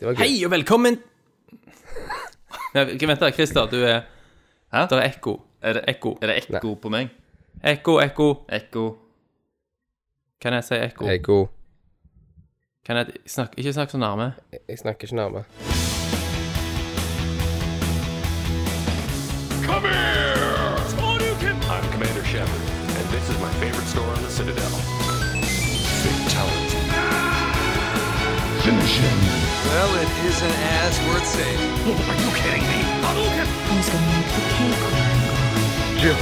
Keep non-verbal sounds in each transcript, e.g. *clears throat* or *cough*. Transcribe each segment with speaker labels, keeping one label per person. Speaker 1: Det var gøy.
Speaker 2: Hei og velkommen Nei, ikke, Vent da, Christer, du er
Speaker 3: Hæ?
Speaker 2: Der er ekko.
Speaker 3: Er det
Speaker 2: Ekko.
Speaker 3: Er det ekko på meg?
Speaker 2: Ekko, ekko.
Speaker 3: Ekko.
Speaker 2: Kan jeg si ekko?
Speaker 1: Hei, god.
Speaker 2: Kan jeg snakke, Ikke snakk så nærme.
Speaker 1: Jeg snakker ikke nærme.
Speaker 4: Come here! I'm Commander Shepard, and this is my favorite store on the Citadel. Fatality.
Speaker 5: Well, it isn't as worth saying.
Speaker 4: Are you kidding me?
Speaker 6: Who's gonna make the cake?
Speaker 4: I mean, look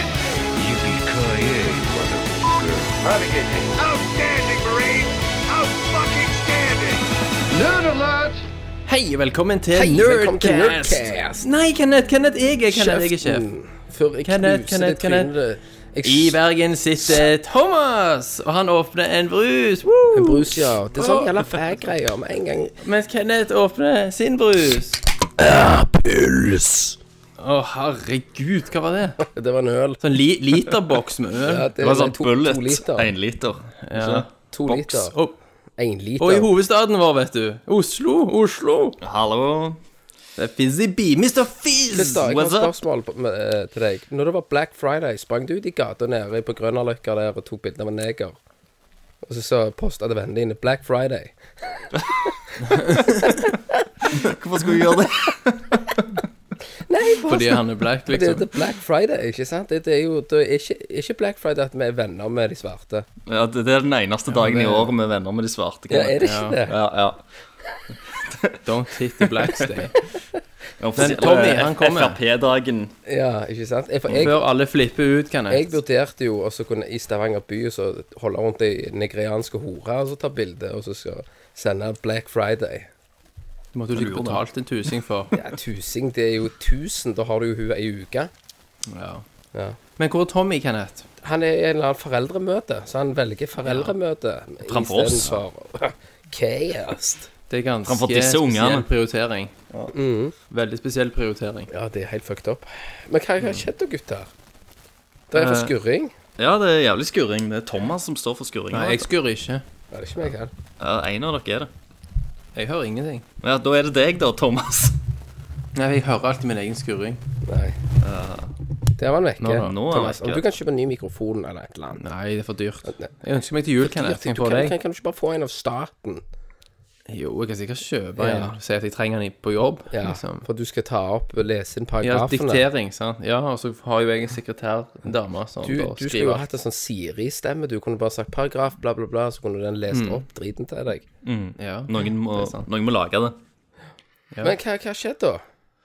Speaker 4: at me! Yippee-ki-yay, motherfucker. Navigating. Outstanding, Marine! Out-fucking-standing!
Speaker 2: Hei og velkommen til
Speaker 1: Hei, velkommen til
Speaker 2: Nerdcast.
Speaker 1: Nerdcast.
Speaker 2: Nei, Kenneth, Kenneth, jeg er Kenneth, jeg er sjef.
Speaker 1: Før jeg
Speaker 2: Kenneth,
Speaker 1: knuser
Speaker 2: Kenneth,
Speaker 1: det trynet. Jeg
Speaker 2: I Bergen sitter Thomas, og han åpner en brus. Woo!
Speaker 1: En brus, ja. Det er sånn jævla fag-greier med en gang.
Speaker 2: Mens Kenneth åpner sin brus.
Speaker 1: Puls!
Speaker 2: Å, herregud, hva var det?
Speaker 1: Det var en øl.
Speaker 2: Sånn li literboks med øl.
Speaker 1: Ja,
Speaker 3: Det var sånn
Speaker 1: to-
Speaker 3: bullet.
Speaker 1: To liter.
Speaker 3: Én liter.
Speaker 2: Ja.
Speaker 1: to liter.
Speaker 2: Og,
Speaker 1: En liter.
Speaker 2: og i hovedstaden vår, vet du. Oslo, Oslo.
Speaker 3: Hallo.
Speaker 2: Det er Fizzy Bee, Mr. Fizz.
Speaker 1: Litt da, jeg har et
Speaker 3: What's up?
Speaker 1: spørsmål på, med, eh, til deg. Når det var Black Friday, sprang du ut i gata nede på Grønnerløkka der og tok bilde av en neger? Og så, så posta det vennene dine 'Black Friday'.
Speaker 3: Hvorfor skulle jeg gjøre det?
Speaker 1: Nei,
Speaker 2: Fordi han er black,
Speaker 1: det er
Speaker 2: liksom.
Speaker 1: det Black Friday, ikke sant? Det, det er jo det er ikke, ikke Black Friday at vi er venner med de svarte.
Speaker 3: *laughs* Ja, det, det er den eneste dagen i året vi er venner med de svarte.
Speaker 1: Ja, er det ikke
Speaker 2: Ja.
Speaker 3: Kenneth.
Speaker 1: det?
Speaker 3: Ja, ja.
Speaker 2: Don't hit the
Speaker 1: *laughs*
Speaker 2: black stay.
Speaker 3: Den offisielle
Speaker 2: Tommy, han kommer.
Speaker 3: Frp-dagen.
Speaker 1: Ja, ikke sant? Jeg, for jeg,
Speaker 2: Før alle flipper ut,
Speaker 1: jeg
Speaker 2: Kenneth.
Speaker 1: vurderte jo også kunne i Stavanger by så holde rundt ei nigerianske hore og så ta bilde, og så skal sende Black Friday.
Speaker 2: Det måtte du ikke betalt en tusing for.
Speaker 1: Ja, tusing, det er jo 1000. Da har du jo hun ei uke.
Speaker 2: Ja.
Speaker 1: Ja.
Speaker 2: Men hvor er Tommy, Kenneth?
Speaker 1: Han er i en eller annen foreldremøte, så han velger foreldremøte
Speaker 3: Framfor oss.
Speaker 1: istedenfor *laughs* Chaos.
Speaker 2: Det er ganske
Speaker 3: Framfor disse
Speaker 2: spesiell
Speaker 3: ungene. Mm.
Speaker 2: prioritering. Veldig spesiell prioritering.
Speaker 1: Ja, det er helt fucked up. Men hva hva har skjedd da, gutter? Det er for
Speaker 3: Eh.
Speaker 1: skurring.
Speaker 3: Ja, det er jævlig skurring. Det er Thomas som står for skurringa.
Speaker 2: Nei, jeg skurrer ikke.
Speaker 1: Ja, det er ikke meg, han.
Speaker 3: Ja, en av dere er det.
Speaker 2: Jeg hører ingenting.
Speaker 3: Ja, Da er det deg, da, Thomas.
Speaker 2: Nei, jeg hører alltid min egen skurring.
Speaker 1: Nei. Der var han vekke.
Speaker 2: Nå da,
Speaker 3: Eh. nå er han
Speaker 1: Thomas.
Speaker 3: vekke.
Speaker 1: Om du kan kjøpe en ny mikrofon eller et eller annet.
Speaker 2: Nei, det er for dyrt.
Speaker 1: Nei.
Speaker 2: Jeg ønsker meg til jul,
Speaker 1: Kan,
Speaker 2: Kenneth. Kan jeg få
Speaker 1: kan,
Speaker 2: deg?
Speaker 1: kan, kan du ikke bare få en av staten?
Speaker 2: Jo, jeg kan sikkert kjøpe
Speaker 1: Ja.
Speaker 2: en. Si at jeg trenger den i- på jobb.
Speaker 1: Ja,
Speaker 2: Liksom.
Speaker 1: For du skal ta opp og lese inn
Speaker 2: Ja,
Speaker 1: paragrafene.
Speaker 2: diktering, sant. Ja, og så har jo jeg en sekretær, en dame, som
Speaker 1: Du,
Speaker 2: da
Speaker 1: du skulle jo
Speaker 2: skriver.
Speaker 1: hatt en sånn Siri-stemme. Du kunne bare sagt paragraf, bla, bla, bla, så kunne den lest opp driten til deg.
Speaker 2: Ja.
Speaker 3: Noen må,
Speaker 2: Det er sant.
Speaker 3: noen må lage det.
Speaker 1: Men hva hva har skjedd, da?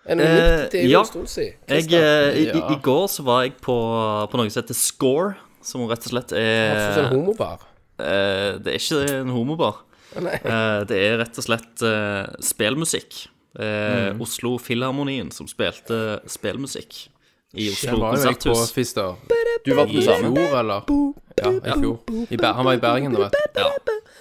Speaker 1: Er det noe
Speaker 3: Eh,
Speaker 1: nytt? Det er jo
Speaker 3: ja.
Speaker 1: en stund siden.
Speaker 3: Jeg,
Speaker 1: Kristian,
Speaker 3: eh, i, i,
Speaker 2: Ja.
Speaker 3: I går så var jeg på, på noe som heter Score, som rett og slett
Speaker 1: Hvorfor sånn
Speaker 3: er
Speaker 1: homobar?
Speaker 3: eh, Det er ikke en homobar.
Speaker 1: Å, Nei.
Speaker 3: Eh, det er rett og slett eh, spelmusikk. Eh,
Speaker 2: Mm.
Speaker 3: Oslo Filharmonien som spilte spelmusikk i
Speaker 2: Der
Speaker 3: Oslo
Speaker 2: var jo jeg på
Speaker 3: konserthus.
Speaker 2: Fister.
Speaker 3: Du var på
Speaker 2: I
Speaker 3: det samme.
Speaker 2: fjor, eller? Ja, i fjor. I Ber han var i Bergen, da, vet du.
Speaker 3: Ja.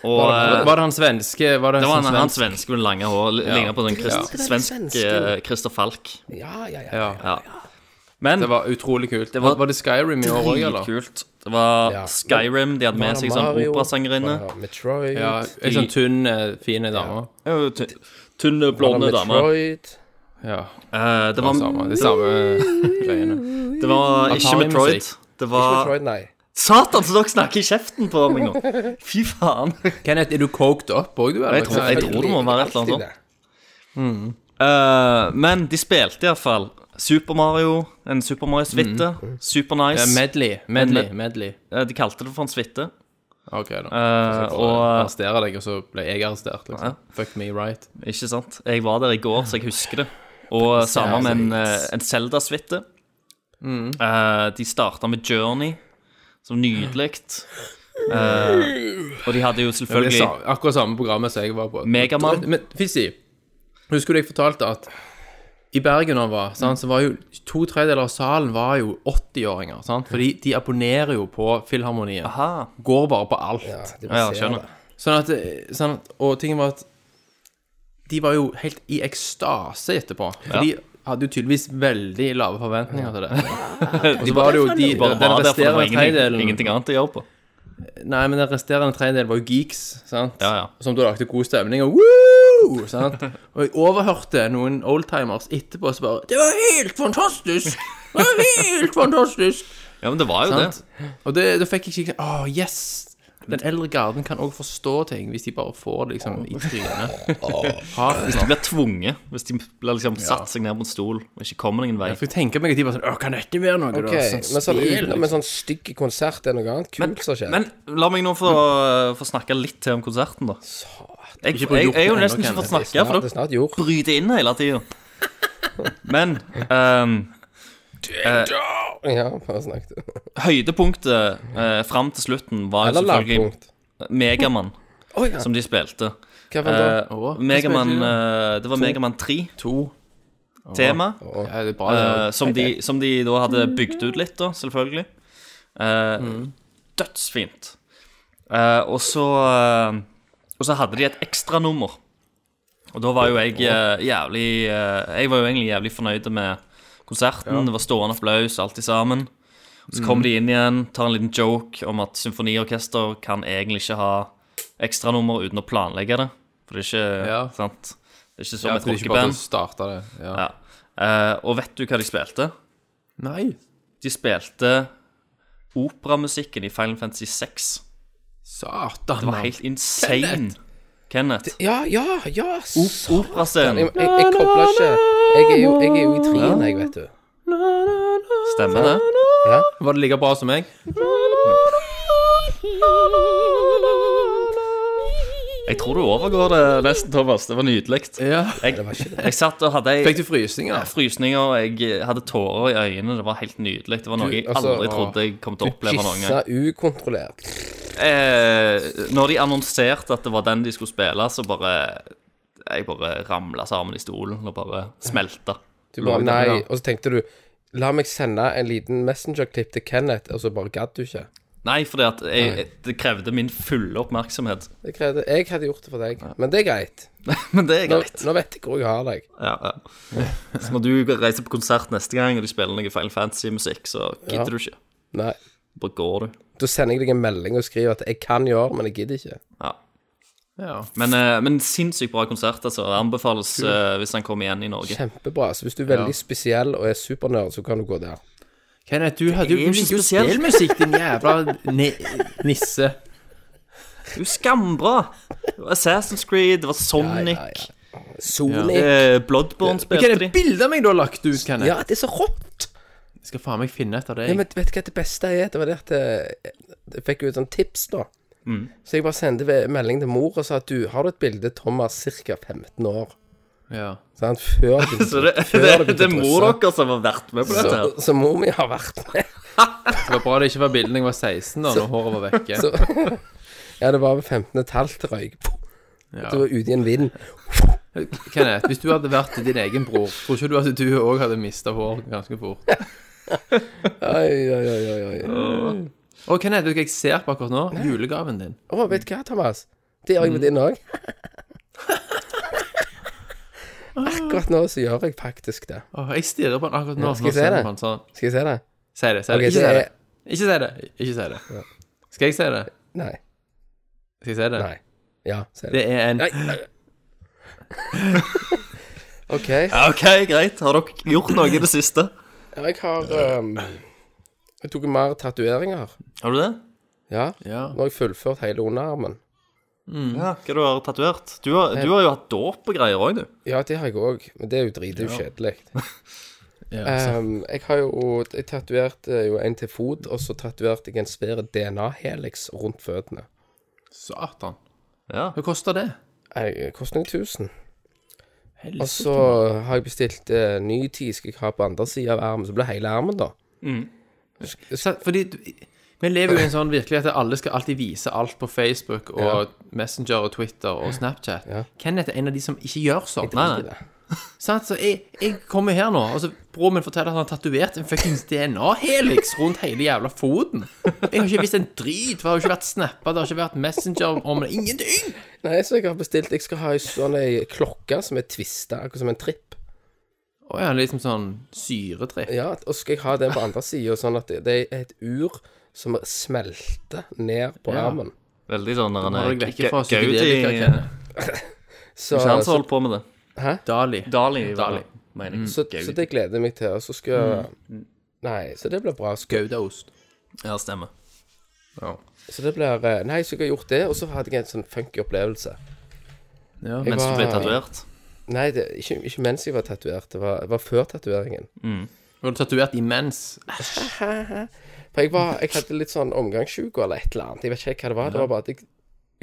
Speaker 3: Og eh,
Speaker 2: Var det han svenske? Var det,
Speaker 3: det var
Speaker 2: sånn
Speaker 3: en annen svenske med lange hår. li-
Speaker 2: Ja.
Speaker 3: Ligner på den
Speaker 1: Ja.
Speaker 3: krist,
Speaker 1: Det er den
Speaker 3: svensk
Speaker 1: svensken.
Speaker 3: eh, Christer Falk.
Speaker 1: Ja, ja, ja.
Speaker 2: Ja.
Speaker 3: Ja. Men
Speaker 2: Det var utrolig kult. Det
Speaker 3: var-
Speaker 2: var, var det Skyrim i år òg, eller?
Speaker 3: dritkult. Det var
Speaker 1: Ja.
Speaker 3: Skyrim. De hadde
Speaker 1: Var
Speaker 3: med
Speaker 1: det
Speaker 3: seg sånn
Speaker 1: Mario?
Speaker 3: operasangerinne.
Speaker 1: Var det Metroid.
Speaker 2: Ja, ei sånn tynn, eh, fin dame.
Speaker 3: Ja, jo, ty- Tynne,
Speaker 1: Var
Speaker 3: blonde
Speaker 1: det
Speaker 3: dame.
Speaker 1: Metroid.
Speaker 2: Ja.
Speaker 3: Eh, det var,
Speaker 2: Samme, det samme greiene.
Speaker 3: det var ikke
Speaker 2: Atari-musikk.
Speaker 3: Metroid. Det var
Speaker 1: Metroid, nei.
Speaker 3: Satan, så dere snakker i kjeften på meg nå! Fy faen.
Speaker 2: Kenneth, er du coked up òg, du? eller?
Speaker 3: Jeg tror- jeg tror- det må være et eller annet
Speaker 1: Alltid
Speaker 3: sånt.
Speaker 1: det.
Speaker 3: Eh, men de spilte iallfall Super Mario, en Super Mario-suite.
Speaker 2: Mm.
Speaker 3: Super
Speaker 2: Ja,
Speaker 3: nice.
Speaker 2: Medley. Medley.
Speaker 3: Med-
Speaker 2: Medley.
Speaker 3: Eh, de kalte det for en suite.
Speaker 2: OK, da.
Speaker 3: Eh, og
Speaker 2: Arrestere deg, og så ble jeg arrestert,
Speaker 3: Ja.
Speaker 2: liksom. Fuck me right.
Speaker 3: eh, Ikke sant? Jeg var der i går, så jeg husker det. Og sammen med en, eh, en Zelda-suite.
Speaker 2: Mm.
Speaker 3: Eh, de starta med Journey, som nydelig. Eh, og de hadde jo
Speaker 2: Det er
Speaker 3: selvfølgelig
Speaker 2: sa- akkurat samme programmet som jeg var på.
Speaker 3: Megaman.
Speaker 2: Men Fizzy, husker du jeg fortalte at i Bergen han var, sant, så var jo to tredjedeler av salen var jo 80-åringer. sant? For de abonnerer jo på Filharmonien.
Speaker 3: Aha.
Speaker 2: Går bare på alt.
Speaker 1: Ja, de
Speaker 3: Ja,
Speaker 1: ser
Speaker 3: skjønner.
Speaker 1: det.
Speaker 2: Sånn at, sånn at Og tingen var at de var jo helt i ekstase etterpå. For de hadde jo tydeligvis veldig lave forventninger til det. Og så var det jo de,
Speaker 3: Bare
Speaker 2: den
Speaker 3: var der for det var
Speaker 2: resterende
Speaker 3: ingenting,
Speaker 2: tredjedelen
Speaker 3: ingenting annet å gjøre på.
Speaker 2: Nei, men den resterende tredjedel var jo geeks, sant?
Speaker 3: Ja, ja.
Speaker 2: Som da lagde god stemning og woo! Sant? Og jeg overhørte noen oldtimers etterpå som bare Det var helt fantastisk! Det var helt fantastisk!
Speaker 3: *laughs* Ja, men det var jo
Speaker 2: Sant?
Speaker 3: det.
Speaker 2: Og det, da fikk jeg skikkelig sånn, Åh, yes! Den eldre garden kan òg forstå ting, hvis de bare får det liksom i trynet. Hardt
Speaker 3: Hvis de blir tvunget. Hvis de blir liksom satt seg ned på en stol og ikke kommer ingen vei.
Speaker 2: Jeg får tenke meg at de bare sånn Åh, kan dette være noe,
Speaker 1: Ok,
Speaker 2: da?
Speaker 1: men sånn,
Speaker 2: spill,
Speaker 1: utenom en sånn stygg konsert er noe annet kult som skjer.
Speaker 3: Men la meg nå få, eh, få snakke litt til om konserten, da. Jeg, jeg,
Speaker 2: Mm. Ikke få
Speaker 3: jeg,
Speaker 2: gjort
Speaker 3: er jo
Speaker 2: det
Speaker 3: nesten
Speaker 2: ennå,
Speaker 3: ikke fått
Speaker 2: Kenneth.
Speaker 3: snakke, for
Speaker 1: det
Speaker 3: dere
Speaker 1: er snart jord.
Speaker 3: bryter inn hele tida. Men ehm,
Speaker 1: Ja, bare snakket.
Speaker 3: høydepunktet eh, fram til slutten var jo
Speaker 1: Eller
Speaker 3: selvfølgelig
Speaker 1: lavpunkt.
Speaker 2: *laughs*
Speaker 3: Megamann,
Speaker 1: Å ja.
Speaker 3: som de
Speaker 1: Hva var det?
Speaker 3: spilte. Altså, Eh,
Speaker 2: Åh, hva
Speaker 3: Megaman,
Speaker 2: spilte de
Speaker 3: eh, det var Megaman 3-tema,
Speaker 2: To. Ja, det er sånn bra. det.
Speaker 3: Eh, som, de, som de da hadde bygd ut litt, da, selvfølgelig. Eh,
Speaker 2: Mm.
Speaker 3: Dødsfint. Eh, og så eh, Og så hadde de et ekstranummer. Og da var jo jeg eh, jævlig eh, Jeg var jo egentlig jævlig fornøyd med konserten. Det var stående applaus, alt i sammen. Og så kommer de inn igjen, tar en liten joke om at symfoniorkester kan egentlig ikke ha ekstranummer uten å planlegge det. For det er ikke
Speaker 2: Ja.
Speaker 3: sant? Det er ikke som
Speaker 2: Ja,
Speaker 3: et
Speaker 2: for de ikke bare
Speaker 3: rockeband.
Speaker 2: starta det. Ja.
Speaker 3: Ja. Eh, og vet du hva de spilte?
Speaker 2: Nei.
Speaker 3: De spilte operamusikken i Final Fantasy 6.
Speaker 2: Satan.
Speaker 3: Det var helt insane. Kenneth.
Speaker 1: Ja, ja, ja. s- Jeg,
Speaker 3: Operascenen.
Speaker 1: jeg, jeg kobla ikke jeg er, jo, jeg er jo i trien, jeg, vet du.
Speaker 3: Stemmer det?
Speaker 1: Ja.
Speaker 2: Var det like bra som meg?
Speaker 3: Jeg tror du overgår det nesten, Thomas. Det var nydelig.
Speaker 2: Ja.
Speaker 1: Det var ikke det.
Speaker 3: Jeg satt og hadde ei
Speaker 2: Fikk du frysninger?
Speaker 3: frysninger, og jeg hadde tårer i øynene. Det var helt nydelig. Det var noe jeg
Speaker 1: Du, altså,
Speaker 3: aldri trodde jeg kom til å oppleve noen gang.
Speaker 1: Gissa ukontrollert.
Speaker 3: Eh, når de annonserte at det var den de skulle spille, så bare Jeg bare ramla sammen i stolen og bare smelta.
Speaker 1: Du bare
Speaker 2: Lå i
Speaker 1: nei.
Speaker 2: den, ja.
Speaker 1: Og så tenkte du La meg sende en liten Messenger-klipp til Kenneth, og så bare gadd du ikke.
Speaker 3: Nei, fordi at jeg, det krevde min fulle oppmerksomhet. *laughs*
Speaker 1: Jeg, krevde, jeg hadde gjort det for deg, men det er greit.
Speaker 3: Men det er
Speaker 1: Nå,
Speaker 3: greit.
Speaker 1: nå vet jeg hvor jeg har deg.
Speaker 3: Ja, ja. *laughs* Så når du reiser på konsert neste gang og de spiller noe Final Fantasy-musikk, så gidder
Speaker 1: Ja.
Speaker 3: du ikke.
Speaker 1: Nei.
Speaker 3: Bare går du.
Speaker 1: Da sender jeg deg en melding og skriver at 'jeg kan gjøre, men jeg gidder ikke'.
Speaker 3: Ja.
Speaker 2: Ja.
Speaker 3: Men, eh, men sinnssykt bra konsert, altså. Det anbefales eh, hvis han kommer igjen i Norge.
Speaker 1: Kjempebra. Så hvis du er veldig spesiell og er supernerd, så kan du gå der.
Speaker 2: Kenneth, du hadde jo
Speaker 3: Det er jo
Speaker 2: du liker jo
Speaker 3: spesielt.
Speaker 1: *laughs*
Speaker 2: spillmusikk, din jævla ni nisse.
Speaker 3: Du er skambra! Det var Assassin's Creed, det var Sonic,
Speaker 1: ja, Sonic. Ja.
Speaker 3: eh, Bloodborne
Speaker 2: Hva er
Speaker 3: spilte
Speaker 2: det
Speaker 3: de.
Speaker 2: bildet av meg du har lagt ut, Kenneth?
Speaker 1: det er så rått!
Speaker 2: Jeg skal faen meg finne et av
Speaker 1: Ja,
Speaker 2: deg.
Speaker 1: men vet du hva det beste er? Det var det at eh, jeg fikk jo et sånt tips, da. Så jeg bare sendte ve- melding til mor og sa at du, har du et bilde Thomas ca. 15 år?
Speaker 2: Ja.
Speaker 1: Så han før du,
Speaker 3: *laughs* Så det,
Speaker 1: før
Speaker 3: det,
Speaker 1: du
Speaker 3: det,
Speaker 1: begynte
Speaker 3: er
Speaker 1: å
Speaker 3: mor
Speaker 1: drøsse.
Speaker 3: dere som har vært med på dette. her
Speaker 1: Så, så mor mi har vært med. *laughs*
Speaker 2: Det var bra det ikke var bildet da jeg var 16, da, når håret var vekke.
Speaker 1: Så, ja, det var ved 15. et halvt røyk.
Speaker 2: Ja.
Speaker 1: Du var ute i en vind.
Speaker 2: Kenneth, hvis du hadde vært din egen bror, tror ikke du at du òg hadde mista hår ganske fort?
Speaker 1: Oi, oi, oi, oi, oi.
Speaker 2: Og Kenneth, vet du hva jeg ser på akkurat nå? Julegaven din.
Speaker 1: Å, vet du hva, Thomas? Det gjør jeg med din òg. Akkurat nå så gjør jeg faktisk det.
Speaker 2: Åh, jeg stirrer på den akkurat nå.
Speaker 1: Skal jeg
Speaker 2: Nå
Speaker 1: se
Speaker 2: ser jeg
Speaker 1: det?
Speaker 2: på den Sånn.
Speaker 1: Skal jeg se det?
Speaker 2: Si det, si
Speaker 1: Ok,
Speaker 2: det. Ikke
Speaker 1: det
Speaker 2: si
Speaker 1: er-
Speaker 2: det. Ikke si det. Ikke si det. Skal jeg si det?
Speaker 1: Nei.
Speaker 2: Skal jeg si det?
Speaker 1: Nei. Ja, se det.
Speaker 2: Det er en
Speaker 1: Nei. nei. OK.
Speaker 3: Ja, OK, greit. Har dere gjort noe i det siste?
Speaker 1: Jeg har ehm, Jeg tok mer tatoveringer.
Speaker 3: Har du det?
Speaker 1: Ja.
Speaker 2: Ja.
Speaker 1: Nå har jeg fullført hele underarmen.
Speaker 3: Ja, Mm. Hva du har tatovert? Du, har- du har jo hatt dåp og greier òg, du.
Speaker 1: Ja, det har jeg òg, men det er jo drit det er jo
Speaker 3: *laughs*
Speaker 1: kjedelig.
Speaker 2: Ja,
Speaker 1: Ehm, jeg har jo Jeg tatoverte jo en til fot, og så tatoverte jeg en svær DNA-helix rundt føttene.
Speaker 2: Satan.
Speaker 3: Ja.
Speaker 2: Hva koster det?
Speaker 1: Jeg koster noen tusen.
Speaker 2: Helvete.
Speaker 1: Og så har jeg bestilt eh, ny tid skal jeg ha på andre sida av armen, så blir det hele armen, da.
Speaker 2: Så, fordi du, vi lever jo i en sånn virkelighet der alle skal alltid vise alt på Facebook og Messenger og Twitter og Snapchat. Kenneth er en av de som ikke gjør sånn.
Speaker 3: Nei, nei.
Speaker 2: Sant? Så jeg, jeg kommer her nå, og så broren min forteller at han har tatovert en fuckings DNA-helix rundt hele jævla foten. Jeg har ikke visst en drit, for det har jo ikke vært snappa, det har ikke vært Messenger om det, ingenting!
Speaker 1: Nei, så jeg har bestilt Jeg skal ha ei sånn ei klokke som er tvista, akkurat som en tripp.
Speaker 2: Å ja, liksom sånn syretripp.
Speaker 1: Ja, og så skal jeg ha den på andre sida, sånn at det- det er et ur som smelter ned på armen.
Speaker 3: Veldig sånn når han
Speaker 2: Nå
Speaker 3: er
Speaker 2: er jeg vekk fra
Speaker 3: Gaudi
Speaker 2: psykedelikarakterene.
Speaker 1: Så,
Speaker 3: Ikke han som
Speaker 1: så,
Speaker 3: holdt på med det.
Speaker 2: Dali.
Speaker 3: Dali, var
Speaker 2: Dali.
Speaker 3: det, mener jeg.
Speaker 1: så, så det gleder jeg meg til. Og så skal Nei, så det blir bra. Så,
Speaker 2: Goudaost.
Speaker 3: Ja, stemmer.
Speaker 1: så det blir eh, Nei, så jeg har gjort det, og så hadde jeg en sånn funky opplevelse.
Speaker 2: Ja.
Speaker 1: Jeg
Speaker 3: Mens du ble
Speaker 1: var-
Speaker 3: tatovert.
Speaker 1: Nei, det, ikke, ikke mens jeg var tatovert. Det, var- det var før tatoveringen.
Speaker 2: Var du tatovert imens?
Speaker 1: For jeg, var, jeg hadde litt sånn omgangssjuk eller et eller annet. Jeg vet ikke helt hva det var. Det var bare at jeg,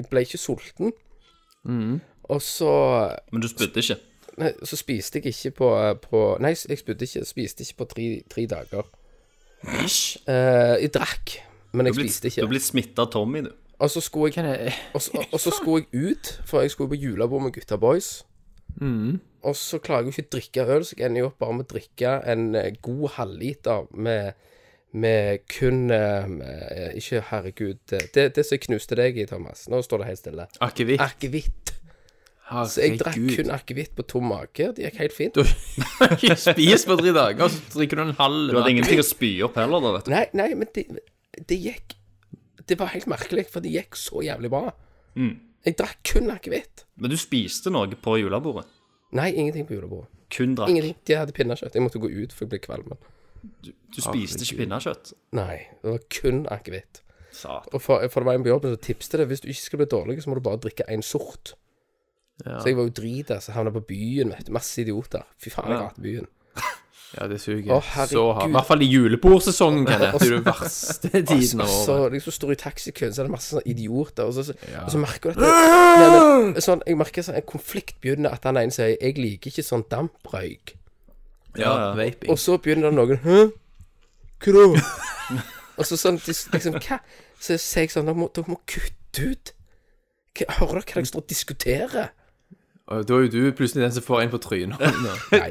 Speaker 1: jeg ble ikke sulten. Og så,
Speaker 3: Men du spydde ikke.
Speaker 1: nei, så spiste jeg ikke på, på Nei, jeg spydde ikke, spiste ikke på tre, tre dager.
Speaker 3: Ish.
Speaker 1: Eh, jeg drakk, men jeg
Speaker 3: Du
Speaker 1: spiste
Speaker 3: er
Speaker 1: ikke.
Speaker 3: blitt smitta av Tommy, du.
Speaker 1: Og så skulle jeg
Speaker 2: Kan jeg
Speaker 1: og så, og så skulle jeg ut, for jeg skulle på julebord med gutta boys. Og så klarer jeg jo ikke å drikke øl, så jeg ender jo opp bare med å drikke en eh, god halvliter med, med kun eh, eh, Ikke herregud eh, Det, det som jeg knuste deg i, Thomas. Nå står det helt stille.
Speaker 2: Akevitt.
Speaker 1: Akevitt. Så jeg drakk kun akevitt på tom mage. Det gikk helt fint.
Speaker 2: Du har ikke spist på tre dager, og så drikker du en halv
Speaker 3: Du hadde ingenting å spy opp heller, da, vet du.
Speaker 1: Nei, nei, men det, det gikk Det var helt merkelig, for det gikk så jævlig bra. Jeg drakk kun akevitt.
Speaker 3: Men du spiste noe på julebordet.
Speaker 1: Nei, ingenting på julebordet.
Speaker 3: Kun drakk.
Speaker 1: Ingenting. De hadde pinnekjøtt. Jeg måtte gå ut for jeg ble kvalm.
Speaker 3: Du spiste ikke pinnekjøtt.
Speaker 1: Nei, det var kun akevitt.
Speaker 3: Satan.
Speaker 1: Og for, for det var en på jobben som tipste det. Hvis du ikke skal bli dårlig, så må du bare drikke én sort. Så jeg var jo drita, så havna på byen, vet du. Masse idioter. Fy faen, jeg hater byen.
Speaker 2: Ja, det suger.
Speaker 1: Å, herregud.
Speaker 2: så hardt. I hvert fall i julebordsesongen, kan jeg. Det er den verste tiden av
Speaker 1: Så
Speaker 2: året.
Speaker 1: liksom står du i taxikøen, så er det masse sånne idioter, og så, så, og så merker du at det, nei, men, sånn, Jeg merker sånn, en konflikt begynner at han ene sier 'Jeg liker ikke sånn damprøyk'.
Speaker 2: Ja, vaping.
Speaker 1: Og så begynner det noen Hæ? Hva da? *laughs* og så sånn de s- liksom, Hva? Så sier jeg sånn Dere må, dere må kutte ut. Hva, hører dere hva dere står og diskuterer?
Speaker 2: Og Da er jo du plutselig den som får en på *laughs* trynet.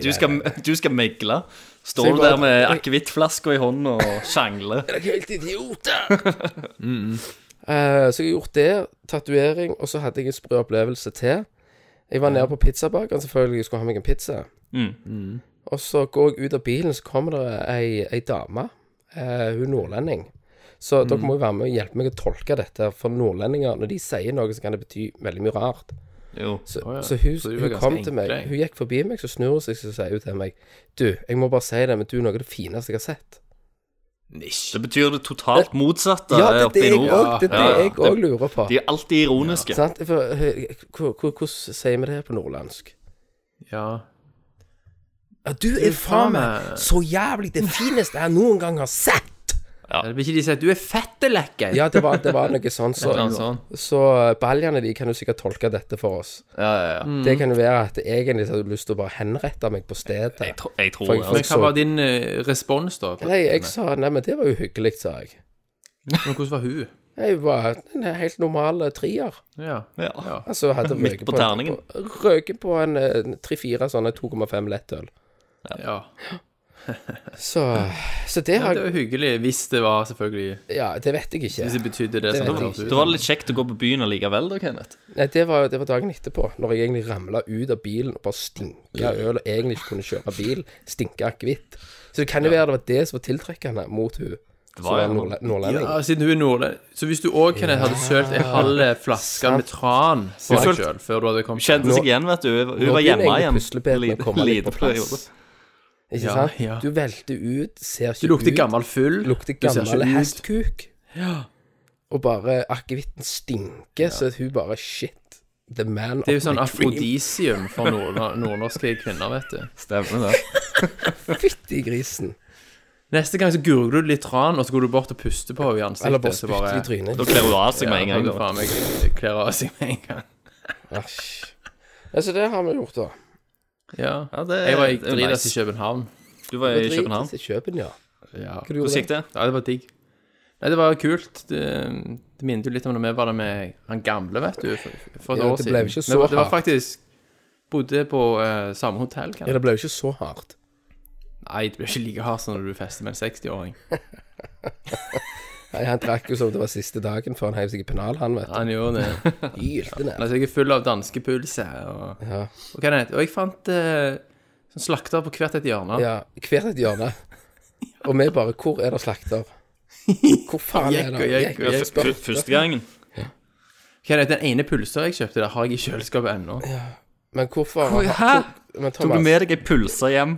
Speaker 3: Du skal, du skal megle.
Speaker 1: Så
Speaker 3: Står
Speaker 1: jeg
Speaker 3: du der
Speaker 1: bare-
Speaker 3: med akevittflaska i hånden og sjangler.
Speaker 1: Dere er helt idioter! Eh, så jeg har gjort det. Tatovering. Og så hadde jeg en sprø opplevelse til. Jeg var nede på pizzabakeren, selvfølgelig. Jeg skulle ha meg en pizza.
Speaker 3: Mm.
Speaker 1: Og så går jeg ut av bilen, så kommer det ei, ei dame. eh, hun er nordlending. Så dere
Speaker 2: Mm.
Speaker 1: må jo være med og hjelpe meg å tolke dette. For nordlendinger, når de sier noe, så kan det bety veldig mye rart.
Speaker 3: Jo.
Speaker 1: Så,
Speaker 2: Å ja,
Speaker 1: så hun,
Speaker 2: så de var
Speaker 1: hun
Speaker 2: ganske
Speaker 1: kom til meg,
Speaker 2: enkle.
Speaker 1: hun gikk forbi meg, så snur hun seg så sier hun til meg Du, jeg må bare si det, men du er noe av det fineste jeg har sett.
Speaker 3: Det betyr det totalt motsatte
Speaker 1: Eh.
Speaker 3: eh,
Speaker 1: Ja, det er
Speaker 3: oppe
Speaker 1: det
Speaker 3: i
Speaker 1: jeg
Speaker 3: nord.
Speaker 1: òg- det er
Speaker 3: Ja, ja.
Speaker 1: det jeg òg lurer på.
Speaker 3: De er alltid ironiske.
Speaker 1: Sant? For, eh, hvor- hvor- Hvordan sier vi det her på nordlandsk?
Speaker 2: Ja.
Speaker 1: Ja, du er faen
Speaker 2: faen
Speaker 1: meg
Speaker 2: meg-
Speaker 1: så jævlig det fineste jeg noen gang har sett!
Speaker 2: Det blir ikke de sier at du er fettelekker.
Speaker 1: Ja, det var, det var noe sånn,
Speaker 2: Et eller annet
Speaker 1: så,
Speaker 2: sånt.
Speaker 1: så eh, baljene de kan jo sikkert tolke dette for oss.
Speaker 3: Ja, ja,
Speaker 2: Mm.
Speaker 3: ja.
Speaker 1: Det kan jo være at egentlig så hadde du lyst til å bare henrette meg på stedet.
Speaker 3: Jeg, tro, jeg tror altså.
Speaker 1: For-
Speaker 3: det.
Speaker 1: for-
Speaker 2: Men hva var din eh, respons, da? på
Speaker 1: Nei, jeg
Speaker 2: denne?
Speaker 1: sa nei, men det var jo hyggelig, sa jeg.
Speaker 2: Men hvordan var hun?
Speaker 1: Jeg var en helt normal eh, trier.
Speaker 2: Ja.
Speaker 3: Ja.
Speaker 1: Altså hadde
Speaker 3: Midt
Speaker 1: røket
Speaker 3: på
Speaker 1: på,
Speaker 3: terningen.
Speaker 1: på Røket på en eh, 3-4 sånne 2,5 lettøl.
Speaker 2: ja.
Speaker 1: Så, så det
Speaker 2: Ja,
Speaker 1: har
Speaker 2: det var hyggelig, hvis det var selvfølgelig
Speaker 1: Ja, det vet jeg ikke.
Speaker 2: Hvis det betydde det
Speaker 1: vet
Speaker 2: som det
Speaker 1: jeg
Speaker 2: hørtes
Speaker 1: ikke.
Speaker 2: ut.
Speaker 3: Det var litt kjekt å gå på byen allikevel, da, Kenneth.
Speaker 1: Nei, det var, det var dagen etterpå, når jeg egentlig ramla ut av bilen og bare stinka øl og egentlig ikke kunne kjøre bil. Stinka akevitt. Så det kan jo være det var det som var tiltrekkende mot hun som
Speaker 3: var
Speaker 1: var
Speaker 3: jo-
Speaker 1: nordle- nordlending.
Speaker 2: Ja, siden hun er nordlending. Så hvis du òg Kenneth, hadde sølt en halv flaske med tran på deg
Speaker 3: Sølt-
Speaker 2: sjøl før du hadde kommet
Speaker 3: Kjente
Speaker 1: Nå-
Speaker 3: seg igjen, vet du. Hun, hun
Speaker 1: Nå
Speaker 3: var
Speaker 1: begynner
Speaker 3: hjemme
Speaker 1: egentlig
Speaker 3: igjen.
Speaker 1: puslespillene å komme
Speaker 3: Lite-
Speaker 1: litt på
Speaker 3: lite
Speaker 1: plass.
Speaker 3: periode.
Speaker 1: Ikke
Speaker 2: Ja,
Speaker 1: sant?
Speaker 2: ja.
Speaker 1: Du velter ut, ser ikke
Speaker 2: Du lukter
Speaker 1: ut.
Speaker 2: gammel full.
Speaker 1: Lukter
Speaker 2: Du ser ikke
Speaker 1: gammel
Speaker 2: ut.
Speaker 1: hestkuk. Og bare akevitten stinker, så hun bare Shit. The man
Speaker 2: Det er jo
Speaker 1: of
Speaker 2: sånn
Speaker 1: my dream.
Speaker 2: afrodisium for nord- nordnorske kvinner, vet du.
Speaker 3: Stemmer det.
Speaker 1: Fytti grisen.
Speaker 2: Neste gang så gurgler du litt tran, og så går du bort og puster på henne i ansiktet.
Speaker 1: Eller bare
Speaker 2: så
Speaker 1: spytter i trynet.
Speaker 3: Da kler hun av seg
Speaker 2: Ja,
Speaker 3: med en gang.
Speaker 2: da
Speaker 3: da.
Speaker 2: faen meg kler av seg med en gang.
Speaker 1: Æsj. Altså, det har vi gjort, da.
Speaker 2: Ja.
Speaker 3: Ja, det,
Speaker 2: Jeg var i
Speaker 3: det er
Speaker 2: Dridas
Speaker 3: nice.
Speaker 2: i København.
Speaker 3: Du var i
Speaker 1: Drit
Speaker 3: København.
Speaker 1: til Kjøpen, ja.
Speaker 2: Ja.
Speaker 1: Hva du
Speaker 3: Hvordan
Speaker 1: gjorde
Speaker 3: gikk det?
Speaker 2: ja, det var digg. Nei, det var kult. Det, det minnet jo litt om da vi var der med han gamle, vet du, for, for et
Speaker 1: Ja,
Speaker 2: år
Speaker 1: det
Speaker 2: siden.
Speaker 1: ble jo ikke så
Speaker 2: Vi var- Det var
Speaker 1: hardt.
Speaker 2: faktisk Bodde på eh, samme hotell, kan
Speaker 1: Ja, det ble jo ikke så hardt.
Speaker 2: Nei, det blir ikke like hardt som når du fester med en 60-åring.
Speaker 1: Nei, Han drakk jo som det var siste dagen før han heiv seg i pennal, han, vet du.
Speaker 2: Han gjorde det.
Speaker 1: Hylte ned.
Speaker 2: Altså, jeg er full av danskepølse. Og,
Speaker 1: Ja.
Speaker 2: og, hva er det? og jeg fant eh, sånn slakter på hvert et hjørne.
Speaker 1: ja. Hvert et hjørne. Og vi bare Hvor er det slakter? Hvor faen er det?
Speaker 2: Jekk og jekk og jekk.
Speaker 1: spør.
Speaker 3: Første gangen.
Speaker 2: Hva er det, den ene pulsa jeg kjøpte, der har jeg i kjøleskapet ennå.
Speaker 1: Men hvorfor
Speaker 3: Hæ?
Speaker 1: Men
Speaker 3: Tok du
Speaker 1: Thomas,
Speaker 3: med deg ei pølse hjem?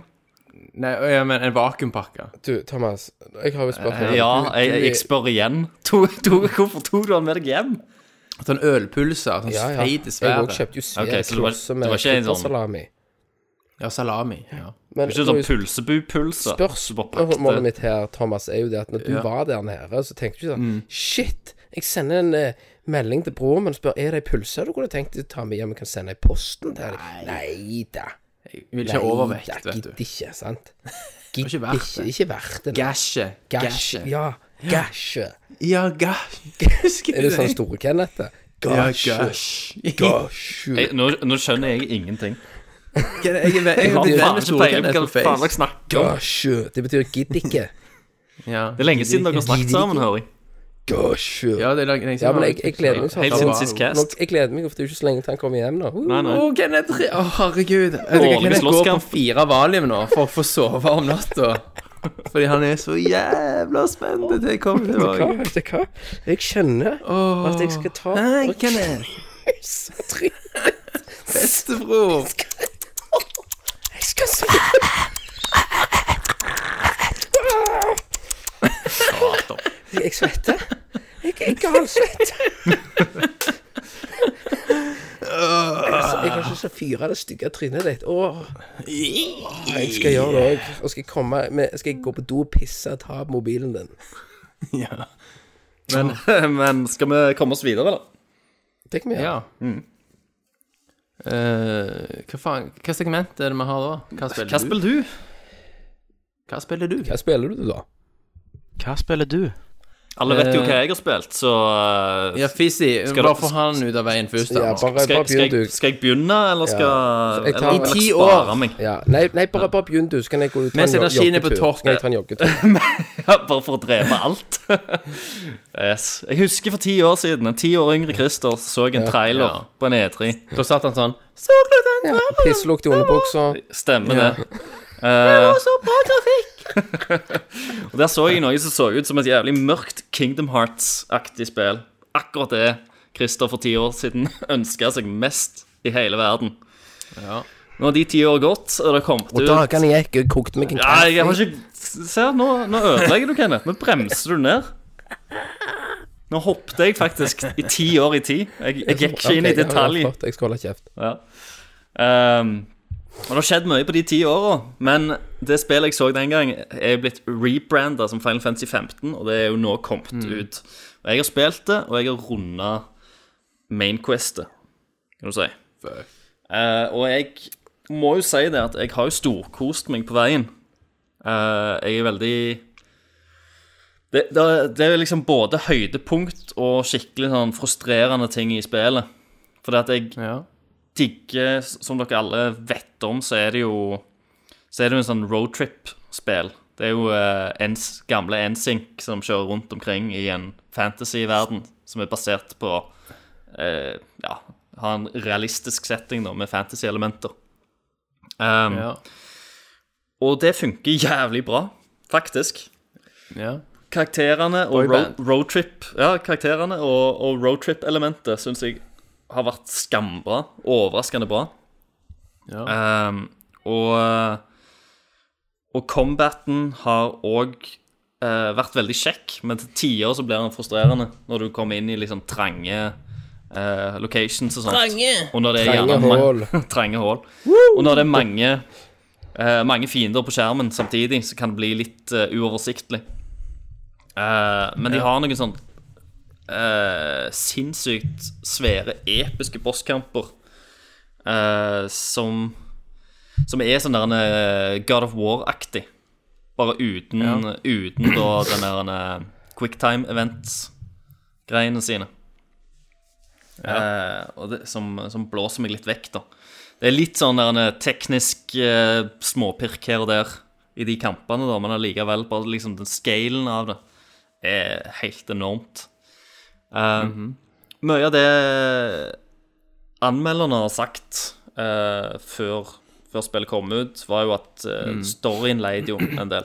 Speaker 2: Nei, å ja, men en vakuumpakke.
Speaker 1: du, Thomas jeg har jo et spørsmål.
Speaker 3: Eh, Ja,
Speaker 1: Du- du-
Speaker 3: jeg, jeg spør igjen. To, to, hvorfor tok du den med deg hjem?
Speaker 2: Sånn ølpulser, sånn
Speaker 1: ja, ja. Jeg
Speaker 2: feit i
Speaker 1: òg
Speaker 2: sværet.
Speaker 1: kjøpte jo svære
Speaker 3: Ok, så det var-
Speaker 1: klosser
Speaker 3: det
Speaker 1: med
Speaker 3: var ikke en sånn-
Speaker 1: peppersalami.
Speaker 2: Ja, salami. Ja.
Speaker 1: Men
Speaker 3: Ikke sånn pølsebu-pølse. som bare pakket-
Speaker 1: spørsmålet mitt her, Thomas, er jo det at når du var der nede, så tenkte du ikke sånn
Speaker 2: Mm.
Speaker 1: Shit! Jeg sender en eh, melding til broren min og spør er det ei pølse du kunne tenkt deg å ta med hjem og kan sende i posten til deg. Nei da.
Speaker 2: Jeg vil ikke ha overvekt, vet
Speaker 1: Gidder
Speaker 2: du.
Speaker 1: ikke, sant? Gidder
Speaker 2: ikke verdt
Speaker 1: ikke,
Speaker 2: *laughs* det.
Speaker 1: ikke verdt det.
Speaker 2: Gasje.
Speaker 1: Gasje.
Speaker 2: Gasje.
Speaker 1: Ja, gasje.
Speaker 2: Ja, gasje.
Speaker 1: *laughs* Er det sånn store Kenneth? det?
Speaker 2: Ja,
Speaker 1: Gasje. *laughs*
Speaker 2: gasje.
Speaker 1: Gasje.
Speaker 3: Jeg, nå, nå skjønner jeg ingenting.
Speaker 2: Jeg er- *laughs* jeg er jeg er
Speaker 3: Hva
Speaker 2: venn med
Speaker 3: faen ikke peiling på
Speaker 2: Stortinget
Speaker 3: hva
Speaker 2: på
Speaker 3: du faen
Speaker 2: Face.
Speaker 3: dere snakker om?
Speaker 1: Gasje. Det betyr gidd ikke.
Speaker 2: Ja.
Speaker 3: Det er lenge siden dere har snakket
Speaker 1: Gidder ikke.
Speaker 3: sammen, hører jeg.
Speaker 1: Gasje.
Speaker 2: *laughs* Ja, det er lenge siden.
Speaker 1: Ja, men jeg, jeg gleder meg sånn.
Speaker 3: Helt siden sist
Speaker 1: Nå-
Speaker 3: cast.
Speaker 1: Jeg gleder meg, for det er jo ikke så lenge til han kommer hjem nå. Uh.
Speaker 3: Nei,
Speaker 2: *laughs*
Speaker 3: nei.
Speaker 2: Å, Kenneth, re- å, herregud. Jeg
Speaker 3: Årlig
Speaker 2: kan jeg gå på
Speaker 3: slåsskamp.
Speaker 2: fire valium nå for å få sove om natta. Fordi han er så jævla spent til jeg kommer
Speaker 1: Hva?
Speaker 2: tilbake.
Speaker 1: Vet du hva? Jeg skjønner
Speaker 2: Åh.
Speaker 1: at jeg skal ta
Speaker 2: Nei,
Speaker 1: og
Speaker 2: Kenneth.
Speaker 1: kysse trynet.
Speaker 2: Bestebror.
Speaker 1: Jeg skal så Jeg svetter. Jeg jeg er galsvett. Jeg kan ikke så fyre det stygge trynet ditt. Åh. Jeg skal gjøre det òg. Og skal jeg, komme med, skal jeg gå på do og pisse og ta mobilen din.
Speaker 3: Men, men skal vi komme oss videre, eller?
Speaker 1: Det kan vi gjøre.
Speaker 2: Ja. Mm. Eh, hva faen Hva segment er det vi har da? Hva spiller,
Speaker 3: Hva spiller du?
Speaker 2: du? Hva spiller du?
Speaker 1: Hva spiller du, da?
Speaker 7: Hva spiller du?
Speaker 3: Alle vet jo
Speaker 2: Eh,
Speaker 3: hva jeg har spilt, så eh,
Speaker 2: Ja, Fizzy,
Speaker 3: Skal
Speaker 2: bare
Speaker 3: du-
Speaker 2: få han ut av veien først. da.
Speaker 1: Ja, bare,
Speaker 3: skal,
Speaker 1: bare
Speaker 3: jeg- skal,
Speaker 1: begynn,
Speaker 3: jeg,
Speaker 1: du.
Speaker 3: skal jeg begynne, eller skal
Speaker 1: Jeg tar- I
Speaker 3: eller vil
Speaker 2: ti
Speaker 3: jeg spare
Speaker 2: år.
Speaker 3: meg? *laughs*
Speaker 1: Ja. Nei, nei bare, bare begynn, du. Så kan jeg gå ut og ta
Speaker 2: Mens
Speaker 1: en
Speaker 2: energien er på
Speaker 1: joggetur.
Speaker 2: topp.
Speaker 1: Så kan
Speaker 3: eh.
Speaker 1: jeg ta en joggetur.
Speaker 3: Ja, bare for å drepe alt. *laughs* yes. Jeg husker for ti år siden, en ti år yngre Christer så en trailer
Speaker 2: Ja.
Speaker 3: på en E E3.
Speaker 2: Da satt han sånn Så glad han
Speaker 1: Ja,
Speaker 2: var!
Speaker 1: Pisslukt i underbuksa.
Speaker 3: *laughs* Stemmer
Speaker 2: Ja.
Speaker 3: det.
Speaker 2: *laughs*
Speaker 3: Eh,
Speaker 2: Det var Så bra grafikk!
Speaker 3: *laughs* Og Der så jeg noe som så ut som et jævlig mørkt Kingdom Hearts-aktig spill. Akkurat det Christer for ti år siden *laughs* ønska seg mest i hele verden.
Speaker 2: Ja.
Speaker 3: Nå har de ti år gått, og det har kommet ut
Speaker 1: Dagene gikk, jeg kokte meg en
Speaker 3: ja, jeg har ikke Se, her, nå, nå ødelegger du, Kenneth. Nå bremser du ned. Nå hoppet jeg faktisk i ti år i ti. Jeg, jeg gikk ikke inn i
Speaker 1: Ok, ja, ja,
Speaker 3: detalj.
Speaker 1: flott, Jeg skal holde kjeft.
Speaker 3: Ja. Ehm, og det har skjedd mye på de ti åra, men det spillet jeg så den gang, er blitt rebranda som Final Fantasy 15, og det er jo nå kommet ut. Og jeg har spilt det, og jeg har runda mainquestet, kan du si. Eh, og jeg må jo si det at jeg har jo storkost meg på veien. Eh, jeg er veldig det, det, er- det er liksom både høydepunkt og skikkelig sånn frustrerende ting i spillet. Fordi at jeg,
Speaker 2: Ja.
Speaker 3: digger, som dere alle vet om, så er det jo Så er det jo en sånn roadtrip-spill. Det er jo eh, ens, gamle NSYNC som kjører rundt omkring i en fantasy-verden som er basert på eh, Ja, har en realistisk setting da, med fantasy-elementer. Um,
Speaker 2: Ja.
Speaker 3: Og det funker jævlig bra, faktisk.
Speaker 2: ja.
Speaker 3: Karakterene og
Speaker 2: Boyband.
Speaker 3: road- roadtrip Ja, karakterene og, og roadtrip-elementet syns jeg har vært skambra. Overraskende bra.
Speaker 2: Ja.
Speaker 3: Ehm, og eh, Og combaten har òg vært veldig kjekk, men til tider så blir den frustrerende når du kommer inn i liksom trange eh, locations og sånt. Og når det er
Speaker 1: Trange
Speaker 3: gjerne ma-
Speaker 1: hull.
Speaker 3: *laughs* trange hull. Og når det er mange, eh, mange fiender på skjermen samtidig, så kan det bli litt eh, uoversiktlig. Eh, men de har noen sånn eh, sinnssykt svære, episke bosskamper eh, som Som er sånn der en eh, God of War-aktig. Bare uten, uten da den der en eh, quicktime event-greiene sine. Eh, og det, som, som blåser meg litt vekk, da. Det er litt sånn der en teknisk eh, småpirk her og der i de kampene, da, men allikevel bare liksom den scalen av det er helt enormt. Eh, Mye av det anmelderne har sagt eh, før, før spillet kom ut, var jo at eh, storyen leide jo en del.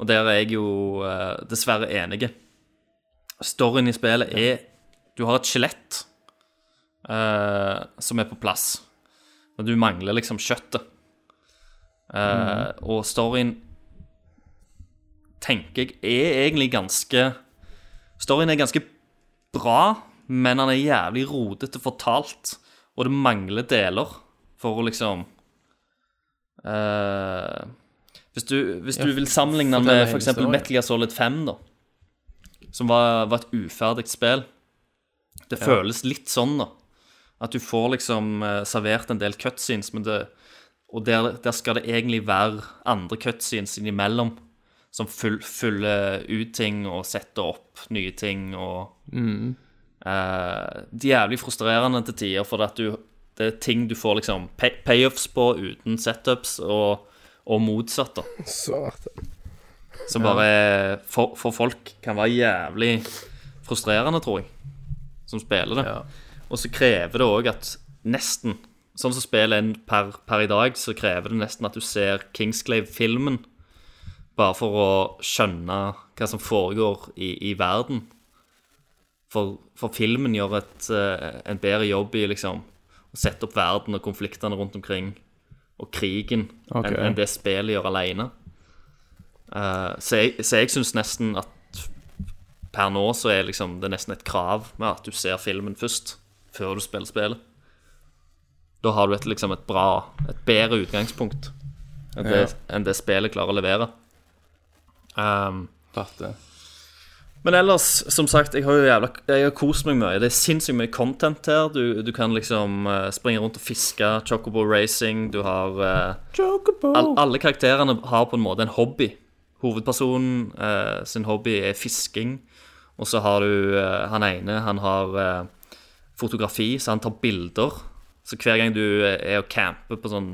Speaker 3: Og der er jeg jo eh, dessverre enige. storyen i spillet er Du har et skjelett eh, som er på plass, men du mangler liksom kjøttet. Eh, Og storyen tenker jeg er egentlig ganske Storyen er ganske bra, men han er jævlig rodete fortalt, og det mangler deler for å liksom eh, Hvis du, hvis du vil sammenligne den med
Speaker 2: fortell
Speaker 3: f.eks.
Speaker 2: historien.
Speaker 3: Metal Gear Solid 5, da, som var, var et uferdig spill Det føles litt sånn, da. At du får liksom eh, servert en del cutscenes, men det, og der, der skal det egentlig være andre cutscenes innimellom som full, fyller ut ting og setter opp nye ting og eh, Det er jævlig frustrerende til tider, for at du, det er ting du får liksom pay payoffs på uten setups, og, og motsatt, da.
Speaker 1: Satan.
Speaker 3: Som bare er- for, for folk kan være jævlig frustrerende, tror jeg, som spiller det. Og så krever det òg at nesten Sånn som spillet er per, per i dag, så krever det nesten at du ser Kingsglaive-filmen bare for å skjønne hva som foregår i, i verden. For, for filmen gjør et, eh, en bedre jobb i liksom å sette opp verden og konfliktene rundt omkring og krigen
Speaker 2: Ok.
Speaker 3: enn enn det spillet gjør alene. Eh, så jeg, så jeg syns nesten at per nå så er liksom det nesten et krav med at du ser filmen først, før du spiller spillet. Da har du et, liksom et bra, et bedre utgangspunkt enn det, enn det spillet klarer å levere. Ehm,
Speaker 2: Fatter.
Speaker 3: men ellers, som sagt, jeg har jo jævla Jeg har kost meg mye. Det er sinnssykt mye content her. Du, du kan liksom eh, springe rundt og fiske. Chocobo racing. Du har eh, all, Alle karakterene har på en måte en hobby. Hovedpersonen eh, sin hobby er fisking. Og så har du eh, han ene, han har eh, fotografi, så han tar bilder. Så hver gang du eh, er og camper på sånn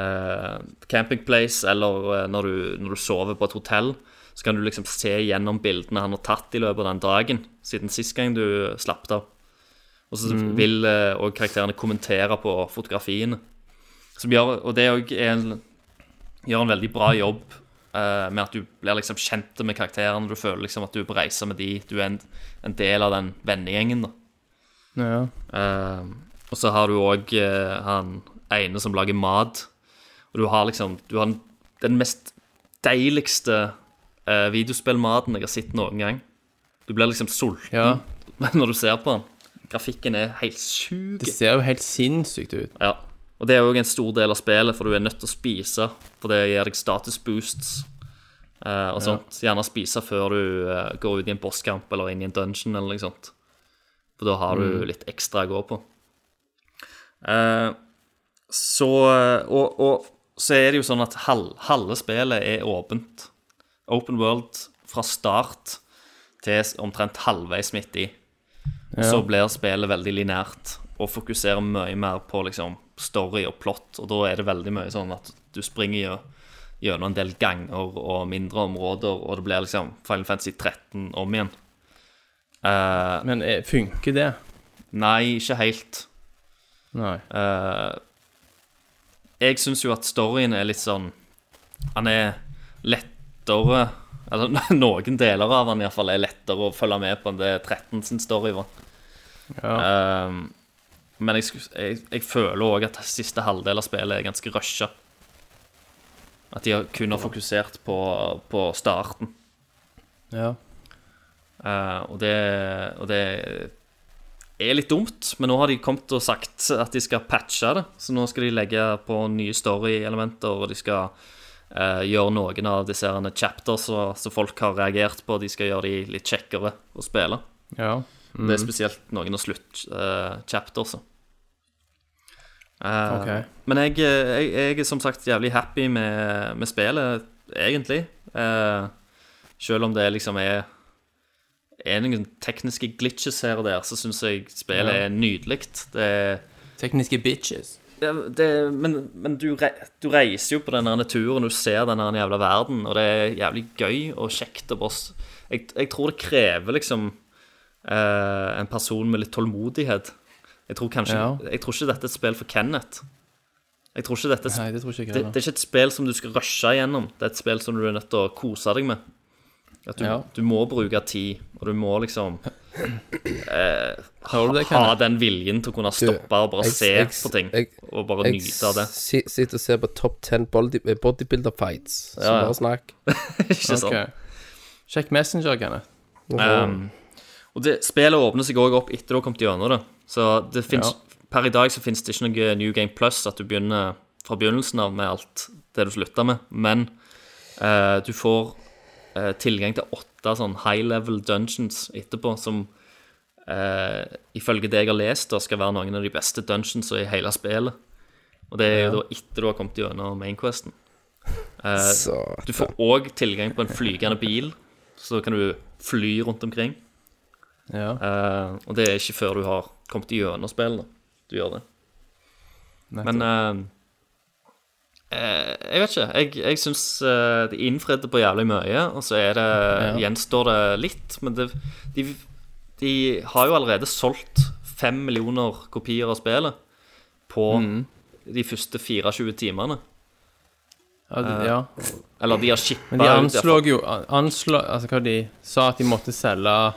Speaker 3: eh, camping place, eller eh, når, du, når du sover på et hotell, så kan du liksom se gjennom bildene han har tatt i løpet av den dagen, siden sist gang du slapp av. Og så vil eh, også karakterene kommentere på fotografiene. Som gjør, og det òg er en, gjør en veldig bra jobb eh, med at du blir liksom kjent med karakterene. Du føler liksom at du er på reise med de, du er en, en del av den vennegjengen. da.
Speaker 2: Ja.
Speaker 3: Eh, og så har du òg eh, han ene som lager mat. Og du har liksom Du har den, den mest deiligste eh, videospillmaten jeg har sett noen gang. Du blir liksom sulten
Speaker 2: ja.
Speaker 3: *laughs* når du ser på den. Grafikken er helt sjuk.
Speaker 2: Det ser jo helt sinnssykt ut.
Speaker 3: Ja. Og det er òg en stor del av spillet, for du er nødt til å spise. For det gir deg status boosts eh, og sånt. Gjerne spise før du eh, går ut i en bosskamp eller inn i en dungeon eller noe sånt. For da har du litt ekstra å gå på. Eh, så eh, og, og så er det jo sånn at hal, halve spillet er åpent. Open world fra start til omtrent halvveis midt i. Og så blir spillet veldig linært og fokuserer mye mer på liksom, story og plot. Og da er det veldig mye sånn at du springer gjø- gjennom en del ganger og mindre områder, og det blir liksom Final Fantasy 13 om igjen. Eh,
Speaker 2: Men eh, funker det?
Speaker 3: nei, ikke helt.
Speaker 2: Nei.
Speaker 3: Eh, jeg syns jo at storyen er litt sånn Han er lettere Eller *laughs* noen deler av han i hvert fall er lettere å følge med på enn det 13 sin story var. Eh, men jeg, sku- jeg, jeg føler òg at siste halvdel av spillet er ganske rusha. At de har kun har fokusert på, på starten.
Speaker 2: Ja.
Speaker 3: Eh, og, det, og det er litt dumt, men nå har de kommet og sagt at de skal patche det. Så nå skal de legge på nye story-elementer, og de skal eh, gjøre noen av disse herne chapters som som folk har reagert på. De skal gjøre de litt kjekkere å spille.
Speaker 2: Ja. mm.
Speaker 3: Og
Speaker 2: Mhm.
Speaker 3: Det er spesielt noen av slutt-chapters.
Speaker 2: Ok.
Speaker 3: Eh, Men jeg, eh, jeg, jeg er som sagt jævlig happy med, med spillet, egentlig. Eh, selv om det liksom er, er noen tekniske glitches her og der, så syns jeg spillet er nydelig. Det,
Speaker 2: Tekniske bitches.
Speaker 3: det, det, men men du, re, du reiser jo på den her turen, du ser den her jævla verden, og det er jævlig gøy og kjekt. Og bare, s- jeg, jeg tror det krever liksom eh, en person med litt tålmodighet. Jeg tror, kanskje,
Speaker 2: Ja.
Speaker 3: jeg tror ikke dette er et spill for Kenneth. Jeg tror ikke dette er et
Speaker 2: Nei, det tror ikke jeg
Speaker 3: det,
Speaker 2: heller.
Speaker 3: det er ikke et spill som du skal rushe igjennom. Det er et spill som du er nødt til å kose deg med. At du, du må bruke tid, og du må liksom eh,
Speaker 2: Hører du det,
Speaker 3: ha
Speaker 2: Kenneth?
Speaker 3: den viljen til å kunne stoppe og bare
Speaker 1: jeg-
Speaker 3: se
Speaker 1: jeg-
Speaker 3: på ting.
Speaker 1: jeg-
Speaker 3: og bare
Speaker 1: Jeg
Speaker 3: nyte av det.
Speaker 1: *laughs* si- sitter og ser på topp 10 body, eh, bodybuilder fights. Så
Speaker 3: Ja, ja.
Speaker 1: bare snakk.
Speaker 3: Ikke sant?
Speaker 2: Ok. Sjekk Messenger, Kenneth.
Speaker 3: Um, og det, spillet åpner seg også opp etter du har kommet gjennom det. Så det finnes, per i dag så finnes det ikke noe New Game Plus at du begynner fra begynnelsen av med alt det du slutta med, men eh, du får eh, tilgang til åtte sånn high level dungeons etterpå som eh, ifølge det jeg har lest, da skal være noen av de beste dungeons i hele spillet. Og det er jo da etter du har kommet gjennom mainquesten. Uh,
Speaker 1: Så
Speaker 3: du får òg tilgang på en flygende bil, så kan du fly rundt omkring.
Speaker 2: Ja.
Speaker 3: Eh, og det er ikke før du har kommet gjennom spillet du gjør det.
Speaker 2: Nettopp.
Speaker 3: Men eh, eh, jeg vet ikke. Jeg, jeg syns de innfridde på jævlig mye, og så er det, gjenstår det litt. Men det, de, de har jo allerede solgt fem millioner kopier av spillet på
Speaker 2: Mm.
Speaker 3: de første 24 timene.
Speaker 2: Ja,
Speaker 3: eh,
Speaker 2: det- ja.
Speaker 3: Eller de har shippa
Speaker 2: Men de
Speaker 3: ut i hvert fall
Speaker 2: anslår jo anslå, Altså hva de sa at de måtte selge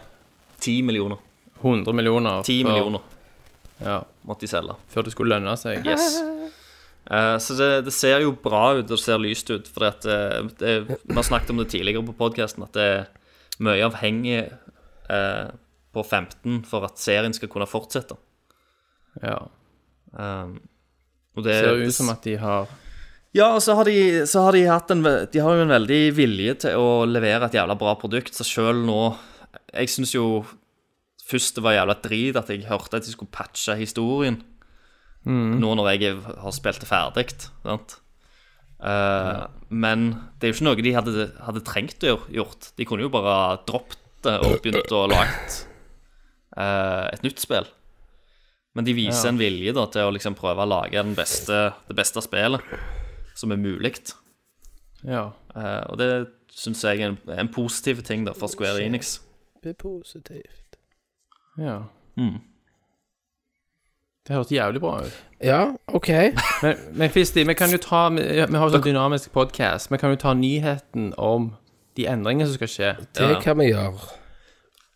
Speaker 3: 10 millioner.
Speaker 2: 100 millioner
Speaker 3: 10
Speaker 2: før-
Speaker 3: millioner
Speaker 2: Ja,
Speaker 3: måtte de selge.
Speaker 2: før det skulle lønne seg. *laughs*
Speaker 3: Yes. Eh, så det, det ser jo bra ut, og det ser lyst ut. For at, eh, det, vi har snakket om det tidligere på podkasten, at det er mye avhengig eh, på 15 for at serien skal kunne fortsette.
Speaker 2: Ja.
Speaker 3: Um, og det
Speaker 2: Det ser jo ut som at de har
Speaker 3: Ja, og så har de, så har de hatt en ve- De har jo en veldig vilje til å levere et jævla bra produkt, så sjøl nå Jeg syns jo først det var jævla drit at jeg hørte at de skulle patche historien. Nå når jeg er- har spilt det ferdig, sant. Eh, Men det er jo ikke noe de hadde, hadde trengt å gjør- gjort. De kunne jo bare droppet det og begynt å lage et nytt spill. Men de viser en vilje da, til å liksom prøve å lage den beste, det beste spillet som er mulig.
Speaker 2: Ja.
Speaker 3: Eh, og det syns jeg er en, er en positiv ting da,
Speaker 2: Oh,
Speaker 3: for Square Enix.
Speaker 1: Det er positivt.
Speaker 2: ja. Mm. Det høres jævlig bra ut.
Speaker 1: Ja, OK.
Speaker 2: Men, men Fisti, vi kan jo ta Vi, vi har jo sånn dynamisk podkast. Vi kan jo ta nyheten om de endringene som skal skje.
Speaker 1: Det kan vi gjøre.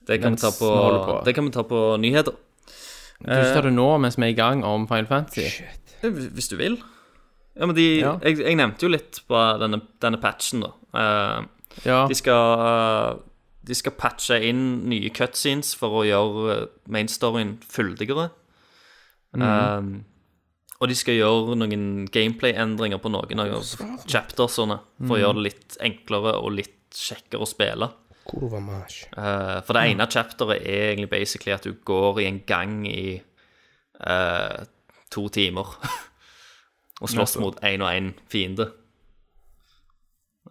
Speaker 3: Det kan, vi
Speaker 2: Mens
Speaker 3: ta på,
Speaker 2: vi holder på.
Speaker 3: det kan vi ta på nyheter,
Speaker 2: Du tar det nå mens vi er i gang om Final Fantasy.
Speaker 3: Eh, hvis hvis du vil. Ja, men de,
Speaker 2: Ja.
Speaker 3: jeg, jeg nevnte jo litt på denne, denne patchen, da. Eh,
Speaker 2: Ja.
Speaker 3: de, skal, eh, de skal patche inn nye cutscenes for å gjøre eh, mainstoryen fyldigere. Eh, og de skal gjøre noen gameplay-endringer på noen av chaptersene for å gjøre det litt enklere og litt kjekkere å spille.
Speaker 1: Hvor var Mars?
Speaker 3: Eh, for det ene chapteret er egentlig basically at du går i en gang i eh, to timer *laughs* og slåss mot én og én fiende.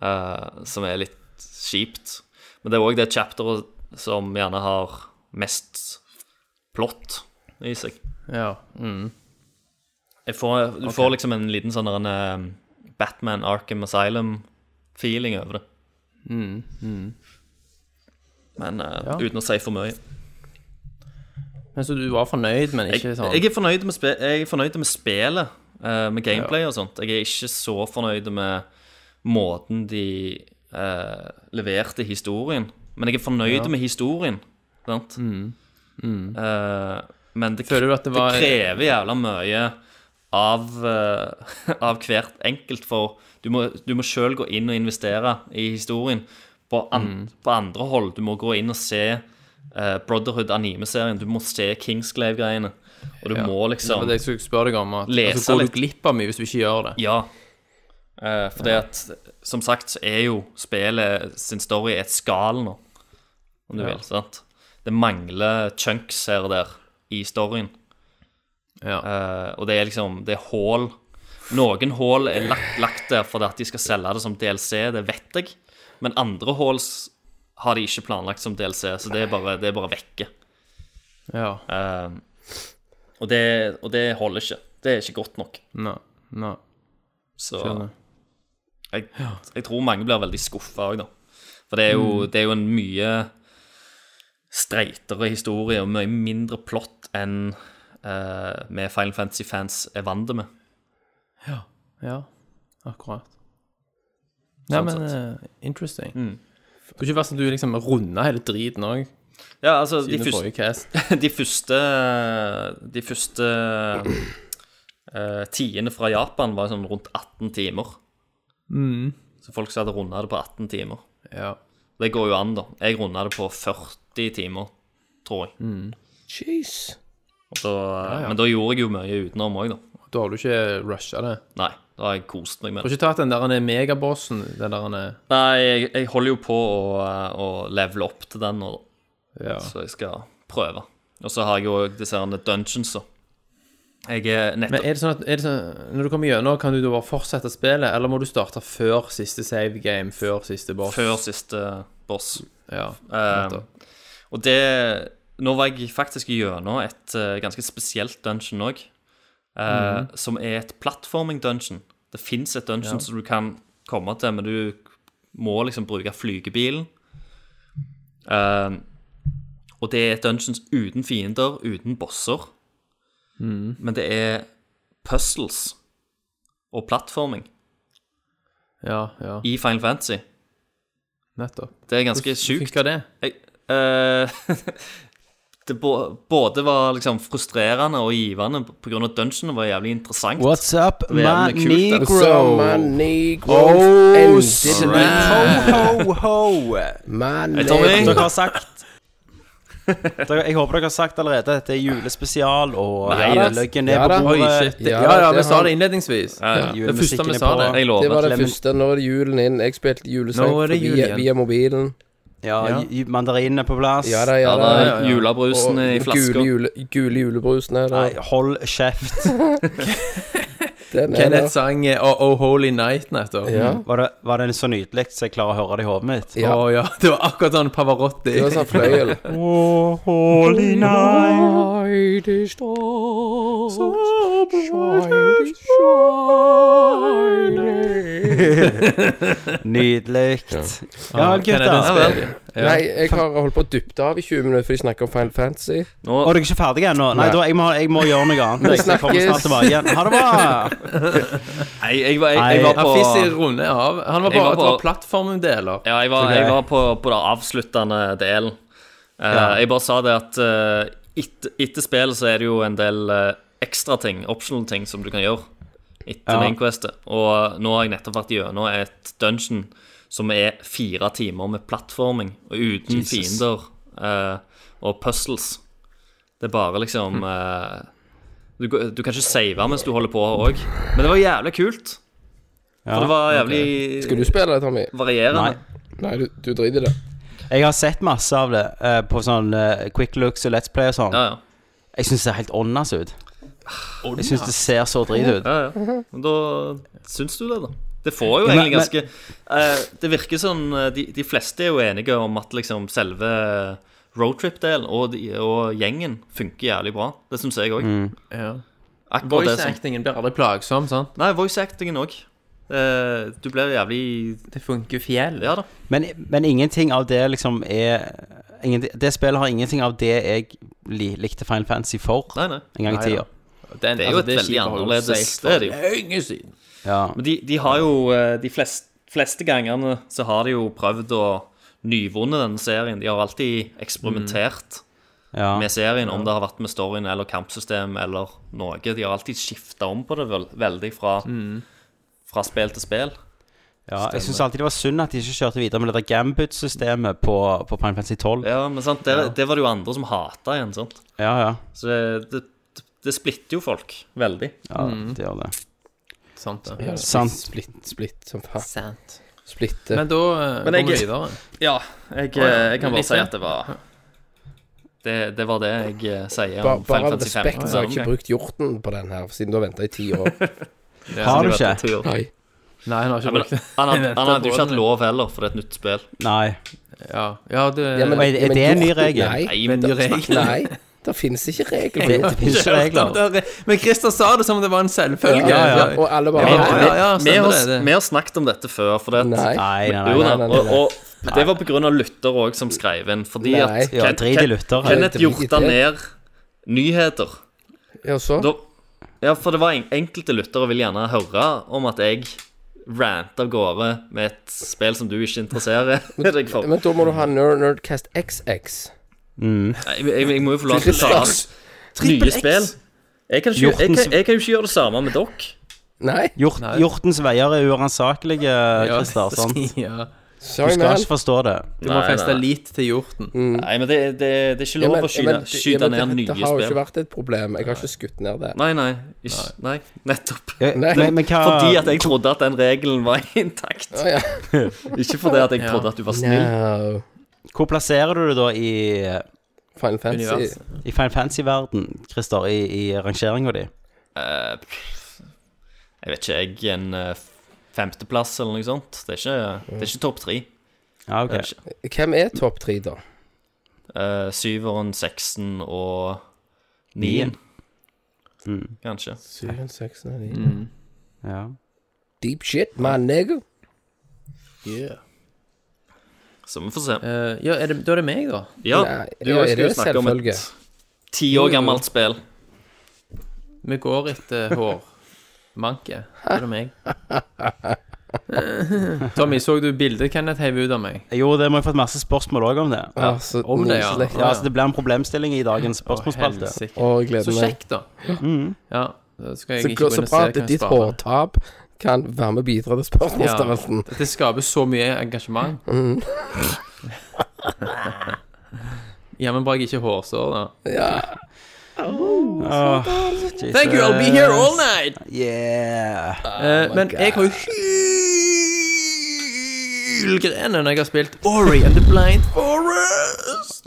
Speaker 3: Eh, som er litt kjipt. Men det er òg det chapteret som gjerne har mest plott i seg.
Speaker 2: ja. Mm.
Speaker 3: Jeg får, du får liksom en liten sånn der en, eh, Batman Arkham Asylum-feeling over det. Men eh,
Speaker 2: Ja.
Speaker 3: uten å si for mye.
Speaker 2: Men så du var fornøyd, men ikke
Speaker 3: Jeg,
Speaker 2: sånn
Speaker 3: jeg, er fornøyd med spe, jeg er fornøyd med spillet, eh, med gameplay og sånt. Jeg er ikke så fornøyd med måten de eh, leverte historien Men jeg er fornøyd med historien, sant? Eh, men det,
Speaker 2: Mm. Føler du at det var-
Speaker 3: krever jævla mye av, eh, *laughs* av hvert enkelt, for du må, du må sjøl gå inn og investere i historien. På, an,
Speaker 2: Mm.
Speaker 3: på andre hold. Du må gå inn og se eh, Brotherhood anime-serien. Du må se Kingsglaive-greiene. Og du må
Speaker 2: Det
Speaker 3: liksom
Speaker 2: var det jeg skulle spørre deg om. At,
Speaker 3: Lese
Speaker 2: altså, går
Speaker 3: litt.
Speaker 2: du glipp av mye hvis du ikke gjør det?
Speaker 3: Ja. Uh, for det at, som sagt, så er jo spillet sin story et skall nå, om du vil. sant? Det mangler chunks her og der i storyen.
Speaker 2: Ja.
Speaker 3: Eh, og det er liksom Det er hull. Noen hull er lagt, lagt der fordi at de skal selge det som DLC, det vet jeg. Men andre hull s- har de ikke planlagt som DLC, så det er bare, det er bare vekke.
Speaker 2: ja.
Speaker 3: Eh, og, det, og det holder ikke. Det er ikke godt nok.
Speaker 2: Nei. Nei.
Speaker 3: Så
Speaker 2: Skjønner.
Speaker 3: jeg, jeg tror mange blir veldig skuffa òg, da. For det er, jo, det er jo en mye streitere historie og mye mindre plott enn eh, vi Final Fantasy-fans er vant med.
Speaker 2: Ja, akkurat. Nei,
Speaker 3: Sant,
Speaker 2: men
Speaker 3: sant. Mm.
Speaker 2: eh, interesting. Det er ikke verst at du liksom runder hele driten òg.
Speaker 3: Ja, altså, de
Speaker 2: Siden
Speaker 3: første,
Speaker 2: forrige cast.
Speaker 3: *laughs* de første De første eh, tidene fra Japan var sånn rundt 18 timer.
Speaker 2: Mm.
Speaker 3: Så folk som hadde runda det på 18 timer.
Speaker 2: Ja.
Speaker 3: Det går jo an, da. Jeg runda det på 40 timer, tror jeg.
Speaker 1: Jeez.
Speaker 3: Og da, Men da gjorde jeg jo mye utenom òg, da.
Speaker 2: Da har du ikke rusha det.
Speaker 3: Nei, da har jeg kost meg med det.
Speaker 2: Du har ikke tatt den der han er megabossen? Den der han er
Speaker 3: Nei, jeg, jeg holder jo på å, eh, å levele opp til den nå, da.
Speaker 2: Ja.
Speaker 3: så jeg skal prøve. Og så har jeg jo disse her dungeonsa. Jeg er
Speaker 2: Men
Speaker 3: nettopp
Speaker 2: er det sånn at er det sånn, når du kommer gjennom, kan du da bare fortsette spillet, eller må du starte før siste save game, før siste boss?
Speaker 3: før siste boss.
Speaker 2: Ja.
Speaker 3: Eh,
Speaker 2: nettopp.
Speaker 3: og det Nå var jeg faktisk gjennom et eh, ganske spesielt dungeon òg, som er et platforming dungeon. Det fins et dungeon som du kan komme til, men du må liksom bruke flygebilen. Eh, og det er et dungeon uten fiender, uten bosser. Men det er puzzles og plattforming
Speaker 2: ja, ja.
Speaker 3: i Final Fantasy.
Speaker 2: Nettopp.
Speaker 3: Det er ganske sjukt.
Speaker 2: Funka det?
Speaker 3: Jeg, eh, *laughs* det bå- både var liksom frustrerende og givende pga. dungeonet var jævlig interessant.
Speaker 7: What's up,
Speaker 3: Det er
Speaker 7: my
Speaker 3: jævlig kult, det.
Speaker 7: negro?
Speaker 1: So many growth
Speaker 7: Oh,
Speaker 2: eh,
Speaker 1: ended.
Speaker 7: snap. Ho, ho, ho.
Speaker 1: Man,
Speaker 3: Hei, Tommy.
Speaker 7: Dere har sagt dere, Jeg håper dere har sagt allerede at dette er julespesial, og
Speaker 3: Nei,
Speaker 7: ja,
Speaker 3: det-
Speaker 7: løggen er
Speaker 1: ja
Speaker 7: på
Speaker 1: da.
Speaker 7: bordet.
Speaker 2: Oi, shit.
Speaker 1: Ja,
Speaker 2: Ja, ja,
Speaker 1: det
Speaker 2: vi sa
Speaker 1: har-
Speaker 2: det innledningsvis.
Speaker 3: Eh,
Speaker 2: Det første vi
Speaker 7: Julemusikken er
Speaker 2: sa
Speaker 1: Det
Speaker 2: det.
Speaker 3: jeg
Speaker 7: på.
Speaker 1: var
Speaker 3: lover.
Speaker 1: det
Speaker 7: Clement-
Speaker 1: første. Nå er det julen inn. Jeg spilte julesang
Speaker 2: Nå er det jul
Speaker 1: via,
Speaker 2: igjen.
Speaker 1: via mobilen.
Speaker 7: Ja,
Speaker 2: Ja.
Speaker 7: ju- mandarinene er på plass.
Speaker 1: Ja da, ja
Speaker 3: Ja,
Speaker 1: da.
Speaker 3: da,
Speaker 2: ja.
Speaker 3: Julebrusen i
Speaker 1: Og gule,
Speaker 3: flasker.
Speaker 1: jule, gule julebrusen er
Speaker 7: Nei,
Speaker 1: der.
Speaker 7: hold kjeft.
Speaker 1: Den er
Speaker 2: Kenneth
Speaker 1: der.
Speaker 2: sang eh, Oh, oh Holy Night nettopp.
Speaker 1: Ja.
Speaker 7: Var det, var det så nydelig så jeg klarer å høre det i hodet mitt?
Speaker 1: Ja.
Speaker 2: Å ja, *laughs* det var akkurat sånn Pavarotti.
Speaker 1: Det var sånn fløyel.
Speaker 2: *laughs*
Speaker 7: Oh, holy night. Nydelig. Ja vel,
Speaker 2: Kenneth,
Speaker 7: gutter.
Speaker 2: den spiller.
Speaker 1: Nei, jeg har holdt på å dyppe av i 20 minutter fordi de snakker om Final Fantasy.
Speaker 3: Nå,
Speaker 7: Og dere er ikke ferdige ennå? Nei,
Speaker 1: Nei.
Speaker 7: da, jeg, må, jeg må gjøre noe annet. Jeg, så jeg kommer snart
Speaker 1: Snakkes.
Speaker 7: tilbake igjen. Ha det bra.
Speaker 3: nei, jeg var, jeg,
Speaker 7: Nei,
Speaker 3: jeg var
Speaker 2: Han
Speaker 3: på
Speaker 2: Fizzy runder av. Han var
Speaker 3: Jeg var
Speaker 2: bare
Speaker 3: på-
Speaker 2: på plattformdeler.
Speaker 3: Ja, jeg var,
Speaker 7: Ok.
Speaker 3: jeg var på, på den avsluttende delen. Eh, Jeg bare sa det at eh, etter, etter spill så er det jo en del eh, ekstra ting, optional ting, som du kan gjøre etter
Speaker 7: Ja.
Speaker 3: main mainquestet. Og nå har jeg nettopp vært gjennom et dungeon som er fire timer med plattforming og uten fiender eh, og puzzles. Det er bare liksom eh, du, du kan ikke save mens du holder på òg. Men det var jævlig kult. For det var jævlig
Speaker 1: Skal du spille det, Tommy?
Speaker 3: varierende.
Speaker 7: Nei.
Speaker 1: Nei, du, du driter i det.
Speaker 7: Jeg har sett masse av det eh, på sånn eh, quick looks og Let's Play og sånn.
Speaker 3: Ja, ja.
Speaker 7: Jeg syns det ser helt åndas ut. Jeg syns det ser så drit ut.
Speaker 3: Ja,
Speaker 2: Mhm.
Speaker 3: ja. Men da syns du det, da. Det får jo
Speaker 7: Ja, men-
Speaker 3: egentlig ganske eh, Det virker sånn eh, de, de fleste er jo enige om at liksom selve roadtrip-delen og, de- og gjengen funker jævlig bra. Det syns jeg òg.
Speaker 2: Ja.
Speaker 3: Akkurat det som
Speaker 2: Voice-actingen blir aldri plagsom, sant?
Speaker 3: Nei, voice-actingen òg. Eh, du blir jævlig
Speaker 2: Det funker fjell.
Speaker 3: Ja da.
Speaker 7: Men, men ingenting av det liksom er ingenting, Det spillet har ingenting av det jeg li, likte Final Fantasy for
Speaker 3: Nei, nei.
Speaker 7: en gang i
Speaker 2: Nei,
Speaker 7: tida.
Speaker 2: Den,
Speaker 3: Det er jo et veldig
Speaker 2: altså, skipet har jo
Speaker 3: annerledes
Speaker 2: seilt
Speaker 3: Det er det jo.
Speaker 2: for Lenge siden.
Speaker 7: Ja.
Speaker 3: Men de, de har jo eh, De flest, fleste gangene så har de jo prøvd å nyvunne denne serien. De har alltid eksperimentert.
Speaker 7: ja.
Speaker 3: med serien, om det har vært med storyen eller kampsystem eller noe. De har alltid skifta om på det vel, veldig fra, fra spill til spill.
Speaker 7: ja jeg syns alltid det var synd at de ikke kjørte videre med det der Gambit-systemet på, på Final Fantasy 12.
Speaker 3: Ja, men sant, det, det var det jo andre som hata igjen, sant.
Speaker 7: Ja, ja.
Speaker 3: Så det, det, det splitter jo folk veldig.
Speaker 7: ja
Speaker 3: Mm.
Speaker 7: Det gjør det.
Speaker 2: Sant det.
Speaker 1: Ja,
Speaker 7: Sant.
Speaker 1: Splitt, splitt, som faen.
Speaker 2: Sant.
Speaker 1: Splitte.
Speaker 2: Men da eh,
Speaker 3: Men jeg-
Speaker 2: kommer vi videre.
Speaker 3: Ja, jeg,
Speaker 2: eh, jeg
Speaker 3: kan bare si at det var Det, det var det jeg eh, sier
Speaker 1: Ba,
Speaker 3: om
Speaker 1: bare
Speaker 3: Final
Speaker 1: av
Speaker 3: Fantasy
Speaker 1: respekt
Speaker 3: 15.
Speaker 1: så har jeg ikke brukt hjorten på den her, siden du har venta i ti
Speaker 7: *laughs*
Speaker 1: år.
Speaker 7: Har du ikke?
Speaker 1: Nei.
Speaker 2: Nei, han har ikke
Speaker 3: Han
Speaker 2: brukt det.
Speaker 3: hadde han hadde jo ikke
Speaker 2: Venter på
Speaker 3: hatt lov heller, for det er et nytt spill. *laughs*
Speaker 7: Nei.
Speaker 2: Ja, ja det
Speaker 1: Ja, men-
Speaker 7: Og er det- er
Speaker 1: men
Speaker 7: det en ny
Speaker 1: hjorten-
Speaker 7: regel?
Speaker 1: Nei.
Speaker 3: men
Speaker 2: det
Speaker 3: da-
Speaker 2: er regler.
Speaker 3: *laughs*
Speaker 1: Nei. Det finnes ikke regler for
Speaker 7: Det, det
Speaker 1: hjorten.
Speaker 7: finnes ikke regler.
Speaker 2: Men Christer sa det som om det var en selvfølge.
Speaker 7: Ja, ja.
Speaker 1: Og alle bare
Speaker 3: Vi,
Speaker 2: Ja,
Speaker 1: Nei,
Speaker 2: ja, ja,
Speaker 3: vi, vi,
Speaker 2: stemmer det,
Speaker 3: har,
Speaker 2: det.
Speaker 3: vi har snakket om dette før, for det at
Speaker 1: Nei.
Speaker 7: Nei, nei,
Speaker 3: Jo
Speaker 7: nei.
Speaker 3: da,
Speaker 1: nei, nei,
Speaker 3: og,
Speaker 1: nei.
Speaker 3: og det var pga. lytter òg som skrev inn. Fordi
Speaker 1: Nei.
Speaker 3: at
Speaker 7: Ja, drit i lytter.
Speaker 1: Drit
Speaker 3: Kenneth
Speaker 1: i
Speaker 3: hjorta
Speaker 1: det.
Speaker 3: ned nyheter.
Speaker 1: Ja, så?
Speaker 3: Da, ja, for det var en, enkelte lyttere vil gjerne høre om at jeg rante av gårde med et spill som du ikke interesserer deg for.
Speaker 1: Men da må du ha Nerd Nerdcast XX.
Speaker 3: Nei, Jeg, jeg, jeg må jo få lov til å lage nye spill. Jeg kan, ikke, jeg, kan, jeg kan jo ikke gjøre det samme med dere.
Speaker 1: Nei,
Speaker 7: Hjort, hjortens veier er uransakelige, *laughs* Christer. sant?
Speaker 2: *laughs*
Speaker 7: Du
Speaker 2: ja.
Speaker 1: sorry,
Speaker 7: skal
Speaker 1: man.
Speaker 7: ikke forstå det.
Speaker 2: Du må
Speaker 3: Nei,
Speaker 2: feste
Speaker 3: nei.
Speaker 2: lit til hjorten.
Speaker 3: Nei, men det, det, det er
Speaker 1: Ja,
Speaker 3: ikke lov
Speaker 1: men-
Speaker 3: å
Speaker 1: ja,
Speaker 3: skyte,
Speaker 1: men- ja,
Speaker 3: skyte
Speaker 1: men
Speaker 3: ned
Speaker 1: det-
Speaker 3: nye
Speaker 1: Det har jo
Speaker 3: spill.
Speaker 1: ikke vært et problem. Jeg har ikke skutt ned det.
Speaker 3: Nei, nei, ikke, nei. Nettopp.
Speaker 7: Ja,
Speaker 1: Nei.
Speaker 7: Men, men hva
Speaker 3: Fordi at jeg trodde at den regelen var *laughs* intakt.
Speaker 1: Å, ja.
Speaker 3: Ikke fordi at jeg trodde at du var snill.
Speaker 1: No.
Speaker 7: Hvor plasserer du det da i,
Speaker 1: Final Fantasy.
Speaker 2: Universet.
Speaker 7: i Final Fantasy-verden, Christer, i, i rangeringa di?
Speaker 3: Eh, pff, jeg vet ikke, jeg en eh, femteplass eller noe sånt. Det er ikke, det er ikke topp tre.
Speaker 7: Ja,
Speaker 3: Det
Speaker 7: ok.
Speaker 3: er det ikke.
Speaker 1: Hvem er topp tre, da?
Speaker 3: Eh, syveren, seksen og nien. Kanskje.
Speaker 1: Syven, seks, ni.
Speaker 7: Ja.
Speaker 1: Deep shit, my nigga.
Speaker 3: Så vi får se.
Speaker 2: Eh, ja, er det, da er det meg, da.
Speaker 3: Ja,
Speaker 1: Nei,
Speaker 3: du
Speaker 1: ja, er
Speaker 3: skal jo
Speaker 1: det
Speaker 3: snakke om
Speaker 1: selvfølge?
Speaker 3: et ti år gammelt spill.
Speaker 2: Vi går etter hårmanke. Da er det meg. Tommy, så du bildet Kenneth heiv ut av meg?
Speaker 7: Jo, det må jeg fått masse spørsmål òg om det. Ja,
Speaker 1: Ja, Ah, så
Speaker 2: om det, ja.
Speaker 1: nydelig.
Speaker 2: ja.
Speaker 7: så Det blir en problemstilling i dagens spørsmålsspalte.
Speaker 2: Helsike.
Speaker 1: Å, jeg gleder
Speaker 2: Så
Speaker 1: meg.
Speaker 2: kjekt, da. Ja, da skal
Speaker 1: Mm. Så,
Speaker 2: jeg ikke
Speaker 1: gl-
Speaker 2: gå
Speaker 1: så
Speaker 2: inn og se
Speaker 1: bra
Speaker 2: hva
Speaker 1: at
Speaker 2: jeg
Speaker 1: ditt
Speaker 2: sparer.
Speaker 1: hårtap kan være med å bidra til spørsmålsstørrelsen.
Speaker 2: Ja, det skaper så mye engasjement.
Speaker 1: Mm.
Speaker 2: Jammen bra jeg ikke er hårsår, da.
Speaker 7: Åh,
Speaker 2: Thank you, I'll be here all night!
Speaker 7: Yeah.
Speaker 2: Eh, men jeg har jo hylgrener når jeg har spilt Ori and the Blind Forest.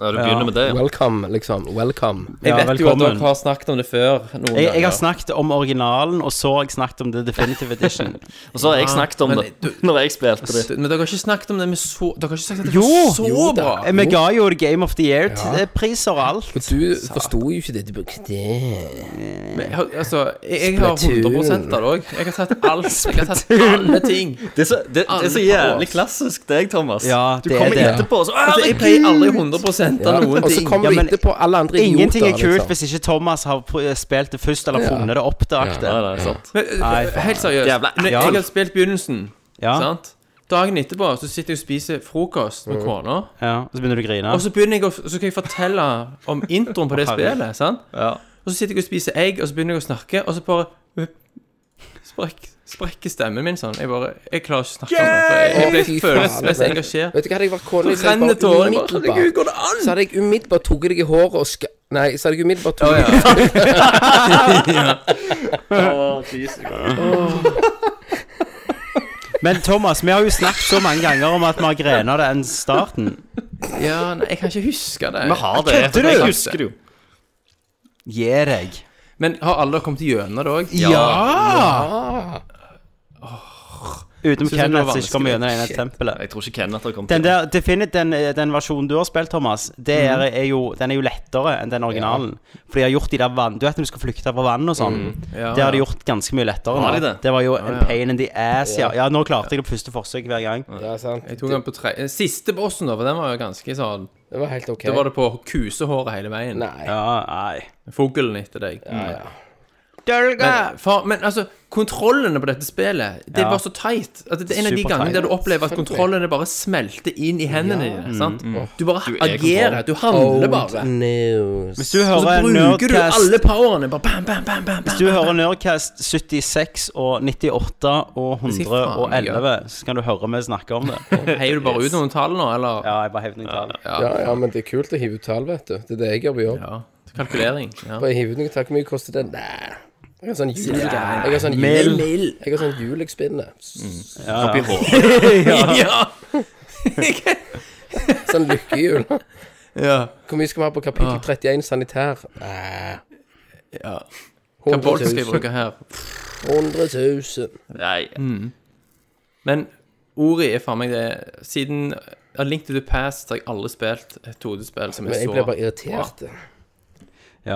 Speaker 3: Ja, du begynner med det. ja.
Speaker 1: Welcome, liksom. Welcome.
Speaker 2: Jeg
Speaker 7: Ja,
Speaker 2: vet jo at dere
Speaker 7: velkommen.
Speaker 2: har snakket om det før. Noen
Speaker 7: Jeg, jeg har
Speaker 2: ganger.
Speaker 7: snakket om originalen, og så har jeg snakket om The Definitive
Speaker 2: *laughs*
Speaker 7: Edition.
Speaker 3: Og så har jeg snakket om
Speaker 2: men
Speaker 3: det *laughs* når jeg spilte det.
Speaker 2: Men dere har ikke snakket om det med så Dere har ikke sagt at det
Speaker 7: Jo!
Speaker 2: var så
Speaker 7: Jo
Speaker 2: bra.
Speaker 7: Eh, Vi ga jo Game of the Year-priser og alt.
Speaker 1: For du forsto jo ikke det. Du brukte det.
Speaker 2: Men jeg har, altså, jeg, jeg har
Speaker 1: Splatoon.
Speaker 2: 100 av det òg. Jeg har tatt alt. Jeg har tatt alle ting.
Speaker 3: Det er så, det, det er så jævlig klassisk deg, Thomas.
Speaker 7: Ja,
Speaker 3: du
Speaker 7: det er
Speaker 3: kommer
Speaker 7: det.
Speaker 3: etterpå og så
Speaker 2: Altså, jeg pleier aldri 100
Speaker 1: Ja.
Speaker 2: av noen
Speaker 1: Og så
Speaker 2: ting.
Speaker 1: kommer
Speaker 7: Ja,
Speaker 1: du
Speaker 7: men
Speaker 1: etterpå alle andre idioter.
Speaker 7: Ingenting er kult
Speaker 1: liksom.
Speaker 7: hvis ikke Thomas har pr- spilt det først, eller
Speaker 1: Ja.
Speaker 7: funnet det oppdaget.
Speaker 3: Ja,
Speaker 7: Ja.
Speaker 3: det er sant.
Speaker 2: Men, eh,
Speaker 7: Nei, faen.
Speaker 2: helt seriøst,
Speaker 3: Jævla
Speaker 2: når
Speaker 7: ja.
Speaker 2: jeg har spilt begynnelsen,
Speaker 7: Ja.
Speaker 2: sant Dagen etterpå så sitter jeg og spiser frokost
Speaker 7: Mm.
Speaker 2: med kona,
Speaker 7: Og så begynner du å grine.
Speaker 2: og så begynner jeg å, så kan jeg fortelle om
Speaker 1: *laughs*
Speaker 2: introen på det spillet. sant?
Speaker 3: Ja.
Speaker 2: Og så sitter jeg og spiser egg, og så begynner jeg å snakke, og så bare øh, sprekk, sprekker stemmen min sånn. Jeg bare Jeg klarer ikke å snakke om det. for Jeg, jeg
Speaker 1: Fy
Speaker 2: blir
Speaker 1: faen,
Speaker 2: følelsesmessig
Speaker 1: men-
Speaker 2: engasjert.
Speaker 1: Vet du hva, hadde jeg vært kone,
Speaker 2: Så renner tårene. Jeg bare, Herregud,
Speaker 1: umiddelbart
Speaker 2: går det an?
Speaker 1: Så hadde jeg umiddelbart tatt deg i håret og ska... Nei, så hadde jeg umiddelbart tatt deg
Speaker 7: Men Thomas, vi har jo snakket så mange ganger om at vi har grena det enn starten.
Speaker 2: Ja, nei, jeg kan ikke huske det.
Speaker 3: Vi har det.
Speaker 7: Kødder du?
Speaker 3: Jeg husker det jo.
Speaker 7: Gi deg.
Speaker 2: Men har alle dere kommet gjennom det òg?
Speaker 7: Ja! Utenom
Speaker 2: Synes jeg det var
Speaker 7: Kenneth, som ikke kommer
Speaker 2: vanskelig.
Speaker 7: gjennom det ene tempelet.
Speaker 3: Jeg tror ikke Kenneth har kommet
Speaker 7: Den, der, Definit, den, eh, den versjonen du har spilt, Thomas, det er,
Speaker 2: Mhm.
Speaker 7: er jo, den er jo lettere enn den originalen. For de har gjort de der vann Du vet når du skal flykte fra vann og sånn?
Speaker 2: Mm. Ja.
Speaker 7: Det har de gjort ganske mye lettere.
Speaker 3: Har
Speaker 7: nå.
Speaker 3: de det?
Speaker 7: var jo en pain in the ass. Ja, ja nå klarte jeg det på første forsøk hver gang.
Speaker 1: i Ja, sant.
Speaker 2: Jeg tok den på tre... eh, Siste bossen, da, for den var jo ganske sånn
Speaker 1: Det var helt ok.
Speaker 2: Da var det på kusehåret hele veien.
Speaker 1: Nei.
Speaker 7: Ja, nei.
Speaker 2: Fuglen etter deg.
Speaker 1: Ja,
Speaker 2: Men, far, men altså, kontrollene på dette spillet, det
Speaker 7: Eh, Ja.
Speaker 2: var så tight. At det er en av de
Speaker 7: Super
Speaker 2: gangene
Speaker 7: tight.
Speaker 2: der du opplever at
Speaker 1: Selvfølgelig.
Speaker 2: kontrollene bare smelter inn i hendene dine. sant?
Speaker 7: Mm,
Speaker 2: Du bare
Speaker 3: Du er
Speaker 2: agerer.
Speaker 3: kontroll.
Speaker 2: Du handler bare.
Speaker 1: news.
Speaker 7: Hvis du
Speaker 2: Og så
Speaker 7: hører
Speaker 2: bruker du
Speaker 7: Nerdcast
Speaker 2: alle powerne. Bare bam, bam, bam, bam, bam.
Speaker 7: Hvis du hører Nerdcast 76 og 98 og
Speaker 2: Si faen,
Speaker 7: 111, så kan du høre vi snakke om
Speaker 2: *laughs*
Speaker 7: det.
Speaker 2: Heier du bare ut noen tall nå, eller?
Speaker 7: Ja, jeg bare hev noen tall.
Speaker 1: Ja, ja, men det er kult å hive ut tall, vet du. Det er det jeg gjør på jobb.
Speaker 2: Ja. Kalkulering.
Speaker 7: *laughs*
Speaker 2: Ja.
Speaker 1: Bare hive ut noe takk, hvor mye koster det? Nei. Jeg har sånn hjul. Jeg har sånn
Speaker 7: Mil.
Speaker 1: hjul. Jeg har sånn hjul jeg spinner.
Speaker 3: oppi håret.
Speaker 2: Ja.
Speaker 1: Sånn lykkehjul.
Speaker 2: ja.
Speaker 1: Hvor mye skal vi ha på kapittel 31 sanitær? Nei.
Speaker 2: Ah. Ja.
Speaker 1: 100
Speaker 2: Bolt skal jeg
Speaker 1: 000.
Speaker 2: bruke her.
Speaker 1: 100 000.
Speaker 3: Nei,
Speaker 7: Mm.
Speaker 2: Men Ori er faen meg det Siden A Link to the Past har jeg aldri spilt et 2D-spill som
Speaker 1: Men
Speaker 2: er
Speaker 1: jeg
Speaker 2: så
Speaker 1: ble bare irritert.
Speaker 7: Ja.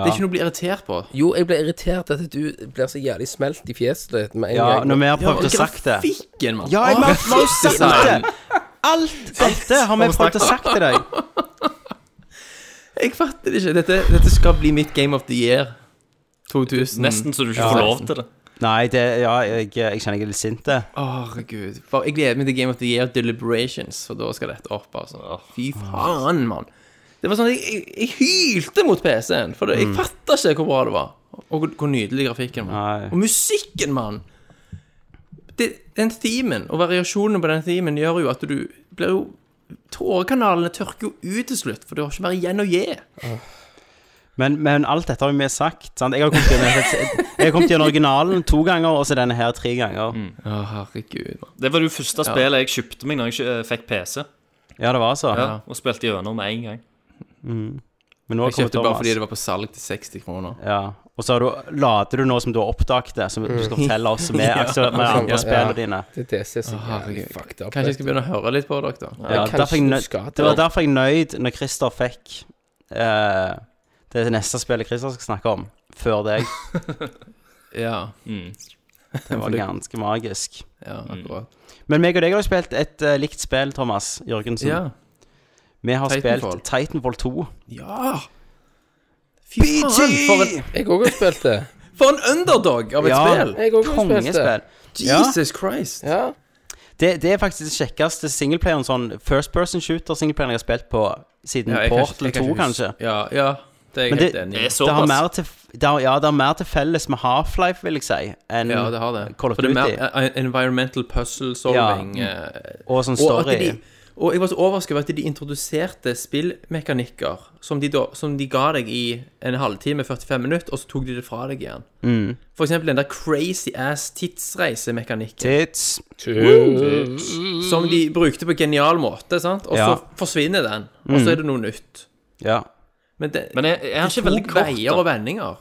Speaker 2: Det er ikke noe å bli irritert på.
Speaker 1: Jo, jeg ble irritert at du blir så jævlig smelt i fjeset ditt med en
Speaker 7: ja,
Speaker 1: gang.
Speaker 7: når vi har prøvd å sagt det.
Speaker 2: Grafikken, mann.
Speaker 7: Ja, jeg har vi har jo
Speaker 2: grafisk
Speaker 7: sagt det! Alt dette har vi prøvd å sagt til deg.
Speaker 2: Jeg fatter det ikke. Dette, dette skal bli mitt Game of the Year 2000.
Speaker 3: nesten så du ikke får lov til det.
Speaker 7: Nei, det, ja, jeg, jeg kjenner jeg er litt sint. det.
Speaker 2: Herregud. For Jeg gleder meg til Game of the Year Deliberations, for da skal dette opp. altså Fy faen, mann. Det var sånn, Jeg, jeg, jeg hylte mot PC-en, for det, jeg fatta ikke hvor bra det var. Og hvor, hvor nydelig grafikken var.
Speaker 7: Nei.
Speaker 2: Og musikken, mann! Det, den themen, og variasjonen på den themen, gjør jo at du blir jo Tårekanalene tørker jo ut til slutt, for du har ikke mer igjen å gi.
Speaker 7: Men, men alt dette har jo vi sagt. Sant? Jeg har kommet gjennom, jeg har kommet gjennom originalen to ganger, og så denne her tre ganger.
Speaker 2: Å, herregud. mann.
Speaker 3: Det var det jo første spillet jeg kjøpte meg når jeg ikke- eh, fikk PC.
Speaker 7: Ja, det var altså. så.
Speaker 3: Ja, og spilte gjennom med en gang.
Speaker 7: Men nå har
Speaker 2: Jeg kjøpte bare fordi
Speaker 7: det
Speaker 2: det var på salg til 60 kroner.
Speaker 7: ja. Og så har du, later du nå som du har oppdaget det, som du skal fortelle *laughs* oss med, akse- med
Speaker 1: Ja.
Speaker 7: andre spillene dine.
Speaker 1: Det er DC som er
Speaker 2: Herregud.
Speaker 1: fucked up.
Speaker 2: Kanskje jeg skal begynne å høre litt på dere, da.
Speaker 7: Ja,
Speaker 1: kanskje
Speaker 7: derfor jeg
Speaker 1: du
Speaker 7: nø-
Speaker 1: skal til
Speaker 7: det var
Speaker 1: det.
Speaker 7: derfor jeg nøyd når Christer fikk eh, det neste spillet Christer skal snakke om, før deg.
Speaker 2: Ja,
Speaker 3: Mm.
Speaker 7: Det var ganske magisk.
Speaker 2: ja akkurat.
Speaker 7: Men meg og deg har jo spilt et eh, likt spill, Thomas Jørgensen.
Speaker 2: Ja.
Speaker 7: Vi har
Speaker 2: Titanfall.
Speaker 7: spilt Titanfall 2.
Speaker 2: Ja! Fy faen, for en,
Speaker 1: Jeg òg har spilt
Speaker 2: *laughs*
Speaker 1: det.
Speaker 2: for en underdog av et
Speaker 7: Ja.
Speaker 2: spill!
Speaker 1: Jeg også har spilt det.
Speaker 7: Kongespill.
Speaker 2: Jesus Christ.
Speaker 1: Ja.
Speaker 7: Det, det er faktisk den kjekkeste singleplayeren, sånn first person shooter singleplayeren jeg har spilt på siden
Speaker 2: Ja, jeg kan ikke-
Speaker 7: Portal
Speaker 2: jeg kan
Speaker 7: 2,
Speaker 2: ikke huske-
Speaker 7: kanskje.
Speaker 2: Ja, ja, det er jeg
Speaker 7: Men
Speaker 2: helt
Speaker 7: det-
Speaker 2: enig
Speaker 3: Det
Speaker 2: i.
Speaker 3: er
Speaker 7: Det har,
Speaker 3: såpass.
Speaker 7: mer til, det har, ja, det har mer til felles med Half-Life, vil jeg si, enn
Speaker 2: Ja, det har det.
Speaker 7: Call of
Speaker 2: For det er
Speaker 7: Duty.
Speaker 2: mer eh, environmental puzzle solving. eh,
Speaker 7: Og sånn
Speaker 2: Og,
Speaker 7: story.
Speaker 2: at de, og jeg var så overrasket over at de introduserte spillmekanikker som de, da, som de ga deg i en halvtime, 45 minutter, og så tok de det fra deg igjen. For eksempel den der crazy ass tidsreisemekanikken
Speaker 7: Tits.
Speaker 2: som de brukte på genial måte, sant? og
Speaker 7: Ja.
Speaker 2: så forsvinner den, og så er det noe nytt.
Speaker 7: Ja.
Speaker 2: Men det,
Speaker 3: Men jeg, jeg er
Speaker 2: det
Speaker 3: ikke veldig
Speaker 2: tok
Speaker 3: kort.
Speaker 2: veier og
Speaker 3: Da.
Speaker 2: vendinger.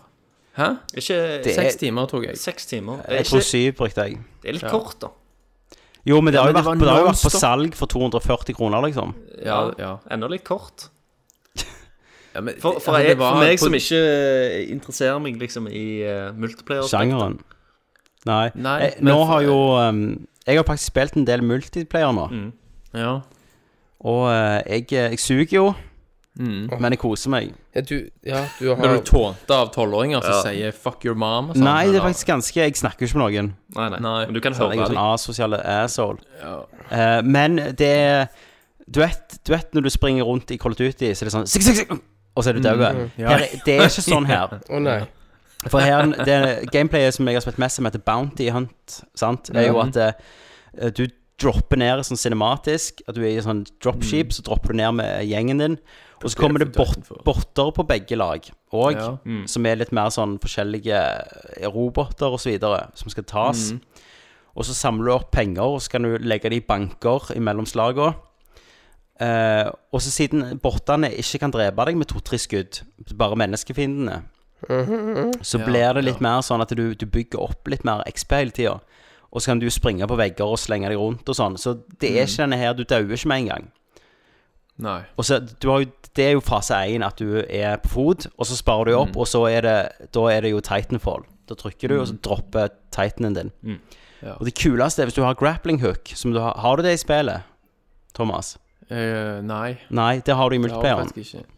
Speaker 2: Hæ?
Speaker 3: Ikke
Speaker 7: Det
Speaker 2: Seks
Speaker 7: er-
Speaker 2: timer tok jeg.
Speaker 3: seks timer. Det er,
Speaker 7: Jeg tror
Speaker 3: ikke,
Speaker 7: syv brukte jeg.
Speaker 3: det er litt kort, da.
Speaker 7: Jo, men det har jo
Speaker 2: men det
Speaker 7: vært,
Speaker 2: var
Speaker 7: det har jo vært
Speaker 2: non-stop.
Speaker 7: på salg for 240 kroner, liksom.
Speaker 2: Ja, ja.
Speaker 3: Enda litt kort.
Speaker 2: ja men,
Speaker 3: For, for,
Speaker 2: altså, det
Speaker 3: jeg,
Speaker 2: var
Speaker 3: for meg
Speaker 2: på-
Speaker 3: som ikke eh, interesserer meg liksom i uh, multiplayer
Speaker 7: Sjangeren. Nei.
Speaker 2: Nei,
Speaker 7: Eh,
Speaker 2: men
Speaker 7: nå
Speaker 2: for-
Speaker 7: har jo um, Jeg har faktisk spilt en del multiplayer nå,
Speaker 2: Mm. Ja.
Speaker 7: og eh, jeg, jeg suger jo, men jeg koser meg.
Speaker 1: Ja, du, ja, du har
Speaker 2: Blir Mm. du tånta av tolvåringer som sier 'fuck your mom'? og sånt,
Speaker 7: Nei, det er
Speaker 2: eller?
Speaker 7: faktisk ganske Jeg snakker jo ikke med noen.
Speaker 3: Nei, nei,
Speaker 2: Nei.
Speaker 3: Men du kan
Speaker 7: Så jeg er
Speaker 3: høre
Speaker 7: jo sånn
Speaker 3: det.
Speaker 7: asosiale asshole. Eh, men det er du vet, du vet når du springer rundt i Call of Duty, så er det sånn sikk, sikk, sikk, Og så er du død. Mm.
Speaker 2: Mm.
Speaker 7: Her- Det er ikke
Speaker 2: *laughs*
Speaker 7: sånn her.
Speaker 1: Å nei.
Speaker 7: For her, det gameplayet som jeg har spilt mest som heter Bounty Hunt, sant, er jo at eh, du dropper ned sånn cinematisk. At du er i sånn dropship, så dropper du ned med gjengen din. Og så kommer det bot botter på begge lag òg,
Speaker 2: Ja.
Speaker 7: som er litt mer sånn forskjellige eh, roboter og så videre, som skal tas. Og så samler du opp penger, og så kan du legge det i banker imellom slagene. Eh, og så siden bottene ikke kan drepe deg med to-tre skudd, bare menneskefiendene, så blir det litt mer sånn at du, du bygger opp litt mer XP hele tida. Og så kan du springe på vegger og slenge deg rundt og sånn. Så det er ikke denne her, du dauer ikke med en gang.
Speaker 2: Nei.
Speaker 7: Og så, du har jo, det er jo fase én, at du er på fot, og så sparer du opp,
Speaker 2: Mhm.
Speaker 7: og så er det, da er det jo Titanfall. Da trykker du, og så dropper Titanen din.
Speaker 2: Mm. Ja.
Speaker 7: Og det kuleste er hvis du har grappling hook. Som du har, har du det i spillet, Thomas?
Speaker 2: Eh, nei.
Speaker 7: Nei, det har du i
Speaker 2: Jeg har
Speaker 7: multiplayeren.
Speaker 2: faktisk ikke.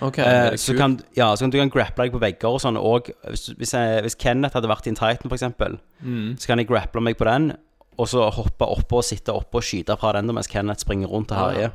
Speaker 2: OK.
Speaker 7: Eh,
Speaker 2: det er
Speaker 7: så,
Speaker 2: kult.
Speaker 7: kan, ja, så kan du kan grapple deg på vegger og sånn. Og hvis, hvis, jeg, hvis Kenneth hadde vært i en Titan, f.eks.,
Speaker 2: Mm.
Speaker 7: så kan jeg grapple meg på den, og så hoppe oppå og sitte oppå og skyte fra den da, mens Kenneth springer rundt
Speaker 2: Ah,
Speaker 7: og herjer.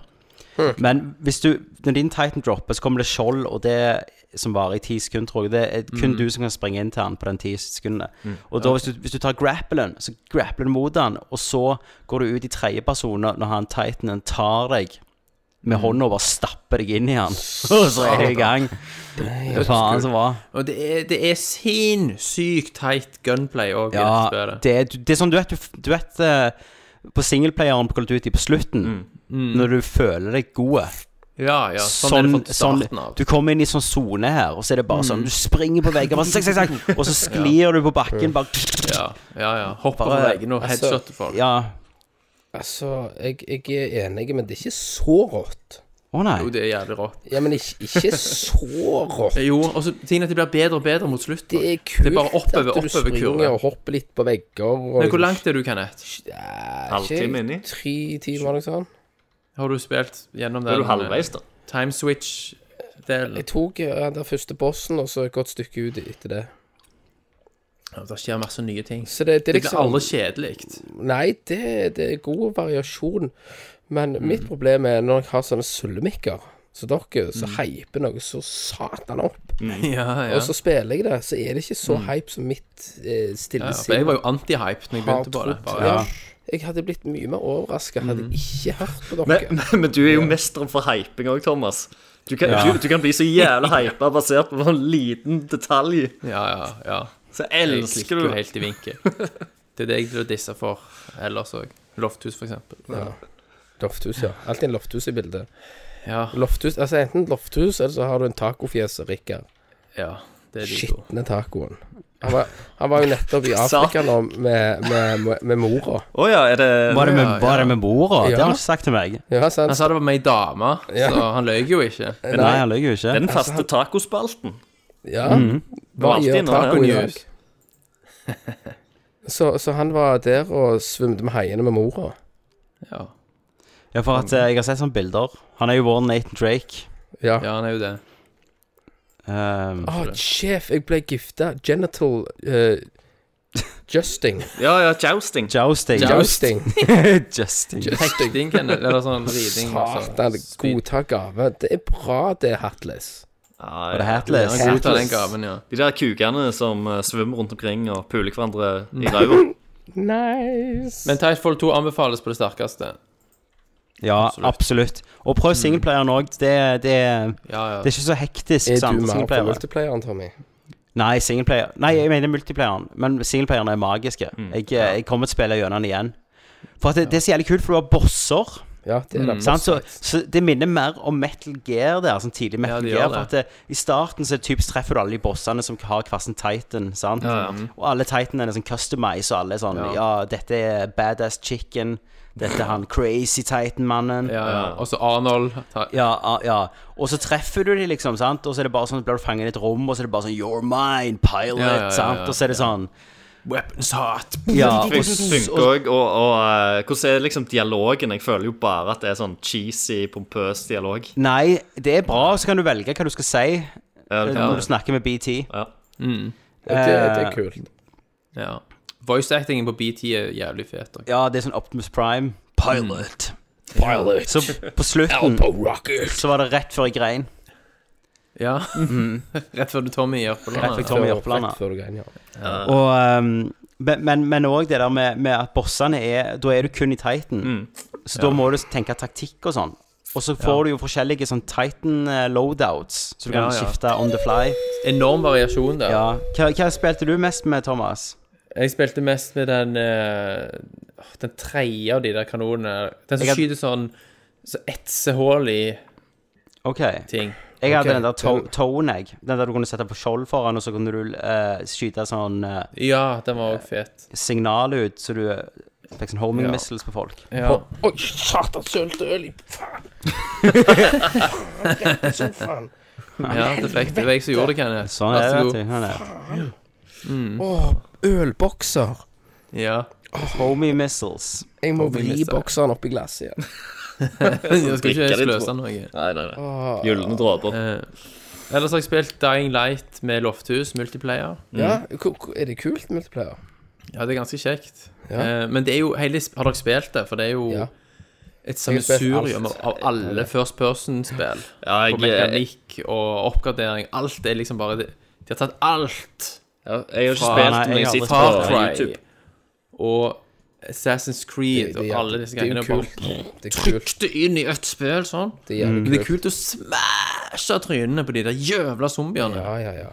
Speaker 7: Men hvis du, når din Titan dropper, så kommer det skjold, og det som varer i ti sekunder, tror jeg. Det er kun
Speaker 2: Mm.
Speaker 7: du som kan springe inn til han på den ti sekundene. Og da, hvis, du, hvis du tar grappelen, så grappler du mot han, og så går du ut i tredjeperson når når han Titanen tar deg
Speaker 2: Mm.
Speaker 7: med hånda og bare stapper deg inn
Speaker 2: *laughs*
Speaker 7: i han. Og så er du i gang. Hva faen så bra.
Speaker 2: Og det er, det er sinnssykt teit gunplay òg i dette
Speaker 7: Ja,
Speaker 2: spillet.
Speaker 7: det, er- det er sånn, du vet, du f- du vet eh, på singleplayeren på Call of Duty på slutten, når du føler deg god
Speaker 2: Ja, Mm. ja. Sånn, er det fra
Speaker 7: sånn-
Speaker 2: starten av. Mm.
Speaker 7: Du kommer inn i sånn sone her, og så er det bare sånn Du springer på veggen, bare, sakk,
Speaker 2: *laughs*
Speaker 7: sakk, sakk, og så sklir du på bakken, bare
Speaker 2: Ja, ja. ja. Hopper på
Speaker 7: Bare-
Speaker 2: veggene og
Speaker 7: altså,
Speaker 2: headshotter folk.
Speaker 7: Ja.
Speaker 1: Altså, jeg, jeg er enig, men det er ikke så rått.
Speaker 7: Å nei.
Speaker 2: Jo, det er jævlig rått.
Speaker 1: Ja, men ikke, ikke så rått.
Speaker 2: Jo, og så tingen at det blir bedre og bedre mot slutten.
Speaker 1: Det er kult
Speaker 2: Det er bare oppover,
Speaker 1: at du
Speaker 2: oppover kurve.
Speaker 1: springer og hopper litt på vegger. Og,
Speaker 2: Men hvor langt er du, Kenneth?
Speaker 1: Ja,
Speaker 3: Halvtime
Speaker 1: ikke
Speaker 3: inni?
Speaker 1: Tre timer, liksom.
Speaker 2: Har du spilt gjennom
Speaker 3: Er
Speaker 2: den
Speaker 3: du halvveis, da?
Speaker 2: eh, time switch-delen?
Speaker 1: Jeg tok eh, den der første bossen, og så et godt stykke ut etter det.
Speaker 2: Det skjer masse nye ting.
Speaker 1: Så det, det er
Speaker 2: Det blir
Speaker 1: liksom
Speaker 2: aldri kjedelig. *laughs*
Speaker 1: Nei, det, det er god variasjon.
Speaker 2: Mm.
Speaker 1: Men mitt problem er når jeg har sånne sullemikker som dere, så hyper noe så satan opp.
Speaker 2: Ja, Mm. ja. Mm.
Speaker 1: Og så spiller jeg det, så er det ikke så hype som mitt eh, stille
Speaker 2: Ja, for
Speaker 1: sinn
Speaker 2: jeg var jo anti-hype når jeg
Speaker 1: har
Speaker 2: begynte på det.
Speaker 1: trodd.
Speaker 2: Bare,
Speaker 1: Ja. Jeg hadde blitt mye mer overraska hadde jeg ikke hørt på dere.
Speaker 3: Men, men du er jo mesteren for hyping òg, Thomas. Du kan, du, du kan bli så jævla hypa basert på en liten detalj.
Speaker 2: ja, ja, ja.
Speaker 3: Så
Speaker 2: Jeg
Speaker 3: elsker
Speaker 2: klikker
Speaker 3: du
Speaker 2: jo helt i
Speaker 3: *laughs*
Speaker 2: vinkel. Det er det jeg blir dissa for ellers òg. Lofthus, for eksempel. Ja.
Speaker 1: Lofthus, ja. Alltid en lofthus i bildet.
Speaker 2: ja,
Speaker 1: Lofthus, altså Enten lofthus, eller så har du en tacofjes og Rikard.
Speaker 2: det er de to.
Speaker 1: Skitne tacoen. Han var, han var jo nettopp i Afrika nå med, med, med, med mora.
Speaker 3: Å ja, er det
Speaker 7: Var det med,
Speaker 2: Ja,
Speaker 7: var det med bordet? Det
Speaker 1: Ja.
Speaker 7: har han ikke sagt til meg.
Speaker 1: Ja, sant?
Speaker 2: Han sa det var med ei dame, så han løy jo ikke.
Speaker 7: Nei, han løy jo
Speaker 3: det er
Speaker 7: ikke.
Speaker 3: den faste tacospalten?
Speaker 1: Ja.
Speaker 3: var
Speaker 1: Hva
Speaker 3: alltid
Speaker 1: gjør
Speaker 3: innom
Speaker 1: taco
Speaker 2: den.
Speaker 1: i dag? så, så han var der og svømte med haiene med mora.
Speaker 2: Ja,
Speaker 7: Ja, for at eh, jeg har sett sånne bilder. Han er jo vår Nathan Drake.
Speaker 1: Ja.
Speaker 2: ja han er jo det.
Speaker 7: Um,
Speaker 1: Å, sjef, jeg ble gifta. Genital eh, *laughs* justing.
Speaker 3: Ja, ja, jousting.
Speaker 7: jousting. *laughs*
Speaker 1: Jousting.
Speaker 7: Justing.
Speaker 2: Hekting, kan det- eller sånn riding.
Speaker 1: Satan, godta gave. Det er bra, det, Hatles.
Speaker 3: Ja,
Speaker 7: Og det
Speaker 3: ja.
Speaker 7: her til
Speaker 2: Han godtar den gaven, ja.
Speaker 3: De der kukene som eh, svømmer rundt omkring og puler hverandre i ræva.
Speaker 1: Nice.
Speaker 2: Men Tidefold 2 anbefales på det sterkeste.
Speaker 7: Ja, absolutt. Og prøv singleplayeren òg. Det, det,
Speaker 2: Ja, ja.
Speaker 7: det er ikke så hektisk
Speaker 1: er
Speaker 7: som
Speaker 1: du mer på
Speaker 7: singleplayeren.
Speaker 1: multiplayeren, Tommy?
Speaker 7: Nei, singleplayer Nei, jeg mener multiplayeren. Men singleplayerne er magiske. Jeg, jeg kommer til å spille gjennom den igjen. For at det, det er så jævlig kult, for du har bosser. Mm.
Speaker 1: Ja, det er det.
Speaker 7: Sant? Så, så det minner mer om Metal Gear der, sånn tidlig
Speaker 2: Ja,
Speaker 7: Metal
Speaker 2: det gjør
Speaker 7: Gear. For
Speaker 2: det.
Speaker 7: at det, I starten så er det typisk treffer du alle de bossene som har hver sin Titan. Sant? Og alle Titanene er sånn customized, og alle er sånn Ja, dette er Badass Chicken. Dette er han Crazy Titan-mannen.
Speaker 2: ja, ja. Og så Arnold. Ta-
Speaker 7: Ja, ah, ja. Og så treffer du dem, liksom, sant? og så er det bare sånn, blir du fanget i et rom, og så er det bare sånn You're mine, pilot,
Speaker 2: Ja, ja, ja, ja,
Speaker 7: sant? Og så er det sånn
Speaker 2: Weapons hot.
Speaker 7: Ja,
Speaker 2: *laughs*
Speaker 3: Det
Speaker 7: og,
Speaker 3: funker
Speaker 7: og,
Speaker 3: òg. Og, og eh, hvordan er liksom dialogen? Jeg føler jo bare at det er sånn cheesy, pompøs dialog.
Speaker 7: Nei, det er bra, så kan du velge hva du skal si eh,
Speaker 3: Ja, det kan
Speaker 7: når
Speaker 3: det.
Speaker 7: du snakker med BT.
Speaker 3: Ja.
Speaker 1: Det, det er kult.
Speaker 2: Ja. Voice actingen på BT er jævlig fet. og-
Speaker 7: Ja, det er sånn Optimus Prime. Pilot.
Speaker 1: Pilot.
Speaker 2: *laughs*
Speaker 7: Så på slutten
Speaker 1: Elbow rocket.
Speaker 7: så var det rett før jeg grein.
Speaker 2: Ja. Mm. *laughs* Rett før du Tommy gjør på
Speaker 7: Rett før
Speaker 2: landet.
Speaker 7: Tommy
Speaker 1: Før-
Speaker 7: Jørpeland.
Speaker 1: rett før du går inn, ja.
Speaker 7: Og, ehm, men- men- men òg det der med, med at bossene er Da er du kun i Titan.
Speaker 2: Mm.
Speaker 7: Så da må du tenke taktikk og sånn. Og så får du jo forskjellige sånn Titan eh, loadouts, så du kan
Speaker 2: Ja, ja.
Speaker 7: skifte on the fly.
Speaker 2: Enorm variasjon der.
Speaker 7: Ja. Hva, hva spilte du mest med, Thomas?
Speaker 2: Jeg spilte mest med den eh, åh, Den tredje av de der kanonene. Den som
Speaker 7: Jeg had-
Speaker 2: skyter sånn så etsehull i
Speaker 7: OK. Jeg
Speaker 2: ting.
Speaker 7: hadde
Speaker 1: Ok,
Speaker 7: den der to-
Speaker 1: den-
Speaker 7: tone, jeg. Den der du kunne sette på skjold foran, og så kunne du eh, skyte sånn eh,
Speaker 2: Ja, den var òg fet.
Speaker 7: signal ut, så du eh, fikk sånn homing missiles på folk.
Speaker 2: Ja.
Speaker 1: Oi, satan, sølte øl i *laughs* Faen! Faen, faen.
Speaker 2: ja, det fikk det var jeg som gjorde det, Kenneth.
Speaker 7: Sånn
Speaker 2: Vær
Speaker 7: er
Speaker 2: så
Speaker 7: det,
Speaker 2: god.
Speaker 7: vet du. Sånn er det.
Speaker 1: Åh, ølbokser.
Speaker 2: Ja.
Speaker 7: Homie missiles.
Speaker 1: Jeg må
Speaker 2: Tommy
Speaker 1: vri
Speaker 2: mister.
Speaker 1: bokseren opp i glasset igjen.
Speaker 2: Jeg skal ikke
Speaker 3: Drikker litt,
Speaker 2: sløse noe.
Speaker 3: Nei, nei, nei. Gylne dråper.
Speaker 2: Eh, ellers har jeg spilt Dying Light med Lofthus, multiplayer.
Speaker 1: Ja, ko- ko- Er det kult, multiplayer?
Speaker 2: Ja, det er ganske kjekt.
Speaker 1: Ja.
Speaker 2: Eh, men det er jo hele, sp- Har dere spilt det? For det er jo
Speaker 1: Ja. har
Speaker 2: et
Speaker 1: spilt
Speaker 2: sammensurium
Speaker 1: alt.
Speaker 2: av alle first person-spill.
Speaker 3: Ja,
Speaker 2: På
Speaker 3: jeg, eh, jeg,
Speaker 2: mekanikk og oppgradering. Alt er liksom bare De de har tatt alt.
Speaker 3: ja, jeg har ikke
Speaker 7: Faen,
Speaker 3: spilt,
Speaker 7: nei,
Speaker 3: men
Speaker 7: jeg
Speaker 3: jeg
Speaker 7: har
Speaker 3: sitter
Speaker 7: aldri
Speaker 2: Far
Speaker 3: på
Speaker 2: Cry
Speaker 3: YouTube.
Speaker 2: og Assassin's Creed og alle disse
Speaker 1: det er
Speaker 2: greiene.
Speaker 1: jo
Speaker 2: og Bare
Speaker 1: kult. Det er kult.
Speaker 2: trykte inn i ett spill sånn.
Speaker 1: Det er jævlig
Speaker 2: Men det er
Speaker 1: kult.
Speaker 2: kult å smashe trynene på de der jævla zombiene. Eh,
Speaker 1: Ja, ja, ja.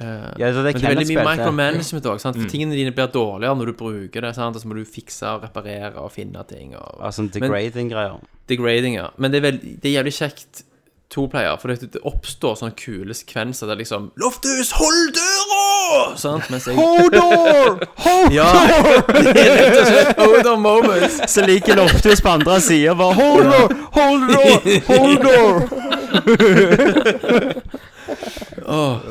Speaker 7: Ja, det, det,
Speaker 2: Men det er veldig mye micromanagement òg. For tingene dine blir dårligere når du bruker det. Sant? Og så må du fikse og reparere og finne ting. Og,
Speaker 7: Altså
Speaker 2: Men-
Speaker 7: degrading-greier.
Speaker 2: degrading, ja. Men det er, veld, det er jævlig kjekt toplayer, for det, det oppstår sånne kule sekvenser der liksom Lofthus, hold døra! Sant? Mens jeg
Speaker 7: Hodor!
Speaker 2: Ja, *laughs* det er rett og slett Hodor moments.
Speaker 7: Så liker Loftus på andre sida bare Hodor! Hodor! Hodor!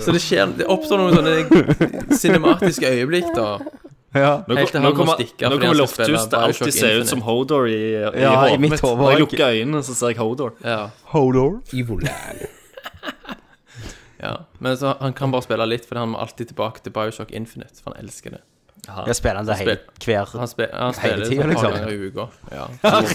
Speaker 2: Så det skjer Det oppstår noen sånne cinematiske øyeblikk, da.
Speaker 7: *laughs* Ja.
Speaker 3: Nå,
Speaker 2: Helt til
Speaker 3: nå
Speaker 2: han må
Speaker 3: kommer,
Speaker 2: stikke, fordi
Speaker 3: nå
Speaker 2: han
Speaker 3: kommer
Speaker 2: skal
Speaker 3: Lofthus
Speaker 2: spille
Speaker 3: til
Speaker 2: Bioshock
Speaker 3: alltid se
Speaker 2: Infinite.
Speaker 3: ut som Hodor i, i,
Speaker 7: Ja, i
Speaker 3: hodet
Speaker 7: mitt
Speaker 3: mitt.
Speaker 7: hode
Speaker 3: Når jeg
Speaker 7: også.
Speaker 3: lukker øynene, så ser jeg Hodor.
Speaker 2: Ja.
Speaker 7: Hodor.
Speaker 1: Evoland.
Speaker 2: Ja. Men så, han kan bare spille litt, fordi han må alltid tilbake til Bioshock Infinite. For han elsker det.
Speaker 7: Jeg spiller det hele hver
Speaker 2: Han, spe, han spiller
Speaker 7: Hele
Speaker 2: det
Speaker 7: tiden,
Speaker 2: sånn et par
Speaker 7: liksom.
Speaker 2: ganger i uka.
Speaker 7: *laughs*
Speaker 2: Ja.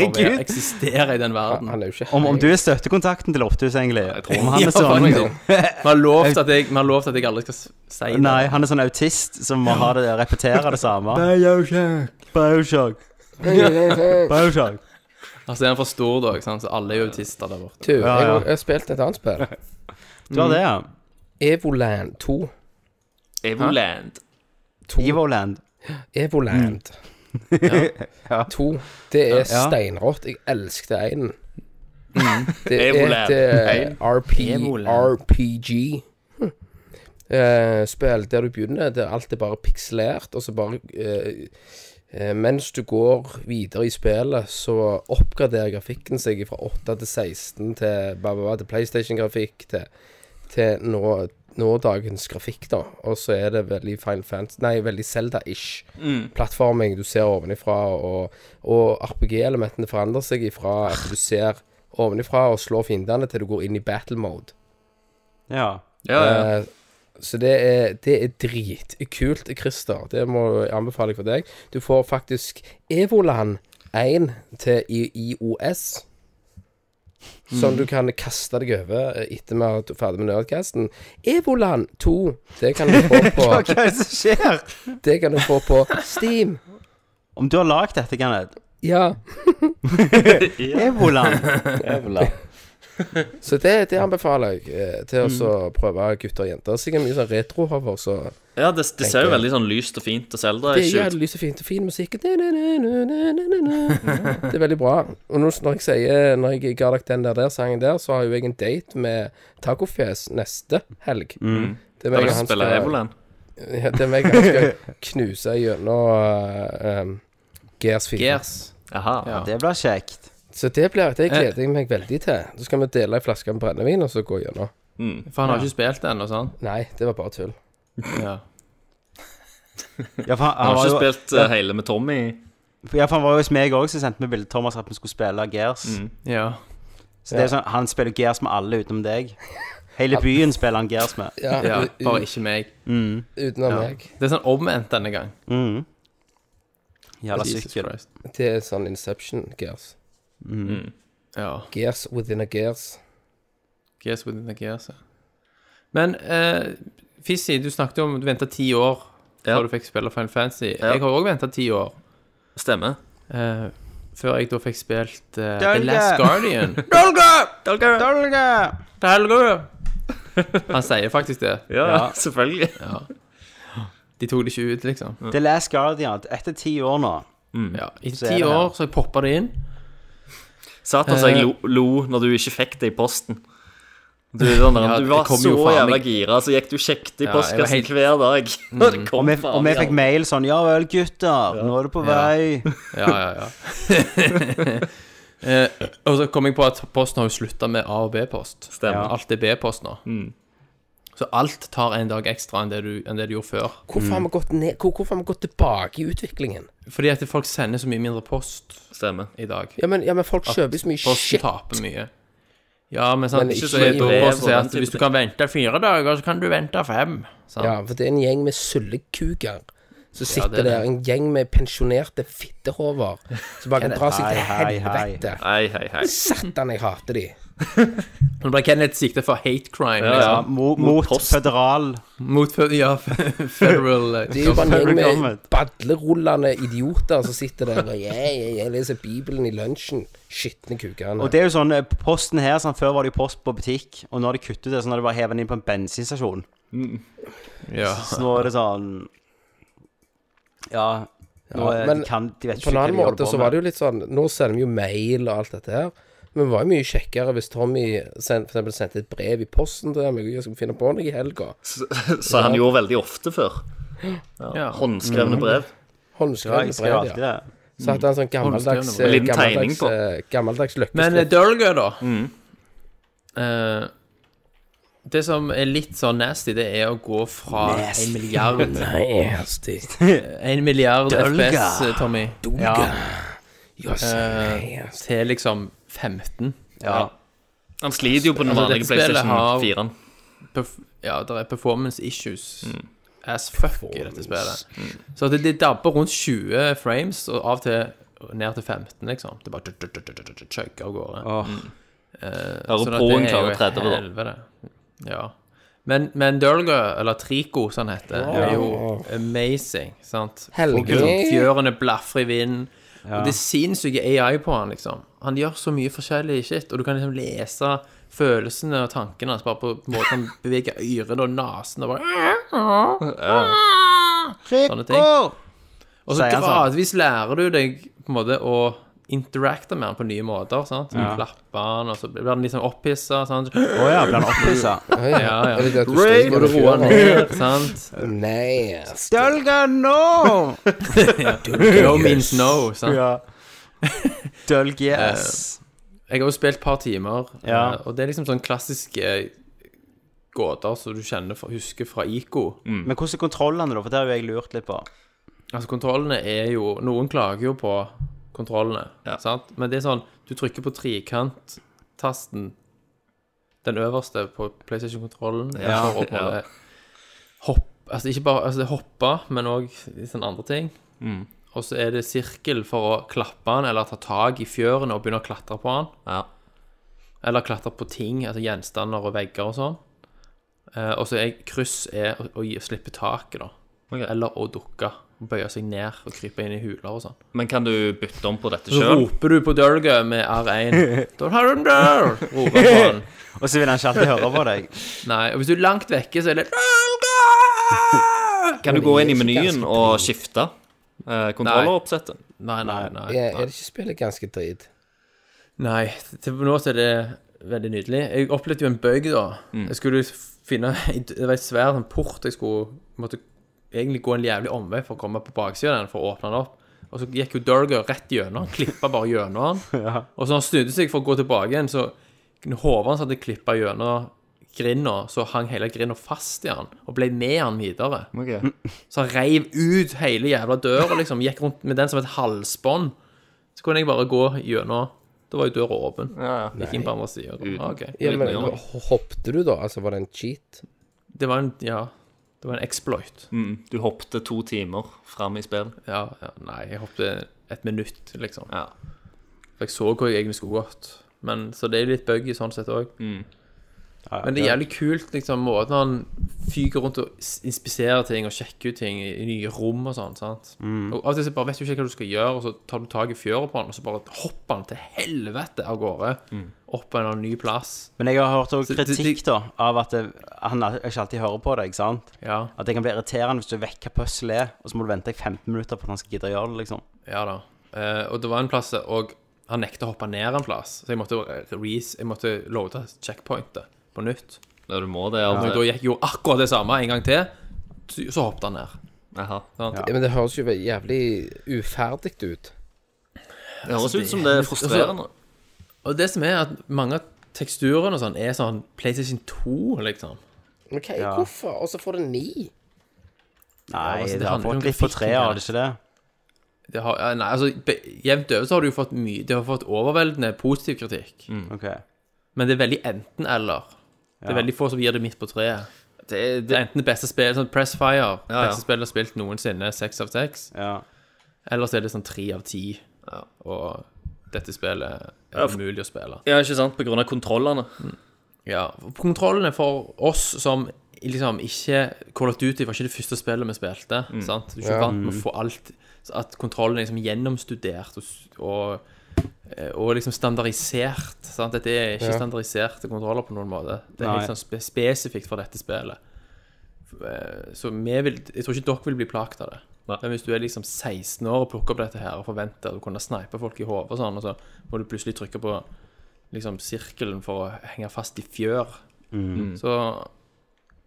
Speaker 7: Herregud.
Speaker 2: Han eksisterer i den verden.
Speaker 1: Han er jo ikke
Speaker 7: om,
Speaker 1: *laughs*
Speaker 7: om du er støttekontakten til Lofthus, egentlig Jeg tror han
Speaker 2: *laughs* Ja,
Speaker 7: er sånn
Speaker 2: faktisk. Vi har lovt at jeg, vi har lovt at jeg aldri skal s- si det.
Speaker 7: Nei, han er sånn autist som må ha det, repetere det samme. Bioshock. Bioshock. *laughs* Bioshock.
Speaker 2: Altså, er han for stor, da, ikke sant? så alle er jo autister der borte.
Speaker 1: Du, jeg
Speaker 7: Ja, ja.
Speaker 1: har- jeg har spilt et annet
Speaker 7: *laughs*
Speaker 1: spill.
Speaker 7: Du har det, ja.
Speaker 1: Evoland 2.
Speaker 3: Evoland.
Speaker 7: Evoland.
Speaker 1: Evoland.
Speaker 7: Mm.
Speaker 1: *laughs* Ja. To. Det er steinrått. Jeg elsket einen.
Speaker 7: Mm.
Speaker 1: Det er
Speaker 3: Evoland.
Speaker 1: et eh, RP, RPG hm. eh, spill der du begynner, der alt er bare pikselert, og så bare eh, eh, Mens du går videre i spillet, så oppgraderer grafikken seg fra 8 til 16 til, ba, ba, ba, til PlayStation-grafikk til, til nå, nådagens grafikk, da. Og så er det veldig Final Fantasy Nei, veldig Zelda-ish plattforming du ser ovenifra, og, og RPG-elementene forandrer seg ifra at du ser ovenifra og slår fiendene til du går inn i battle mode.
Speaker 7: Ja.
Speaker 3: Ja, ja.
Speaker 1: Eh, så det er, det er dritkult, Christer. Det må jeg anbefale for deg. Du får faktisk Evoland 1 til I- IOS.
Speaker 3: Mm.
Speaker 1: Som du kan kaste deg over etter vi er ferdig med Nerdcasten. Evoland 2, det kan du få
Speaker 3: *laughs*
Speaker 1: på,
Speaker 7: *laughs* Hva er det som skjer?
Speaker 1: det kan du få på Steam.
Speaker 7: Om du har lagd dette, Kenneth
Speaker 1: Ja.
Speaker 7: *laughs* Evoland.
Speaker 1: Så det, det anbefaler jeg eh, til å
Speaker 3: Mm.
Speaker 1: så prøve gutter og jenter. Sikkert mye sånn retro-hover, så
Speaker 3: ja det, det ser jo veldig sånn lyst og fint og Zelda
Speaker 1: Det gjør
Speaker 3: ikke
Speaker 1: det
Speaker 3: ut.
Speaker 1: lyst og fint og fin musikk. Det er veldig bra. Og nå, når jeg sier Når jeg ga dere den der, der sangen der, så har jo jeg en date med Tacofjes neste helg. Det er
Speaker 3: Da
Speaker 1: meg
Speaker 3: vil
Speaker 1: og
Speaker 3: jeg
Speaker 1: han
Speaker 3: spille
Speaker 1: skal,
Speaker 3: Evoland.
Speaker 1: ja, det er meg og han skal knuse gjennom eh, um, Gears 4.
Speaker 2: Gears.
Speaker 3: Jaha.
Speaker 2: Ja.
Speaker 7: Det blir kjekt.
Speaker 1: Så det blir det gleder jeg meg veldig til. Så skal vi dele ei flaske med brennevin og så gå gjennom.
Speaker 3: Mm.
Speaker 2: For han har ikke spilt det ennå, sant?
Speaker 1: Nei, det var bare tull.
Speaker 2: Ja.
Speaker 7: Ja, for
Speaker 3: Han
Speaker 7: han, han,
Speaker 3: har
Speaker 7: var
Speaker 3: ikke
Speaker 7: jo,
Speaker 3: spilt eh, hele med Tommy.
Speaker 7: ja, for han var jo hos meg òg, så sendte vi bilde Thomas at vi skulle spille Gears.
Speaker 2: ja.
Speaker 7: Så det er jo sånn, Han spiller Gears med alle utenom deg. Hele byen spiller han Gears med. Mm,
Speaker 1: Ja,
Speaker 2: ja.
Speaker 1: u- u-
Speaker 2: Bare ikke meg.
Speaker 1: Utenom meg.
Speaker 2: Det er sånn omvendt denne gang.
Speaker 7: Jævla
Speaker 2: Jesus
Speaker 7: sykkel.
Speaker 2: Christ.
Speaker 1: Det er sånn Inception Gears.
Speaker 3: Mm.
Speaker 2: Ja.
Speaker 1: Gears within a gears.
Speaker 2: Gears within the gears. ja. Men eh, Fizzy, du snakket jo om du venta ti år før
Speaker 3: Ja.
Speaker 2: du fikk spille Final Fantasy.
Speaker 3: Ja.
Speaker 2: Jeg har òg venta ti år
Speaker 3: Stemmer.
Speaker 2: eh, før jeg da fikk spilt eh, The
Speaker 7: Dølge!
Speaker 2: Last
Speaker 7: *laughs*
Speaker 2: Guardian.
Speaker 7: Dolga!
Speaker 2: Dølge! Han sier faktisk det.
Speaker 3: Ja, *laughs* selvfølgelig.
Speaker 2: De tok det ikke ut, liksom.
Speaker 3: Mm.
Speaker 7: The Last Guardian. Etter ti år nå.
Speaker 2: Ja. I
Speaker 7: Så er
Speaker 2: ti
Speaker 7: det her.
Speaker 2: år så jeg poppa det inn.
Speaker 3: Satan, så jeg lo, lo når du ikke fikk det i posten. Du, sånn,
Speaker 2: Ja,
Speaker 3: du var
Speaker 2: det kom
Speaker 3: så
Speaker 2: jo faen
Speaker 3: jævla
Speaker 2: meg-
Speaker 3: gira, så gikk du og
Speaker 2: Ja,
Speaker 3: sjekket i
Speaker 2: jeg var
Speaker 3: postkassen
Speaker 2: helt-
Speaker 3: hver dag. *laughs* Og det kom
Speaker 7: Og vi, og
Speaker 3: faen
Speaker 7: vi
Speaker 3: meg
Speaker 7: fikk mail sånn Ja vel, gutter. Nå er du på vei.
Speaker 2: Ja, ja, ja. *laughs* eh, og så kom jeg på at posten har jo slutta med A- og B-post.
Speaker 3: Stemmer.
Speaker 2: Alt er B-post nå.
Speaker 1: Mm.
Speaker 2: Så alt tar en dag ekstra enn det du, enn det du gjorde før.
Speaker 1: Hvorfor, har vi gått ned, hvor, hvorfor har vi gått tilbake i utviklingen?
Speaker 2: Fordi at folk sender så mye mindre post
Speaker 3: Stemmer.
Speaker 2: i dag.
Speaker 1: Ja, men, ja, men folk kjøper så mye
Speaker 2: Posten
Speaker 1: shit.
Speaker 2: taper mye. Ja, men sant,
Speaker 1: Men
Speaker 2: ikke
Speaker 1: ikke
Speaker 2: så
Speaker 1: så mye
Speaker 2: er det
Speaker 3: brev
Speaker 2: også å
Speaker 3: og
Speaker 2: si
Speaker 3: den
Speaker 2: at
Speaker 3: type
Speaker 2: hvis du
Speaker 3: ting.
Speaker 2: kan vente fire dager, så kan du vente fem. Sant?
Speaker 1: Ja, for det er en gjeng med sullekuker som sitter
Speaker 2: det er det.
Speaker 1: der. En gjeng med pensjonerte fittehover som bare kan dra seg til
Speaker 7: Hei, hei,
Speaker 1: helvete.
Speaker 3: Hei, hei, hei.
Speaker 1: Satan, jeg hater de.
Speaker 2: Nå ble Kenneth sikta for hate crime.
Speaker 3: Ja,
Speaker 7: Ja,
Speaker 3: ja.
Speaker 7: mot,
Speaker 3: Mot
Speaker 7: Altså, mot
Speaker 3: posten.
Speaker 7: føderal.
Speaker 2: Mot fe- ja, *laughs* federal eh,
Speaker 1: Det er jo bare en
Speaker 7: Very
Speaker 1: gjeng med
Speaker 7: government.
Speaker 1: badlerullende idioter som sitter der og jeg, jeg, jeg leser Bibelen i lunsjen. Skitne kukene.
Speaker 7: Og det er jo sånn, eh, posten her, sånn, Før var det jo post på butikk, og nå har de kuttet det. Så nå har de bare hevet den inn på en bensinstasjon.
Speaker 2: Ja.
Speaker 7: Så nå er det sånn Ja. Nå
Speaker 1: Ja,
Speaker 7: er,
Speaker 1: men
Speaker 7: de, kan, de vet
Speaker 1: På en
Speaker 7: ikke hva
Speaker 1: annen
Speaker 7: de holder
Speaker 1: måte
Speaker 7: på
Speaker 1: så var det jo litt sånn Nå sender vi jo mail og alt dette her. Men det var jo mye kjekkere hvis Tommy send, for eksempel sendte et brev i posten til meg. Jeg skal finne på noe i helga.
Speaker 3: Så han gjorde veldig ofte før.
Speaker 2: Ja.
Speaker 3: Ja. Mhm. Håndskrevne brev.
Speaker 7: Ja, jeg
Speaker 1: Håndskrevne
Speaker 7: skrev
Speaker 1: brev,
Speaker 7: alltid
Speaker 1: ja.
Speaker 7: det.
Speaker 1: Så hadde han sånn gammeldags
Speaker 2: Håndskrevne
Speaker 3: brev. Liten tegning
Speaker 1: gammeldags,
Speaker 3: på.
Speaker 1: eh, gammeldags
Speaker 2: Men eh,
Speaker 1: løkkeskrift.
Speaker 2: Dølgø, da. Eh, det som er litt sånn nasty, det er å gå fra en milliard
Speaker 1: Nasty.
Speaker 2: En milliard
Speaker 7: Dølga.
Speaker 2: FPS, eh, Tommy,
Speaker 1: Doga. You're so
Speaker 2: Eh,
Speaker 1: nasty.
Speaker 2: til liksom 15.
Speaker 7: Ja.
Speaker 3: Han sliter jo på den
Speaker 2: Altså,
Speaker 3: vanlige
Speaker 2: dette spillet
Speaker 3: PlayStation
Speaker 2: har-
Speaker 3: 4-en.
Speaker 2: perf ja, der er performance issues as fuck i dette spillet. Så det, det dabber rundt 20 frames, og av og til ned til 15, liksom. Det bare chugger av gårde.
Speaker 7: Åh,
Speaker 3: Hører
Speaker 2: Sånn at
Speaker 3: broen
Speaker 2: det er jo
Speaker 3: klarer 30, da.
Speaker 2: helvete. Ja. Men, men Durga, eller Trico, som han heter, er jo amazing. sant?
Speaker 1: Helge.
Speaker 2: Og sånn Fjørene blafrer i vinden. Og det er sinnssyke AI på han, liksom. Han gjør så mye forskjellig shit, og du kan liksom lese følelsene og tankene hans bare på måten han *laughs* beveger ørene og nesen og bare Sånne ting. Og så
Speaker 7: Sier han sånn.
Speaker 2: gradvis lærer du deg på en måte å interacte med han på nye måter. sant? Så Du klapper han, og så blir han liksom opphissa. sant?
Speaker 7: Å ja, blir han opphissa?
Speaker 1: Ja, ja.
Speaker 2: *laughs* Ja, ja.
Speaker 1: Er det det at du strider
Speaker 2: Må
Speaker 1: med
Speaker 2: du roe
Speaker 1: fjøra?
Speaker 2: ned, sant?
Speaker 1: *laughs* Nice.
Speaker 7: Dølga nå!
Speaker 2: *laughs* No means no, sant?
Speaker 7: Ja. Dølg yes.
Speaker 2: Jeg har jo spilt et par timer,
Speaker 7: Ja.
Speaker 2: eh, og det er liksom sånn klassiske gåter som du kjenner fra, husker fra IKO.
Speaker 7: Men hvordan er kontrollene, da? For det har jo jeg lurt litt på.
Speaker 2: Altså, kontrollene er jo Noen klager jo på kontrollene,
Speaker 3: Ja.
Speaker 2: sant? Men det er sånn Du trykker på trekant-tasten, den øverste på PlayStation-kontrollen,
Speaker 3: Ja,
Speaker 2: for å på
Speaker 3: ja.
Speaker 2: det hopp... Altså, ikke bare altså, det hoppe, men òg sånne andre ting.
Speaker 3: Mm.
Speaker 2: Og så er det sirkel for å klappe han eller ta tak i fjøren og begynne å klatre på han.
Speaker 3: Ja.
Speaker 2: Eller klatre på ting, altså gjenstander og vegger og sånn. Eh, og så er kryss er å, å gi- slippe taket, da.
Speaker 3: Ok.
Speaker 2: Eller å dukke. Bøye seg ned og krype inn i huler og sånn.
Speaker 3: Men kan du bytte om på dette
Speaker 2: Så
Speaker 3: sjøl?
Speaker 2: roper du på Dølgø med *laughs* R1. «Don't have him there!» Roper på han.
Speaker 7: Og så vil han ikke alltid høre på deg.
Speaker 2: Nei, og hvis du er langt vekke, så er det
Speaker 3: Kan du gå inn i menyen og skifte eh, kontrolleroppsettet?
Speaker 2: Nei, nei, nei.
Speaker 1: Ja, er det ikke spillet ganske drit?
Speaker 2: Nei, til nå så er det veldig nydelig. Jeg opplevde jo en bøyg da. Jeg skulle finne Det var et svær sånn port jeg skulle måtte egentlig gå en jævlig omvei for å komme på baksida av den for å åpne den opp. Og så gikk jo Durger rett gjennom. Han klippa bare gjennom den. Og så når han snudde seg for å gå tilbake igjen, så hodet hans hadde klippa gjennom grinda, så hang hele grinda fast i han og ble med han videre.
Speaker 3: Mm,
Speaker 2: Så han reiv ut hele jævla døra, liksom. Gikk rundt med den som et halsbånd. Så kunne jeg bare gå gjennom. Da var jo døra åpen. Gikk inn på andre sida. Ah, ok.
Speaker 1: Ja, men
Speaker 3: nøyere.
Speaker 1: h- hoppte du, da? Altså, var det en cheat?
Speaker 2: Det var en Ja. Det var en exploit.
Speaker 3: Mm. Du hoppte to timer fram i spill.
Speaker 2: Ja, ja, nei, jeg hoppet et minutt, liksom.
Speaker 3: Ja.
Speaker 2: For jeg så hvor jeg egentlig skulle gått. Men, så det er litt buggy sånn sett òg. Men det er jævlig kult, liksom, måten han fyker rundt og s- inspiserer ting og sjekker ut ting i i nye rom og sånn. sant? Og Av og til så bare vet du ikke hva du skal gjøre, og så tar du tak i fjøra på han, og så bare hopper han til helvete av gårde. Opp på en eller annen ny plass.
Speaker 7: Men jeg har hørt også
Speaker 2: Så det- det-
Speaker 7: kritikk da av at det, han al- ikke alltid hører på deg. sant?
Speaker 2: Ja,
Speaker 7: At det kan bli irriterende hvis du vekker pusselet, og så må du vente i 15 minutter på at han skal gidde å gjøre det. liksom.
Speaker 2: ja da. Eh, og det var en plass, og han nekta å hoppe ned en plass, så jeg måtte, re- jeg måtte loade checkpointet på nytt.
Speaker 3: Ja, du må det.
Speaker 2: Når jeg
Speaker 3: Altså.
Speaker 2: da gikk, gjorde akkurat det samme en gang til, så så hoppet han ned.
Speaker 3: Jaha.
Speaker 2: Sant?
Speaker 1: Ja, men det høres jo jævlig uferdig ut.
Speaker 3: Det høres ut som det Altså, er frustrerende.
Speaker 2: Og det som er at mange av teksturene og sånn er sånn PlayStation 2, liksom.
Speaker 1: OK, hvorfor? Og så får du ni.
Speaker 7: Nei,
Speaker 2: altså, det
Speaker 7: det har
Speaker 2: handler jo om
Speaker 7: fått litt på
Speaker 2: grafikken
Speaker 7: treet,
Speaker 2: her.
Speaker 7: har det ikke det?
Speaker 2: Det har, ja, nei, altså, be- jevnt over så har du jo fått mye Det har fått overveldende positiv kritikk.
Speaker 3: Mm.
Speaker 7: Ok.
Speaker 2: Men det er veldig enten-eller. Det er veldig få som gir det midt på treet.
Speaker 3: Det,
Speaker 2: Det
Speaker 3: det,
Speaker 2: er enten det beste spillet, sånn Pressfire,
Speaker 3: Ja, ja.
Speaker 2: beste spillet jeg har spilt noensinne, seks av seks.
Speaker 7: Ja.
Speaker 2: Eller så er det sånn tre av ti. Og dette spillet er
Speaker 3: for-
Speaker 2: umulig å spille.
Speaker 3: ja, ikke sant? På grunn av kontrollene.
Speaker 2: Ja, Kontrollene for oss som liksom ikke Call of Duty var ikke det første spillet vi spilte. sant? Du er ikke vant med å få alt så At kontrollen er liksom gjennomstudert og, s- og, eh, og liksom standardisert. sant? Dette er ikke standardiserte kontroller på noen måte. Det er helt
Speaker 7: Nei.
Speaker 2: sånn spe spesifikt for dette spillet. Eh, Så vi vil Jeg tror ikke dere vil bli plaget av det. Men hvis du er liksom 16 år og plukker opp dette her og forventer å kunne snipe folk i hodet og sånn, og så må du plutselig trykke på liksom sirkelen for å henge fast i fjør, så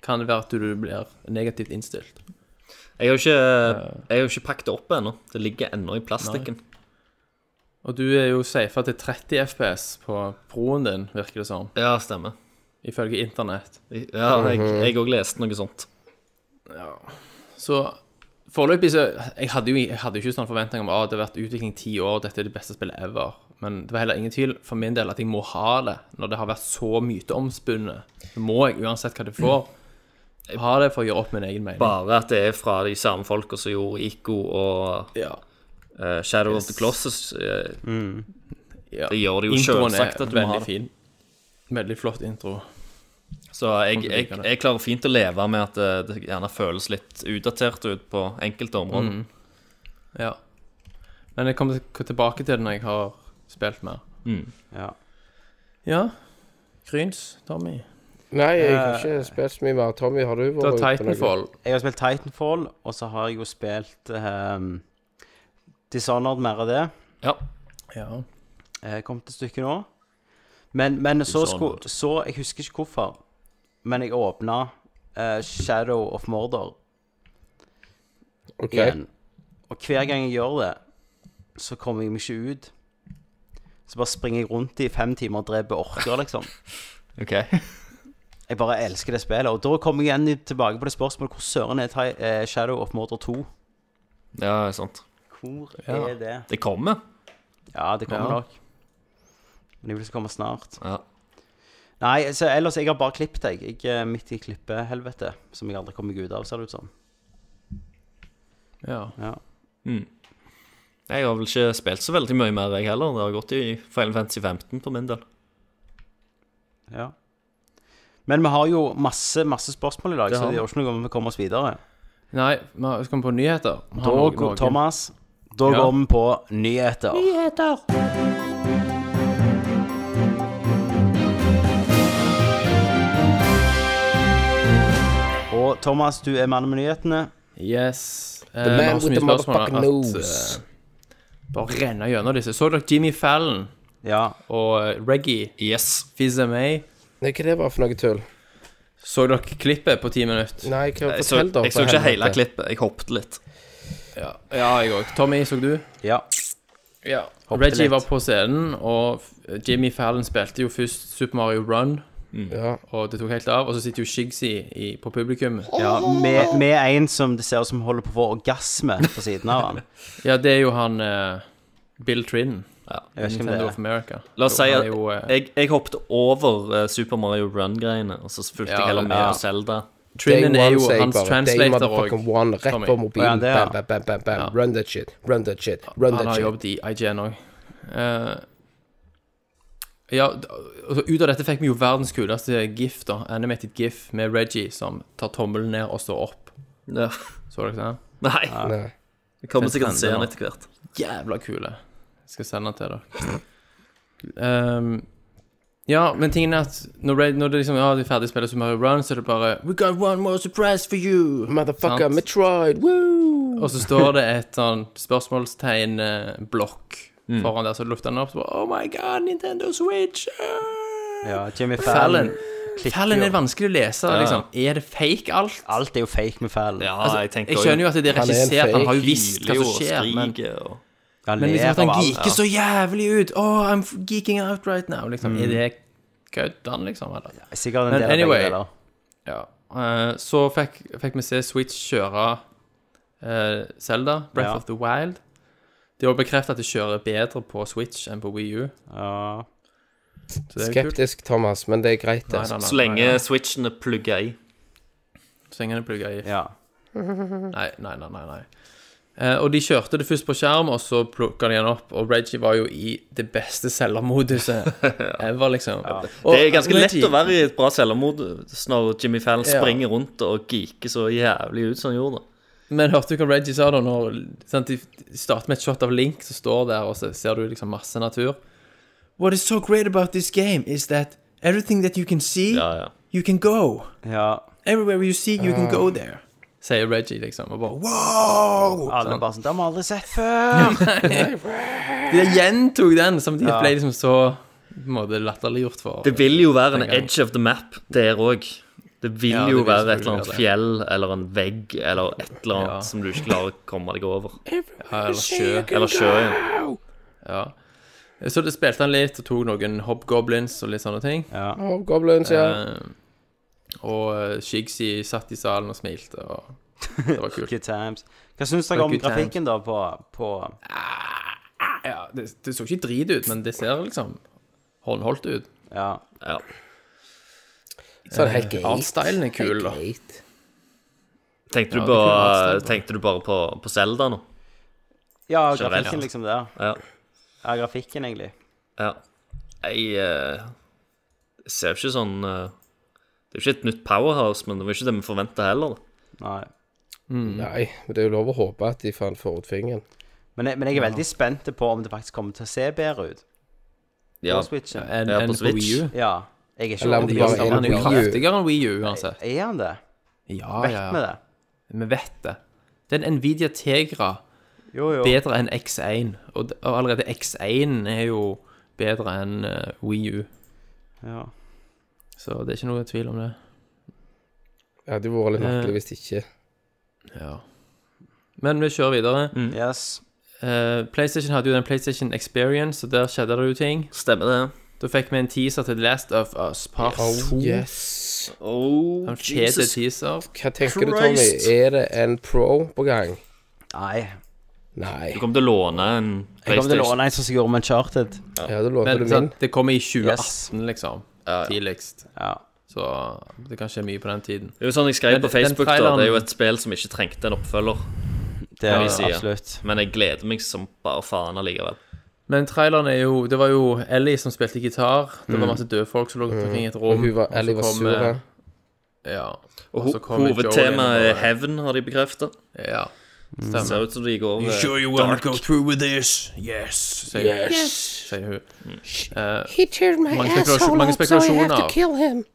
Speaker 2: kan det være at du blir negativt innstilt.
Speaker 3: Jeg har jo ikke, jeg har jo ikke pakket det opp ennå. Det ligger ennå i plastikken.
Speaker 2: Og du er jo safa til 30 FPS på proen din, virker det som,
Speaker 3: Ja, stemmer.
Speaker 2: ifølge
Speaker 3: Mhm.
Speaker 2: internett.
Speaker 3: Ja, jeg òg leste noe sånt.
Speaker 2: Så Foreløpig så Jeg hadde jo jeg hadde jo ikke sånn forventning om at det har vært utvikling i ti år, dette er det beste spillet ever. Men det var heller ingen tvil for min del at jeg må ha det. Når det har vært så myteomspunnet, så må jeg uansett hva det får, ha det for å gjøre opp min egen mening.
Speaker 3: Bare at det er fra de samme folka som gjorde Ico og
Speaker 2: Ja.
Speaker 3: eh, Shadow of the Colossus. eh,
Speaker 2: ja.
Speaker 3: Det gjør det jo
Speaker 2: Introen er
Speaker 3: selvsagt at du må ha
Speaker 2: veldig
Speaker 3: det.
Speaker 2: fin. Veldig flott intro.
Speaker 3: Så jeg, jeg, jeg klarer fint å leve med at eh, det gjerne føles litt utdatert ut på enkelte områder.
Speaker 2: Ja. Men jeg kommer til- tilbake til det når jeg har spilt mer.
Speaker 3: Mm.
Speaker 7: Ja.
Speaker 2: Ja. Kryns, Tommy.
Speaker 1: Nei, jeg
Speaker 2: Eh,
Speaker 1: har ikke spilt så mye mer. Tommy, har du
Speaker 2: Da
Speaker 1: vært ute på noe?
Speaker 2: Titanfall.
Speaker 7: Jeg har spilt Titanfall, og så har jeg jo spilt ehm, Dishonored mer av det.
Speaker 3: Ja.
Speaker 2: Ja.
Speaker 7: Jeg kom Eh, til stykket nå. Men, men så,
Speaker 2: Dishonored.
Speaker 7: sku, så Jeg husker ikke hvorfor, men jeg åpna eh, Shadow of Murder
Speaker 1: Ok.
Speaker 7: igjen. Og hver gang jeg gjør det, så kommer jeg meg ikke ut. Så bare springer jeg rundt i fem timer og dreper orker, liksom.
Speaker 3: OK.
Speaker 2: *laughs*
Speaker 7: Jeg bare elsker det spillet. Og da kommer jeg igjen i- tilbake på det spørsmålet hvor søren er Ti- eh, Shadow of Murder 2?
Speaker 3: Ja, sant.
Speaker 7: Hvor
Speaker 2: Ja.
Speaker 7: er det?
Speaker 3: Det kommer.
Speaker 7: Ja, det kommer
Speaker 2: Ja.
Speaker 7: nok. Men det vil så komme snart.
Speaker 3: Ja.
Speaker 7: Nei, så ellers Jeg har bare klippet, jeg. Jeg er midt i klippehelvetet, som jeg aldri kommer meg ut av, ser det ut som.
Speaker 2: ja.
Speaker 7: Ja.
Speaker 3: Mm. Jeg har vel ikke spilt så veldig mye mer, jeg heller. Det har gått i Final Fantasy 15 på min del.
Speaker 7: ja. Men vi har jo masse masse spørsmål i dag,
Speaker 3: Det
Speaker 7: så
Speaker 3: har
Speaker 7: det
Speaker 3: vi.
Speaker 7: gjør ikke noe om vi kommer oss videre.
Speaker 2: Nei, vi har- skal vi på nyheter? Vi har
Speaker 7: Da,
Speaker 2: noen-
Speaker 7: går-
Speaker 2: noen.
Speaker 7: Thomas, da
Speaker 2: Ja.
Speaker 7: går vi på nyheter. Og Thomas, du er mannen med nyhetene.
Speaker 2: Yes. Eh,
Speaker 1: The
Speaker 2: vi
Speaker 1: man
Speaker 2: har så
Speaker 1: with
Speaker 2: mye
Speaker 1: the
Speaker 2: spørsmål
Speaker 1: motherfucking nose.
Speaker 2: at eh, Bare renne gjennom disse. Så dere Jimmy Fallon
Speaker 7: Ja.
Speaker 2: og eh, Reggie
Speaker 3: Yes.
Speaker 2: Fizz May?
Speaker 1: Nei, hva det var for noe tull?
Speaker 2: Så dere klippet på ti minutter?
Speaker 1: Nei, hva
Speaker 3: Jeg så,
Speaker 1: fortell da?
Speaker 3: jeg så ikke hele klippet. Jeg hoppet litt.
Speaker 2: Ja, ja jeg òg. Tommy, så du?
Speaker 7: ja.
Speaker 2: Ja.
Speaker 7: Hoppet
Speaker 2: Reggie
Speaker 7: litt.
Speaker 2: var på scenen, og f- Jimmy Fallon spilte jo først Super Mario Run,
Speaker 1: Ja.
Speaker 2: og det tok helt av. Og så sitter jo Shigsy i, på publikum.
Speaker 7: ja med, med en som det ser ut som holder på å få orgasme på siden av han.
Speaker 2: Ja, det er jo han eh, Bill Trin.
Speaker 7: Jeg vet ikke om det
Speaker 2: Nintendo of
Speaker 7: er
Speaker 2: America.
Speaker 3: La oss
Speaker 2: Jo,
Speaker 3: si
Speaker 2: han
Speaker 3: at
Speaker 2: er jo, eh,
Speaker 3: jeg, jeg hoppet over eh, Super Mario Run-greiene, og så fulgte
Speaker 2: Ja,
Speaker 3: jeg heller med
Speaker 2: ja.
Speaker 3: på Zelda.
Speaker 1: Day
Speaker 2: Trinnen er
Speaker 1: one,
Speaker 2: jo
Speaker 1: sier jeg
Speaker 2: hans
Speaker 1: bare. Day
Speaker 2: translator òg.
Speaker 1: motherfucking one, rett
Speaker 2: Tommy.
Speaker 1: på mobilen.
Speaker 7: Ja, det, ja.
Speaker 1: Bam, bam, bam, bam, bam. Run that shit. Run that shit. Run
Speaker 2: Han
Speaker 1: that
Speaker 2: har
Speaker 1: shit.
Speaker 2: jobbet i IGN òg. Eh, ja, d- altså, ut av dette fikk vi jo verdens kuleste gif, da. Animated gif med Reggie som tar tommelen ned og står opp.
Speaker 3: Ja.
Speaker 2: Så dere den?
Speaker 3: Nei.
Speaker 1: Nei.
Speaker 3: Jeg kommer sikkert til å se
Speaker 2: Spennende
Speaker 3: den
Speaker 2: nå.
Speaker 3: etter hvert.
Speaker 2: Jævla kule. Jeg skal sende den til dere. Ehm, ja, men tingen er at når, Red, når det liksom, ja, de er ferdig spillet som Mario Run, så er det bare We got one more surprise for you!
Speaker 1: Motherfucker,
Speaker 2: Sant?
Speaker 1: Metroid, woo!
Speaker 2: Og så står det et sånn spørsmålstegn-blokk foran der, så lufter den opp så bare, Oh my god, Nintendo Switch! ah!»
Speaker 7: ja, Jimmy
Speaker 2: Fallon.
Speaker 7: Fallon. klikker
Speaker 2: Fallon
Speaker 7: jo.
Speaker 2: er vanskelig å lese.
Speaker 3: Ja.
Speaker 2: liksom Er det fake alt?
Speaker 7: Alt er jo fake med Fallon.
Speaker 3: Ja,
Speaker 2: Altså,
Speaker 3: jeg tenker
Speaker 2: jeg skjønner jo at det er
Speaker 1: Han er en
Speaker 2: regissert, han
Speaker 1: fake
Speaker 2: har jo visst hva som skjer, men,
Speaker 3: og
Speaker 7: Han
Speaker 2: men liksom
Speaker 7: ler
Speaker 2: at han
Speaker 7: av alt.
Speaker 2: geeker så jævlig ut. Oh, I'm f- geeking out right now. Liksom, Er det køddan, liksom? Eller?
Speaker 7: Sikkert
Speaker 2: Men
Speaker 7: en del av begge
Speaker 2: anyway.
Speaker 7: deler.
Speaker 2: Ja. Eh, så fikk, fikk vi se Switch kjøre eh, Zelda, Breath
Speaker 7: Ja.
Speaker 2: of the Wild. De har bekreftet at de kjører bedre på Switch enn på Wii U.
Speaker 7: Ja.
Speaker 2: Så det er jo kult.
Speaker 1: Skeptisk, Thomas, men det er greit, altså. det.
Speaker 2: Nei, nei, nei,
Speaker 3: Så lenge
Speaker 2: nei, nei.
Speaker 3: switchen er plugga i.
Speaker 2: Så lenge den er plugget i.
Speaker 7: ja.
Speaker 2: Nei, nei, nei, nei, nei. Eh, og de kjørte det først på skjerm, og så plukka de den opp. Og Reggie var jo i det beste *laughs* selgermoduset ever, liksom. Og
Speaker 3: Det er ganske lett
Speaker 2: Reggie-
Speaker 3: å være i et bra selvmord når Jimmy Fallon
Speaker 2: Ja.
Speaker 3: springer rundt og geeker så jævlig ut som han gjorde.
Speaker 2: Men hørte du hva Reggie sa da? Når sant, de starter med et shot av Link som står der, og så ser du liksom masse natur. What is so great about this game is that everything that you can see,
Speaker 3: Ja, ja.
Speaker 2: you can go.
Speaker 7: ja.
Speaker 2: Everywhere you see, you can go there. Sier Reggie, liksom. Og bare wow!
Speaker 7: Alle bare sånn Det har vi aldri sett *laughs* før!
Speaker 2: De gjentok den, samtidig ble liksom så på en måte latterliggjort for
Speaker 3: Det vil jo være en
Speaker 2: Tenker jeg.
Speaker 3: edge of the map der òg. Det vil
Speaker 2: Ja, det
Speaker 3: jo
Speaker 2: vil
Speaker 3: være
Speaker 2: selvfølgelig
Speaker 3: et eller
Speaker 2: være
Speaker 3: annet
Speaker 2: det.
Speaker 3: fjell eller en vegg eller et eller annet
Speaker 2: Ja.
Speaker 3: som du ikke klarer å komme deg over.
Speaker 2: Ja, eller sjø.
Speaker 3: Eller sjøen.
Speaker 2: Så det spilte han litt, og tok noen hobgoblins og litt sånne ting.
Speaker 1: Oh, goblins, ja.
Speaker 2: Eh, og eh, Shigsy satt i salen og smilte, og det var kult.
Speaker 7: Good times. Hva syns dere om grafikken, da, på, på
Speaker 2: Ja, det, det så ikke drit ut, men det ser liksom håndholdt ut.
Speaker 7: Ja.
Speaker 3: Ja.
Speaker 1: Så er det helt greit.
Speaker 2: Artstylen er eh, kul, da.
Speaker 1: Greit.
Speaker 3: Tenkte, du
Speaker 2: det
Speaker 3: på,
Speaker 2: kunne vært stemt.
Speaker 3: tenkte du bare på, på Zelda nå?
Speaker 7: ja,
Speaker 3: Generelt,
Speaker 7: grafikken,
Speaker 3: ja.
Speaker 7: liksom, der.
Speaker 3: Ja.
Speaker 7: Ja, grafikken, egentlig.
Speaker 3: ja. Jeg eh, ser jo ikke sånn eh, Det er jo ikke et nytt powerhouse, men det var ikke det vi forventa heller. Da.
Speaker 7: Nei.
Speaker 2: Mm.
Speaker 1: Nei, men det er jo lov å håpe at de faen får ut fingeren.
Speaker 7: Men jeg, men jeg er veldig spent på om det faktisk kommer til å se bedre ut
Speaker 3: Ja.
Speaker 7: på Switchen.
Speaker 2: Enn
Speaker 3: Ja, på
Speaker 2: enn på
Speaker 3: Switch.
Speaker 2: Wii U.
Speaker 7: Ja. Jeg er ikke
Speaker 1: Eller om
Speaker 7: overbevist
Speaker 1: de bare
Speaker 2: Han
Speaker 7: om
Speaker 2: er
Speaker 1: Wii
Speaker 2: jo
Speaker 1: U.
Speaker 2: kraftigere enn Wii U, uansett.
Speaker 7: Er han det?
Speaker 2: Ja,
Speaker 7: Vekk med det.
Speaker 2: Vi vet det. Det er en Nvidia Tegra
Speaker 7: Jo, jo.
Speaker 2: bedre enn X1. Og, d- og allerede X1 er jo bedre enn eh, Wii U.
Speaker 7: Ja.
Speaker 2: Så det er ikke noe tvil om det.
Speaker 1: Det hadde jo vært litt
Speaker 2: Eh,
Speaker 1: merkelig hvis ikke.
Speaker 2: Ja. Men vi kjører videre.
Speaker 7: Yes.
Speaker 2: Eh, PlayStation hadde jo den PlayStation Experience, og der skjedde det jo ting.
Speaker 3: Stemmer det.
Speaker 2: Da fikk vi en teaser til Last of Us Part 2.
Speaker 1: Oh, yes.
Speaker 3: Oh,
Speaker 2: En kjedelig teaser.
Speaker 1: Hva tenker du, Tommy?
Speaker 3: Christ.
Speaker 1: Er det en pro på gang?
Speaker 7: Nei.
Speaker 1: Nei.
Speaker 3: Du kommer til å låne en
Speaker 7: Jeg kommer til å
Speaker 3: PlayStation.
Speaker 7: låne en som skal gjøre med Uncharted.
Speaker 1: Ja, det låter
Speaker 2: Men
Speaker 1: det min.
Speaker 2: sant, det kommer i 2018,
Speaker 7: Yes.
Speaker 2: liksom. Tidligst.
Speaker 7: Ja.
Speaker 2: Så det kan skje mye på den tiden.
Speaker 3: Det er jo sånn jeg skrev
Speaker 2: Men
Speaker 3: på
Speaker 2: den
Speaker 3: Facebook, da.
Speaker 2: traileren-
Speaker 3: Det er jo et spill som ikke trengte en oppfølger.
Speaker 7: Det er
Speaker 3: vi sier.
Speaker 7: absolutt.
Speaker 3: Men jeg gleder meg som bare faen allikevel.
Speaker 2: Men traileren er jo Det var jo Ellie som spilte gitar. Det var masse døde folk som lå rundt omkring i et rom.
Speaker 1: Og hun var,
Speaker 2: og så
Speaker 1: Ellie var
Speaker 2: kom,
Speaker 1: sur.
Speaker 2: eh,
Speaker 1: ja.
Speaker 2: Ja.
Speaker 3: Og
Speaker 2: så
Speaker 3: ho-
Speaker 2: kommer Joel
Speaker 3: hovedtemaet
Speaker 2: inn
Speaker 3: er Mm.
Speaker 2: og-
Speaker 3: hevn, har de bekrefta.
Speaker 2: Ja.
Speaker 3: Det ser ut som de går eh, over
Speaker 2: you wanna go through with this? Yes. Sier, yes. sier hun. Eh,
Speaker 8: He turned my
Speaker 2: Mange
Speaker 8: asshole
Speaker 2: mange
Speaker 8: out, so I have to
Speaker 2: spekulasjoner.
Speaker 8: kill him.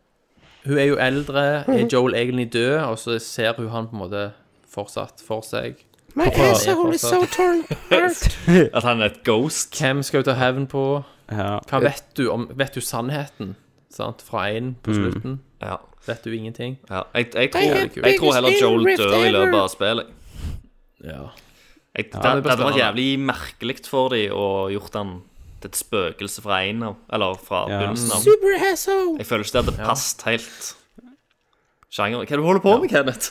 Speaker 2: hun er jo eldre. Er Joel egentlig død? Og så ser hun han på en måte fortsatt for seg.
Speaker 8: My asshole is so torn apart.
Speaker 3: *laughs* at han er et ghost.
Speaker 2: Hvem skal hun ta hevn på?
Speaker 7: Ja.
Speaker 2: Hva vet du om Vet du sannheten? Sant? Fra én på slutten?
Speaker 3: Ja.
Speaker 2: Vet du ingenting?
Speaker 3: Ja, jeg, jeg, tror,
Speaker 8: had
Speaker 3: jeg,
Speaker 8: biggest
Speaker 3: tror heller
Speaker 8: little
Speaker 3: Joel
Speaker 8: rift
Speaker 3: dør i løpet
Speaker 8: ever.
Speaker 3: av spillet.
Speaker 2: Ja.
Speaker 3: Jeg,
Speaker 2: blir
Speaker 3: det, det hadde vært
Speaker 2: spennende.
Speaker 3: jævlig merkelig for dem å gjort han til et spøkelse fra en av Eller fra
Speaker 7: Ja.
Speaker 3: begynnelsen av.
Speaker 8: Super asshole.
Speaker 3: Jeg føler ikke det hadde passet helt sjangeren. Hva er det du holder på med, Kenneth?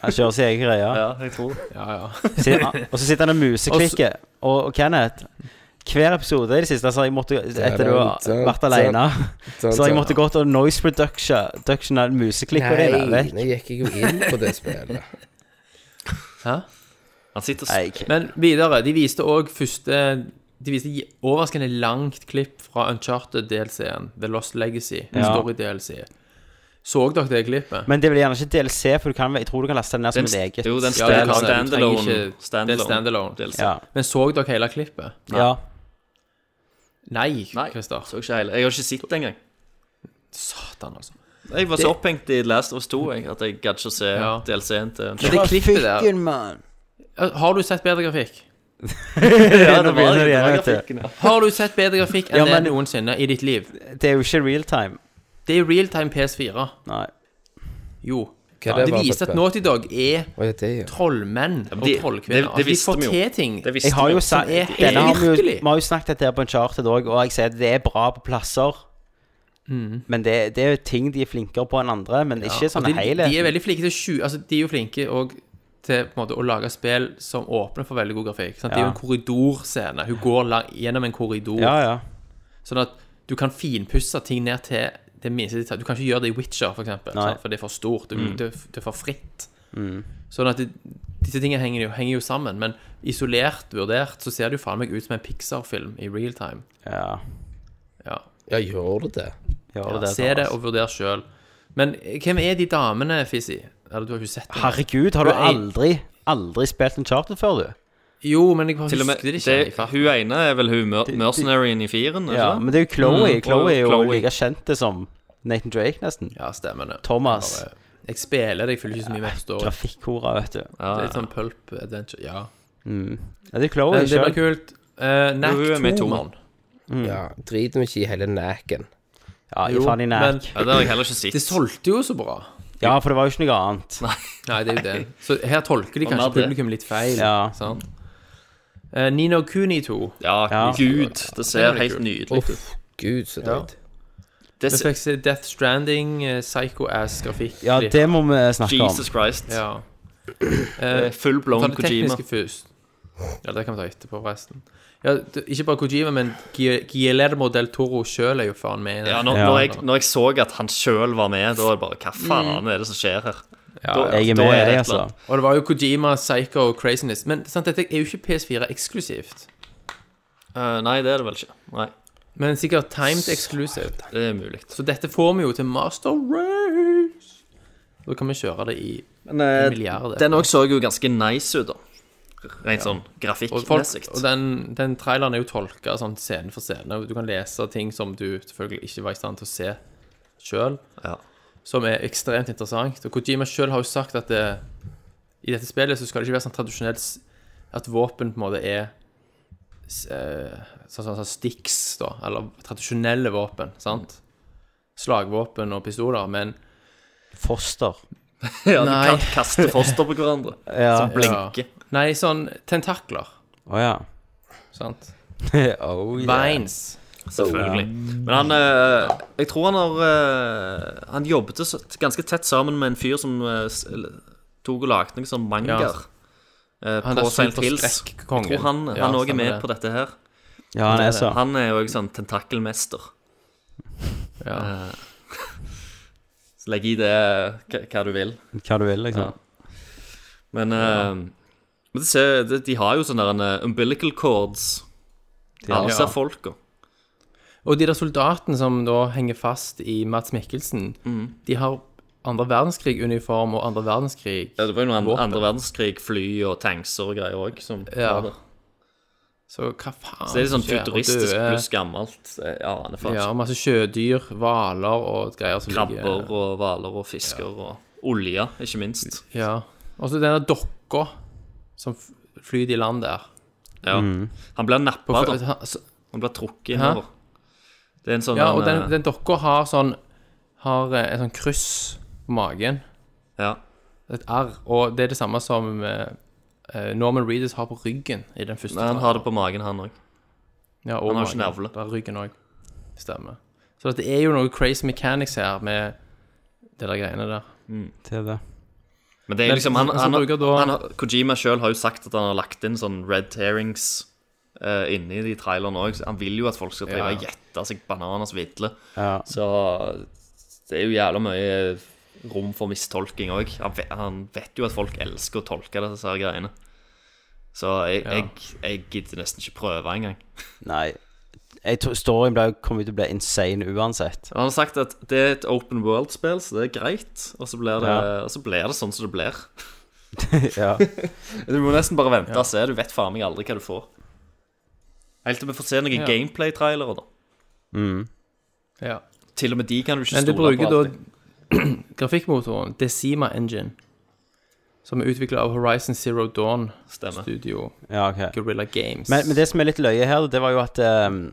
Speaker 7: Han kjører sin egen greie.
Speaker 3: *laughs* Ja, jeg tror det.
Speaker 2: Ja, ja.
Speaker 7: Sitter- Og så sitter han og museklikker. Og, og Kenneth Hver episode i det siste Så har jeg måtte, etter du har vært alene, så har jeg måtte gått og noise production production av museklikker
Speaker 1: Nei,
Speaker 7: dine. vekk.
Speaker 1: nå gikk jeg jo inn på det
Speaker 2: *laughs*
Speaker 1: spillet.
Speaker 2: Hæ?
Speaker 3: Han sitter
Speaker 7: Nei,
Speaker 3: og
Speaker 7: ikke-
Speaker 2: Men videre, de viste òg første De viste i- overraskende langt klipp fra Uncharted-DLC-en. The Lost Legacy.
Speaker 7: Ja.
Speaker 2: Story-DLC. Så dere det klippet?
Speaker 7: Men det blir gjerne ikke DLC, for du kan, jeg tror du kan laste den ned som
Speaker 3: den,
Speaker 7: et eget.
Speaker 3: Jo, den
Speaker 2: Ja, det kan det. Du
Speaker 3: stand,
Speaker 2: trenger
Speaker 3: standalone.
Speaker 2: ikke- det er standalone.
Speaker 3: DLC.
Speaker 7: ja.
Speaker 2: Men så dere hele klippet?
Speaker 7: ja.
Speaker 2: Nei,
Speaker 3: Nei,
Speaker 2: Christer.
Speaker 3: så ikke hele. Jeg har ikke sett det engang.
Speaker 2: Satan, altså.
Speaker 3: Jeg var så opphengt i Last of Us 2 jeg, at jeg gadd ikke å se
Speaker 2: Ja.
Speaker 3: DLC-en *laughs* til
Speaker 2: Men det klippet der
Speaker 7: mann.
Speaker 2: Har du sett bedre grafikk?
Speaker 7: Ja, nå begynner det igjen, vet du.
Speaker 3: grafikken, ja.
Speaker 2: Har du sett bedre grafikk enn
Speaker 7: Ja, men-
Speaker 2: det noensinne i ditt liv?
Speaker 7: Det er jo ikke real time.
Speaker 2: Det er realtime PS4.
Speaker 7: Nei.
Speaker 2: Jo.
Speaker 1: Hva
Speaker 2: Det
Speaker 1: var for
Speaker 2: viser
Speaker 1: spill?
Speaker 2: at Naughty Dog er
Speaker 1: Å, ja, det, ja.
Speaker 2: trollmenn og
Speaker 3: men de- det- det
Speaker 2: trollkvinner. Altså, de
Speaker 3: visste
Speaker 2: får
Speaker 3: vi jo.
Speaker 2: til ting.
Speaker 3: Det visste
Speaker 7: Jeg har
Speaker 3: vi
Speaker 7: jo sagt
Speaker 2: er
Speaker 7: denne har vi, jo,
Speaker 2: virkelig.
Speaker 7: vi har jo snakket dette her på en charted òg, og jeg sier at det er bra på plasser. Men det, det er jo ting de er flinkere på enn andre, men ikke sånn
Speaker 2: Mm. Og Altså, de,
Speaker 7: hele.
Speaker 2: De er veldig flinke til å skju- altså, De er jo flinke og, til på en måte, å lage spill som åpner for veldig god grafikk. Sant? Det er jo en
Speaker 7: Ja.
Speaker 2: korridorscene. Hun går lang, gjennom en korridor.
Speaker 7: Ja, ja.
Speaker 2: Sånn at du kan finpusse ting ned til det minste detalj. Du kan ikke gjøre det i Witcher, for eksempel.
Speaker 7: Nei.
Speaker 2: Sant? For det er for stort. Det,
Speaker 3: Mm.
Speaker 2: det, det er for fritt. Sånn at det, disse tingene henger jo, henger jo sammen. Men isolert vurdert så ser det jo faen meg ut som en Pixar-film i real time.
Speaker 7: ja.
Speaker 2: Ja.
Speaker 1: ja, gjør det det?
Speaker 7: Gjør
Speaker 2: Ja,
Speaker 7: det, altså.
Speaker 2: Se det og vurder sjøl. Men eh, hvem er de damene, Fizzy? Eller du har ikke sett dem?
Speaker 7: Herregud, har du
Speaker 2: Hun er-
Speaker 7: aldri, aldri spilt en charter før, du?
Speaker 2: Jo, men jeg bare
Speaker 3: Til
Speaker 2: husker
Speaker 3: og med,
Speaker 2: det ikke.
Speaker 3: det,
Speaker 2: i farten.
Speaker 3: hun ene er vel hun mer- mercenaryen i firen?
Speaker 7: Ja, men det er jo Chloe.
Speaker 3: Mm, og
Speaker 7: Chloe er jo
Speaker 3: Chloe.
Speaker 7: like kjent som Nathan Drake, nesten.
Speaker 2: Ja, stemmer det.
Speaker 7: Thomas.
Speaker 2: Bare- Jeg spiller det, jeg følger ikke så mye med på story.
Speaker 7: Grafikkhora, vet du.
Speaker 3: ja,
Speaker 2: Det er litt
Speaker 3: ja.
Speaker 2: sånn pulp adventure. Ja.
Speaker 7: Ja, det er Chloe
Speaker 2: Men det blir
Speaker 7: selv.
Speaker 2: kult. Uh, Nack
Speaker 3: Jo, hun er med i
Speaker 2: 2,
Speaker 3: toeren.
Speaker 2: mann. Mm.
Speaker 1: Ja, Driter vi ikke i hele næken?
Speaker 7: Ja, i
Speaker 2: Jo,
Speaker 7: faen i
Speaker 2: men
Speaker 7: nærk.
Speaker 3: Ja, det har jeg heller ikke
Speaker 2: det
Speaker 3: sett.
Speaker 2: solgte jo så bra.
Speaker 7: Ja, for det var jo ikke noe annet.
Speaker 2: Nei, det er jo det. Så her tolker de
Speaker 3: Og mer
Speaker 2: kanskje
Speaker 3: det.
Speaker 2: publikum litt feil.
Speaker 7: Ja.
Speaker 2: Sant? Eh, Nino Kuni 2.
Speaker 3: Ja,
Speaker 7: Ja.
Speaker 3: gud, det
Speaker 2: Det
Speaker 3: ser
Speaker 2: er kult.
Speaker 3: helt nydelig
Speaker 1: Uff,
Speaker 3: ut.
Speaker 1: gud, så
Speaker 2: Ja.
Speaker 1: dritt.
Speaker 3: Det
Speaker 2: Vi
Speaker 3: ser,
Speaker 2: fikk se Death Stranding, eh, Psycho Ass-grafikk.
Speaker 7: Ja, det må vi snakke om.
Speaker 3: Jesus Christ.
Speaker 2: Ja.
Speaker 3: Eh, Full
Speaker 2: Ta
Speaker 3: blown
Speaker 2: det
Speaker 3: Kojima.
Speaker 2: tekniske først. Ja, det kan vi ta etterpå, forresten. Ja, det, ikke bare Kojima, men Gie- Guillermo del Toro sjøl er jo faen med i det.
Speaker 3: Ja, når, når, jeg, når jeg så at han sjøl var med, da er det bare Hva faen er det som skjer her? Da-
Speaker 7: Jeg er
Speaker 3: da
Speaker 7: med
Speaker 3: det
Speaker 7: deg,
Speaker 3: et eller
Speaker 7: altså.
Speaker 3: annet.
Speaker 2: Og det var jo Kojima, Psycho og Craziness. Men sant, dette er jo ikke PS4 eksklusivt.
Speaker 3: Eh, nei, det er det vel ikke. Nei,
Speaker 2: Men sikkert timed eksklusivt.
Speaker 3: det er mulig.
Speaker 2: Så dette får vi jo til Master Race. Da kan vi kjøre det i
Speaker 3: Men eh,
Speaker 2: milliarder.
Speaker 3: den òg så jo ganske nice ut, da. Rent sånn
Speaker 2: Og, folk,
Speaker 3: grafikkmessig.
Speaker 2: og den, den traileren er jo tolka sånn scene for scene. og Du kan lese ting som du selvfølgelig ikke var i stand til å se sjøl,
Speaker 3: Ja.
Speaker 2: som er ekstremt interessant. Og Kojima sjøl har jo sagt at det, i dette spillet så skal det ikke være sånn tradisjonelt s- at våpen på en måte er s- eh, sånn, sånn, sånn sticks, da, eller tradisjonelle våpen, sant? Slagvåpen og pistoler, men
Speaker 7: Foster.
Speaker 3: Ja, du
Speaker 2: Nei.
Speaker 3: kan kaste foster på hverandre som blinker.
Speaker 2: Nei, sånn tentakler,
Speaker 7: Å ja.
Speaker 2: sant?
Speaker 7: *laughs* oh, yeah.
Speaker 2: Vines.
Speaker 3: Selvfølgelig. Men han eh, Jeg tror han har eh, Han jobbet så- ganske tett sammen med en fyr som eh, s- eller, tok og lagde noen sånne mangaer. eh,
Speaker 2: Han
Speaker 3: på
Speaker 2: der
Speaker 3: St. Hills. Jeg
Speaker 2: superskrekk-kongen.
Speaker 3: tror han
Speaker 2: Ja,
Speaker 3: òg er
Speaker 2: stemmer
Speaker 3: med
Speaker 2: det.
Speaker 3: på dette her.
Speaker 7: Ja, han er så.
Speaker 3: Han er jo også sånn tentakelmester.
Speaker 2: Ja.
Speaker 3: Så legg i det hva, hva du vil.
Speaker 7: Hva du vil, liksom.
Speaker 3: Men eh, men det ser, det, de har jo sånne der, eh, umbilical cords. Alle
Speaker 2: Ja.
Speaker 3: ser folka.
Speaker 2: Og de der soldatene som da henger fast i Mads Mikkelsen,
Speaker 3: Mm.
Speaker 2: de har andre verdenskrig-uniform og andre verdenskrig.
Speaker 3: Ja, det var jo noe andre,
Speaker 2: Våpen.
Speaker 3: andre verdenskrig, fly og tankser og greier òg som
Speaker 2: Ja.
Speaker 3: var der.
Speaker 2: Så hva faen?
Speaker 3: Så det er litt sånn
Speaker 2: skjer? Og
Speaker 3: futuristisk
Speaker 2: døde-
Speaker 3: pluss gammelt. Jeg aner faen
Speaker 2: Ja,
Speaker 3: ikke.
Speaker 2: og masse sjødyr, hvaler og greier som
Speaker 3: Krabber og hvaler og fisker og olje, ikke minst.
Speaker 2: Ja. Og så denne dokka som f- flyter i land der.
Speaker 3: Ja.
Speaker 7: Mm.
Speaker 3: Han blir
Speaker 2: På
Speaker 3: nappa,
Speaker 2: fø-
Speaker 3: da.
Speaker 2: han- så-
Speaker 3: Han blir trukket innover. Det er en sånn
Speaker 2: ja, og
Speaker 3: en,
Speaker 2: den,
Speaker 3: eh,
Speaker 2: den dokka har sånn Har eh, et sånn kryss på magen.
Speaker 3: ja.
Speaker 2: Et R. Og det er det samme som eh, eh, Norman Reedus har på ryggen i den første.
Speaker 3: Nei, Han har det på magen, han òg.
Speaker 2: Ja, og
Speaker 3: Han har ikke
Speaker 2: magen.
Speaker 3: navle.
Speaker 2: Det er ryggen òg. Stemmer. Så det er jo noe crazy mechanics her med det der greiene der.
Speaker 7: Det er det.
Speaker 3: Men det er
Speaker 2: Men
Speaker 3: liksom han,
Speaker 2: så- så
Speaker 3: han,
Speaker 2: bruker da-
Speaker 3: han, har- Kojima sjøl har jo sagt at han har lagt inn sånn red tearings eh, inni de trailerne òg. Han vil jo at folk skal drive
Speaker 2: Ja.
Speaker 3: og gjette seg bananers vidle.
Speaker 7: Ja.
Speaker 3: Så det er jo jævla mye rom for mistolking òg. Han, ve- han vet jo at folk elsker å tolke disse her greiene. Så jeg, jeg, jeg gidder nesten ikke prøve engang.
Speaker 7: Nei. Jeg tror storyen ble, kommer til å bli insane
Speaker 3: *laughs*
Speaker 7: uansett.
Speaker 3: Han har sagt at det er et open world-spill, så det er greit. Og så blir det, og så blir det sånn som det blir.
Speaker 7: ja.
Speaker 3: Du må nesten bare vente og se. Du vet faen meg aldri hva du får. Helt til vi får se noen gameplay-trailere, da.
Speaker 7: Mm.
Speaker 2: Ja.
Speaker 3: Til og med de kan du ikke
Speaker 2: Men de
Speaker 3: stole
Speaker 2: bruker
Speaker 3: på.
Speaker 2: da *clears throat*
Speaker 3: alltid.
Speaker 2: grafikkmotoren Decima Engine, som er utvikla av Horizon Zero Dawn
Speaker 3: Stemmer.
Speaker 2: Studio
Speaker 7: ja, ok.
Speaker 2: Guerrilla Games.
Speaker 7: Men, men det som er litt løye her, det var jo at ehm,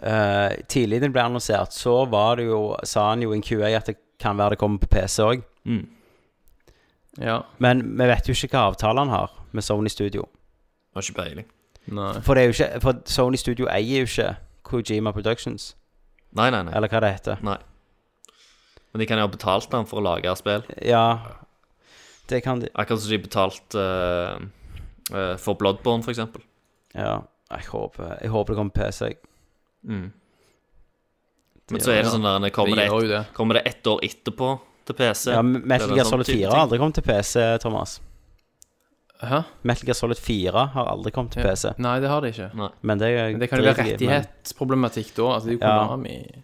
Speaker 7: eh, Tidlig den ble annonsert, så var det jo, sa han jo i en QA at det kan være det kommer på PC òg.
Speaker 3: Mm.
Speaker 2: ja.
Speaker 7: Men vi vet jo ikke hva avtale han har med Sony Studio.
Speaker 3: Har ikke peiling.
Speaker 2: Nei.
Speaker 7: For, det er jo ikke, for Sony Studio eier jo ikke Kojima Productions,
Speaker 3: Nei, nei, nei.
Speaker 7: eller hva det heter.
Speaker 3: nei. Men de kan jo ha betalt ham for å lage spill.
Speaker 7: Ja, det kan de.
Speaker 3: Akkurat som de betalte eh, eh, for Bloodborne, for eksempel.
Speaker 7: Ja, jeg håper, jeg håper det kommer på PC.
Speaker 2: Mm.
Speaker 3: Men så er det sånn der, når kommer
Speaker 2: Det
Speaker 3: det,
Speaker 2: gjør jo det.
Speaker 3: et, kommer det ett år etterpå til PC?
Speaker 7: Ja,
Speaker 3: Det er
Speaker 7: Metal
Speaker 3: en
Speaker 7: Gear
Speaker 3: sånn
Speaker 7: Solid
Speaker 3: type
Speaker 7: 4
Speaker 3: ting.
Speaker 7: har aldri kommet til PC, Thomas.
Speaker 2: Hæ?
Speaker 7: Metal Gear Solid 4 har aldri kommet til PC.
Speaker 2: Nei, det har de ikke.
Speaker 7: Men det, er-
Speaker 2: Men det kan jo være
Speaker 7: driter jeg i, men-
Speaker 2: rettighetsproblematikk da. Altså, det er jo
Speaker 7: Ja.
Speaker 2: Konami.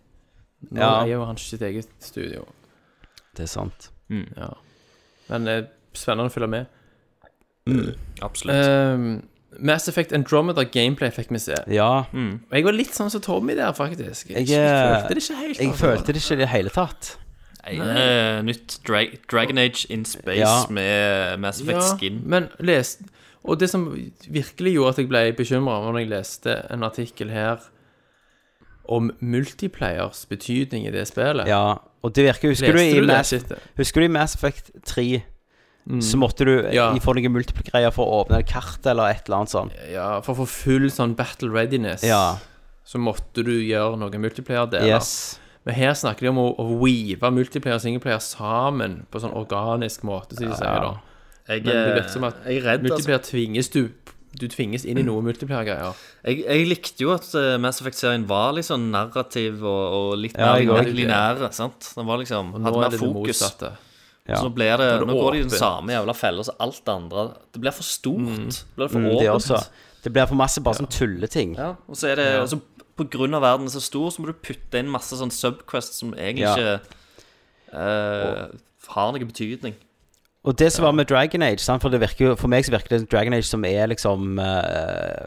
Speaker 2: Nå
Speaker 7: Ja.
Speaker 2: er jo han sitt eget studio.
Speaker 7: Det er sant.
Speaker 3: Mm.
Speaker 2: Ja. Men eh, spennende å følge med. Mm.
Speaker 3: Absolutt.
Speaker 2: Ehm, Mass Effect Andromeda gameplay fikk vi se.
Speaker 7: Ja,
Speaker 3: Mm.
Speaker 2: Og jeg var litt sånn som Tommy der, faktisk. Jeg,
Speaker 7: Jeg, eh,
Speaker 2: følte det ikke helt.
Speaker 7: jeg
Speaker 2: altså.
Speaker 7: følte det ikke i det hele tatt.
Speaker 3: Nei, det er nytt dra Dragon Age in Space
Speaker 7: Ja.
Speaker 3: med Mass Effect
Speaker 2: ja,
Speaker 3: Skin.
Speaker 2: Men les Og det som virkelig gjorde at jeg ble bekymra, var når jeg leste en artikkel her om multiplayers betydning i det spillet.
Speaker 7: Ja, og det virker Husker du
Speaker 2: Leste
Speaker 7: i
Speaker 2: du det Mm.
Speaker 7: Mass,
Speaker 2: shitet?
Speaker 7: husker du i Mass Effect 3?
Speaker 3: Mm.
Speaker 7: Så måtte du
Speaker 2: Ja.
Speaker 7: ja. få noen multiple-greier for å åpne et kart eller et eller annet sånt.
Speaker 2: Ja, for å få full sånn battle readiness,
Speaker 7: Ja.
Speaker 2: så måtte du gjøre noen multiplayer-deler.
Speaker 7: Yes.
Speaker 2: Men her snakker de om å, å weave multiplayer og singleplayer sammen på sånn organisk måte, som de sier da.
Speaker 3: Jeg,
Speaker 2: Men det
Speaker 3: eh,
Speaker 2: virker som at
Speaker 3: jeg er redd, altså.
Speaker 2: Multiplier tvinges du Du tvinges
Speaker 7: Mm.
Speaker 2: inn i noe multiplier-greier.
Speaker 3: altså. Jeg, jeg likte jo at eh, Mass Effect-serien var litt sånn narrativ og, og litt
Speaker 7: Ja,
Speaker 3: mer
Speaker 7: jeg
Speaker 3: ja,
Speaker 7: også.
Speaker 3: linære. sant? Den var liksom,
Speaker 2: Nå
Speaker 3: hadde
Speaker 2: er
Speaker 3: mer
Speaker 2: det det
Speaker 3: fokus.
Speaker 2: motsatte.
Speaker 7: Ja.
Speaker 3: Så blir det,
Speaker 2: det
Speaker 3: nå går de i den
Speaker 2: åpent.
Speaker 3: samme jævla fella som alt det andre. Det blir for stort. Det blir for
Speaker 7: Mm, det
Speaker 3: åpent.
Speaker 7: også. Det blir for masse bare sånn tulleting.
Speaker 3: Ja, og så er det altså, På grunn av verden er så stor, så må du putte inn masse sånn subquests som egentlig
Speaker 7: Ja.
Speaker 3: ikke eh, har noen betydning.
Speaker 7: Og det som var med Dragon Age sant? For, det virker jo, for meg så virker det Dragon Age som er liksom eh,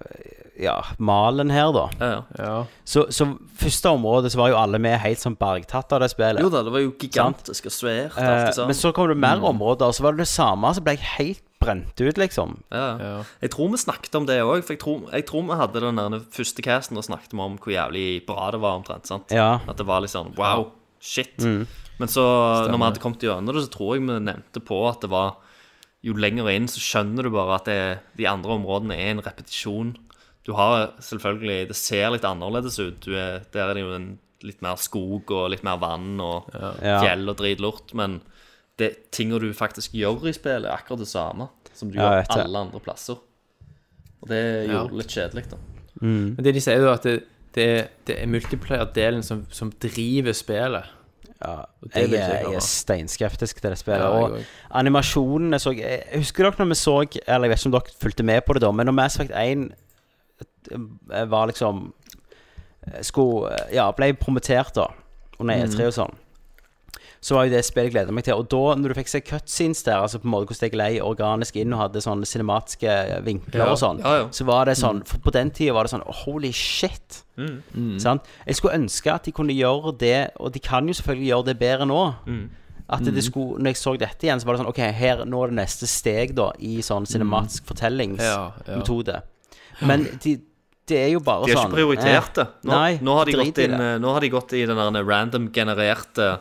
Speaker 7: Ja, malen her, da.
Speaker 3: Ja, ja.
Speaker 2: Ja.
Speaker 7: Så, så første området så var jo alle med helt sånn bergtatt av det spillet.
Speaker 3: Jo da, det var jo gigantisk og svært. Alt det
Speaker 7: Eh,
Speaker 3: samme.
Speaker 7: men så kom det mer områder, og så var det det samme, så ble jeg helt brent ut, liksom.
Speaker 3: ja. ja. Jeg tror vi snakket om det òg, for jeg tror, jeg tror vi hadde den der første casten og snakket vi om hvor jævlig bra det var, omtrent. sant?
Speaker 7: Ja. Mm.
Speaker 3: At det var litt sånn wow, shit. Men så, når vi hadde kommet gjennom det, så tror jeg vi nevnte på at det var Jo lenger inn, så skjønner du bare at det, de andre områdene er en repetisjon. Du har selvfølgelig Det ser litt annerledes ut. Du er, der er det jo en, litt mer skog og litt mer vann og
Speaker 7: Ja.
Speaker 3: fjell og dritlort. Men det tinga du faktisk gjør i spillet, er akkurat det samme som du
Speaker 7: Ja, jeg
Speaker 3: gjør
Speaker 7: vet det.
Speaker 3: alle andre plasser. Og det
Speaker 2: Ja.
Speaker 3: gjorde det litt kjedelig, da.
Speaker 7: Mm.
Speaker 2: Men det de sier, er jo at det, det, er- det er multiplier-delen som, som driver spillet. det
Speaker 7: Jeg,
Speaker 2: vil jeg
Speaker 7: er- jeg
Speaker 2: glemme.
Speaker 7: er steinskeptisk til det spillet.
Speaker 2: Ja, jeg
Speaker 7: og
Speaker 2: også.
Speaker 7: animasjonene så jeg Husker dere når vi så Eller jeg vet ikke om dere fulgte med på det, da, men når Mass Effect 1 eh, var liksom eh, Skulle Ja, ble promotert, da, under
Speaker 3: Mm.
Speaker 7: E3 og sånn. Så var jo det spillet jeg gleda meg til. Og da, når du fikk se cutscenes der, altså på en måte hvordan det glei organisk inn og hadde sånne cinematiske vinkler
Speaker 2: Ja.
Speaker 7: og sånn,
Speaker 3: Ja, Mm. ja.
Speaker 7: så var det sånn For på den tida var det sånn Holy shit!
Speaker 3: Mm.
Speaker 7: Sant? Jeg skulle ønske at de kunne gjøre det, og de kan jo selvfølgelig gjøre det bedre nå.
Speaker 3: Mm.
Speaker 7: At det skulle, når jeg så dette igjen, så var det sånn Ok, her, nå er det neste steg da i sånn cinematisk
Speaker 2: Ja, ja.
Speaker 7: fortellingsmetode. Men de, det er jo bare
Speaker 3: De har
Speaker 7: sånn
Speaker 3: ikke prioritert det. Nå,
Speaker 7: nei,
Speaker 3: nå, har, de
Speaker 7: drit
Speaker 3: gått
Speaker 7: i
Speaker 3: inn, eh,
Speaker 7: det.
Speaker 3: nå har de gått i den der eh, random genererte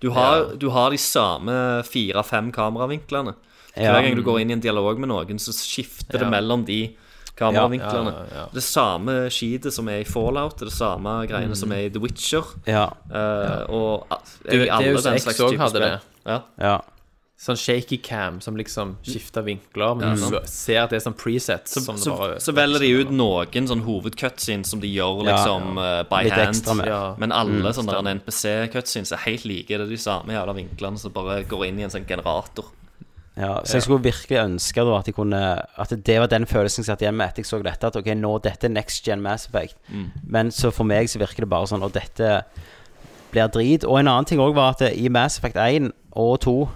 Speaker 3: du har, du har de samme fire-fem kameravinklene. Hver
Speaker 7: Ja.
Speaker 3: gang du går inn i en dialog med noen, så skifter det mellom de kameravinklene.
Speaker 2: Ja, ja, ja, ja.
Speaker 3: Det samme skitet som er i Fallout, det samme greiene
Speaker 7: Mm.
Speaker 3: som er i The Witcher.
Speaker 7: Ja,
Speaker 3: eh, Og a-
Speaker 2: Du,
Speaker 3: i
Speaker 2: det er
Speaker 3: alle
Speaker 2: jo så
Speaker 3: den
Speaker 2: X
Speaker 3: slags
Speaker 2: også
Speaker 3: type
Speaker 2: hadde
Speaker 3: spill.
Speaker 2: det.
Speaker 3: Ja.
Speaker 7: ja.
Speaker 2: Sånn shaky cam som liksom skifter vinkler, men du ser at det er sånn presets
Speaker 3: Så,
Speaker 2: som det
Speaker 3: så,
Speaker 2: bare
Speaker 3: så velger de ut noen sånn hovedcutscenes som de gjør
Speaker 7: Ja,
Speaker 3: liksom eh, by
Speaker 7: Litt
Speaker 3: hand.
Speaker 7: ekstra med. Mm.
Speaker 2: Ja.
Speaker 3: Men alle sånne NPC-cutscenes er helt like. Det er de samme jævla vinklene som bare går inn i en sånn generator.
Speaker 7: ja. Så jeg skulle virkelig ønske da at de kunne At det var den følelsen jeg satt igjen med etter jeg så dette. At ok, nå dette er next gen Mass Effect. Men så for meg så virker det bare sånn Og dette blir drit. Og en annen ting òg var at i Mass Effect 1 og 2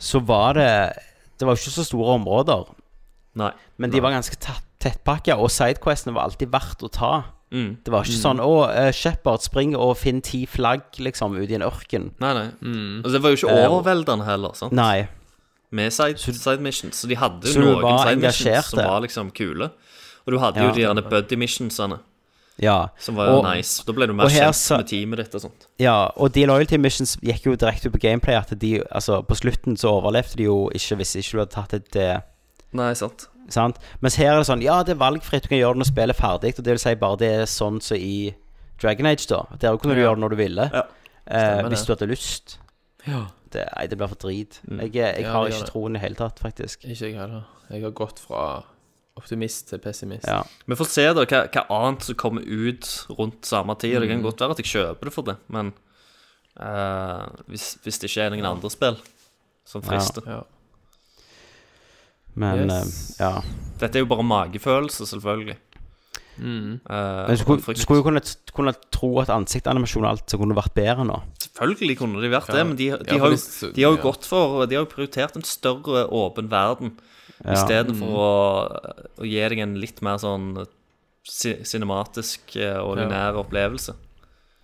Speaker 7: så var det Det var jo ikke så store områder.
Speaker 3: Nei.
Speaker 7: Men de var ganske tett- tettpakka, og sidequestene var alltid verdt å ta.
Speaker 3: Mm.
Speaker 7: Det var ikke sånn 'Å, eh, Shepherd, spring og finn ti flagg', liksom, ute i en ørken.
Speaker 3: Nei, nei. Altså, det var jo ikke overveldende heller, sant?
Speaker 7: Eh, Nei.
Speaker 3: Med side, side missions. Så de hadde
Speaker 7: Så
Speaker 3: jo
Speaker 7: du
Speaker 3: noen
Speaker 7: var
Speaker 3: side
Speaker 7: engasjert,
Speaker 3: missions som
Speaker 7: ja.
Speaker 3: var liksom kule. Og du hadde
Speaker 7: Ja.
Speaker 3: jo de der buddy missionsene,
Speaker 7: Ja.
Speaker 3: som var jo
Speaker 7: Og-
Speaker 3: nice. Da ble du
Speaker 7: og
Speaker 3: mer
Speaker 7: her
Speaker 3: kjent
Speaker 7: sa-
Speaker 3: med teamet ditt og sånt.
Speaker 7: Ja, og de loyalty missions gikk jo direkte ut på gameplay. At de, altså, på slutten så overlevde de jo ikke hvis ikke du hadde tatt et eh,
Speaker 3: Nei, sant.
Speaker 7: Sant? Mens her er det sånn Ja, det er valgfritt, du kan gjøre det når spillet er ferdig. Og det vil si bare det er sånn som i Dragon Age, da. Der kunne du gjøre det når du ville. eh,
Speaker 2: Stemmer det.
Speaker 7: hvis
Speaker 2: Mm.
Speaker 7: du hadde lyst.
Speaker 2: Ja.
Speaker 7: Det, nei, det blir for drit. Jeg, eh, jeg
Speaker 2: Ja,
Speaker 7: har
Speaker 2: det gjør
Speaker 7: ikke
Speaker 2: det.
Speaker 7: troen i det hele tatt, faktisk.
Speaker 2: Ikke jeg heller. Jeg har gått fra optimist til pessimist.
Speaker 7: Ja.
Speaker 3: Vi får se da hva, hva annet som kommer ut rundt samme tid. Det kan
Speaker 2: Mm.
Speaker 3: godt være at jeg kjøper det for det, men eh, hvis, hvis det ikke er noen andre spill som frister.
Speaker 2: Ja.
Speaker 7: Men
Speaker 2: Yes.
Speaker 7: eh, ja.
Speaker 3: Dette er jo bare magefølelse, selvfølgelig. Eh,
Speaker 7: Men
Speaker 3: og
Speaker 7: skulle,
Speaker 3: frykt.
Speaker 7: skulle jo kunne, kunne tro at ansiktanimasjon og alt så kunne vært bedre nå.
Speaker 3: Selvfølgelig kunne de vært det, men de, de,
Speaker 2: Ja,
Speaker 3: har, jo,
Speaker 2: for det-
Speaker 3: de har jo
Speaker 2: ja.
Speaker 3: gått for De har jo prioritert en større åpen verden
Speaker 2: Mm.
Speaker 3: istedenfor å, å gi deg en litt mer sånn ci- cinematisk eh, og
Speaker 2: Ja.
Speaker 3: linær opplevelse.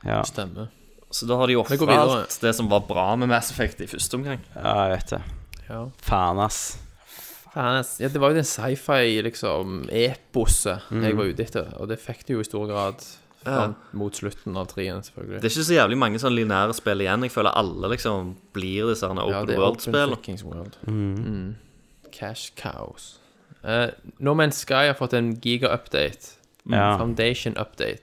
Speaker 7: Ja,
Speaker 2: Stemmer.
Speaker 3: Så da har de
Speaker 2: Vi går
Speaker 3: ofra
Speaker 2: videre.
Speaker 3: alt det som var bra med Mass Effect i første omgang.
Speaker 7: ja jeg vet det.
Speaker 2: Ja.
Speaker 7: Faen, ass.
Speaker 2: Faen, ass. ja, det var jo den sci-fi, liksom, eposet
Speaker 3: Mm.
Speaker 2: jeg var ute etter, og det fikk det jo i stor grad fram mot slutten av trien, selvfølgelig.
Speaker 3: Det er ikke så jævlig mange sånn linære spill igjen. Jeg føler alle liksom blir disse her
Speaker 2: Ja,
Speaker 3: Open
Speaker 2: det er
Speaker 3: World-spill.
Speaker 2: Open fuckings world. Mm. Cash cows. Eh, No Man's Sky har fått en giga-update.
Speaker 7: Ja.
Speaker 2: Foundation-update.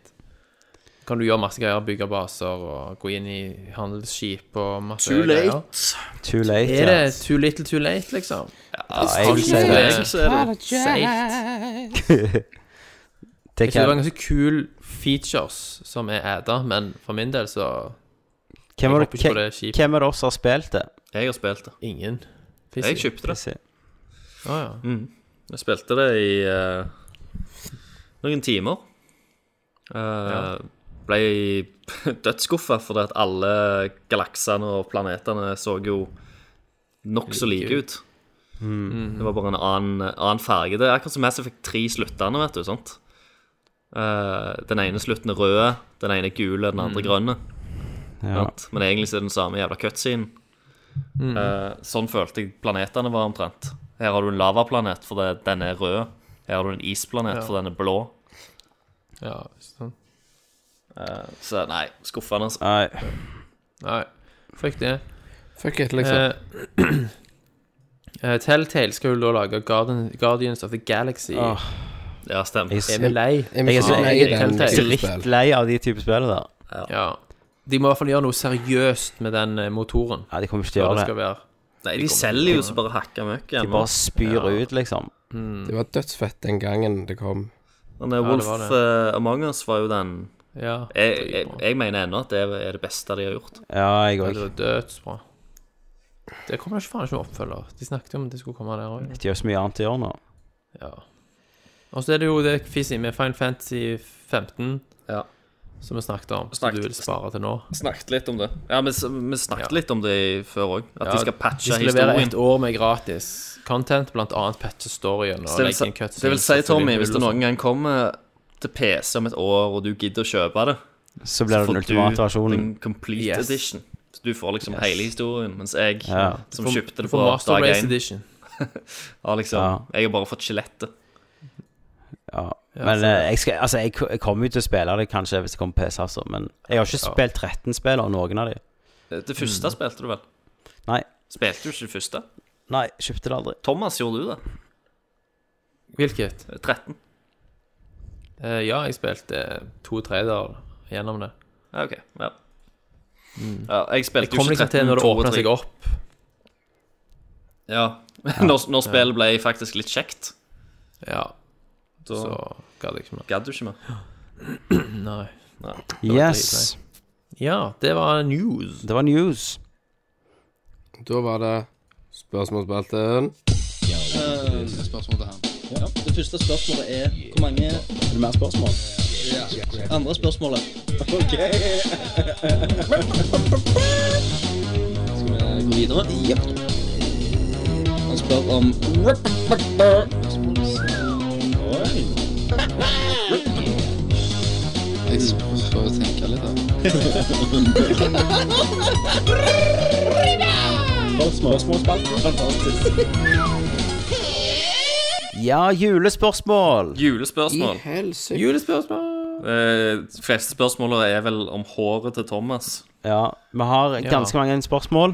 Speaker 2: Kan du gjøre masse greier, bygge baser og gå inn i handelsskip og masse greier.
Speaker 7: Too late.
Speaker 2: Er det
Speaker 7: ja.
Speaker 2: too little too late, liksom?
Speaker 7: jeg vil si det.
Speaker 3: Jeg, så er det safe.
Speaker 8: Apologize.
Speaker 7: *laughs* Det
Speaker 2: Jeg synes det var
Speaker 7: kan,
Speaker 2: ganske kule features som er adda, men for min del så
Speaker 7: hvem, var
Speaker 2: jeg
Speaker 7: det,
Speaker 2: håper ikke på det
Speaker 7: hvem,
Speaker 2: skip.
Speaker 7: hvem er det også har spilt det?
Speaker 3: jeg har spilt det.
Speaker 2: ingen.
Speaker 3: Jeg kjøpte det.
Speaker 7: Se.
Speaker 2: Ah, ja.
Speaker 3: Mm. Jeg spilte det i eh, noen timer. Eh, Ble *laughs* dødsskuffa fordi at alle galaksene og planetene så jo nokså like ut. Mm. Det var bare en annen, annen farge. Det er akkurat som Mass Effect 3 sluttende, vet du. sant? Eh, den ene slutten er rød, den ene er gul, den andre grønne.
Speaker 7: Ja.
Speaker 3: Sant? Men egentlig så er det den samme jævla cutscenen.
Speaker 2: Mm.
Speaker 3: Eh, sånn følte jeg planetene var omtrent. Her har du en lavaplanet, for det, den er rød. Her har du en isplanet, for den er blå.
Speaker 2: ja sånn.
Speaker 3: Så nei, skuffende. Altså.
Speaker 7: Nei.
Speaker 2: Nei, fuck det.
Speaker 1: Fuck it, liksom.
Speaker 2: Eh, *clears throat* eh, Telltale skal jo da lage Guardian, Guardians of the Galaxy.
Speaker 7: Åh,
Speaker 3: Ah. Ja, stemmer.
Speaker 7: jeg
Speaker 2: er
Speaker 7: er
Speaker 2: vi lei?
Speaker 1: jeg er
Speaker 7: så-
Speaker 1: så lei
Speaker 2: jeg-
Speaker 1: den
Speaker 2: jeg-
Speaker 1: type spill.
Speaker 7: drittlei av de type spill der.
Speaker 2: Ja. De må i hvert fall gjøre noe seriøst med den eh, motoren.
Speaker 7: Nei, de kommer ikke til å
Speaker 2: Hva det
Speaker 7: gjøre det.
Speaker 2: skal være.
Speaker 3: Nei, de selger jo så bare hakka møkk
Speaker 7: De
Speaker 3: igjen. nå.
Speaker 7: bare spyr ut, liksom.
Speaker 2: Mm.
Speaker 1: Det var dødsfett den gangen det kom.
Speaker 3: Men eh,
Speaker 2: Ja, det
Speaker 3: Wolf
Speaker 2: var det.
Speaker 3: eh, Among Us var jo den
Speaker 2: Ja.
Speaker 3: Jeg, jeg, jeg mener ennå at det er det beste de har gjort.
Speaker 7: Ja, jeg
Speaker 2: Det
Speaker 7: òg.
Speaker 2: var dødsbra. Det kommer da ikke faen ikke med oppfølger. De snakket jo om at det skulle komme der òg.
Speaker 7: De gjør så mye annet å gjøre nå.
Speaker 2: Ja. Og så er det jo det fissig med Final Fantasy 15,
Speaker 3: Ja.
Speaker 2: som vi snakket om, som
Speaker 3: Snakket.
Speaker 2: du vil spare til nå.
Speaker 3: Snakket litt om det. Ja, Vi, s- vi snakket litt om det i- før òg. At
Speaker 2: Ja,
Speaker 3: de skal patche
Speaker 2: De skal levere
Speaker 3: historien.
Speaker 2: et år med gratis content, blant annet patche storyen og
Speaker 3: Så det,
Speaker 2: legge
Speaker 3: vil
Speaker 2: inn
Speaker 3: si,
Speaker 2: cutscenes.
Speaker 3: det vil si,
Speaker 2: og fylle
Speaker 3: Tommy,
Speaker 2: inn
Speaker 3: hvis
Speaker 2: hull
Speaker 3: det
Speaker 2: og
Speaker 3: noen gang kommer til PC om et år, og du gidder å kjøpe det,
Speaker 7: Så blir det den ultimate versjonen.
Speaker 3: den complete
Speaker 2: Yes.
Speaker 3: edition. Så du får liksom hele historien, mens jeg,
Speaker 7: Ja.
Speaker 3: som
Speaker 2: sånt.
Speaker 3: kjøpte det
Speaker 2: Du får
Speaker 3: på
Speaker 2: sånn. Master
Speaker 3: dag
Speaker 2: Race
Speaker 3: én,
Speaker 2: Edition.
Speaker 3: har liksom
Speaker 7: Ja.
Speaker 3: Jeg har bare fått skjelettet.
Speaker 7: Ja. Men eh, jeg, skal, altså, jeg, jeg kommer jo til å spille det kanskje hvis det kommer på PC, altså. Men jeg har ikke spilt 13 spill av noen av de.
Speaker 3: Det første spilte du vel?
Speaker 7: Mm. Nei.
Speaker 3: Spilte du ikke det første?
Speaker 7: Nei, kjøpte det aldri.
Speaker 3: Thomas, gjorde du det?
Speaker 2: Hvilket?
Speaker 3: 13?
Speaker 2: Eh, ja, jeg spilte eh, to tredjedeler gjennom det.
Speaker 3: Ja, OK. Ja.
Speaker 7: Mm.
Speaker 3: ja
Speaker 2: Jeg
Speaker 3: jeg spilte jo
Speaker 2: kom
Speaker 3: ikke
Speaker 2: liksom til
Speaker 3: 13,
Speaker 2: når det
Speaker 3: 2 og
Speaker 2: åpna
Speaker 3: 3.
Speaker 2: seg opp.
Speaker 3: Ja. *laughs* når, når spillet ble faktisk litt kjekt,
Speaker 2: Ja,
Speaker 3: da
Speaker 2: så gadd jeg ikke mer.
Speaker 3: gadd du ikke mer.
Speaker 2: Nei.
Speaker 7: Yes.
Speaker 2: Ja, det var news.
Speaker 7: Det var news.
Speaker 1: Da var det spørsmålsspalten.
Speaker 7: Ja, julespørsmål.
Speaker 3: Julespørsmål.
Speaker 1: Helsike.
Speaker 2: Julespørsmål.
Speaker 3: *laughs* Eh, De fleste spørsmålene er vel om håret til Thomas.
Speaker 7: Ja, vi har ganske mange spørsmål.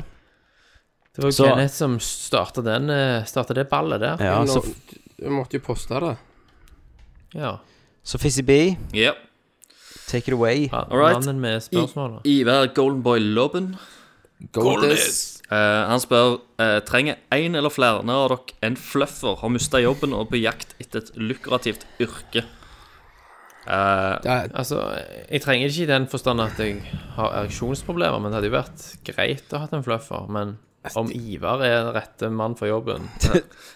Speaker 2: Det var
Speaker 7: Så-
Speaker 2: Kenneth som starta den eh, Starta det ballet der.
Speaker 7: Ja,
Speaker 1: Nå-
Speaker 7: så,
Speaker 1: Jeg måtte jo poste det.
Speaker 2: Ja.
Speaker 7: så Fizzy B,
Speaker 3: Yep.
Speaker 7: take it away.
Speaker 2: ja
Speaker 3: Alright.
Speaker 2: Mannen med spørsmålet.
Speaker 3: Ivar Goldenboy Lobben.
Speaker 1: Goldis.
Speaker 3: Eh, han spør eh, Trenger en eller flere av dere en fluffer, har mista jobben og er på jakt etter et lukrativt yrke. Eh,
Speaker 1: Det er-
Speaker 2: Altså, jeg trenger det ikke i den forstand at jeg har ereksjonsproblemer, men det hadde jo vært greit å ha hatt en fluffer. Men om Ivar er den rette mann for
Speaker 3: *laughs*
Speaker 2: jobben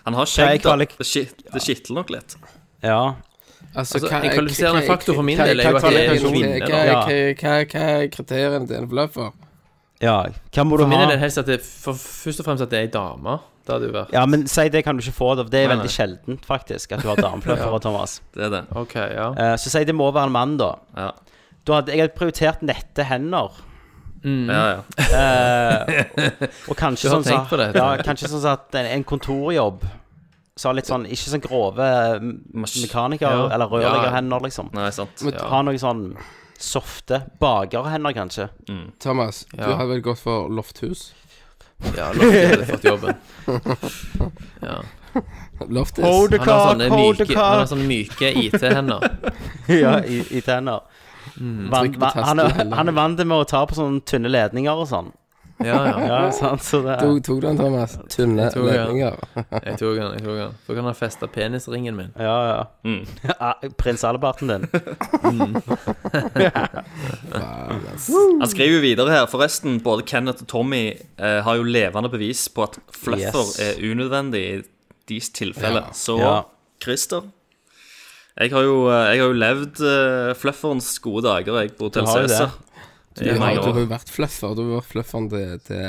Speaker 3: han har skjegg, da.
Speaker 7: Nei, kvalik-
Speaker 3: Det skit- det skitler nok litt.
Speaker 7: Ja.
Speaker 1: Altså,
Speaker 2: Altså,
Speaker 1: hva-
Speaker 2: en kvalifiserende
Speaker 1: hva-
Speaker 2: faktor for min
Speaker 1: hva-
Speaker 2: del er
Speaker 1: hva-
Speaker 2: jo at det er en
Speaker 1: kvalifikasjon-
Speaker 2: kvinne,
Speaker 1: hva-
Speaker 2: da.
Speaker 1: hva- Hva hva er kriteriene til en fluffer?
Speaker 7: ja. Hva må du
Speaker 2: For min del er det
Speaker 7: ha?
Speaker 2: helst at det for, først og fremst at det er ei dame. Det hadde jo vært
Speaker 7: Ja, men si det kan du ikke få. da, for Det er
Speaker 3: Nei,
Speaker 7: veldig sjeldent, faktisk, at du
Speaker 2: *laughs*
Speaker 7: har damepløffere, Thomas.
Speaker 3: Det er det.
Speaker 2: OK, ja.
Speaker 7: Eh, Så si det må være en mann, da.
Speaker 3: Ja,
Speaker 7: Du hadde, jeg hadde prioritert nette hender.
Speaker 1: Mm.
Speaker 7: Eh,
Speaker 3: ja. ja.
Speaker 7: Og
Speaker 2: *laughs* Du
Speaker 7: kanskje
Speaker 2: har
Speaker 7: sånn så,
Speaker 2: tenkt på det,
Speaker 7: ja,
Speaker 2: Tom.
Speaker 7: kanskje sånn så at en, en kontorjobb Så litt sånn, ikke sånn grove
Speaker 3: Mas-
Speaker 7: mekaniker-
Speaker 2: Ja.
Speaker 7: eller
Speaker 2: Ja.
Speaker 7: rørleggerhender, liksom.
Speaker 3: Nei, sant.
Speaker 7: Ha noen sånn softe bagerhender, kanskje.
Speaker 1: Thomas, du
Speaker 2: Ja.
Speaker 1: har vel gått for lofthus?
Speaker 2: ja Lofte hadde fått
Speaker 1: *laughs*
Speaker 2: jobben. Ja.
Speaker 1: Loftis?
Speaker 2: Han har sånne myke, han har
Speaker 1: sånn
Speaker 2: sånne myke IT-hender.
Speaker 7: *laughs* ja, i, i tenner. Van,
Speaker 1: trykk på
Speaker 2: Mm.
Speaker 7: van, han, er,
Speaker 1: testen.
Speaker 7: han er vant til med å ta på sånne tynne ledninger og sånn.
Speaker 2: Ja, ja.
Speaker 7: Ja, sant, så det er
Speaker 1: Tok, tok du den, Thomas? Tynne
Speaker 2: tok den.
Speaker 1: ledninger.
Speaker 2: Jeg tok den. jeg tok den Så kan han feste penisringen min.
Speaker 7: Ja, ja.
Speaker 3: Mm.
Speaker 7: Ah, Prins Alberten din.
Speaker 3: Han skriver jo videre her, forresten, både Kenneth og Tommy eh, har jo levende bevis på at fluffer
Speaker 7: Yes.
Speaker 3: er unødvendig i deres tilfelle. Så
Speaker 7: Ja.
Speaker 3: Christer jeg har, jo, eh, jeg har jo levd eh, flufferens gode dager, jeg, på Hotell
Speaker 7: har jo
Speaker 3: Cæsar.
Speaker 7: det.
Speaker 1: Du,
Speaker 3: I
Speaker 1: har
Speaker 3: mange
Speaker 1: du har
Speaker 3: år.
Speaker 1: jo vært fluffer. Du har vært flufferen til, til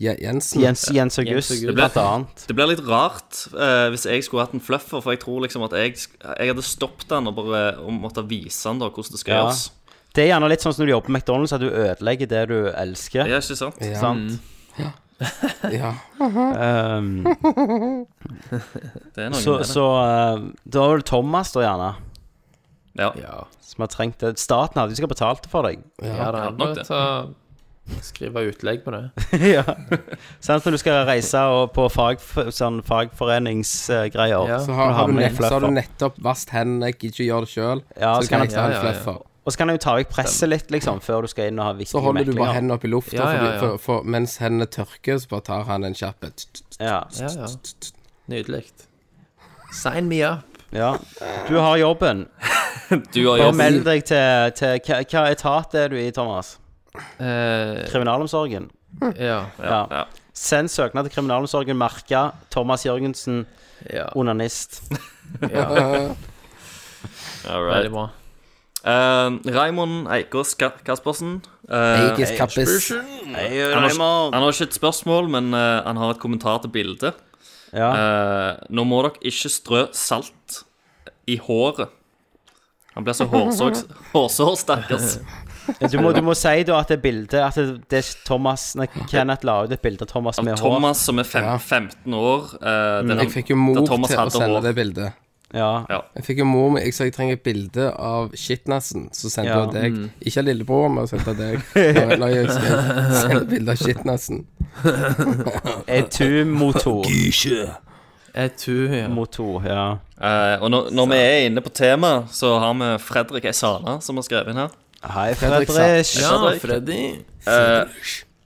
Speaker 1: Je- Jensen.
Speaker 7: *laughs* Jens, Jens August,
Speaker 2: August.
Speaker 7: blant annet.
Speaker 3: Det blir litt rart eh, hvis jeg skulle hatt en fluffer, for jeg tror liksom at jeg, jeg hadde stoppet han og bare og måtte vise han da hvordan det skal
Speaker 7: Ja.
Speaker 3: gjøres.
Speaker 7: Det er gjerne litt sånn som når du jobber på McDonald's, at du ødelegger det du elsker.
Speaker 3: Ja, Mm. ikke sant?
Speaker 1: Ja.
Speaker 7: Sant?
Speaker 1: Ja.
Speaker 7: Um,
Speaker 3: Det er noe
Speaker 7: så
Speaker 3: med det.
Speaker 7: så uh, da var det Thomas, da, gjerne,
Speaker 3: Ja.
Speaker 2: Ja,
Speaker 7: som har trengt det. Staten hadde jo sikkert betalt det for deg.
Speaker 2: ja det er
Speaker 3: nok
Speaker 2: bare
Speaker 3: det.
Speaker 2: ta Skrive utlegg på det.
Speaker 7: ja. Sant, når du skal reise og på fag, sånn fagforeningsgreier.
Speaker 2: Ja.
Speaker 1: Så har,
Speaker 7: Når
Speaker 1: har, du
Speaker 7: havner i
Speaker 1: nett, så har du
Speaker 7: fluffer.
Speaker 1: nettopp vasket hendene, jeg gidder ikke gjøre det sjøl. så
Speaker 7: Ja, så
Speaker 1: du kan
Speaker 7: kan
Speaker 1: jeg
Speaker 7: jeg-
Speaker 1: ta en
Speaker 2: ja, ja, ja.
Speaker 1: fluffer.
Speaker 7: Og så kan jeg jo ta vekk presset litt, liksom, før du skal inn og ha
Speaker 1: Så
Speaker 7: viktige
Speaker 1: holder du bare
Speaker 7: meklinger.
Speaker 1: hendene opp i lufta,
Speaker 2: Ja, ja,
Speaker 1: fordi-
Speaker 2: ja.
Speaker 1: For, for, mens hendene tørker, så bare tar han en kjapp et
Speaker 7: Ja.
Speaker 2: Ja, ja. Nydelig. Sign me up.
Speaker 7: ja. Du har jobben.
Speaker 3: Du har
Speaker 7: Bare
Speaker 3: jobb.
Speaker 7: meld deg til, til hva, hva etat er du i, Thomas?
Speaker 2: Eh,
Speaker 7: Kriminalomsorgen.
Speaker 2: ja.
Speaker 7: Ja.
Speaker 3: ja.
Speaker 7: Send søknad til Kriminalomsorgen merka Thomas Jørgensen,
Speaker 2: ja.
Speaker 7: onanist.
Speaker 3: All right.
Speaker 2: Veldig bra.
Speaker 3: Uh, Raimond Eikås Ka- Kaspersen. eh,
Speaker 1: Eikes kappis.
Speaker 3: han, har, ikke- han har ikke et spørsmål, men eh, han har et kommentar til bildet.
Speaker 7: Ja.
Speaker 3: Eh, nå må dere ikke strø salt i håret. Han blir så hårsår, hårsår stakkars.
Speaker 7: Du, må, du må si da at det bildet At det, det er Thomas nei, Kenneth la ut et bilde av Thomas med hår.
Speaker 3: Thomas som er fem,
Speaker 1: Ja.
Speaker 3: 15 år. eh, der han-
Speaker 1: Jeg fikk jo mor
Speaker 3: der
Speaker 1: til
Speaker 3: Thomas
Speaker 1: å
Speaker 3: hadde
Speaker 1: sende
Speaker 3: hår.
Speaker 1: det bildet.
Speaker 7: Ja.
Speaker 3: Ja.
Speaker 1: Jeg fikk jo mor med, jeg sa jeg trenger et bilde av skitnassen, så sendte
Speaker 7: Ja.
Speaker 1: jeg deg.
Speaker 2: mm.
Speaker 1: Ikke av lillebroren, men jeg sendte deg. Når, når jeg skrev send bilde av skitnassen.
Speaker 2: *laughs*
Speaker 7: Etu-motor.
Speaker 2: Jeg tror, ja.
Speaker 7: Motor, ja.
Speaker 3: Eh, og når, når vi er inne på temaet, så har vi Fredrik Eisana som har skrevet inn her.
Speaker 7: Hei,
Speaker 1: Fredrik sa-
Speaker 7: Fredrik.
Speaker 2: Ja, Freddy.
Speaker 3: Eh,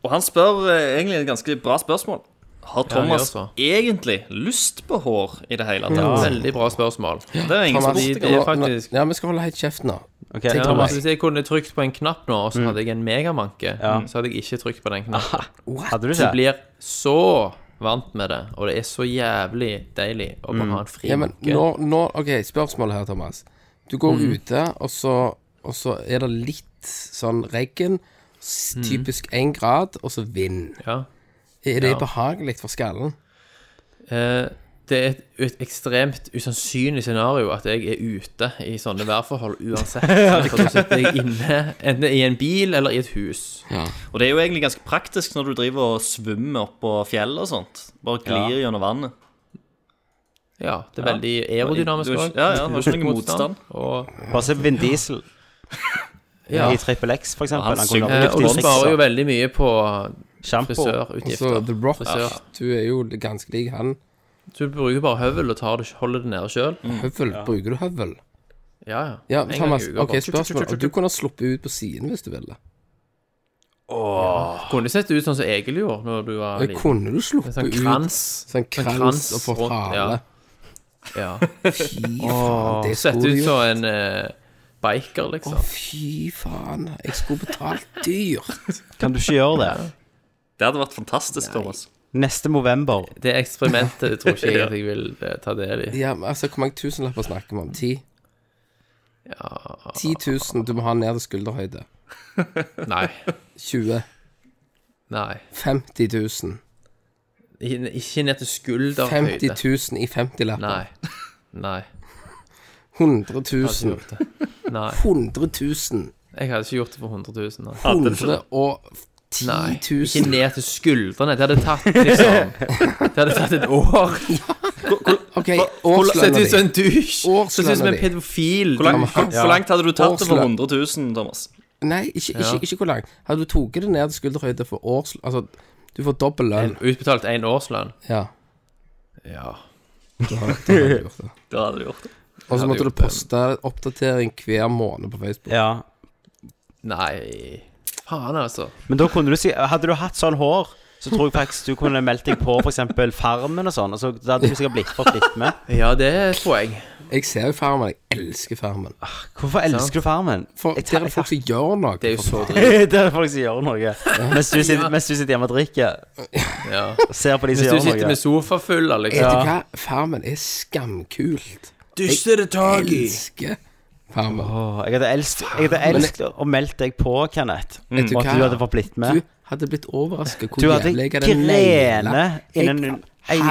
Speaker 3: og han spør eh, egentlig et ganske bra spørsmål. Har
Speaker 2: han gjør
Speaker 3: Thomas
Speaker 2: så.
Speaker 3: egentlig lyst på hår i det hele tatt?
Speaker 2: Veldig bra spørsmål.
Speaker 3: Det er ingen som
Speaker 1: Thomas,
Speaker 3: spurte
Speaker 2: det er
Speaker 1: nå- nå-
Speaker 2: faktisk-
Speaker 1: Ja, vi skal holde helt kjeft nå.
Speaker 7: Ok,
Speaker 2: Ja,
Speaker 7: Thomas.
Speaker 2: Hvis jeg kunne trykt på en knapp nå, og så hadde jeg en megamanke, så hadde jeg ikke trykt på den knappen.
Speaker 7: Hadde du
Speaker 2: Du
Speaker 7: ikke?
Speaker 2: blir så vant med det, og det er så jævlig deilig å bare ha en fri
Speaker 1: Ja, men
Speaker 2: manke.
Speaker 1: nå, nå OK, spørsmål her, Thomas. Du går
Speaker 2: Mm.
Speaker 1: ute, og så, og så er det litt sånn regn, s-
Speaker 2: Mm.
Speaker 1: typisk én grad, og så vind.
Speaker 2: ja.
Speaker 1: Er det
Speaker 2: Ja.
Speaker 1: behagelig for skallen?
Speaker 2: Eh, det er et, et ekstremt usannsynlig scenario at jeg er ute i sånne værforhold uansett. For da sitter jeg inne, enten i en bil eller i et hus.
Speaker 3: Og det er jo egentlig ganske praktisk når du driver og svømmer oppå fjell og sånt. Bare glir gjennom vannet.
Speaker 2: Ja, det er veldig aerodynamisk
Speaker 3: Du- du-
Speaker 2: også.
Speaker 3: ja, ja, det var ikke noe motstand.
Speaker 2: Og,
Speaker 7: Bare se Vin Diesel
Speaker 2: ja.
Speaker 7: i Trippel X, for eksempel.
Speaker 3: Han synger
Speaker 2: Eh, og du sparer jo veldig mye på
Speaker 7: Shampoo.
Speaker 1: Så
Speaker 2: frisørutgifter.
Speaker 1: The Rock,
Speaker 2: Frisør.
Speaker 1: du er jo ganske lik han.
Speaker 2: Du bruker bare høvel og tar det, holder det nede sjøl.
Speaker 1: Høvel. Bruker du høvel?
Speaker 2: Ja, ja.
Speaker 1: Mm. Ja,
Speaker 2: En gang i
Speaker 1: Thomas,
Speaker 2: uka,
Speaker 1: ok,
Speaker 2: bare-
Speaker 1: spørsmål. Og Du kunne ha sluppet ut på siden hvis du ville.
Speaker 2: Kunne sett ut sånn som Egil gjorde når du var
Speaker 1: Men
Speaker 2: liten.
Speaker 1: kunne du
Speaker 2: En
Speaker 1: sluppet
Speaker 2: sånn
Speaker 1: ut
Speaker 2: krans.
Speaker 1: sånn krans, og fått
Speaker 2: rundt-
Speaker 1: hale? *laughs*
Speaker 2: Ja. *laughs*
Speaker 1: Fy faen, det
Speaker 2: ja. Sett
Speaker 1: skulle
Speaker 2: ut
Speaker 1: du
Speaker 2: som
Speaker 1: gjort.
Speaker 2: en eh, biker, liksom.
Speaker 1: Fy faen, jeg skulle betalt dyrt.
Speaker 7: Kan du ikke gjøre det?
Speaker 3: Det hadde vært fantastisk, Thomas.
Speaker 7: Neste november.
Speaker 2: Det eksperimentet tror
Speaker 1: *laughs*
Speaker 2: ikke jeg at jeg vil eh, ta del i.
Speaker 1: Ja, men altså, Hvor mange tusenlapper snakker vi om? Ti?
Speaker 2: Ja,
Speaker 1: 10 000 du må ha ned til skulderhøyde.
Speaker 2: nei.
Speaker 1: 20
Speaker 2: Nei.
Speaker 1: 50 000.
Speaker 2: Ik- Ikke ned til skulderhøyde.
Speaker 1: 50 000 i 50-lapper.
Speaker 2: Nei. Nei.
Speaker 1: 100
Speaker 2: Jeg hadde ikke
Speaker 1: 000.
Speaker 2: gjort det. Nei.
Speaker 1: 100 000.
Speaker 2: Jeg hadde ikke gjort det for 100 000. Nei.
Speaker 1: 110
Speaker 2: Nei,
Speaker 1: 000.
Speaker 2: ikke ned til skuldrene. Det hadde tatt liksom Det hadde tatt et år.
Speaker 1: OK,
Speaker 2: Sett
Speaker 1: årslønna
Speaker 2: ut som
Speaker 1: di.
Speaker 2: en douche. Sett ut som
Speaker 1: Årslønna
Speaker 2: en
Speaker 1: di.
Speaker 2: pedofil.
Speaker 3: Hvor langt,
Speaker 1: Ja.
Speaker 3: hvor, hvor langt hadde du tatt det for
Speaker 1: Årslønn.
Speaker 3: 100 000, Thomas?
Speaker 1: Nei, ikke, ikke,
Speaker 2: Ja.
Speaker 1: ikke hvor langt. Hadde du tatt det ned til skulderhøyde for årslønn Altså, du får dobbel lønn.
Speaker 2: En- Utbetalt én årslønn.
Speaker 1: Ja.
Speaker 2: Ja.
Speaker 1: Da har- da har du gjort det.
Speaker 3: Da hadde du gjort det.
Speaker 1: Og så
Speaker 2: hadde
Speaker 1: måtte du
Speaker 2: gjort det.
Speaker 1: poste oppdatering hver måned på Facebook.
Speaker 7: Ja.
Speaker 2: Nei faen, altså.
Speaker 7: Men da kunne du si Hadde du hatt sånn hår, så tror jeg faktisk du kunne meldt deg på f.eks. Farmen og sånn. Og så da hadde du sikkert blitt fått litt med.
Speaker 2: Ja, det er et poeng.
Speaker 1: Jeg ser jo Farmen. Jeg elsker Farmen.
Speaker 7: Hvorfor elsker du Farmen?
Speaker 1: For
Speaker 7: Jeg
Speaker 1: der
Speaker 7: tar-
Speaker 1: er folk som gjør noe.
Speaker 2: Det er jo så dritt.
Speaker 7: *laughs* Det er folk som gjør noe. Mens du sitter, mens du sitter hjemme og drikker.
Speaker 2: Ja.
Speaker 7: Ser på de som
Speaker 2: Hvis du
Speaker 7: gjør
Speaker 2: sitter
Speaker 7: noe.
Speaker 2: med sofafuller, liksom.
Speaker 1: Vet du hva? Farmen er skamkult.
Speaker 2: Dysser det tak i.
Speaker 1: Elsker Farmen.
Speaker 7: Åh, jeg hadde elsket, jeg hadde elsket å melde deg på, Kenneth.
Speaker 1: Vet du
Speaker 7: Og at
Speaker 1: hva?
Speaker 7: du hadde fått blitt med.
Speaker 1: Du hadde blitt overrasket hvor
Speaker 7: Du hadde
Speaker 1: jævlig jeg hadde
Speaker 7: grene
Speaker 1: naila.
Speaker 7: innen en, en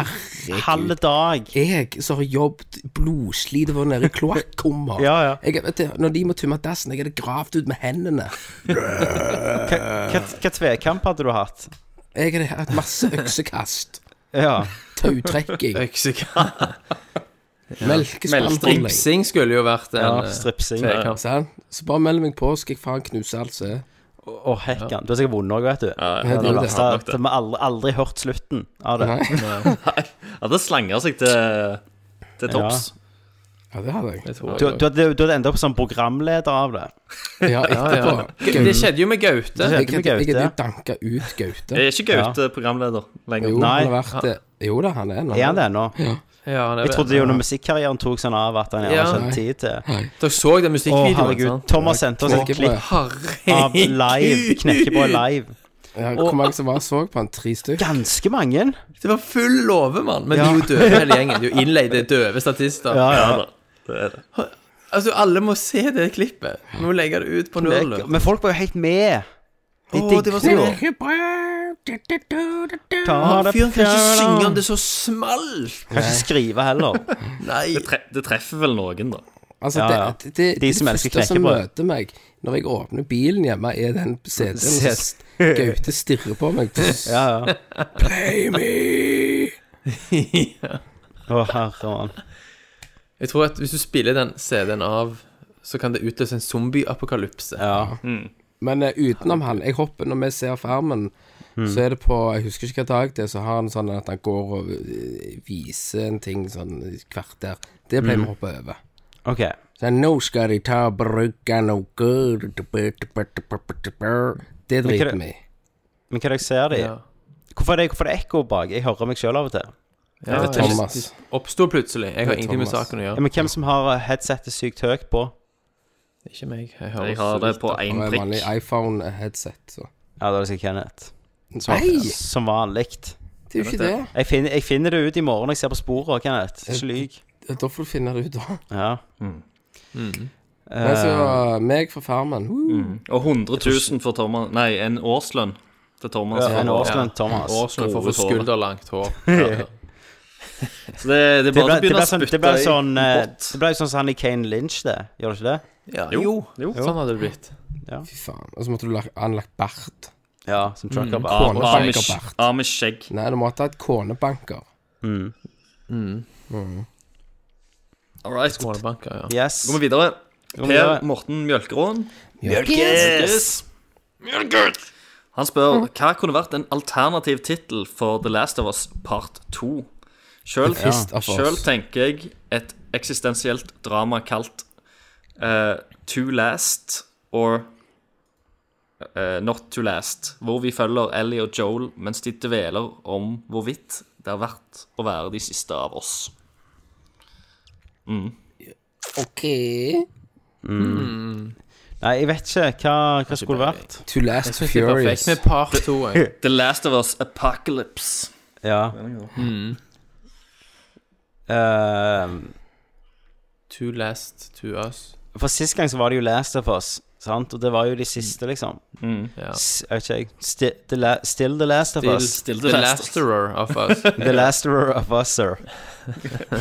Speaker 1: Herregud.
Speaker 7: halv dag.
Speaker 1: Jeg som har jobbet blodslitet for nede i kloakkummer.
Speaker 7: Ja, ja.
Speaker 1: Jeg- vet du, Når de må tømme dassen, jeg hadde gravd ut med hendene. Eh.
Speaker 7: Hva tvekamp hadde du hatt?
Speaker 1: Jeg hadde hatt masse øksekast.
Speaker 7: Ja.
Speaker 1: Tautrekking.
Speaker 2: Øksekast.
Speaker 1: Melkespannholding.
Speaker 2: Stripsing skulle jo vært en
Speaker 7: ja
Speaker 2: eh,
Speaker 7: stripsing. Å,
Speaker 2: tvekamp.
Speaker 1: Sant? Så bare meld meg på, skal jeg faen knuse alt som er.
Speaker 7: hekkan. Du har sikkert vunnet òg, vet du. Ja,
Speaker 1: ja,
Speaker 7: det
Speaker 1: det
Speaker 7: verste
Speaker 3: hadde nok
Speaker 7: er at
Speaker 3: det.
Speaker 7: Vi har aldri, aldri hørt slutten av det.
Speaker 1: Nei.
Speaker 3: Hadde slanga seg til, til topps.
Speaker 1: Ja, det hadde jeg.
Speaker 7: Du, du, hadde, du hadde enda opp som programleder av det.
Speaker 1: Ja, etterpå.
Speaker 2: Gau- Det skjedde jo med Gaute.
Speaker 7: skjedde
Speaker 1: Jeg
Speaker 7: med
Speaker 1: hadde jeg hadde jo
Speaker 7: Gaute. Eh,
Speaker 1: danka ut Gaute.
Speaker 3: Er ikke Gaute programleder lenger?
Speaker 1: Jo,
Speaker 7: Nei.
Speaker 1: han har vært det. Jo da, han er nå.
Speaker 7: Er han det ennå?
Speaker 2: Ja, han er-
Speaker 7: Jeg trodde jo når musikkarrieren tok sånn av at han
Speaker 2: Ja.
Speaker 7: ikke hadde tid til Å,
Speaker 2: Dere så den musikkvideoen?
Speaker 7: herregud.
Speaker 2: sant?
Speaker 7: Thomas sendte oss et
Speaker 1: Knekkebrød.
Speaker 7: klipp av live. Knekkebrød live.
Speaker 1: Ja, hvor mange som var og så på han? Tre stykker?
Speaker 7: Ganske mange.
Speaker 2: *laughs* Det var full låve, mann. Men de er jo døve, hele gjengen. De er jo innleide døve statister.
Speaker 7: Ja, ja.
Speaker 2: Altså, alle må se det klippet. Vi må legge det ut på Nordløp.
Speaker 7: Men folk var jo helt med. De
Speaker 2: Å, det var så
Speaker 7: jo. Ta
Speaker 2: Han
Speaker 7: det
Speaker 2: fyren kan ikke
Speaker 7: fjerde.
Speaker 2: synge om det så smalt.
Speaker 7: Kan ikke skrive
Speaker 2: *laughs*
Speaker 7: heller.
Speaker 2: Nei.
Speaker 3: Det, tre, det treffer vel noen, da.
Speaker 1: Altså,
Speaker 7: Ja, ja.
Speaker 1: Det, det, det,
Speaker 7: De som
Speaker 1: det
Speaker 7: elsker
Speaker 1: første som
Speaker 7: knekkebrød.
Speaker 1: møter meg når jeg åpner bilen hjemme, er
Speaker 7: *laughs*
Speaker 1: den CD-en som
Speaker 7: Yes.
Speaker 1: Gaute stirrer på meg.
Speaker 7: Ja, ja.
Speaker 1: Play me!
Speaker 7: Å, herre mann.
Speaker 2: Jeg tror at hvis du spiller den CD-en av, så kan det utløse en zombieapokalypse.
Speaker 7: Ja.
Speaker 1: Men eh, utenom han Jeg hopper når vi ser Farmen, så er det på Jeg husker ikke hvilken dag det er, så har han sånn at han går og eh, viser en ting sånn i et kvarter. Det pleier vi å hoppe over.
Speaker 7: OK.
Speaker 1: Sånn, nå skal de ta og bruke noe good Det
Speaker 7: hva er
Speaker 1: driter
Speaker 7: det-
Speaker 1: vi i.
Speaker 7: Men hva er det jeg ser de?
Speaker 2: Ja.
Speaker 7: Hvorfor er det, hvorfor er det ekko bak? Jeg hører meg sjøl av og til.
Speaker 2: Ja, det
Speaker 1: Thomas.
Speaker 2: oppsto plutselig. Jeg har ingenting med
Speaker 1: Thomas.
Speaker 2: saken å
Speaker 7: Ja,
Speaker 2: gjøre.
Speaker 7: men hvem som har eh, headsetet sykt høyt på?
Speaker 2: Ikke meg. Jeg har,
Speaker 3: Jeg har det på én
Speaker 1: Og en vanlig
Speaker 3: prikk.
Speaker 1: iPhone-headset. så.
Speaker 7: Ja, det er sikkert Kenneth.
Speaker 1: Nei,
Speaker 7: Som vanlig.
Speaker 1: det er jo ikke det.
Speaker 7: Jeg, finner- jeg finner det ut i morgen når jeg ser på sporet, Kenneth. Ikke lyg. Eh,
Speaker 1: Da får du finne det ut, da.
Speaker 7: Ja.
Speaker 1: Nei, så eh, meg fra Farmen. Woo.
Speaker 3: Og 100 000 for Thomas Nei, en årslønn til Thomas.
Speaker 7: Ja, en
Speaker 3: for-
Speaker 7: årslønn, Thomas.
Speaker 2: Årslønn for å få
Speaker 3: Gode hår.
Speaker 2: skulderlangt hår. Ja.
Speaker 3: Så det, det er
Speaker 7: Det
Speaker 3: bare
Speaker 7: ble,
Speaker 3: å
Speaker 7: det ble
Speaker 3: begynne å
Speaker 7: sånn,
Speaker 3: spytte
Speaker 7: det ble
Speaker 3: i
Speaker 7: sånn, eh,
Speaker 3: båt.
Speaker 7: det ble sånn som han i Kane Lynch, det. Gjør det ikke det?
Speaker 2: Ja, jo. Sånn hadde det blitt.
Speaker 1: Fy faen. Og så måtte du la- anlagt bart.
Speaker 7: Ja, som trucker bare.
Speaker 1: Kone-
Speaker 3: Amish
Speaker 1: Bart.
Speaker 3: Amish skjegg.
Speaker 1: Nei, du måtte ha et konebanker.
Speaker 3: All right. Så
Speaker 2: Målebanker, ja.
Speaker 7: Yes.
Speaker 3: går vi videre.
Speaker 7: vi videre.
Speaker 3: Per Morten Mjølkeråen. Mjølkes! Han spør hva kunne vært en alternativ tittel for The Last of Us Part 2. Sjøl
Speaker 1: Fist of Us.
Speaker 3: sjøl tenker jeg et eksistensielt drama kalt eh, To Last or eh, Not To Last, hvor vi følger Ellie og Joel mens de dveler om hvorvidt det er verdt å være de siste av oss.
Speaker 1: OK.
Speaker 7: Nei, jeg vet ikke. Hva, hva skulle det vært?
Speaker 1: To last
Speaker 2: Det er
Speaker 1: furious.
Speaker 2: perfekt med par to. Jeg.
Speaker 3: *laughs* The Last of Us Apocalypse.
Speaker 7: Ja.
Speaker 2: Mm.
Speaker 7: Eh,
Speaker 2: Too last to us.
Speaker 7: For sist gang så var det jo Last of Us, sant? Og det var jo de siste, liksom.
Speaker 3: Mm.
Speaker 2: Ja.
Speaker 7: S- Jeg vet ikke, jeg. Sti, the la, still the Last of Us.
Speaker 3: Still
Speaker 2: The
Speaker 3: the last
Speaker 2: lasterer of us.
Speaker 7: The Last of Us, sir.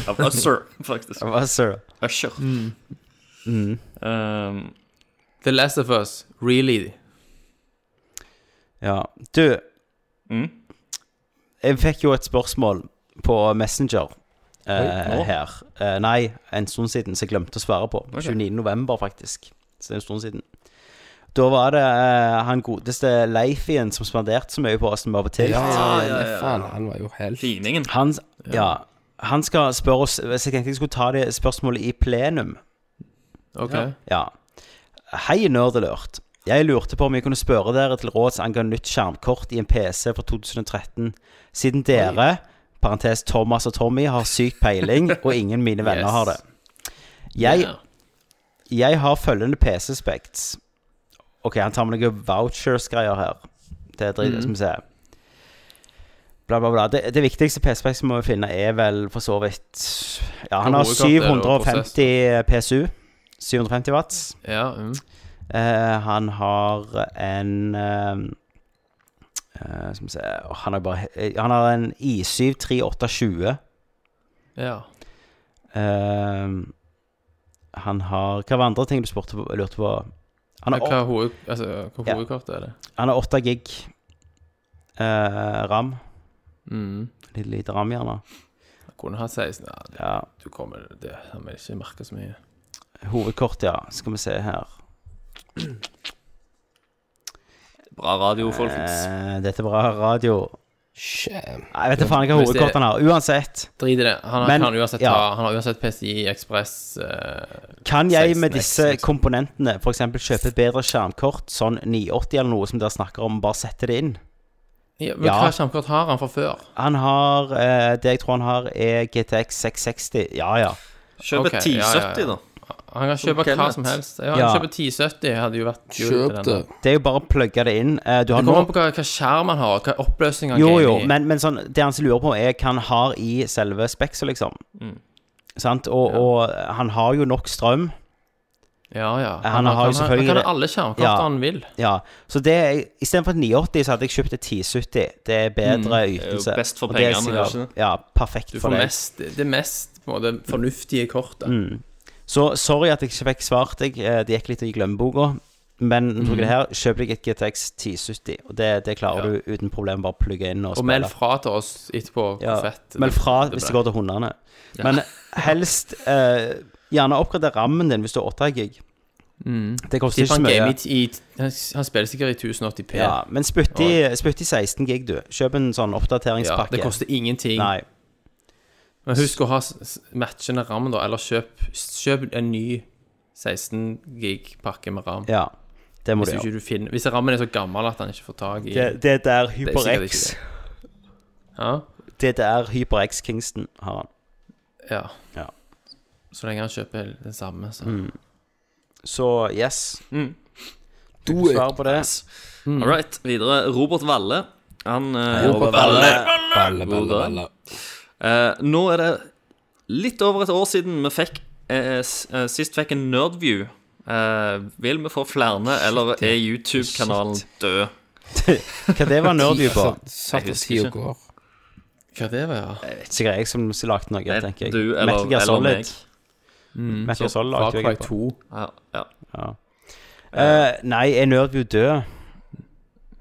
Speaker 3: Av Usher,
Speaker 7: *laughs*
Speaker 3: faktisk.
Speaker 7: Of us, sir. Mm.
Speaker 3: Usher. Um,
Speaker 2: The last of us. Really.
Speaker 7: Ja. Du,
Speaker 3: Mm.
Speaker 7: jeg fikk jo et spørsmål på Messenger eh,
Speaker 3: nå?
Speaker 7: her. Eh, nei, en stund siden, så jeg glemte å svare på. 29. november, faktisk. Så det er en stund siden. Da var det eh, han godeste Leifien som spanderte så mye på oss når vi var på TILT.
Speaker 1: Ja, ja, ja,
Speaker 3: ja.
Speaker 1: Faen, han var jo helt
Speaker 3: finingen.
Speaker 7: Han, ja, han skal spørre oss Så jeg tenkte jeg skulle ta det spørsmålet i plenum.
Speaker 2: OK.
Speaker 7: Ja. Hei, nerdelørt. Jeg lurte på om jeg kunne spørre dere til råds angående nytt skjermkort i en PC fra 2013, siden dere, parentes Thomas og Tommy, har sykt
Speaker 2: *laughs*
Speaker 7: peiling, og ingen mine venner
Speaker 2: Yes.
Speaker 7: har det. Jeg,
Speaker 2: Ja.
Speaker 7: jeg har følgende PC-specs. Ok, han tar med noen vouchers-greier her. Det er
Speaker 2: Mm.
Speaker 7: dritt, skal vi se. Bla, bla, bla. Det, det viktigste PC-specs vi må finne, er vel for så vidt Ja, han har
Speaker 2: Hovedkort er det, og
Speaker 7: 750 PSU. 750 watts.
Speaker 2: Ja, mm.
Speaker 7: Eh, han har en eh, eh, Skal vi se åh, han, har bare, eh, han har en I7 3820.
Speaker 2: ja.
Speaker 7: Eh, han har Hva var andre ting du spurte på, lurte på? Han
Speaker 2: Men Hva
Speaker 7: har,
Speaker 2: hoved, altså, hva
Speaker 7: Ja.
Speaker 2: hovedkort er det?
Speaker 7: han har 8 gig eh, ram.
Speaker 2: Mm.
Speaker 7: Litt lite ram, gjerne.
Speaker 2: Jeg kunne hatt 16. Ja, det,
Speaker 7: Ja.
Speaker 2: du kommer, det har vi ikke merket så mye.
Speaker 7: Hovedkort, ja. Skal vi se her.
Speaker 3: Bra radio, folkens.
Speaker 7: Eh, dette er bra radio.
Speaker 1: Sham.
Speaker 7: Nei, Jeg vet da faen hva
Speaker 2: Hvis det-
Speaker 7: hovedkort han har. Uansett.
Speaker 2: Drit i det. Han har,
Speaker 7: Men-
Speaker 2: kan uansett,
Speaker 7: ja.
Speaker 2: ta, han har uansett PCI Ekspress eh,
Speaker 7: Kan jeg med
Speaker 2: 16X,
Speaker 7: disse
Speaker 2: liksom.
Speaker 7: komponentene f.eks. kjøpe et bedre skjermkort, sånn 980 eller noe som dere snakker om, bare sette det inn?
Speaker 2: ja, Men
Speaker 7: Ja.
Speaker 2: hva skjermkort har han fra før?
Speaker 7: Han har eh, Det jeg tror han har, er GTX 660. Ja, ja.
Speaker 3: Kjøp et
Speaker 2: ok,
Speaker 3: 1070,
Speaker 2: ja, ja, ja.
Speaker 3: da.
Speaker 2: Han kan kjøpe
Speaker 3: Kenneth.
Speaker 2: hva som helst. Ja, han
Speaker 7: Ja.
Speaker 2: kjøper 1070, hadde jo vært kult.
Speaker 1: Kjøp
Speaker 2: til den.
Speaker 1: det.
Speaker 7: Det er jo bare å plugge det inn. Eh, du
Speaker 2: Det
Speaker 7: har
Speaker 2: kommer
Speaker 7: nå
Speaker 2: an på hva, hva skjerm han har, hva oppløsning han
Speaker 7: Jo,
Speaker 2: gamer
Speaker 7: jo,
Speaker 2: i.
Speaker 7: men, men sånn, det han lurer på, er hva han har i selve Spexer, liksom.
Speaker 2: Mm.
Speaker 7: Sant? Og, og han har jo nok strøm.
Speaker 2: ja, ja.
Speaker 7: Han har jo
Speaker 2: kan-
Speaker 7: selvfølgelig
Speaker 2: Han
Speaker 7: det.
Speaker 2: kan alle skjermkort
Speaker 7: Ja.
Speaker 2: han vil.
Speaker 7: Ja, så det Istedenfor et 980 så hadde jeg kjøpt et 1070. Det er
Speaker 2: Mm.
Speaker 7: bedre ytelse.
Speaker 3: best for
Speaker 7: Og det er
Speaker 3: pengene,
Speaker 7: sikkert-
Speaker 3: ikke det?
Speaker 7: Ja, perfekt
Speaker 2: Du
Speaker 7: for
Speaker 2: får
Speaker 7: deg.
Speaker 2: mest, det mest på en måte, fornuftige kortet.
Speaker 7: Mm. Så sorry at jeg ikke fikk svart deg. eh, Det gikk litt i glemmeboka. Men mm. det
Speaker 2: Mhm.
Speaker 7: her, kjøp deg et GTX 1070, og det, det klarer du uten problem. Bare plugge inn og,
Speaker 2: Og meld
Speaker 7: spille.
Speaker 2: fra til oss etterpå hvor
Speaker 7: ja,
Speaker 2: fett
Speaker 7: meld fra
Speaker 2: det
Speaker 7: hvis det
Speaker 2: ble.
Speaker 7: går til hundene. Men helst eh, gjerne oppgradere rammen din hvis du har 8 gig.
Speaker 2: Mhm.
Speaker 7: Det koster
Speaker 2: Tipper
Speaker 7: ikke så
Speaker 2: han
Speaker 7: mye.
Speaker 2: gamer i, i Han han spiller sikkert i 1080p.
Speaker 7: Ja, men spytt i, spytt i 16 gig, du. Kjøp en sånn
Speaker 2: Ja,
Speaker 7: oppdateringspakke.
Speaker 2: det koster ingenting.
Speaker 7: Nei.
Speaker 2: Men husk å ha s- s- matchende ram, da. Eller kjøp, kjøp en ny 16 gig pakke med ram.
Speaker 7: Ja, det må
Speaker 2: Hvis,
Speaker 7: du gjøre.
Speaker 2: ikke du finner, hvis rammen er så gammel at han ikke får tak i
Speaker 7: Det, det der
Speaker 2: er sikkert
Speaker 7: HyperX
Speaker 2: ikke ja?
Speaker 7: Det der HyperX Kingston har han.
Speaker 2: ja.
Speaker 7: Ja. Mm.
Speaker 2: Så lenge han kjøper den samme, så
Speaker 7: Så yes.
Speaker 3: Mm.
Speaker 1: Do it.
Speaker 7: Svar på det.
Speaker 3: All right, videre. Robert Valle. Han eh,
Speaker 7: hmm. Robert
Speaker 1: Balle,
Speaker 3: Balle, balle. Eh, nå er det litt over et år siden vi fikk eh, s- eh, sist fikk en nerdview. Eh, vil vi få flere, eller er YouTube-kanalen død?
Speaker 7: Hva det var nerd du på?
Speaker 1: Satt og
Speaker 3: Jeg husker
Speaker 1: tid og
Speaker 3: ikke.
Speaker 1: går.
Speaker 2: Hva det var, ja?
Speaker 7: Sikkert jeg som lagde noe, tenker jeg.
Speaker 3: Du eller,
Speaker 7: Metal Gear
Speaker 3: eller meg.
Speaker 7: Solid. Metal Gear Solid
Speaker 2: Far
Speaker 7: lagde
Speaker 2: Cry
Speaker 7: jeg på.
Speaker 2: 2.
Speaker 3: Ja, ja.
Speaker 7: Eh, nei, er Nerdview død?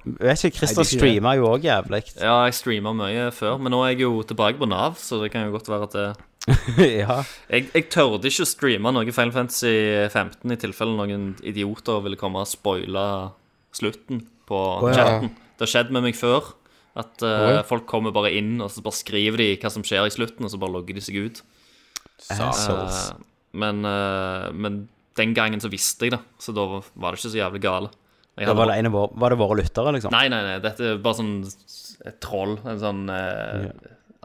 Speaker 7: Jeg vet ikke, Christer
Speaker 2: Nei, det er ikke det.
Speaker 7: streamer jo òg *laughs* jævlig.
Speaker 3: ja, jeg streama mye før, men nå er jeg jo tilbake på Nav, så det kan jo godt være at det
Speaker 7: ja. Eh,
Speaker 3: Jeg, jeg tørde ikke å streame noe Final Fantasy 15 i tilfelle noen idioter ville komme og spoile slutten på
Speaker 7: ja.
Speaker 3: chatten. Det har skjedd med meg før. At eh,
Speaker 1: Oi.
Speaker 3: folk kommer bare inn og så bare skriver de hva som skjer i slutten, og så bare logger de seg ut.
Speaker 7: Assholes.
Speaker 3: Eh, men, eh, men den gangen så visste jeg det, så da var det ikke så jævlig gale. Jeg
Speaker 7: Da
Speaker 3: hadde
Speaker 7: var, det en av våre, var det våre lyttere, liksom?
Speaker 3: Nei, nei, nei, dette er bare sånn et troll. En sånn eh,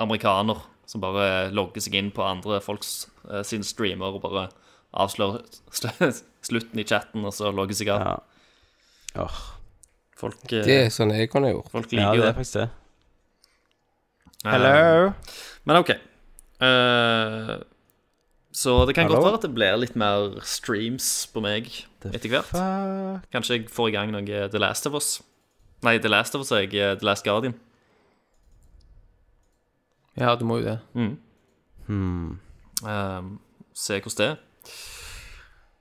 Speaker 3: amerikaner som bare logger seg inn på andre folks eh, sin streamer og bare avslører *laughs* sl- slutten i chatten, og så logger seg av.
Speaker 7: Ja. Åh,
Speaker 3: Folk, eh,
Speaker 1: Det er sånn jeg kunne gjort.
Speaker 3: folk
Speaker 7: ja,
Speaker 3: liker
Speaker 7: det
Speaker 3: jo
Speaker 7: er
Speaker 3: det.
Speaker 7: faktisk det.
Speaker 3: Eh,
Speaker 7: Hello?
Speaker 3: Men OK. Eh, så det kan
Speaker 7: Hallo?
Speaker 3: godt være at det blir litt mer streams på meg etter hvert. Kanskje jeg får i gang noe The Last of Us. Nei, The Last of Us er jeg eh, The Last Guardian.
Speaker 2: Ja, du må jo det.
Speaker 3: Mm. Ehm, se hvordan det er.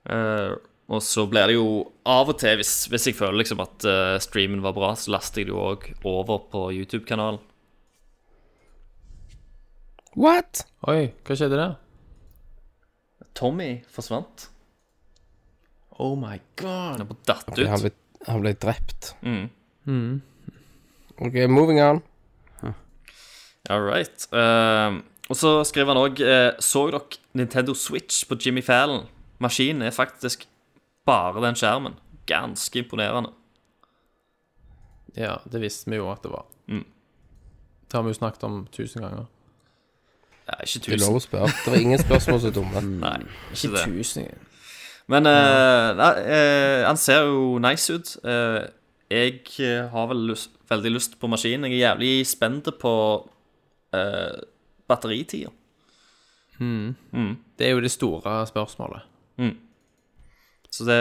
Speaker 3: Eh, og så blir det jo av og til, hvis, hvis jeg føler liksom at eh, streamen var bra, så laster jeg det jo òg over på YouTube-kanalen.
Speaker 1: What?
Speaker 2: Oi, hva skjedde der?
Speaker 3: Tommy forsvant.
Speaker 2: Oh my god.
Speaker 3: Han er bare datt ut.
Speaker 1: Han ble, han ble drept.
Speaker 3: Mm.
Speaker 1: OK, moving on.
Speaker 3: All right. Ehm, og så skriver han eh, òg Så dere Nintendo Switch på Jimmy Fallon? Maskinen er faktisk bare den skjermen. ganske imponerende.
Speaker 2: Ja, det visste vi jo at det var.
Speaker 3: Mm.
Speaker 2: Det har vi jo snakket om tusen ganger.
Speaker 3: Ja, ikke
Speaker 1: Det er lov
Speaker 3: tusen.
Speaker 1: å spørre. Det var ingen spørsmål så dumme.
Speaker 3: Nei, ikke det.
Speaker 2: Tusen
Speaker 3: Men eh, nei, eh, han ser jo nice ut. Eh, jeg eh, har vel lyst, veldig lyst på maskinen. Jeg er jævlig spent på uh, batteritida.
Speaker 2: Det er jo det store spørsmålet.
Speaker 3: Så det,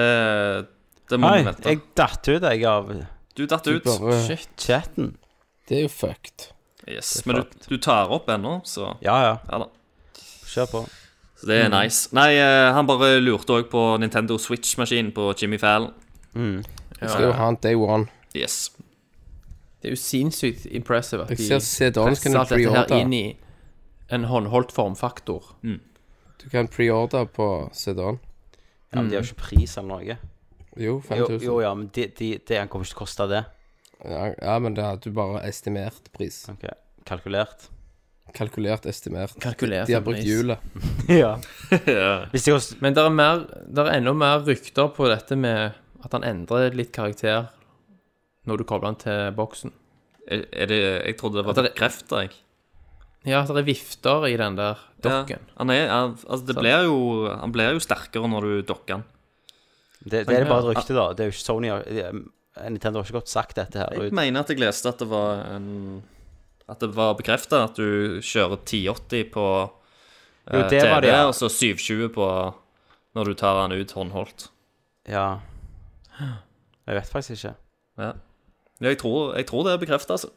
Speaker 3: det må
Speaker 7: Nei,
Speaker 3: vi vente.
Speaker 7: jeg datt ut jeg av
Speaker 3: Du datt ut.
Speaker 1: Bare,
Speaker 7: chatten.
Speaker 1: det er jo fucked.
Speaker 3: Yes, men du, du tar opp ennå, så
Speaker 7: Ja, ja.
Speaker 3: ja da.
Speaker 7: Kjør på.
Speaker 3: Så det er nice. Nei, eh, han bare lurte òg på Nintendo Switch-maskinen på Jimmy Fallon.
Speaker 1: Jeg skal jo ha en day one.
Speaker 3: Yes.
Speaker 2: Det er jo sinnssykt impressive at
Speaker 1: Jeg
Speaker 2: de
Speaker 1: ser CD-en
Speaker 2: presser
Speaker 1: kan du
Speaker 2: alt dette her inn
Speaker 1: preordre.
Speaker 2: i en håndholdt formfaktor.
Speaker 1: Du kan preordre på CD-en.
Speaker 7: Ja, men De har jo ikke pris eller noe.
Speaker 1: Jo,
Speaker 7: Jo,
Speaker 1: 5000.
Speaker 7: jo ja, men de, de, det han kommer ikke til å koste det.
Speaker 1: Ja, ja, men det hadde du bare estimert pris.
Speaker 7: Ok,
Speaker 2: *laughs*
Speaker 7: Kalkulert.
Speaker 1: Kalkulert estimert.
Speaker 2: Kalkulert
Speaker 1: De har
Speaker 2: en
Speaker 1: brukt
Speaker 2: pris.
Speaker 1: hjulet.
Speaker 7: ja. Hvis det koster
Speaker 2: Men det er, mer, der er enda mer rykter på dette med at han endrer litt karakter når du kobler han til boksen.
Speaker 3: Er, er det, jeg trodde det var
Speaker 2: At det-
Speaker 3: bekrefta, jeg.
Speaker 2: Ja, det er vifter i den der dokken.
Speaker 3: Ja, han er, han, altså, det blir jo, han blir jo sterkere når du dokker han.
Speaker 7: Det, det er det bare et rykte,
Speaker 2: Ah.
Speaker 7: da. Det er jo ikke Sony har- de- um, Nintendo har ikke godt sagt dette her.
Speaker 3: Jeg
Speaker 7: ut.
Speaker 3: mener at jeg leste at det var en At det var bekrefta at du kjører 1080 på eh,
Speaker 7: Jo, det
Speaker 3: TV,
Speaker 7: var det, ja.
Speaker 3: og så 720 på når du tar den ut håndholdt.
Speaker 7: Ja. Jeg vet faktisk ikke.
Speaker 3: Ja. Ja, Jeg tror, jeg tror det er bekrefta, altså.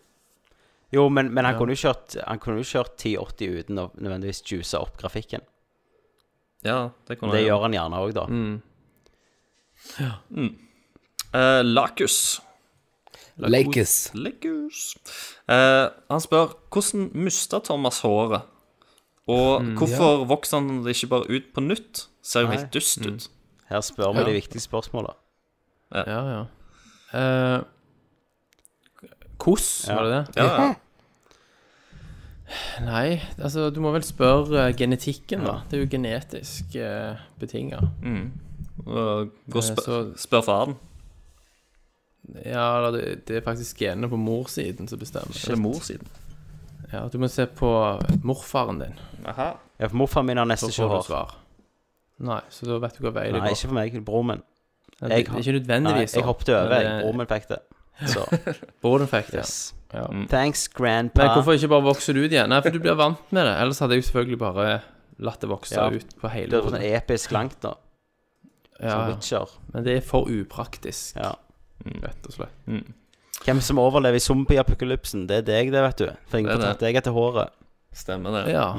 Speaker 7: Jo, men, men han, kunne jo kjørt, han kunne jo kjørt 1080 uten å nødvendigvis juice opp grafikken.
Speaker 3: Ja, det kunne
Speaker 7: Det
Speaker 3: jeg.
Speaker 7: gjør han gjerne òg, da.
Speaker 2: Mm.
Speaker 3: Eh, Lacus.
Speaker 1: Lakers.
Speaker 3: Lacus. Eh, han spør hvordan mista Thomas håret? Og hvorfor vokser han det ikke bare ut på nytt? Ser jo
Speaker 7: Mm, Nei. Mm.
Speaker 3: helt dust ut.
Speaker 7: Her spør vi de viktige spørsmåla.
Speaker 2: Ja, ja. Eh, Koss, var det det?
Speaker 3: Ja, ja.
Speaker 7: *laughs*
Speaker 2: Nei, altså du må vel spørre eh, genetikken, da. Det er jo genetisk uh, betinga.
Speaker 3: Og Gå
Speaker 2: Eh,
Speaker 3: og spør,
Speaker 2: så-
Speaker 3: spør faren.
Speaker 2: Ja, eller det, det er faktisk genene på morssiden som bestemmer.
Speaker 3: Eller mor siden.
Speaker 2: Ja, du må se på morfaren din.
Speaker 3: Aha.
Speaker 7: Ja, for morfaren min har nesten
Speaker 2: Så får
Speaker 7: ikke
Speaker 2: du
Speaker 7: hår.
Speaker 2: svar. Nei, så da vet du hva vei det
Speaker 7: Nei,
Speaker 2: går.
Speaker 7: ikke for meg. Broren min.
Speaker 2: Ja, det-
Speaker 7: jeg
Speaker 2: det
Speaker 7: har-
Speaker 2: er ikke
Speaker 7: Nei,
Speaker 2: nødvendigvis
Speaker 7: jeg hoppet over.
Speaker 2: Men
Speaker 7: jeg.
Speaker 2: det-
Speaker 7: Broren min fikk det. Så
Speaker 2: Borden fikk det.
Speaker 7: yes.
Speaker 2: *laughs*
Speaker 7: Mm.
Speaker 2: Ja.
Speaker 7: Thanks, grandpa.
Speaker 2: Men hvorfor ikke bare vokse det ut igjen? Nei, for du blir vant med det. Ellers hadde jeg jo selvfølgelig bare latt det vokse
Speaker 7: Ja.
Speaker 2: ut på
Speaker 7: Det
Speaker 2: hele
Speaker 7: er sånn
Speaker 2: hodet.
Speaker 7: episk langt, da. Som
Speaker 2: Ja, ja.
Speaker 7: Witcher.
Speaker 2: Men det er for upraktisk,
Speaker 7: Ja. Mm.
Speaker 2: rett og slett.
Speaker 3: Mm.
Speaker 7: Hvem som overlever i zombie-apokalypsen, det er deg, det, vet du. For ingen
Speaker 3: Det er
Speaker 7: får tatt deg etter håret. Mm.
Speaker 3: Stemmer det.
Speaker 2: Ja.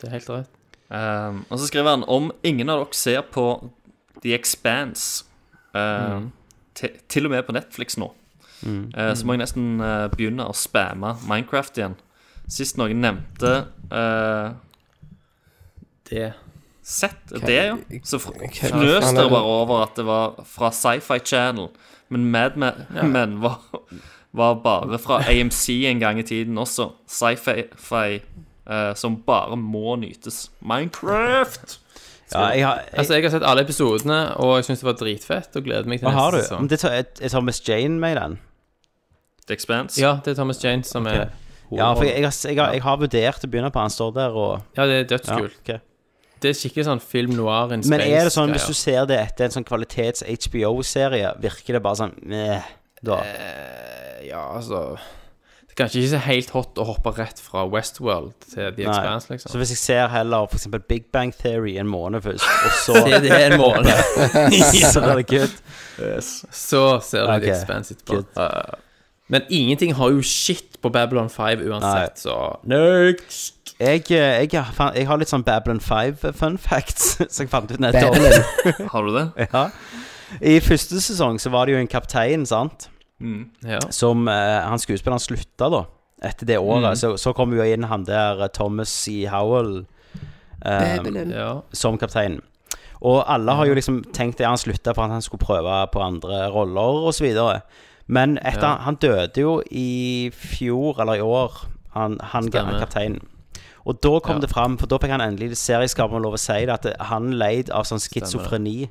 Speaker 2: Det er helt rett.
Speaker 3: Ehm, og så skriver han om ingen av dere ser på The Expanse, eh, ti- til og med på Netflix nå, eh, så må jeg nesten eh, begynne å spamme Minecraft igjen. Sist noen nevnte eh,
Speaker 2: Det
Speaker 3: Sett det, ja. Så fr-
Speaker 1: faen er
Speaker 3: fnøs dere
Speaker 1: det?
Speaker 3: bare over at det var fra Sci-Fi Channel, men Mad Men men var, var bare fra AMC en gang i tiden også. Sci-Fi eh, som bare må nytes. Minecraft!
Speaker 7: Ja, jeg har jeg,
Speaker 2: Altså, jeg har sett alle episodene, og jeg syns det var dritfett, og gleder meg til
Speaker 7: Hva har
Speaker 2: neste
Speaker 7: du?
Speaker 2: sesong.
Speaker 7: Men det tar, jeg, jeg tar Miss Jane med i den.
Speaker 3: The Expanse.
Speaker 2: Ja, det er Thomas Jane som er
Speaker 7: Ja, for jeg, har- jeg, har- jeg har vurdert å begynne på han står der og
Speaker 2: Ja, det er
Speaker 7: ja,
Speaker 2: dødskult.
Speaker 7: ok.
Speaker 2: Det er skikkelig sånn film noir in space.
Speaker 7: Men er det sånn, hvis du ser det etter en sånn kvalitets-HBO-serie, virker det bare sånn meh, da?
Speaker 2: Eh, Ja, altså Det er kanskje ikke så helt hot å hoppe rett fra Westworld til The
Speaker 7: Nei.
Speaker 2: Expanse, liksom.
Speaker 7: Så hvis jeg ser heller for eksempel Big Bang Theory en måned først, og så
Speaker 2: *laughs* *laughs* Det, det er en måned.
Speaker 7: *laughs* Så er det good.
Speaker 2: Så ser du
Speaker 7: Ok,
Speaker 2: The Expanse etterpå. Uh, Men ingenting har jo shit på Babylon 5 uansett, så Next!
Speaker 7: Jeg, eh, jeg, har fan- jeg har litt sånn Babylon 5 fun facts, *laughs* som jeg fant ut nettopp.
Speaker 1: Babylon.
Speaker 3: Har du det?
Speaker 7: *laughs* Ja. I første sesong så var det jo en kaptein, sant,
Speaker 2: Ja.
Speaker 7: som eh, han skuespilleren slutta, da. Etter det året. Så, så kom jo inn han der eh, Thomas E. Howell eh,
Speaker 2: ja.
Speaker 7: som kaptein. Og alle har jo liksom tenkt det han slutta for at han skulle prøve på andre roller osv. Men etter, han døde jo i fjor, eller i år, han, han
Speaker 2: Stemmer.
Speaker 7: kapteinen. Og da kom
Speaker 2: Ja.
Speaker 7: det fram, for da fikk han endelig serieskaperen lov å si det, at det- han leid av sånn schizofreni.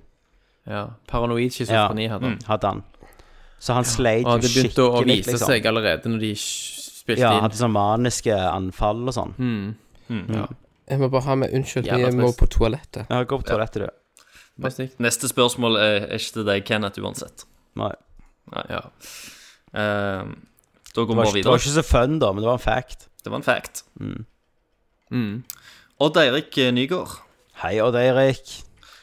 Speaker 2: Ja. Paranoid schizofreni hadde han.
Speaker 7: hadde han. Så han sleit
Speaker 2: Og han
Speaker 7: jo
Speaker 2: hadde begynt å å
Speaker 7: skikkelig,
Speaker 2: vise
Speaker 7: liksom.
Speaker 2: seg allerede når de sh- spilte
Speaker 7: Ja,
Speaker 2: inn.
Speaker 7: hadde sånn maniske anfall og sånn.
Speaker 2: Mm.
Speaker 3: Mm.
Speaker 1: Jeg må bare ha med unnskyld,
Speaker 2: Jævla
Speaker 1: vi må
Speaker 2: trist.
Speaker 1: på toalettet.
Speaker 7: Ja, gå på toalettet, du.
Speaker 2: Bare snikt.
Speaker 3: Neste spørsmål er, er ikke til deg, Kenneth, uansett.
Speaker 7: Nei.
Speaker 2: Ja.
Speaker 3: Eh, da går
Speaker 7: Det
Speaker 3: vi bare
Speaker 7: var, ikke, Mm. det var
Speaker 3: videre.
Speaker 7: ikke så fun, da, men det var en fact.
Speaker 3: Det var en fact. Mm. Odd Eirik eh, Nygaard.
Speaker 7: Hei, Odd Eirik.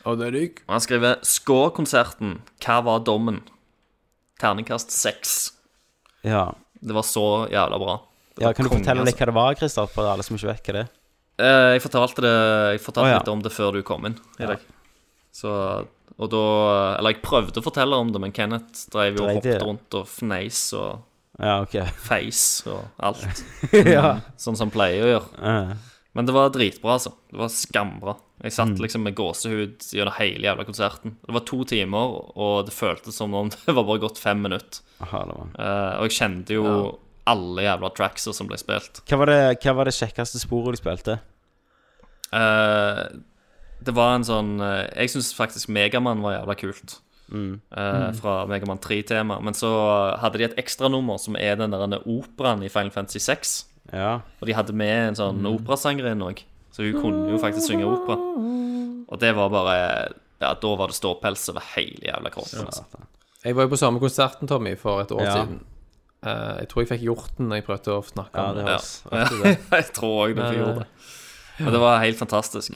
Speaker 2: Og det er lyk.
Speaker 3: Og han skriver Skå-konserten. Hva var dommen? Terningkast seks.
Speaker 7: Ja.
Speaker 3: Det var så jævla bra. Det
Speaker 7: ja,
Speaker 3: var
Speaker 7: kan du
Speaker 3: konge,
Speaker 7: fortelle litt
Speaker 3: altså.
Speaker 7: hva det var, Christer, for alle som ikke vet hva det er?
Speaker 3: Eh, Jeg fortalte, det, jeg fortalte
Speaker 7: Å, ja.
Speaker 3: litt om det før du kom inn i dag. Så, og da Eller jeg prøvde å fortelle om det, men Kenneth drev jo og
Speaker 7: Drev det.
Speaker 3: hoppet rundt og fneis og
Speaker 7: Ja, ok. *laughs*
Speaker 3: feis og alt.
Speaker 7: ja.
Speaker 3: Sånn som han pleier å gjøre.
Speaker 7: Eh,
Speaker 3: Men det var dritbra, altså. Det var skambra. Jeg satt liksom med gåsehud gjennom hele jævla konserten. Det var to timer, og det føltes som om *laughs* det var bare gått fem minutter.
Speaker 7: aha, det var-
Speaker 3: Eh, og jeg kjente jo alle jævla trackser som ble spilt.
Speaker 7: Hva var det, hva var det kjekkeste sporet du spilte?
Speaker 3: Eh, det var en sånn eh, Jeg syns faktisk Megamann var jævla kult. Eh, fra Megamann 3-tema. Men så hadde de et ekstranummer som er den der operaen i Final Fantasy 6.
Speaker 7: Ja.
Speaker 3: Og de hadde med en sånn operasangerinne òg, så hun kunne jo faktisk synge opera. Og det var bare Ja, da var det ståpels over hele jævla kroppen. Altså.
Speaker 2: Jeg var jo på samme konserten, Tommy, for et år
Speaker 7: Ja.
Speaker 2: siden. Eh, jeg tror jeg fikk hjorten når jeg prøvde å snakke
Speaker 7: Ja,
Speaker 2: om
Speaker 7: det
Speaker 2: det.
Speaker 7: høres
Speaker 3: *laughs* jeg tror òg du får gjort det. Men det var helt fantastisk.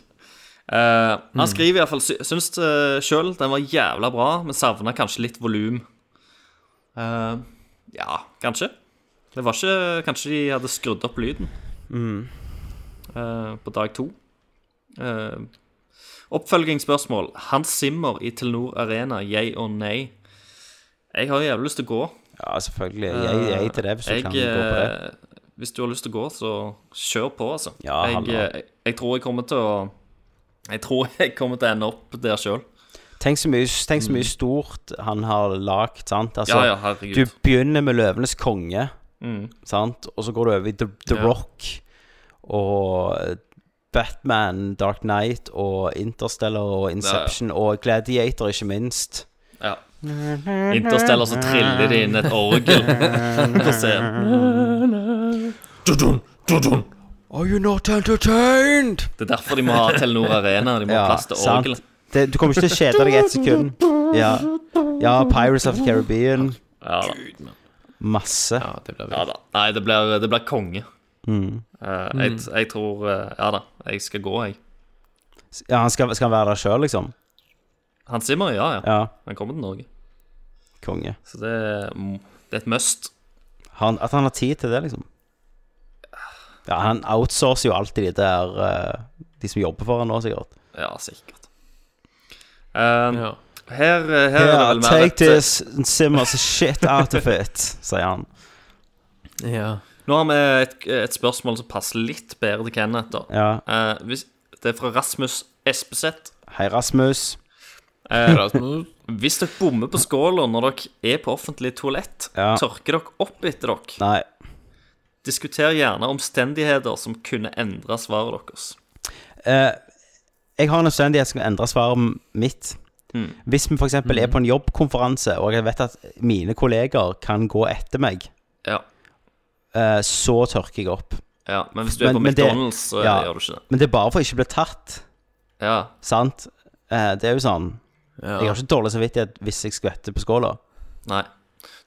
Speaker 3: Eh, han skriver iallfall Syns uh, sjøl den var jævla bra, men savna kanskje litt volum. Eh, ja, kanskje. Det var ikke Kanskje de hadde skrudd opp lyden eh, på dag to. Eh, oppfølgingsspørsmål. Hans Zimmer i Telenor Arena, yay og nei? Jeg har jo jævlig lyst til å gå.
Speaker 7: Ja, selvfølgelig. Jeg, jeg til det, hvis du
Speaker 3: Eh, Jeg,
Speaker 7: kan gå på det.
Speaker 3: eh, Hvis du har lyst til å gå, så kjør på, altså.
Speaker 7: Ja,
Speaker 3: jeg,
Speaker 7: hallo.
Speaker 3: eh, jeg tror jeg kommer til å Jeg tror *laughs* jeg kommer til å ende opp der sjøl.
Speaker 7: Tenk så mye, tenk så mye stort han har lagd, sant? Altså,
Speaker 3: mm. Ja, ja, herregud. Mm.
Speaker 7: Du begynner med 'Løvenes konge', sant? og så går du over i The, The Rock og Batman, Dark Knight og Interstellar og Inception og Gladiator, ikke minst.
Speaker 3: Ja. Interstellar, så triller det inn et orgel *laughs* på scenen.
Speaker 7: Are you not entertained?
Speaker 3: Det er derfor de må ha Telenor Arena. De må ha
Speaker 7: Ja,
Speaker 3: plass til
Speaker 7: sant.
Speaker 3: orgelet.
Speaker 7: Det, du kommer ikke til å kjede deg ett sekund. Ja. ja, Pirates of the Caribbean.
Speaker 3: Ja, da.
Speaker 7: Masse. Mm.
Speaker 2: Ja, det blir
Speaker 3: ja da. Nei, det blir, det blir konge. Eh, jeg, jeg tror eh, Ja da, jeg skal gå, jeg.
Speaker 7: Ja, han skal, skal han være der sjøl, liksom?
Speaker 3: Hans Zimmer, ja, ja.
Speaker 7: Ja,
Speaker 3: Han kommer til Norge.
Speaker 7: konge.
Speaker 3: Så det, er- det er et must.
Speaker 7: Han, at han har tid til det, liksom. Ja, han outsourcer jo alltid de der eh, De som jobber for han nå, sikkert.
Speaker 3: Ja, sikkert. Um,
Speaker 2: Ja.
Speaker 3: her, eh, her er det
Speaker 7: Yeah,
Speaker 3: vel mer eh,
Speaker 7: take
Speaker 3: et
Speaker 7: this and simmers shit out of it, sier han.
Speaker 2: Ja.
Speaker 3: Nå har vi et, et spørsmål som passer litt bedre til Kenneth. da
Speaker 7: Ja.
Speaker 3: Eh, hvis, Det er fra Rasmus Espeseth. Eh,
Speaker 7: Hei, Rasmus.
Speaker 2: Rasmus.
Speaker 3: Hvis dere bommer på skåla når dere er på offentlig toalett,
Speaker 7: Ja.
Speaker 3: tørker dere opp etter dere.
Speaker 7: Nei.
Speaker 3: Diskuter gjerne omstendigheter som kunne endre svaret deres.
Speaker 7: Eh, Jeg har en omstendighet som kan endre svaret mitt. Hvis vi f.eks. eksempel er på en jobbkonferanse, og jeg vet at mine kolleger kan gå etter meg,
Speaker 3: Ja,
Speaker 7: eh, så tørker jeg opp.
Speaker 3: ja Men hvis du er
Speaker 7: Men-
Speaker 3: på
Speaker 7: men det-
Speaker 3: McDonald's, så
Speaker 7: ja.
Speaker 3: gjør du ikke det.
Speaker 7: Men det er bare for å ikke bli tatt,
Speaker 3: Ja,
Speaker 7: sant? Eh, Det er jo sånn Jeg
Speaker 2: Ja.
Speaker 7: har ikke dårlig samvittighet hvis jeg skvetter på skåla.
Speaker 3: nei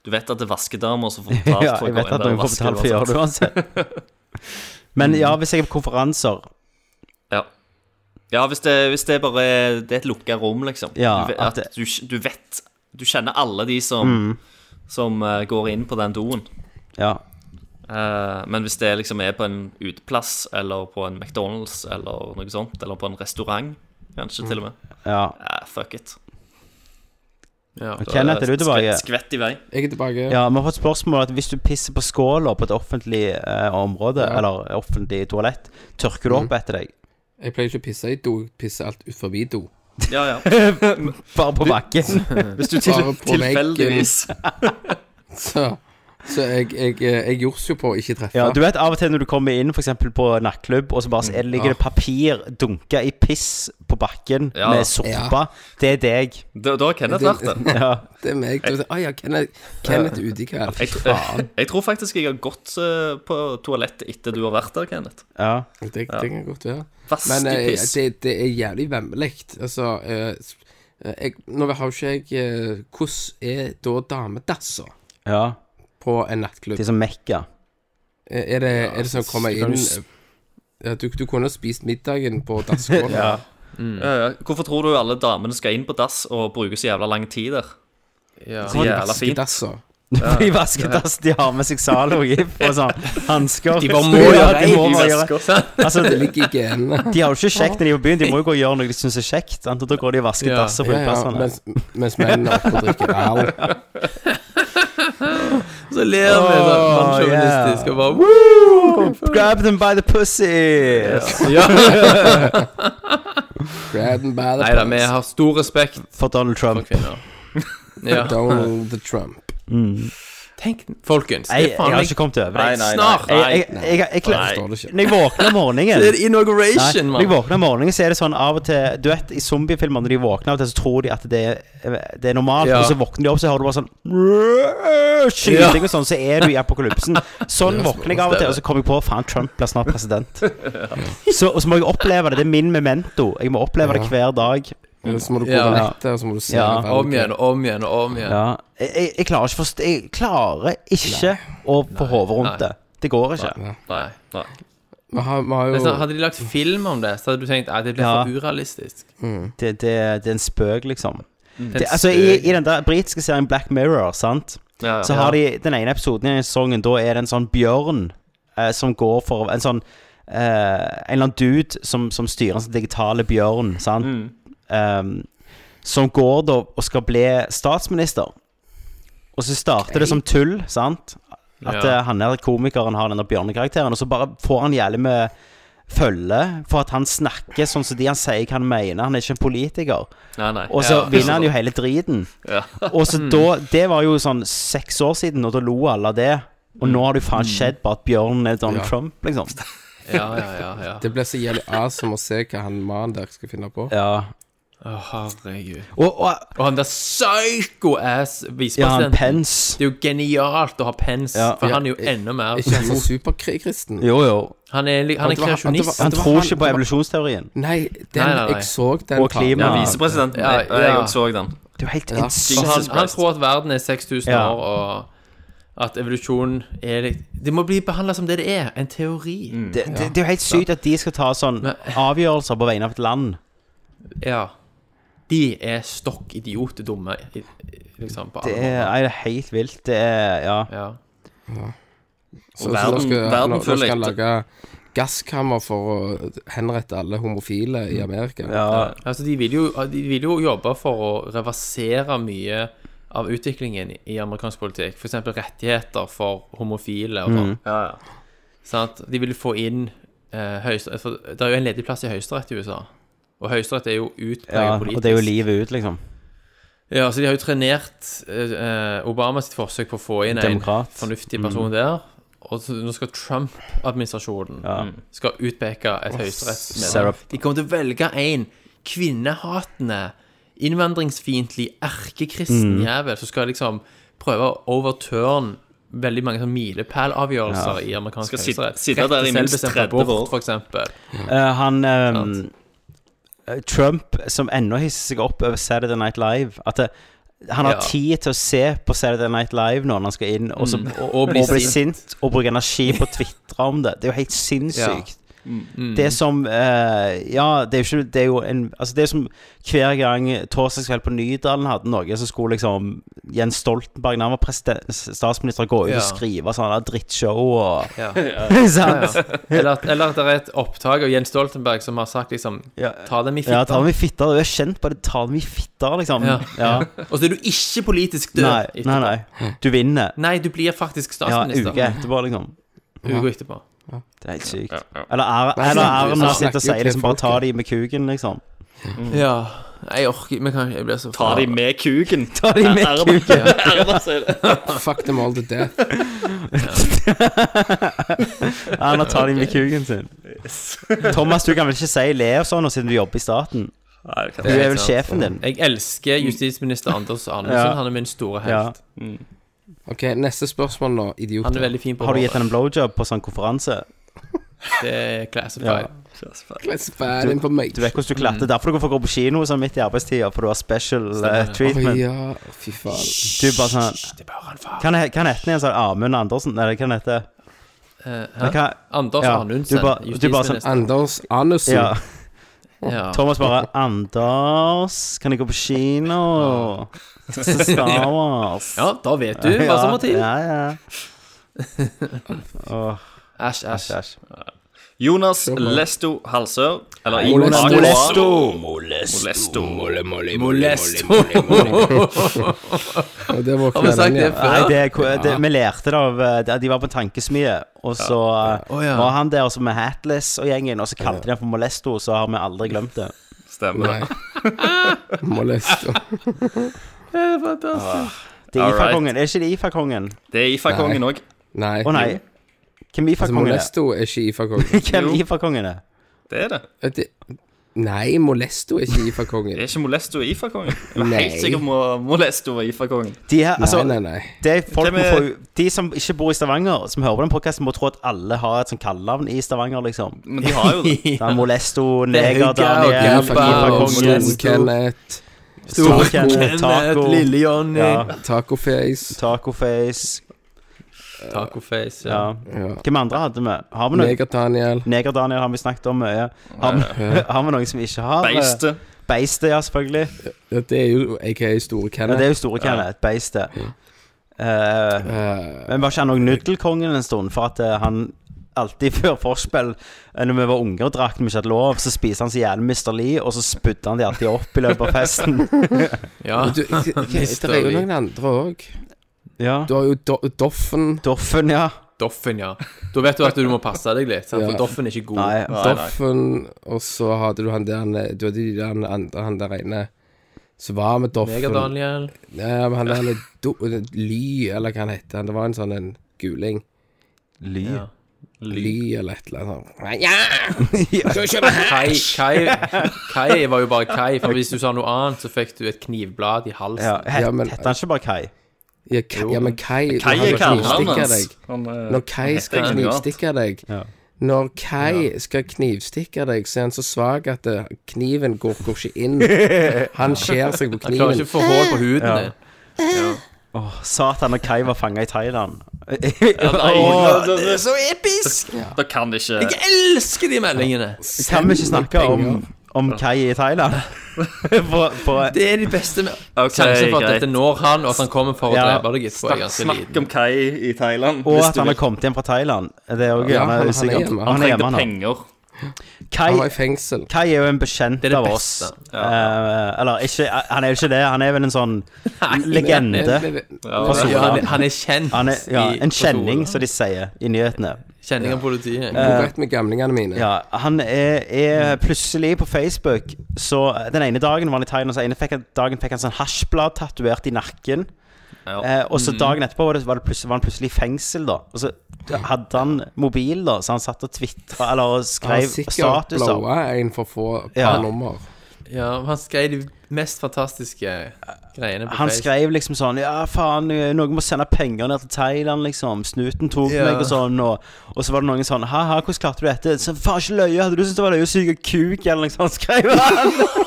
Speaker 3: Du vet at det er vaskedamer som får betalt
Speaker 7: *laughs* Ja,
Speaker 3: for å gå
Speaker 7: jeg vet
Speaker 3: inn
Speaker 7: at
Speaker 3: der
Speaker 7: noen
Speaker 3: og sånn. vaske.
Speaker 7: får Hmm. betalt for å gjøre det
Speaker 3: uansett.
Speaker 7: uansett. *laughs* Men ja, hvis jeg er på konferanser
Speaker 3: Ja. Ja, hvis det, hvis det bare er- det er et lukka rom, liksom.
Speaker 7: Ja,
Speaker 3: du, vet-
Speaker 7: at
Speaker 3: at
Speaker 7: det- Mm.
Speaker 3: du, du vet Du kjenner alle de som, som eh, går inn på den doen.
Speaker 7: hmm, Ja,
Speaker 3: Eh, men hvis det liksom er på en uteplass eller på en McDonald's eller noe sånt, eller på en restaurant, kanskje til og med
Speaker 7: ja.
Speaker 3: eh, Fuck it.
Speaker 2: Ja.
Speaker 3: Da
Speaker 7: Kenneth, er du tilbake?
Speaker 3: Skvett, skvett i vei.
Speaker 1: Jeg er tilbake.
Speaker 7: ja, vi har fått spørsmål at hvis du pisser på skåla på et offentlig eh, område,
Speaker 1: Ja.
Speaker 7: eller offentlig toalett, tørker du opp etter deg?
Speaker 1: Jeg pleier ikke å pisse i do, jeg pisser alt ut forbi do.
Speaker 3: Ja, ja.
Speaker 7: Bare på bakken.
Speaker 3: Hvis du til,
Speaker 1: Bare på veggen.
Speaker 3: tilfeldigvis
Speaker 1: *laughs* Så Så jeg, jeg, eh, jeg jords jo på å ikke treffe.
Speaker 7: *laughs* Ja, du vet av og til når du kommer inn for eksempel på nattklubb, og så bare så er det, ligger det papir dunka i piss på bakken
Speaker 3: Ja.
Speaker 7: med såpe. Det er deg.
Speaker 3: Da, da har Kenneth vært det.
Speaker 7: Ja.
Speaker 1: Det er meg. Du, ah, ja, Kenneth, Kenneth er ute i kveld.
Speaker 3: Jeg, tr- jeg tror faktisk jeg har gått eh, på toalettet etter du har vært der, Kenneth.
Speaker 7: ja.
Speaker 1: Det, det kan godt være. Men eh,
Speaker 3: Vaskepiss.
Speaker 1: det, det er jævlig vemmelig. Altså eh, s- eh, jeg, Nå har jo ikke jeg eh, Hvordan er da damedasser
Speaker 7: ja.
Speaker 1: på en nattklubb?
Speaker 7: De som mekka.
Speaker 1: Eh, Er det, er det sånn å komme
Speaker 2: du kan
Speaker 1: inn
Speaker 2: jo s-
Speaker 1: eh, ja, du, du kunne ha spist middagen på dasskåla. ja.
Speaker 3: Mm. Ja, ja. Hvorfor tror du alle damene skal inn på dass og bruke så jævla lang tid der?
Speaker 2: Ja.
Speaker 3: Så jævla fint.
Speaker 7: I vaskedassen *laughs* de har med seg Zalo i, og sånn hansker.
Speaker 2: De bare må gjøre
Speaker 7: de må bare gjøre
Speaker 2: vasker, sant?
Speaker 7: Altså,
Speaker 1: Det
Speaker 7: de,
Speaker 1: ligger i genene.
Speaker 7: de har jo ikke kjekt når de er på byen, de må jo gå og gjøre noe de syns er kjekt. Sant? Og da går de og vasker
Speaker 2: Ja.
Speaker 7: dasser på sånn
Speaker 1: Ja, ja,
Speaker 7: utplassene.
Speaker 1: mens, mens mennene er oppe og drikker øl.
Speaker 2: *laughs* Så ler vi sånn
Speaker 7: Åh,
Speaker 2: mannssjåvinistisk
Speaker 7: yeah.
Speaker 2: og bare Woo!
Speaker 7: Grab them by the pussy!
Speaker 2: Ja.
Speaker 1: Grab them by the
Speaker 2: Nei da, vi
Speaker 1: pants.
Speaker 2: har stor respekt
Speaker 7: For Donald
Speaker 2: for
Speaker 7: Trump. *laughs*
Speaker 2: kvinner. Ja.
Speaker 1: Donald the Trump.
Speaker 2: Tenk, folkens.
Speaker 7: Jeg,
Speaker 2: Det er
Speaker 7: jeg
Speaker 2: faen
Speaker 7: har
Speaker 2: meg
Speaker 7: ikke kommet over det.
Speaker 2: snart.
Speaker 7: Jeg, jeg, jeg, jeg, jeg,
Speaker 1: Jeg
Speaker 7: jeg,
Speaker 1: forstår det ikke.
Speaker 7: når jeg våkner om morgenen
Speaker 2: Det er inauguration,
Speaker 7: Nei, når
Speaker 2: mann.
Speaker 7: jeg våkner om morgenen, så er det sånn av og til Du vet, i zombiefilmer, når de våkner av og til, så tror de at det er, det er normalt,
Speaker 2: Ja.
Speaker 7: og så våkner de opp, så hører du bare sånn Skyting og sånn, så er du i apokalypsen. Sånn våkner jeg av og til, og så kommer jeg på faen, Trump blir snart president. Så, og så må jeg oppleve det. Det er min memento. Jeg må oppleve det hver dag.
Speaker 1: Eller så må du gå
Speaker 2: Ja.
Speaker 1: over nettet, og så må du se
Speaker 7: Ja.
Speaker 1: valget.
Speaker 2: Om igjen og om igjen og om igjen.
Speaker 7: Ja. Jeg, jeg, jeg klarer ikke, forst jeg klarer ikke å få hodet rundt det. Det går ikke.
Speaker 3: Nei, nei.
Speaker 1: Vi har, vi har
Speaker 2: Det er sånn,
Speaker 1: jo
Speaker 2: Hadde de lagt film om det, så hadde du tenkt at det blir
Speaker 7: Ja.
Speaker 2: for urealistisk.
Speaker 7: Det, det, det er en spøk, liksom.
Speaker 2: Det
Speaker 7: Det, altså, i, I den der britiske serien Black Mirror, sant
Speaker 3: Ja, ja.
Speaker 7: Så har de den ene episoden i sesongen, da er det en sånn bjørn eh, som går for En sånn eh, En eller annen dude som, som styrer en sånn digitale bjørn, sant?
Speaker 3: Mm.
Speaker 7: Ehm, som går da og skal bli statsminister. Og så starter det som tull, sant? At
Speaker 2: Ja.
Speaker 7: eh, han her komikeren har den der bjørnekarakteren, og så bare får han jævlig med følge for at han snakker sånn som de han sier hva han mener. Han er ikke en politiker.
Speaker 3: nei, nei.
Speaker 7: Og så
Speaker 3: Ja, *laughs*
Speaker 7: vinner han jo hele driten. og så da Det var jo sånn seks år siden, og da lo alle av det. Og nå har det jo faen skjedd bare at bjørnen er Donald
Speaker 1: Ja.
Speaker 7: Trump, liksom.
Speaker 2: Ja, ja, ja. ja.
Speaker 1: Det blir så jævlig awesome å se hva han mannen der skal finne på.
Speaker 7: Ja.
Speaker 2: Å, herregud.
Speaker 7: Og, og
Speaker 2: Og han der psycho-ass
Speaker 7: ja, han
Speaker 2: visepresidenten.
Speaker 7: Pence.
Speaker 2: det er jo genialt å ha pens,
Speaker 7: Ja.
Speaker 2: for han er jo enda mer
Speaker 1: Er ikke han sånn
Speaker 2: idiot.
Speaker 1: superkristen?
Speaker 7: Jo, jo.
Speaker 2: Han er, li- han er
Speaker 1: det var-
Speaker 2: kreasjonist.
Speaker 1: at
Speaker 7: Han
Speaker 1: det var
Speaker 7: tror
Speaker 1: han-
Speaker 7: ikke på
Speaker 1: det var-
Speaker 7: evolusjonsteorien.
Speaker 1: Nei, den,
Speaker 2: Nei, nei, nei.
Speaker 1: jeg så den
Speaker 7: Og
Speaker 1: faen.
Speaker 7: klima.
Speaker 3: Ja, Visepresidenten.
Speaker 2: Ja,
Speaker 3: Jeg, jeg
Speaker 2: ja.
Speaker 3: også så den.
Speaker 7: Det er jo helt
Speaker 1: Ja.
Speaker 7: insane.
Speaker 2: Og han,
Speaker 3: Jesus
Speaker 2: han
Speaker 3: Christ.
Speaker 2: tror at verden er 6000
Speaker 7: Ja.
Speaker 2: år, og at evolusjonen er litt Det må bli behandla som det det er, en teori.
Speaker 1: Mm.
Speaker 7: Det, det, det er jo helt sykt at de skal ta sånn
Speaker 2: Men-
Speaker 7: avgjørelser på vegne av et land.
Speaker 2: Ja. De er stokk idiote dumme, i- i- liksom, på
Speaker 7: Det
Speaker 2: alle
Speaker 7: er,
Speaker 2: måter.
Speaker 7: er helt vilt. Det er Ja.
Speaker 2: Ja.
Speaker 1: Så, så
Speaker 3: verden-
Speaker 1: nå skal,
Speaker 3: verden
Speaker 1: nå, nå
Speaker 3: føler
Speaker 1: skal han
Speaker 3: etter.
Speaker 1: lage gasskammer for å henrette alle homofile i Amerika.
Speaker 7: ja.
Speaker 2: Altså, de vil, jo, de vil jo jobbe for å reversere mye av utviklingen i amerikansk politikk. F.eks. rettigheter for homofile
Speaker 7: Mm.
Speaker 2: og sånn. Sant? De vil få inn eh, høyesterett For det er jo en ledig plass i Høyesterett i USA. Og Høyesterett er jo
Speaker 7: ja.
Speaker 2: utpreget
Speaker 7: Og
Speaker 2: politisk.
Speaker 7: det er jo livet ut, liksom.
Speaker 2: Ja, så de har jo trenert eh, Obama sitt forsøk på å få inn en
Speaker 7: Demokrat. Mm.
Speaker 2: fornuftig person der. Og så, nå skal Trump-administrasjonen
Speaker 3: Mm.
Speaker 2: skal utpeke et
Speaker 7: Sarah-
Speaker 2: høyesterettsmedlem. De kommer til å velge en kvinnehatende, innvandringsfiendtlig,
Speaker 7: Mm.
Speaker 2: erkekristen jævel som skal liksom prøve å overturn veldig mange sånn milepælavgjørelser i amerikansk
Speaker 3: Skal sit-
Speaker 2: høyesterett.
Speaker 3: sitte der i minst 30 år.
Speaker 2: for eksempel.
Speaker 7: Eh, han ehm, eh, Trump, som ennå hisser seg opp over Saturday Night Live At det, han har
Speaker 2: Ja.
Speaker 7: tid til å se på Saturday Night Live nå når han skal inn, og, så, og,
Speaker 2: Mm. Og bli
Speaker 7: og bli
Speaker 2: sint.
Speaker 7: sint og bruke energi på å tvitre om det. Det er jo helt sinnssykt.
Speaker 2: Mm,
Speaker 7: Det er som eh, Ja, det er jo ikke Det er jo en Altså, det er som hver gang torsdagskveld på Nydalen hadde noe, så skulle liksom Jens Stoltenberg, når han var president- statsminister, gå ut
Speaker 2: Ja.
Speaker 7: og skrive sånn der drittshow og
Speaker 2: Ja.
Speaker 7: *laughs* Sant?
Speaker 2: Ja. Eller, at, eller at det er et opptak av Jens Stoltenberg som har sagt liksom
Speaker 7: Ja.
Speaker 2: Ta dem i
Speaker 7: Ja,
Speaker 2: fitta.
Speaker 7: ta dem i fitta. Du er kjent på det. Ta dem i fitta, liksom. Ja.
Speaker 2: Ja. Og så er du ikke politisk død
Speaker 7: Nei,
Speaker 2: etterpå.
Speaker 7: nei, nei. Du vinner.
Speaker 2: Nei, du blir faktisk
Speaker 7: Ja,
Speaker 2: statsminister.
Speaker 7: uke etterpå, liksom.
Speaker 2: uke etterpå.
Speaker 7: Det er helt sykt. Eller er- eller
Speaker 1: Nei,
Speaker 7: Erna
Speaker 1: snakker-
Speaker 7: sitter og
Speaker 1: snakker
Speaker 7: sier
Speaker 1: til
Speaker 7: liksom bare
Speaker 1: folket.
Speaker 7: ta dem med kuken, liksom.
Speaker 2: Ja. Jeg orker Vi kan ikke Jeg blir så
Speaker 3: Ta de med kuken. Ta
Speaker 7: de med kuken.
Speaker 3: *laughs* Erna sier det.
Speaker 1: Fuck them all to death.
Speaker 7: Han tar dem med kuken sin. Thomas, du kan vel ikke si le og sånn, og siden du jobber i staten? Du er vel sjefen din?
Speaker 2: Jeg elsker justisminister Anders Anundsen.
Speaker 7: Ja.
Speaker 2: Han er min store helt.
Speaker 7: Ja.
Speaker 1: Ok, neste spørsmål nå, idiot.
Speaker 2: Han er veldig fin på
Speaker 7: Har du
Speaker 2: håret.
Speaker 7: gitt henne en blowjob på sånn konferanse?
Speaker 2: Det er classified.
Speaker 1: Let's bad in på meg.
Speaker 7: Du vet hvordan du klatter. Derfor du får gå på kino sånn midt i arbeidstida, for du har special eh,
Speaker 1: Å
Speaker 7: treatment.
Speaker 1: ja, fy faen.
Speaker 7: Du er bare sånn
Speaker 2: Det bør han faen.
Speaker 7: Kan jeg- kan jeg hete igjen sånn Amund Andersen? Eller hva heter det?
Speaker 2: Eh, hæ?
Speaker 7: Hva-
Speaker 2: Anders
Speaker 7: Ja,
Speaker 2: Anundsen,
Speaker 7: du bare- du bare sånn-
Speaker 2: justisminister.
Speaker 1: Anders Anussen.
Speaker 7: Ja.
Speaker 2: Ja.
Speaker 7: Thomas bare 'Anders, kan jeg gå på kino?' Så Star Wars.
Speaker 2: ja, da vet du altså, hva som må til.
Speaker 7: Ja, ja. Åh,
Speaker 2: Æsj, æsj.
Speaker 7: æsj.
Speaker 3: Jonas Lesto Halsør. Eller i
Speaker 1: Molesto.
Speaker 3: Agua-
Speaker 7: Molesto.
Speaker 3: Molesto.
Speaker 1: Og det
Speaker 7: *laughs*
Speaker 1: var
Speaker 2: Har vi sagt
Speaker 1: kvelden,
Speaker 2: det
Speaker 1: ja.
Speaker 2: før?
Speaker 7: Nei, det, er ko- det, vi lærte det av eh, det- De var på en tankesmie, og så eh,
Speaker 2: Å, ja.
Speaker 7: var han der også med Hatless og gjengen, og så kalte de ham for Molesto, så har vi aldri glemt det.
Speaker 3: Stemmer.
Speaker 1: Nei. Molesto.
Speaker 7: Det er
Speaker 3: All right.
Speaker 7: IFA-kongen. Er ikke det IFA-kongen?
Speaker 3: Det er Ifa-kongen òg.
Speaker 1: Nei.
Speaker 7: Å nei. Hvem
Speaker 1: Altså,
Speaker 7: IFA-kongen er?
Speaker 1: Molesto er ikke IFA-kongen.
Speaker 7: *laughs* Hvem IFA-kongen er?
Speaker 3: Det er det.
Speaker 1: Er det- Nei, Molesto er ikke
Speaker 3: Det *laughs*
Speaker 1: IFA-kongen.
Speaker 3: er ikke Molesto og Ifa-kongen. Jeg er
Speaker 1: Nei.
Speaker 3: helt sikker på Molesto og Ifa-kongen.
Speaker 7: De, her, altså,
Speaker 1: Nei, nei, nei.
Speaker 7: det er folk
Speaker 3: Hvem
Speaker 7: må
Speaker 3: er-
Speaker 7: få, de som ikke bor i Stavanger, som hører på den podkasten, må tro at alle har et sånt kallenavn i Stavanger, liksom.
Speaker 3: Men de har jo det.
Speaker 7: Det er Molesto, Neger,
Speaker 2: Hugga,
Speaker 7: Daniel,
Speaker 2: Gabba,
Speaker 1: IFA-kongen,
Speaker 7: IFA-kongen,
Speaker 2: Molesto.
Speaker 1: Kenneth,
Speaker 7: Storkjent, Taco,
Speaker 2: Johnny.
Speaker 7: ja,
Speaker 1: Tacoface
Speaker 7: Tacoface
Speaker 2: Tacoface. Ja.
Speaker 7: ja.
Speaker 1: ja.
Speaker 7: Hvem andre hadde vi? Har vi noe?
Speaker 1: Neger-Daniel.
Speaker 7: Neger-Daniel har vi snakket om mye. Har vi, *laughs* har vi noen som ikke har eh,
Speaker 3: Beistet.
Speaker 7: Beistet, ja, selvfølgelig.
Speaker 1: Ja, det er jo aka Store
Speaker 7: Ja,
Speaker 1: Kenneth.
Speaker 7: det er jo store Kenneth. Beistet. Eh,
Speaker 1: Eh,
Speaker 7: men var ikke han òg Nuddelkongen en stund? For at eh, han alltid *laughs* før forspill, eh, når vi var unge og drakk men ikke hadde lov, så spiste han så jævlig Mr. Lee, og så spydde han de alltid opp i løpet
Speaker 1: *laughs*
Speaker 7: av festen. Ah. *laughs*
Speaker 1: du, det det er jo noen andre òg.
Speaker 7: ja.
Speaker 1: Du har jo Do Doffen.
Speaker 7: Doffen, ja.
Speaker 2: Doffen, ja. Da vet du at du må passe deg litt, sant?
Speaker 1: Ja.
Speaker 2: for Doffen er ikke god.
Speaker 7: Nei.
Speaker 1: Doffen, og så hadde du han der Du hadde de der andre, han der ene som var med Doffen.
Speaker 2: Neger-Daniel.
Speaker 1: Ja, men han der do, Ly, eller hva han heter. Det var en sånn en guling.
Speaker 7: Ly.
Speaker 2: Ja.
Speaker 1: Ly eller et eller annet sånt. Ja! Skal vi kjøpe
Speaker 2: Kai, Kai, Kai var jo bare Kai, for hvis du sa noe annet, så fikk du et knivblad i
Speaker 7: Ja,
Speaker 2: halsen.
Speaker 7: het,
Speaker 1: Ja, men-
Speaker 7: Hette han ikke bare Kai?
Speaker 1: Ja, Kai, ja men Kai
Speaker 3: Kai
Speaker 1: han
Speaker 3: er
Speaker 1: skal
Speaker 3: kallenavnet
Speaker 1: knivstikke
Speaker 3: hans.
Speaker 1: deg.
Speaker 3: Han, eh,
Speaker 1: Når Kai
Speaker 3: heter
Speaker 1: skal
Speaker 3: ikke noe annet.
Speaker 1: knivstikke deg
Speaker 7: Ja.
Speaker 1: Når Kai skal knivstikke deg, så er han så svak at eh, kniven går, går ikke
Speaker 3: *laughs*
Speaker 1: inn. Han skjærer seg på
Speaker 2: Klarer ikke
Speaker 1: kniven.
Speaker 2: å få hår på huden din.
Speaker 7: Åh, Satan og Kai var fanga i
Speaker 1: *laughs*
Speaker 7: Thailand. *laughs*
Speaker 3: Nei,
Speaker 7: Åh,
Speaker 3: det- det-
Speaker 2: Så episk!
Speaker 3: Da kan det ikke
Speaker 2: Jeg elsker de meldingene.
Speaker 7: Kan vi ikke snakke om, om Kai i Thailand? *laughs* på, på,
Speaker 2: Det er de beste med
Speaker 3: Ok,
Speaker 2: Sjansen for
Speaker 3: greit.
Speaker 2: at dette når han, og at han kommer for å
Speaker 7: Ja.
Speaker 2: drepe deg etterpå, er ganske
Speaker 3: Snakk
Speaker 2: liten.
Speaker 3: om Kai i Thailand.
Speaker 7: og
Speaker 3: hvis
Speaker 7: at
Speaker 3: du
Speaker 7: han har
Speaker 3: vil.
Speaker 7: kommet hjem fra Thailand. Det er jo
Speaker 1: Ja, han-
Speaker 7: gjerne
Speaker 1: han er
Speaker 7: usikkert.
Speaker 1: hjemme.
Speaker 7: Han er hjemme,
Speaker 3: trengte
Speaker 7: han.
Speaker 3: penger.
Speaker 7: Kai,
Speaker 1: Han var i fengsel.
Speaker 7: Kai er jo en bekjent
Speaker 2: Det er det
Speaker 7: av oss.
Speaker 2: beste.
Speaker 7: Eh, eller ikke Han er jo ikke det. Han er vel
Speaker 2: *laughs*
Speaker 7: en sånn legende.
Speaker 3: Ja,
Speaker 7: Person.
Speaker 2: Ja, han, er- han er kjent.
Speaker 7: Han er, ja,
Speaker 2: i-
Speaker 7: en kjenning,
Speaker 2: på
Speaker 7: som de sier i nyhetene.
Speaker 2: skolen. Kjenning av politiet.
Speaker 1: Hvor rett med gamlingene mine?
Speaker 7: Ja, han er, er plutselig på Facebook Så den ene dagen var han i Thailand, så den ene fikk, han- dagen fikk han sånn hasjblad tatovert i nakken.
Speaker 3: Ja.
Speaker 7: Eh, og
Speaker 2: Mm.
Speaker 7: så dagen etterpå var, det, var, det plutselig, var han plutselig i fengsel, da. Og så hadde han mobil, da, så han satt og tvitra eller
Speaker 1: Han har
Speaker 7: skrev
Speaker 1: sikkert
Speaker 7: statuser.
Speaker 1: blowa en for få
Speaker 7: Ja.
Speaker 1: par *laughs* nummer.
Speaker 2: Ja, han skrev de mest fantastiske greiene på
Speaker 7: Han
Speaker 2: Facebook.
Speaker 7: skrev liksom sånn Ja, faen, eh, noen må sende penger ned til Thailand, liksom. Snuten tok
Speaker 2: Ja.
Speaker 7: meg, og sånn. Og, og så var det noen sånn Ha-ha, hvordan klarte du dette? Så faen ikke løye. Hadde du syntes det var løye å suge kuk, eller noe sånt? *laughs* Skrev han.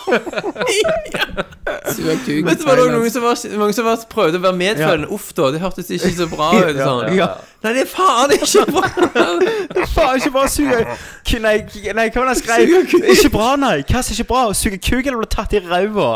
Speaker 2: Men det var også noen som, var, mange som var, prøvde å være medfølende. Uff da, det hørtes ikke så bra ut. Sånn.
Speaker 7: Ja.
Speaker 2: Nei, det er faen ikke bra!
Speaker 7: Faen, ikke bra å suge k- Nei, k- nei, hva var det han skrev? Ikke bra, nei. Hva som er ikke bra? Å suge kuk eller bli tatt i ræva?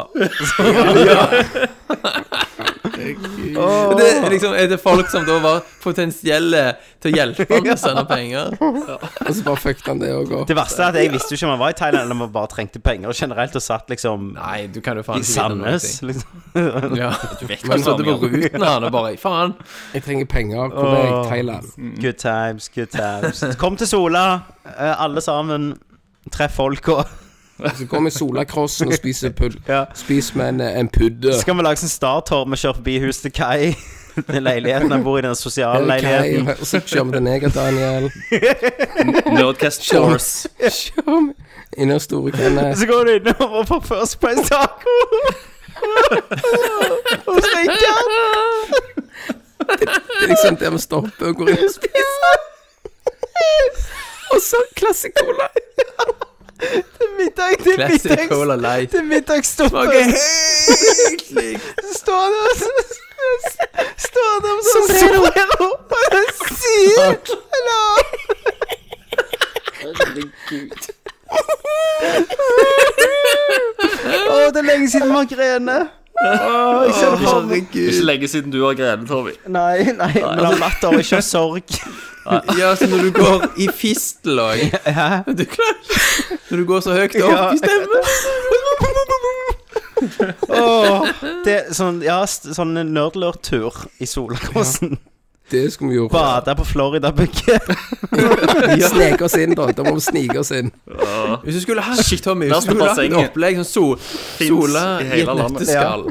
Speaker 2: Det, er liksom, er det folk som da var potensielle til å hjelpe ham med å sende penger?
Speaker 1: Og så bare fucket han det òg opp.
Speaker 7: Det verste er at jeg visste jo ikke om han var i Thailand, eller om han bare trengte penger generelt og satt liksom
Speaker 2: Nei, du kan jo
Speaker 7: i
Speaker 2: faen ikke vite noe.
Speaker 7: Sandnes. Liksom.
Speaker 2: Ja. *laughs*
Speaker 3: Men
Speaker 2: Han satt på
Speaker 3: Samuel,
Speaker 2: ruten han og bare
Speaker 7: *laughs*
Speaker 2: Faen!
Speaker 1: Jeg trenger penger. Hvor er jeg?
Speaker 7: Åh.
Speaker 1: Thailand.
Speaker 7: *laughs* Good times, good times. Kom til Sola, eh, alle sammen. Treff folka.
Speaker 1: Så går vi i solakrossen og spiser pud Spiser med en, en pudde.
Speaker 7: Så kan vi lage sånn Star-tårn vi kjører forbi huset til Kai. Den leiligheten han bor i, den sosiale
Speaker 1: Eller Kai,
Speaker 7: leiligheten.
Speaker 1: Eh, og så kjører vi til neg og Daniel.
Speaker 3: Nerdcast Shores.
Speaker 1: Kjører vi Inne hos Store Kenneth.
Speaker 7: Så går du innom og får First Price Taco. og steker.
Speaker 1: Det er liksom der vi stopper og går inn og spiser. Og så klasse cola.
Speaker 7: Middag til
Speaker 2: Classic
Speaker 7: middags.
Speaker 2: Cola Light.
Speaker 7: Til middagsstoppet.
Speaker 2: helt likt.
Speaker 7: Så står han og Står han og solerer opp og sier Hallo! Å, det er lenge siden vi har grene. Å, jeg ser det for meg.
Speaker 3: Ikke lenge siden du har grenet, Tommy.
Speaker 7: Nei, nei, men av latter og ikke av
Speaker 2: *laughs*
Speaker 7: sorg.
Speaker 2: Ja, så når du går i fistel òg
Speaker 7: *laughs*
Speaker 2: *laughs* Du klarer ikke Når du går så høyt opp
Speaker 7: Ja.
Speaker 2: i stemmen.
Speaker 7: Åh, det er sånn, ja, s- sånn nerdlørtur i Solakrossen.
Speaker 1: Det skulle vi gjort.
Speaker 7: Bade på
Speaker 2: *laughs*
Speaker 7: Florida-bygget.
Speaker 1: Sneke oss inn, da. Da må vi snike oss inn.
Speaker 2: Hvis du skulle hatt Tommy,
Speaker 3: la
Speaker 2: hvis
Speaker 3: oss
Speaker 2: du skulle hatt
Speaker 3: ta
Speaker 2: et
Speaker 3: bassenget.
Speaker 2: opplegg som sol, sola
Speaker 3: i
Speaker 2: i
Speaker 3: hele
Speaker 2: et
Speaker 3: landet.
Speaker 2: nøtteskall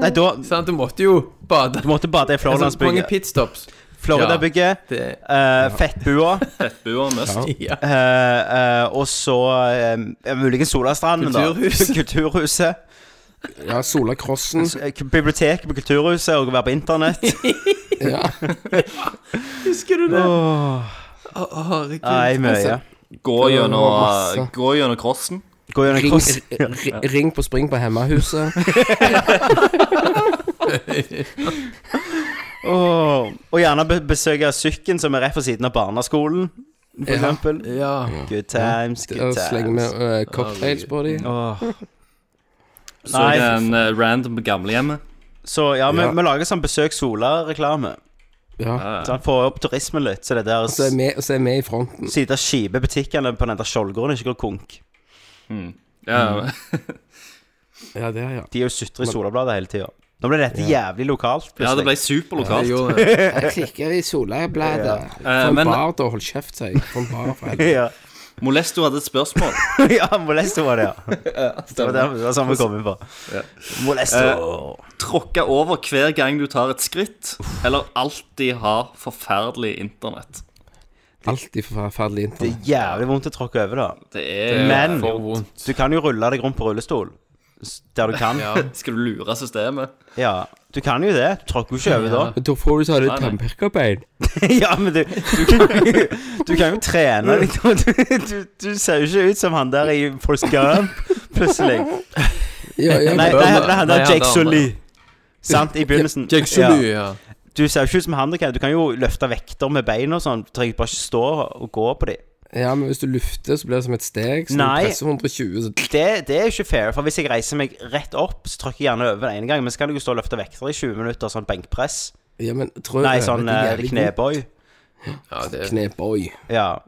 Speaker 7: Nei, da
Speaker 2: Sant, Du måtte jo bade.
Speaker 7: du måtte bade i
Speaker 2: Altså, mange
Speaker 7: Floridansbygget.
Speaker 2: pitstops.
Speaker 7: Florida-bygget,
Speaker 2: Det
Speaker 7: eh,
Speaker 2: *laughs*
Speaker 7: Fettbua,
Speaker 3: Tettbua must.
Speaker 2: ja.
Speaker 7: eh, eh, og så eh, muligens Solastranden, da.
Speaker 2: Kulturhuset.
Speaker 7: *laughs* Kulturhuset.
Speaker 1: Ja,
Speaker 2: Mm.
Speaker 1: Solakrossen.
Speaker 7: Eh, Bibliotek på Kulturhuset og være på internett.
Speaker 1: Ja.
Speaker 2: Husker du det? Altså,
Speaker 7: Åh,
Speaker 2: Å, herregud.
Speaker 7: Nei, mye.
Speaker 3: Gå
Speaker 1: Masse.
Speaker 3: gjennom, gå gjennom crossen.
Speaker 7: Gå gjennom
Speaker 1: Ring,
Speaker 7: kross.
Speaker 1: ri- ring på spring på Hemmahuset.
Speaker 7: Åh, og gjerne be besøke Sykken, som er rett ved siden av barneskolen, for
Speaker 1: Ja.
Speaker 7: eksempel.
Speaker 2: Ja.
Speaker 7: Good times,
Speaker 1: Og
Speaker 7: good
Speaker 1: slenger
Speaker 7: times.
Speaker 1: vi eh, cocktails på dem.
Speaker 7: Åh.
Speaker 3: Så
Speaker 7: Nei,
Speaker 3: den eh, random på gamlehjemmet.
Speaker 7: så ja, vi,
Speaker 1: Ja.
Speaker 7: vi lager sånn Besøk Sola-reklame.
Speaker 1: Ja.
Speaker 7: Sånn, Få opp turismen litt, så det der
Speaker 1: Så er vi- så er vi i fronten.
Speaker 7: Siden av skipe butikkene på den der Skjoldgården ikke går konk.
Speaker 3: Ja,
Speaker 1: Ja, det er ja.
Speaker 7: De er jo sutre i Solabladet hele tida. Nå ble dette jævlig lokalt.
Speaker 3: ja, det
Speaker 7: plutselig.
Speaker 3: ble superlokalt.
Speaker 2: Jeg gjorde
Speaker 7: *laughs*
Speaker 2: det.
Speaker 1: Jeg klikker i Solabladet.
Speaker 3: Eh,
Speaker 1: For en
Speaker 3: men-
Speaker 1: bar, da. Hold kjeft, sier jeg. For en bar, for helvete.
Speaker 7: *laughs* ja,
Speaker 3: Molesto hadde et spørsmål.
Speaker 7: ja, Molesto var det, ja. Det var det- det var sånn vi kom inn på. Molesto.
Speaker 3: Eh, Tråkka over hver gang du tar et skritt, eller alltid har forferdelig internett.
Speaker 1: Alltid forferdelig
Speaker 7: Det
Speaker 1: internett.
Speaker 7: er jævlig vondt å tråkke over, da.
Speaker 3: Det er
Speaker 7: Men
Speaker 2: For vondt.
Speaker 7: du kan jo rulle deg rundt på rullestol. s- Der du kan. Ja.
Speaker 3: Skal du lure systemet?
Speaker 7: Du kan jo det. Du tråkker jo ikke over da.
Speaker 1: Men Da får du ta det
Speaker 3: Nei, nei.
Speaker 1: tannpirkerbein.
Speaker 7: *laughs* ja, men du, du, kan, jo- du kan jo trene litt. og Du, du, du ser jo ikke ut som han der i Forrest Gump, plutselig.
Speaker 1: Ja, ja,
Speaker 7: Nei,
Speaker 1: men-
Speaker 7: nei, nei, han
Speaker 2: Nei,
Speaker 7: der
Speaker 2: han
Speaker 7: Jake
Speaker 2: der,
Speaker 7: Sully. Sant, i begynnelsen.
Speaker 2: Jack Sulu, ja.
Speaker 7: Du ser jo ikke ut som han du kan. Du kan jo løfte vekter med beina og sånn. Du trenger bare ikke stå og gå på dem.
Speaker 1: Ja, men hvis du lufter, så blir det som et steg. Så
Speaker 7: Nei.
Speaker 1: du presser 120, så
Speaker 7: Det, det er jo ikke fair, for hvis jeg reiser meg rett opp, så trykker jeg gjerne over den ene gang, men så kan du jo stå og løfte vekter i 20 minutter, sånn benkpress.
Speaker 1: Ja, men trø
Speaker 7: Nei, sånn eh, knebøy.
Speaker 2: ja det er
Speaker 1: Kneboy.
Speaker 7: Ja.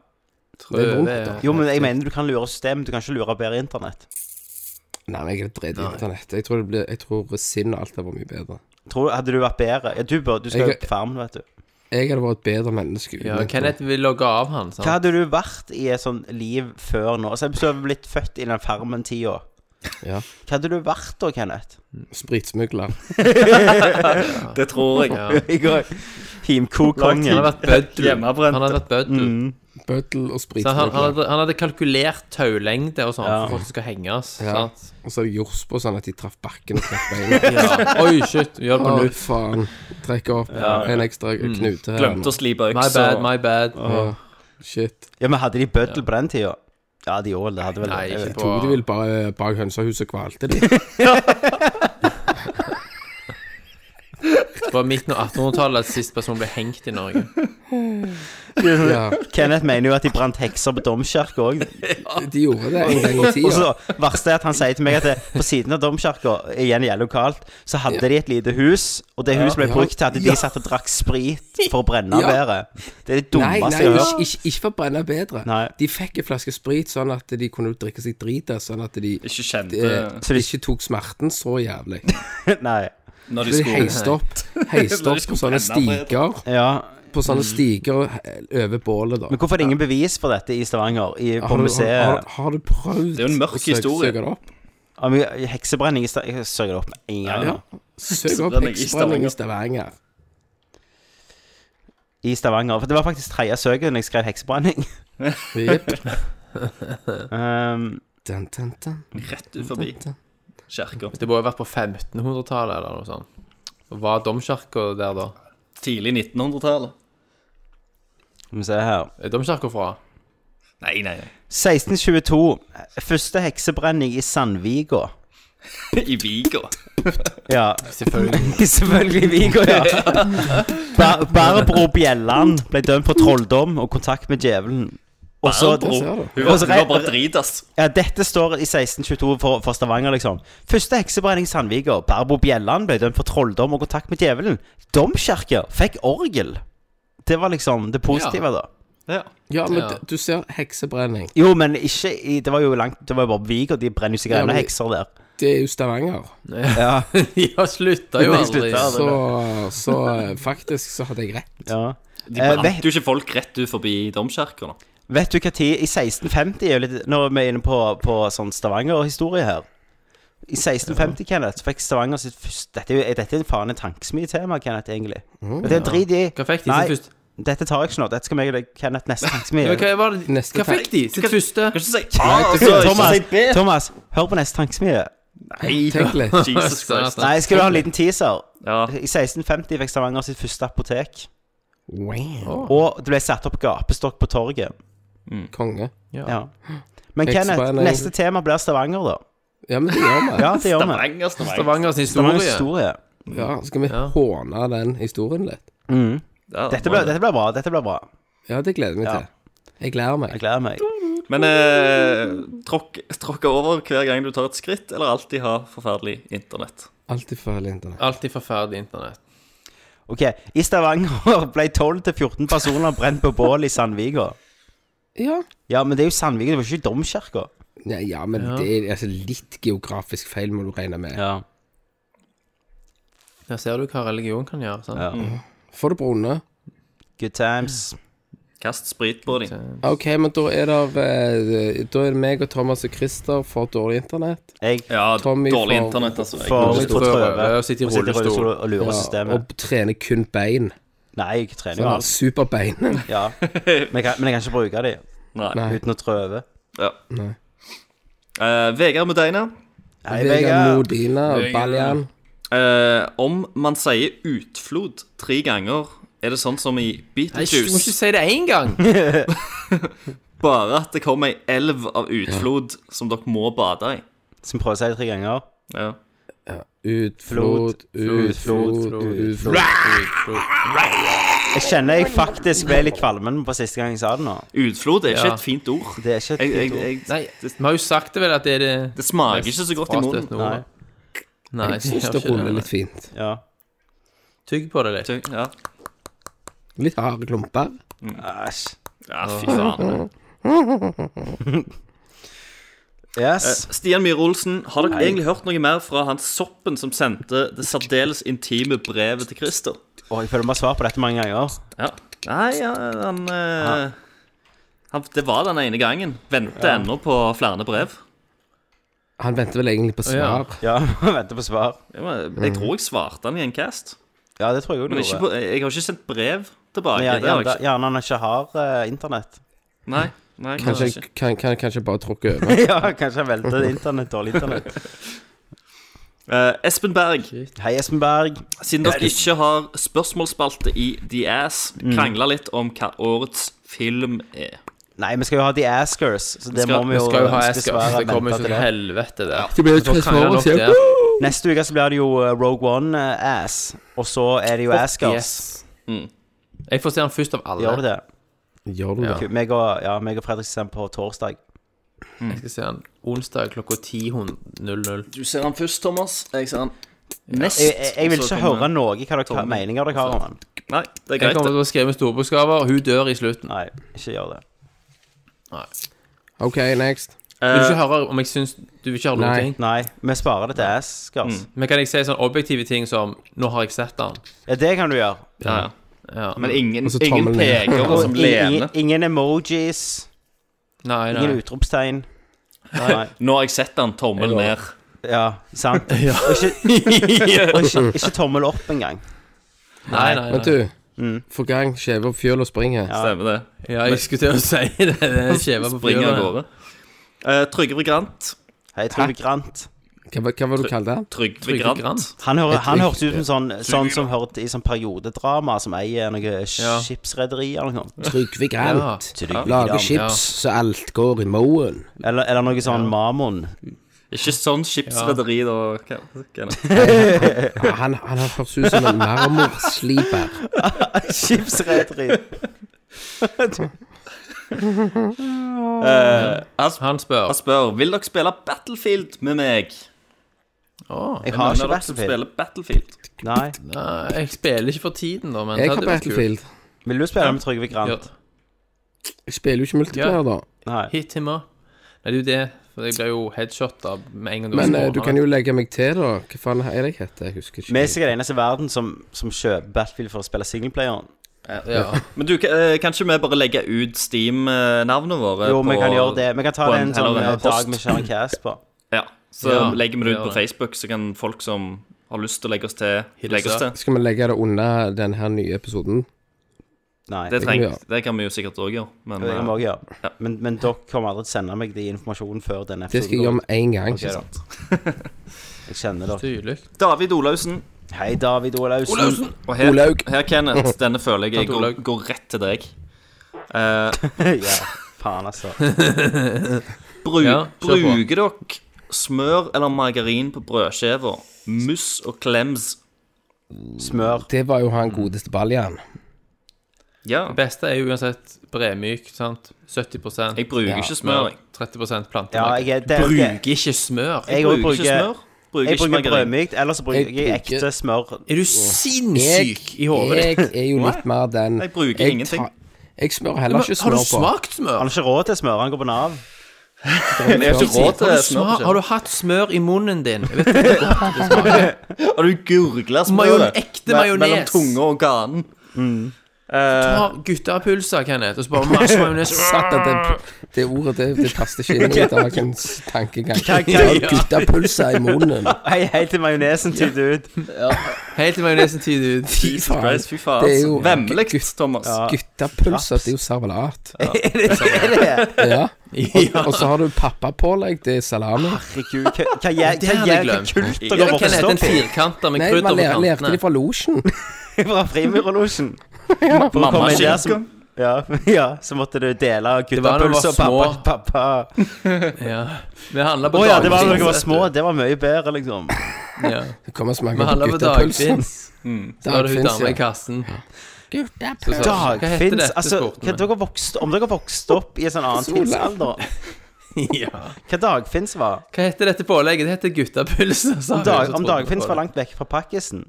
Speaker 1: Det er vondt,
Speaker 2: det
Speaker 1: da.
Speaker 2: er-
Speaker 7: Jo, men jeg mener du kan lure systemet, du kan ikke lure bedre internett.
Speaker 1: Nei, men jeg er dritt i internett. Jeg tror, det blir, jeg tror sinn og alt det var mye bedre.
Speaker 7: Tror, hadde du vært bedre Ja, du bør, du skal jo
Speaker 1: Jeg-
Speaker 7: på farmen, vet du.
Speaker 1: Jeg hadde vært et bedre menneske.
Speaker 2: Ja,
Speaker 1: uten et-
Speaker 2: Kenneth vil logge av han,
Speaker 7: Hva
Speaker 2: sant?
Speaker 7: hadde du vært i et sånt liv før nå? Altså, hvis du hadde blitt født i den farmen-tida,
Speaker 1: Ja.
Speaker 7: hva hadde du vært da, Kenneth?
Speaker 1: Spritsmugler.
Speaker 3: Det tror jeg.
Speaker 7: Jeg går Himko-kongen.
Speaker 2: Han hadde vært
Speaker 7: *laughs*
Speaker 2: bøddel.
Speaker 3: Hjemmebrent.
Speaker 2: Han hadde vært bøddel.
Speaker 7: Mm.
Speaker 1: Bøddel og
Speaker 2: Så han, han,
Speaker 1: spritsmugler.
Speaker 2: hadde, han hadde kalkulert taulengde og sånn
Speaker 7: Ja.
Speaker 2: for folk som skal henges.
Speaker 1: Ja.
Speaker 2: Sant?
Speaker 1: Og så hadde jeg jords på sånn at de traff bakken og traff beina.
Speaker 2: Ja. Oi, shit. vi Gjør det
Speaker 1: Å,
Speaker 2: på nytt.
Speaker 1: faen. Trekker opp en ekstra knute her.
Speaker 3: Glemte å slipe
Speaker 2: My
Speaker 3: øksa.
Speaker 2: bad, my bad.
Speaker 1: Ja, shit.
Speaker 7: Ja, men hadde de bøddel på den tida? Ja, de gjorde vel det. Hadde vel
Speaker 2: Nei,
Speaker 7: jeg vet
Speaker 2: ikke
Speaker 7: ikke.
Speaker 2: på
Speaker 1: Tok de vel bare bak hønsehuset og kvalte de?
Speaker 2: Det var midten av 1800-tallet at sist person ble hengt i Norge.
Speaker 1: Ja,
Speaker 7: Kenneth mener jo at de brant hekser på domkirka òg.
Speaker 1: de gjorde det en gang i
Speaker 7: Og
Speaker 1: tida.
Speaker 7: så *laughs* verste er at han sier til meg at det, på siden av domkirka, igjen gjelder lokalt, så hadde de et lite hus, og det huset ble
Speaker 1: Ja.
Speaker 7: brukt til at de
Speaker 1: Ja.
Speaker 7: satt og drakk sprit for å
Speaker 1: *laughs*
Speaker 7: brenne
Speaker 1: Ja.
Speaker 7: været. Det er det
Speaker 1: Nei, nei,
Speaker 7: dummeste jeg har
Speaker 1: ikke,
Speaker 7: hørt.
Speaker 1: ikke, ikke for å brenne bedre.
Speaker 7: Nei.
Speaker 1: De fikk en flaske sprit sånn at de kunne drikke seg drita, sånn at de
Speaker 3: Ikke kjente
Speaker 1: eh,
Speaker 7: Så de-
Speaker 1: ikke tok smerten så jævlig.
Speaker 7: Nei.
Speaker 3: når
Speaker 1: Så
Speaker 3: de
Speaker 1: de
Speaker 3: skulle
Speaker 1: heiste opp, heiste
Speaker 3: Når de
Speaker 1: opp på
Speaker 3: skulle
Speaker 1: sånne
Speaker 3: brenne
Speaker 1: stiger.
Speaker 7: Ja,
Speaker 1: på sånne stiger og over bålet, da.
Speaker 7: Men hvorfor er det ingen bevis for dette i Stavanger, i, på
Speaker 1: har, du, har,
Speaker 7: museet?
Speaker 1: har, har du prøvd
Speaker 3: Det er jo en mørk
Speaker 1: å søke-
Speaker 3: historie.
Speaker 1: søke det opp?
Speaker 7: Ja, men Heksebrenning i Stavanger Jeg søker det opp med en gang.
Speaker 1: Ja. Søk opp
Speaker 3: Heksebrenning i
Speaker 1: heksebrenning i Stavanger.
Speaker 7: I Stavanger. For det var faktisk tredje søket når jeg skrev
Speaker 1: *laughs*
Speaker 7: heksebrenning.
Speaker 1: Jepp.
Speaker 7: Um,
Speaker 1: Dun, dun, dun, dun,
Speaker 3: Rett ut forbi
Speaker 1: dun.
Speaker 3: kirka.
Speaker 2: Det må jo ha vært på 1500-tallet eller noe sånt. Og Var domkirka der da?
Speaker 3: Tidlig 1900-tallet.
Speaker 7: skal vi se her.
Speaker 2: Er domkirka fra?
Speaker 3: Nei, nei, nei.
Speaker 7: 1622. Første heksebrenning i Sandviga.
Speaker 3: I Viga.
Speaker 7: Ja,
Speaker 2: Selvfølgelig.
Speaker 7: selvfølgelig i Viga, ja. Bar Barbro Bjelland ble dømt for trolldom og kontakt med djevelen. Og så-
Speaker 3: Barbro.
Speaker 1: ser du.
Speaker 3: Hun var,
Speaker 7: Og så
Speaker 3: hun var
Speaker 7: rett-
Speaker 3: bare dritass.
Speaker 7: Ja, dette står i 1622 for, for Stavanger, liksom. Første heksebrenning i Sandviga. Barbro Bjelland ble dømt for trolldom og kontakt med djevelen. Domkirke fikk orgel. Det var liksom det positive, da.
Speaker 1: Ja, men
Speaker 2: Ja.
Speaker 1: d- du ser heksebrenning.
Speaker 7: Jo, men ikke i Det var jo langt Det var jo bare Viga, de brenner jo sikkert
Speaker 1: Ja,
Speaker 7: ennå
Speaker 1: men-
Speaker 7: hekser der.
Speaker 1: Det er jo Stavanger.
Speaker 2: Ja, slutta jo
Speaker 7: Nei,
Speaker 2: aldri.
Speaker 7: slutta.
Speaker 1: Så, så eh, faktisk så hadde jeg rett.
Speaker 7: Ja.
Speaker 3: De
Speaker 7: Eh,
Speaker 3: brant
Speaker 7: vet-
Speaker 3: jo ikke folk rett ut forbi domkirka. da.
Speaker 7: Vet du hva tid I 1650 er jo litt Nå er vi inne på, på sånn Stavanger-historie her. I 1650, Kenneth, fikk Stavanger sitt første Dette er jo dette er faen en tankesmietema, Kenneth, egentlig. Og det er drit i.
Speaker 2: Hva fikk de
Speaker 7: Nei,
Speaker 2: sitt første?
Speaker 7: Dette tar jeg ikke nå. Dette skal meg og deg, Kenneth,
Speaker 2: *laughs*
Speaker 7: neste
Speaker 2: Ja,
Speaker 7: tankesmie.
Speaker 2: hva, var det?
Speaker 1: Neste
Speaker 2: hva fikk de? Sitt første?
Speaker 3: Kan ikke si A, altså.
Speaker 7: Thomas,
Speaker 3: ikke si B.
Speaker 7: Thomas, hør på neste tankesmie.
Speaker 1: Tenk litt.
Speaker 3: Jesus Christ.
Speaker 7: Nei, skal du ha en liten teaser?
Speaker 3: Ja.
Speaker 7: I 1650 fikk Stavanger sitt første apotek.
Speaker 1: Wow.
Speaker 7: Og det ble satt opp gapestokk på torget.
Speaker 1: Konge.
Speaker 7: Ja. Men Kenneth,
Speaker 1: Heksebrenning.
Speaker 7: neste tema blir Stavanger, da.
Speaker 1: Ja, men det gjør vi.
Speaker 7: Ja, det gjør vi.
Speaker 3: Stavanger, Stavanger.
Speaker 2: Stavanger sin
Speaker 7: Stavangers
Speaker 2: historie.
Speaker 7: historie.
Speaker 1: Ja, skal vi håne den historien litt?
Speaker 7: Mm.
Speaker 3: Ja,
Speaker 7: Dette
Speaker 3: må
Speaker 7: blir,
Speaker 3: det.
Speaker 7: dette blir bra. Dette blir bra.
Speaker 1: Ja, det gleder jeg meg
Speaker 7: Ja.
Speaker 1: til. Jeg gleder meg.
Speaker 7: Jeg gleder meg.
Speaker 3: Men eh, tråkk, tråkke over hver gang du tar et skritt, eller alltid ha forferdelig internett.
Speaker 1: Alltid følge internett.
Speaker 2: Alltid forferdelig internett.
Speaker 7: Ok, I Stavanger *laughs* ble 12-14 personer brent på bål i Sandviga.
Speaker 1: Ja.
Speaker 7: Ja, men det er jo Sandviga, det var ikke domkirka.
Speaker 1: Ja, ja men det er altså, litt geografisk feil må du regne med.
Speaker 7: Ja.
Speaker 2: Der ser du hva religion kan gjøre. sant?
Speaker 7: Ja.
Speaker 1: Får det brune.
Speaker 7: Good times.
Speaker 3: Kast sprit på dem.
Speaker 1: Ok, men da er det eh, Da er det meg og Thomas og Christer for dårlig internett.
Speaker 7: Jeg
Speaker 3: Ja,
Speaker 1: Tommy
Speaker 3: dårlig
Speaker 1: for-
Speaker 3: internett, altså. Jeg
Speaker 7: får
Speaker 3: må
Speaker 7: litt
Speaker 3: ikke
Speaker 7: på
Speaker 3: tro-
Speaker 7: trøve
Speaker 2: Jeg
Speaker 7: og sitter
Speaker 2: sitter i
Speaker 7: i rullestol
Speaker 2: rullestol.
Speaker 7: og lurer systemet.
Speaker 1: og trener kun bein.
Speaker 7: Nei, jeg trener jo
Speaker 1: Ja, *laughs*
Speaker 7: alt.
Speaker 1: Superbein.
Speaker 7: Ja. Men jeg, kan, men jeg kan ikke bruke de
Speaker 3: Nei.
Speaker 1: Nei.
Speaker 7: uten å trøve.
Speaker 3: Ja. Eh, Vegard Mudeina.
Speaker 7: Hei,
Speaker 1: Vegard
Speaker 7: Vegard.
Speaker 1: Modina og Baljan.
Speaker 3: Eh, om man sier utflod tre ganger, er det sånn som i
Speaker 2: Nei, Du må ikke
Speaker 3: Beetlejuice?
Speaker 2: si det én gang!
Speaker 3: Bare at det kommer ei elv av utflod som dere må bade i.
Speaker 7: Som prøver å si det tre ganger.
Speaker 3: Ja.
Speaker 1: Utflod, utflod,
Speaker 2: Utflod.
Speaker 1: utflod.
Speaker 7: Jeg kjenner jeg faktisk ble litt kvalmen på siste gang jeg sa det nå.
Speaker 3: Utflod er ikke
Speaker 2: Ja.
Speaker 3: et fint ord.
Speaker 7: Det er ikke
Speaker 3: Jeg, jeg, jeg,
Speaker 7: et
Speaker 2: Nei, vi har jo sagt det vel at det er det
Speaker 3: det smaker ikke så godt i munnen.
Speaker 2: frastøtende ordet. Nei,
Speaker 1: Jeg
Speaker 2: *laughs*
Speaker 1: syns
Speaker 2: gjør
Speaker 1: det
Speaker 2: ikke
Speaker 1: ruller litt fint.
Speaker 7: Ja.
Speaker 2: Tygg på det litt.
Speaker 3: Ja.
Speaker 1: Litt harde klumper.
Speaker 7: Æsj.
Speaker 3: ja, fy faen.
Speaker 7: Yes.
Speaker 3: Eh, Stian Myhre Olsen, har dere egentlig hørt noe mer fra han soppen som sendte det særdeles intime brevet til Christer?
Speaker 7: Å, jeg føler vi har svart på dette mange ganger.
Speaker 3: Ja. Nei, ja, han, eh, han Det var den ene gangen. Venter ennå på flere brev.
Speaker 1: Han venter vel egentlig på
Speaker 2: ja.
Speaker 1: svar.
Speaker 7: Ja, *laughs* venter på svar.
Speaker 3: Jeg, må- jeg tror jeg svarte han i en cast.
Speaker 7: Ja, Mhm. det tror jeg òg
Speaker 3: Men
Speaker 7: du
Speaker 3: ikke
Speaker 7: gjorde.
Speaker 3: på, jeg har ikke sendt brev tilbake.
Speaker 7: Men
Speaker 3: det
Speaker 7: ja,
Speaker 3: har
Speaker 7: gjerne,
Speaker 3: jeg ikke.
Speaker 7: gjerne han ikke har eh, *laughs* internett.
Speaker 3: Nei, nei,
Speaker 1: Kanskje,
Speaker 3: kanskje ikke.
Speaker 1: kan, kan, kanskje bare tråkke over.
Speaker 7: *laughs* ja, kanskje han velter internett, dårlig internett.
Speaker 3: Eh, Espen Berg,
Speaker 7: *laughs* Hei, Espen Berg.
Speaker 3: siden dere ikke har spørsmålsspalte i The Ass,
Speaker 7: Mm.
Speaker 3: krangla litt om hva årets film er.
Speaker 7: Nei, vi skal jo ha The Askers, så det
Speaker 3: skal-
Speaker 7: må
Speaker 2: Vi
Speaker 7: vi jo
Speaker 2: skal jo ha
Speaker 7: vi
Speaker 2: Esker.
Speaker 7: dessverre
Speaker 2: Det kommer jo
Speaker 7: vente til
Speaker 2: til
Speaker 7: det.
Speaker 2: helvete, det.
Speaker 1: Det blir jo
Speaker 2: Da krangler
Speaker 1: Transformers
Speaker 2: nok
Speaker 1: igjen.
Speaker 2: der.
Speaker 7: Neste uke så blir det jo eh, Rogue One-ass, og så er det jo Askers.
Speaker 2: Yes. Jeg får se den først av alle.
Speaker 7: Gjør du det?
Speaker 1: Gjør du det?
Speaker 7: Ok, Meg og, ja, meg og Fredrik skal se den på torsdag.
Speaker 2: Jeg skal se den onsdag klokka 10.00.
Speaker 3: Du ser han først, Thomas. Jeg ser han nest.
Speaker 7: Jeg, jeg, jeg vil
Speaker 3: og så
Speaker 7: ikke
Speaker 3: kommer-
Speaker 7: høre noe hva dere, meninger dere har om den.
Speaker 3: Nei, det er
Speaker 2: Jeg
Speaker 3: greit.
Speaker 2: kommer til å skrive med store bokstaver. Hun dør i slutten.
Speaker 7: Nei, ikke gjør det.
Speaker 1: OK, next.
Speaker 2: Vil du
Speaker 3: det.
Speaker 2: ikke høre om jeg syns Du vil ikke høre noen
Speaker 1: Nei.
Speaker 2: ting?
Speaker 7: Nei, vi sparer det til Askers.
Speaker 2: Men kan jeg si sånne objektive ting som Nå har jeg sett den.
Speaker 7: Ja, det kan du gjøre.
Speaker 3: Eh, ja, ja. Men ingen,
Speaker 1: Og så
Speaker 3: ingen
Speaker 1: tommel ned.
Speaker 3: peker som
Speaker 7: Ingen,
Speaker 3: lener.
Speaker 7: ingen emojis,
Speaker 2: Nei, nei.
Speaker 7: ingen utropstegn. Nei.
Speaker 3: Nå har jeg sett den tommel
Speaker 1: Jeg
Speaker 3: ned.
Speaker 7: Ja,
Speaker 3: *laughs*
Speaker 7: sant. Og, ikke, og ikke, ikke tommel opp engang.
Speaker 2: nei, nei,
Speaker 1: Men
Speaker 2: nei.
Speaker 1: du, få gang, skjeve opp fjøl og spring her.
Speaker 7: Ja.
Speaker 3: *laughs* Stemmer det.
Speaker 2: Ja, jeg skulle til å si det. det er Skjeva på
Speaker 3: Springer av
Speaker 2: fjøla.
Speaker 3: gårde. Eh, Trygve Grant.
Speaker 7: Hei, Trygve Grant.
Speaker 1: Hva, hva var det du kalte han?
Speaker 3: Trygve
Speaker 2: Trygve
Speaker 3: Grant.
Speaker 2: Grant.
Speaker 7: Han, hører, han
Speaker 1: Trygve.
Speaker 7: hørtes ut som sånn, sånn som hørte i sånn periodedrama, som eier noe
Speaker 2: Ja.
Speaker 7: skipsrederi eller noe. sånt.
Speaker 1: Trygve Grant.
Speaker 7: Trygve
Speaker 1: Lager
Speaker 7: Grant.
Speaker 1: chips så alt går i moen.
Speaker 7: Eller, eller noe sånn
Speaker 3: *laughs*
Speaker 7: Mammon.
Speaker 3: Ikke sånn skipsrederi, da. Hva- hva er det?
Speaker 1: Ja, han, han har hørt ut som en marmorsliper.
Speaker 7: Skipsrederi.
Speaker 2: Han spør.
Speaker 3: Han Eh, spør Vil dere spille Battlefield med meg.
Speaker 7: Jeg
Speaker 3: Hvem
Speaker 7: har
Speaker 3: er
Speaker 7: ikke
Speaker 3: dere som
Speaker 7: Battlefield.
Speaker 3: spiller Battlefield?
Speaker 7: Nei.
Speaker 2: Nei, jeg spiller ikke for tiden, da, men
Speaker 1: Jeg
Speaker 2: det
Speaker 1: har
Speaker 2: hadde vært kult.
Speaker 1: Battlefield.
Speaker 7: Vil du spille med Trygve Grant?
Speaker 2: Ja.
Speaker 1: Jeg spiller jo ikke multiplayer, da.
Speaker 7: Nei.
Speaker 2: Hit him up. Nei, det er jo det. For jeg blir jo headshota med en gang
Speaker 1: Men eh, du kan jo legge meg til, da. Hva faen er det jeg heter? Jeg husker
Speaker 7: Vi er
Speaker 1: ikke.
Speaker 7: sikkert den eneste i verden som, som kjøper Battlefield for å spille singleplayeren.
Speaker 2: ja.
Speaker 3: Men du, eh, kan ikke vi bare legge ut Steam-navnet våre?
Speaker 7: Jo, vi
Speaker 3: Eh, på-
Speaker 7: kan gjøre det. Vi kan ta
Speaker 3: på
Speaker 7: det
Speaker 3: en-
Speaker 7: en sånn
Speaker 3: eller en
Speaker 7: eh,
Speaker 3: post.
Speaker 7: dag vi kjører en cast på.
Speaker 3: Ja, Så
Speaker 2: Ja,
Speaker 3: legger vi det ut
Speaker 2: gjør
Speaker 3: på
Speaker 2: det.
Speaker 3: Facebook, så kan folk som har lyst til å legge oss til,
Speaker 2: Hilse.
Speaker 3: legge oss til.
Speaker 1: Skal vi legge det under den her nye episoden?
Speaker 7: Nei.
Speaker 3: Det,
Speaker 1: kan vi
Speaker 3: treng, det kan vi jo sikkert òg gjøre, men
Speaker 7: Det kan vi
Speaker 3: eh,
Speaker 7: også gjøre. Men, men dere kommer aldri til å sende meg de informasjonen før denne
Speaker 1: Det skal jeg gjøre
Speaker 7: går ut.
Speaker 1: med en gang.
Speaker 7: Ok, da. Jeg kjenner dere.
Speaker 2: Tydelig.
Speaker 3: David Olaussen.
Speaker 7: Hei, David Olausen.
Speaker 3: Og her,
Speaker 1: Olaug.
Speaker 3: her, Kenneth, denne føler jeg
Speaker 2: Takk,
Speaker 3: går,
Speaker 2: Olaug.
Speaker 3: går rett til deg. Eh,
Speaker 7: *laughs* ja, faen, altså.
Speaker 3: bru,
Speaker 2: Ja, kjør på.
Speaker 3: bruker dere smør eller margarin på brødskiva? Muss og klems.
Speaker 7: Smør.
Speaker 1: Det var jo han godeste Baljan.
Speaker 3: Ja,
Speaker 2: Det beste er jo uansett bremyk, sant. 70
Speaker 3: jeg bruker ikke smør. Jeg,
Speaker 2: 30
Speaker 7: Ja,
Speaker 2: plantelag.
Speaker 7: jeg er det, det.
Speaker 2: Bruker ikke smør.
Speaker 7: Jeg
Speaker 3: bruker,
Speaker 7: også bruker
Speaker 3: ikke smør. Bruker
Speaker 7: Jeg
Speaker 3: ikke
Speaker 7: bruker
Speaker 3: margarin.
Speaker 7: brødmykt, eller så bruker
Speaker 1: Jeg
Speaker 7: jeg
Speaker 1: bruker-
Speaker 7: ekte smør.
Speaker 2: Er du sinnssyk i hodet?
Speaker 1: Jeg er jo litt mer den
Speaker 3: Jeg bruker ingenting.
Speaker 1: tar- jeg smører
Speaker 2: Men
Speaker 1: heller ikke
Speaker 2: Har
Speaker 1: smør
Speaker 2: du
Speaker 1: på.
Speaker 2: smakt
Speaker 7: Han
Speaker 2: smør?
Speaker 7: har ikke råd til smør, han går på Nav.
Speaker 3: Jeg har ikke råd
Speaker 2: Har
Speaker 3: til
Speaker 2: du,
Speaker 3: smør.
Speaker 2: sma- har du hatt smør i munnen din? Jeg vet
Speaker 3: Har du gurgla
Speaker 2: Majon-
Speaker 3: smøret
Speaker 2: ekte
Speaker 3: me-
Speaker 2: majones.
Speaker 3: mellom tunge og ganen?
Speaker 7: Eh.
Speaker 2: Du har guttepulser, Kenneth, og så bare masse
Speaker 7: *laughs*
Speaker 2: majones.
Speaker 1: Satt at det, det ordet det, det passet ikke inn
Speaker 2: *laughs*
Speaker 1: i dagens tankegang.
Speaker 7: Hva- hva-
Speaker 1: Jeg har Guttapølser i munnen.
Speaker 7: Hei, hei til majonesen tyter ut.
Speaker 2: Helt til majonesen
Speaker 7: *laughs*
Speaker 2: tyter ut.
Speaker 1: Fy
Speaker 3: Jesus
Speaker 1: faen.
Speaker 3: Christ, fy faen.
Speaker 1: Det er
Speaker 3: altså.
Speaker 1: jo-
Speaker 3: Vemmelig, Thomas.
Speaker 1: Guttapølser, det er jo servelat.
Speaker 7: Er det det?
Speaker 1: Ja. Og, og så har du pappapålegg, det er salami.
Speaker 7: Herregud, hva- hva gjør
Speaker 2: Det hadde jeg glemt.
Speaker 7: kult
Speaker 2: Ja,
Speaker 7: dere går på
Speaker 2: Kenneth, en
Speaker 7: stopp i
Speaker 2: firkanter med
Speaker 1: Nei,
Speaker 2: krydder
Speaker 1: man
Speaker 2: på
Speaker 1: ler- lærte det
Speaker 2: kantene.
Speaker 1: fra losjen.
Speaker 7: *laughs* fra Frimurlosjen?
Speaker 3: Mamma
Speaker 7: Kom inn der
Speaker 3: skinker.
Speaker 7: som- Ja, *laughs* ja, så måtte du dele
Speaker 2: var når vi var
Speaker 7: guttapølse og pappa,
Speaker 2: små.
Speaker 7: pappa.
Speaker 2: Ja. Vi handla
Speaker 7: Å
Speaker 2: på
Speaker 7: ja, det var da dere var
Speaker 2: dagpils,
Speaker 7: små. Det var mye bedre, liksom.
Speaker 2: Ja.
Speaker 1: Det kommer og
Speaker 2: Vi
Speaker 1: smaker
Speaker 2: handla
Speaker 1: på
Speaker 2: på
Speaker 1: guttapølsen.
Speaker 2: dagpils.
Speaker 7: Mm.
Speaker 2: Da var det hun dama i kassen. Så sa hun, "Hva heter
Speaker 7: Dagfinns
Speaker 2: dette
Speaker 7: Altså,
Speaker 2: sporten?"
Speaker 7: hva dere vokst, om dere vokste opp i en sånn annen tidsalder
Speaker 2: Ja.
Speaker 7: Hva dagfinns var?
Speaker 2: Hva heter dette pålegget? Det heter guttapølser. sa hun,
Speaker 7: Dag,
Speaker 2: så trodde
Speaker 7: om
Speaker 2: vi
Speaker 7: dagfinns
Speaker 2: på
Speaker 7: var
Speaker 2: det.
Speaker 7: langt vekk fra pakkisen?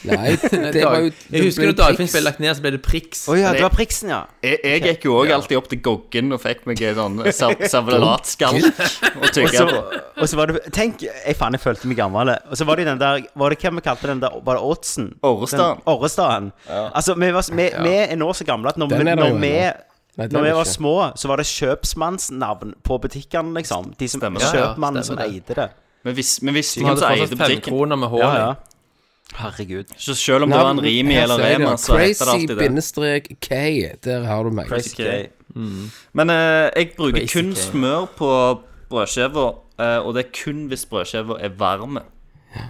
Speaker 1: Nei, det var jo
Speaker 2: Jeg husker
Speaker 1: ble
Speaker 2: når Dagfinn
Speaker 1: Prix.
Speaker 2: ble lagt ned, så ble det Prix.
Speaker 7: Å ja, det var priksen, ja.
Speaker 3: Jeg, jeg gikk jo òg alltid opp til Goggen og fikk meg en sånn
Speaker 1: *laughs*
Speaker 3: sa- servelatskall å tygge
Speaker 7: Så,
Speaker 3: på.
Speaker 7: og så var det Tenk, jeg faen, jeg følte meg gammel. Og så var det jo den der Var det hva vi kalte den der Var det Oddsen?
Speaker 3: Orrestaden.
Speaker 7: Den Orrestaden. Altså, vi, var, vi, vi er nå så gamle at når, vi,
Speaker 1: Den er det
Speaker 7: når,
Speaker 1: jo
Speaker 7: vi,
Speaker 1: ennå. Nei, den
Speaker 7: når vi
Speaker 1: er
Speaker 7: var
Speaker 1: ikke.
Speaker 7: små, så var det kjøpsmannsnavn på butikkene, liksom. De som,
Speaker 3: Stemmer.
Speaker 2: Ja,
Speaker 7: kjøpmannen
Speaker 2: ja,
Speaker 7: som
Speaker 2: stemmer det.
Speaker 7: eide det.
Speaker 3: Men hvis, men hvis
Speaker 2: Vi
Speaker 3: hvem
Speaker 2: hadde
Speaker 3: som eide
Speaker 2: fortsatt fem
Speaker 3: butikken
Speaker 2: kroner med hår.
Speaker 7: Ja,
Speaker 2: i.
Speaker 7: ja. Herregud.
Speaker 3: Så selv om det var en
Speaker 1: Navn-
Speaker 3: Rimi
Speaker 1: her
Speaker 3: eller
Speaker 1: sier de,
Speaker 3: Rema, så heter det alltid det.
Speaker 1: Crazy-K. Der har du meg.
Speaker 7: Crazy
Speaker 3: Crazy
Speaker 7: gay.
Speaker 3: Men eh, jeg bruker
Speaker 2: Crazy
Speaker 3: kun
Speaker 2: K.
Speaker 3: smør på brødskiva, eh, og det er kun hvis brødskiva er varme.
Speaker 1: Ja.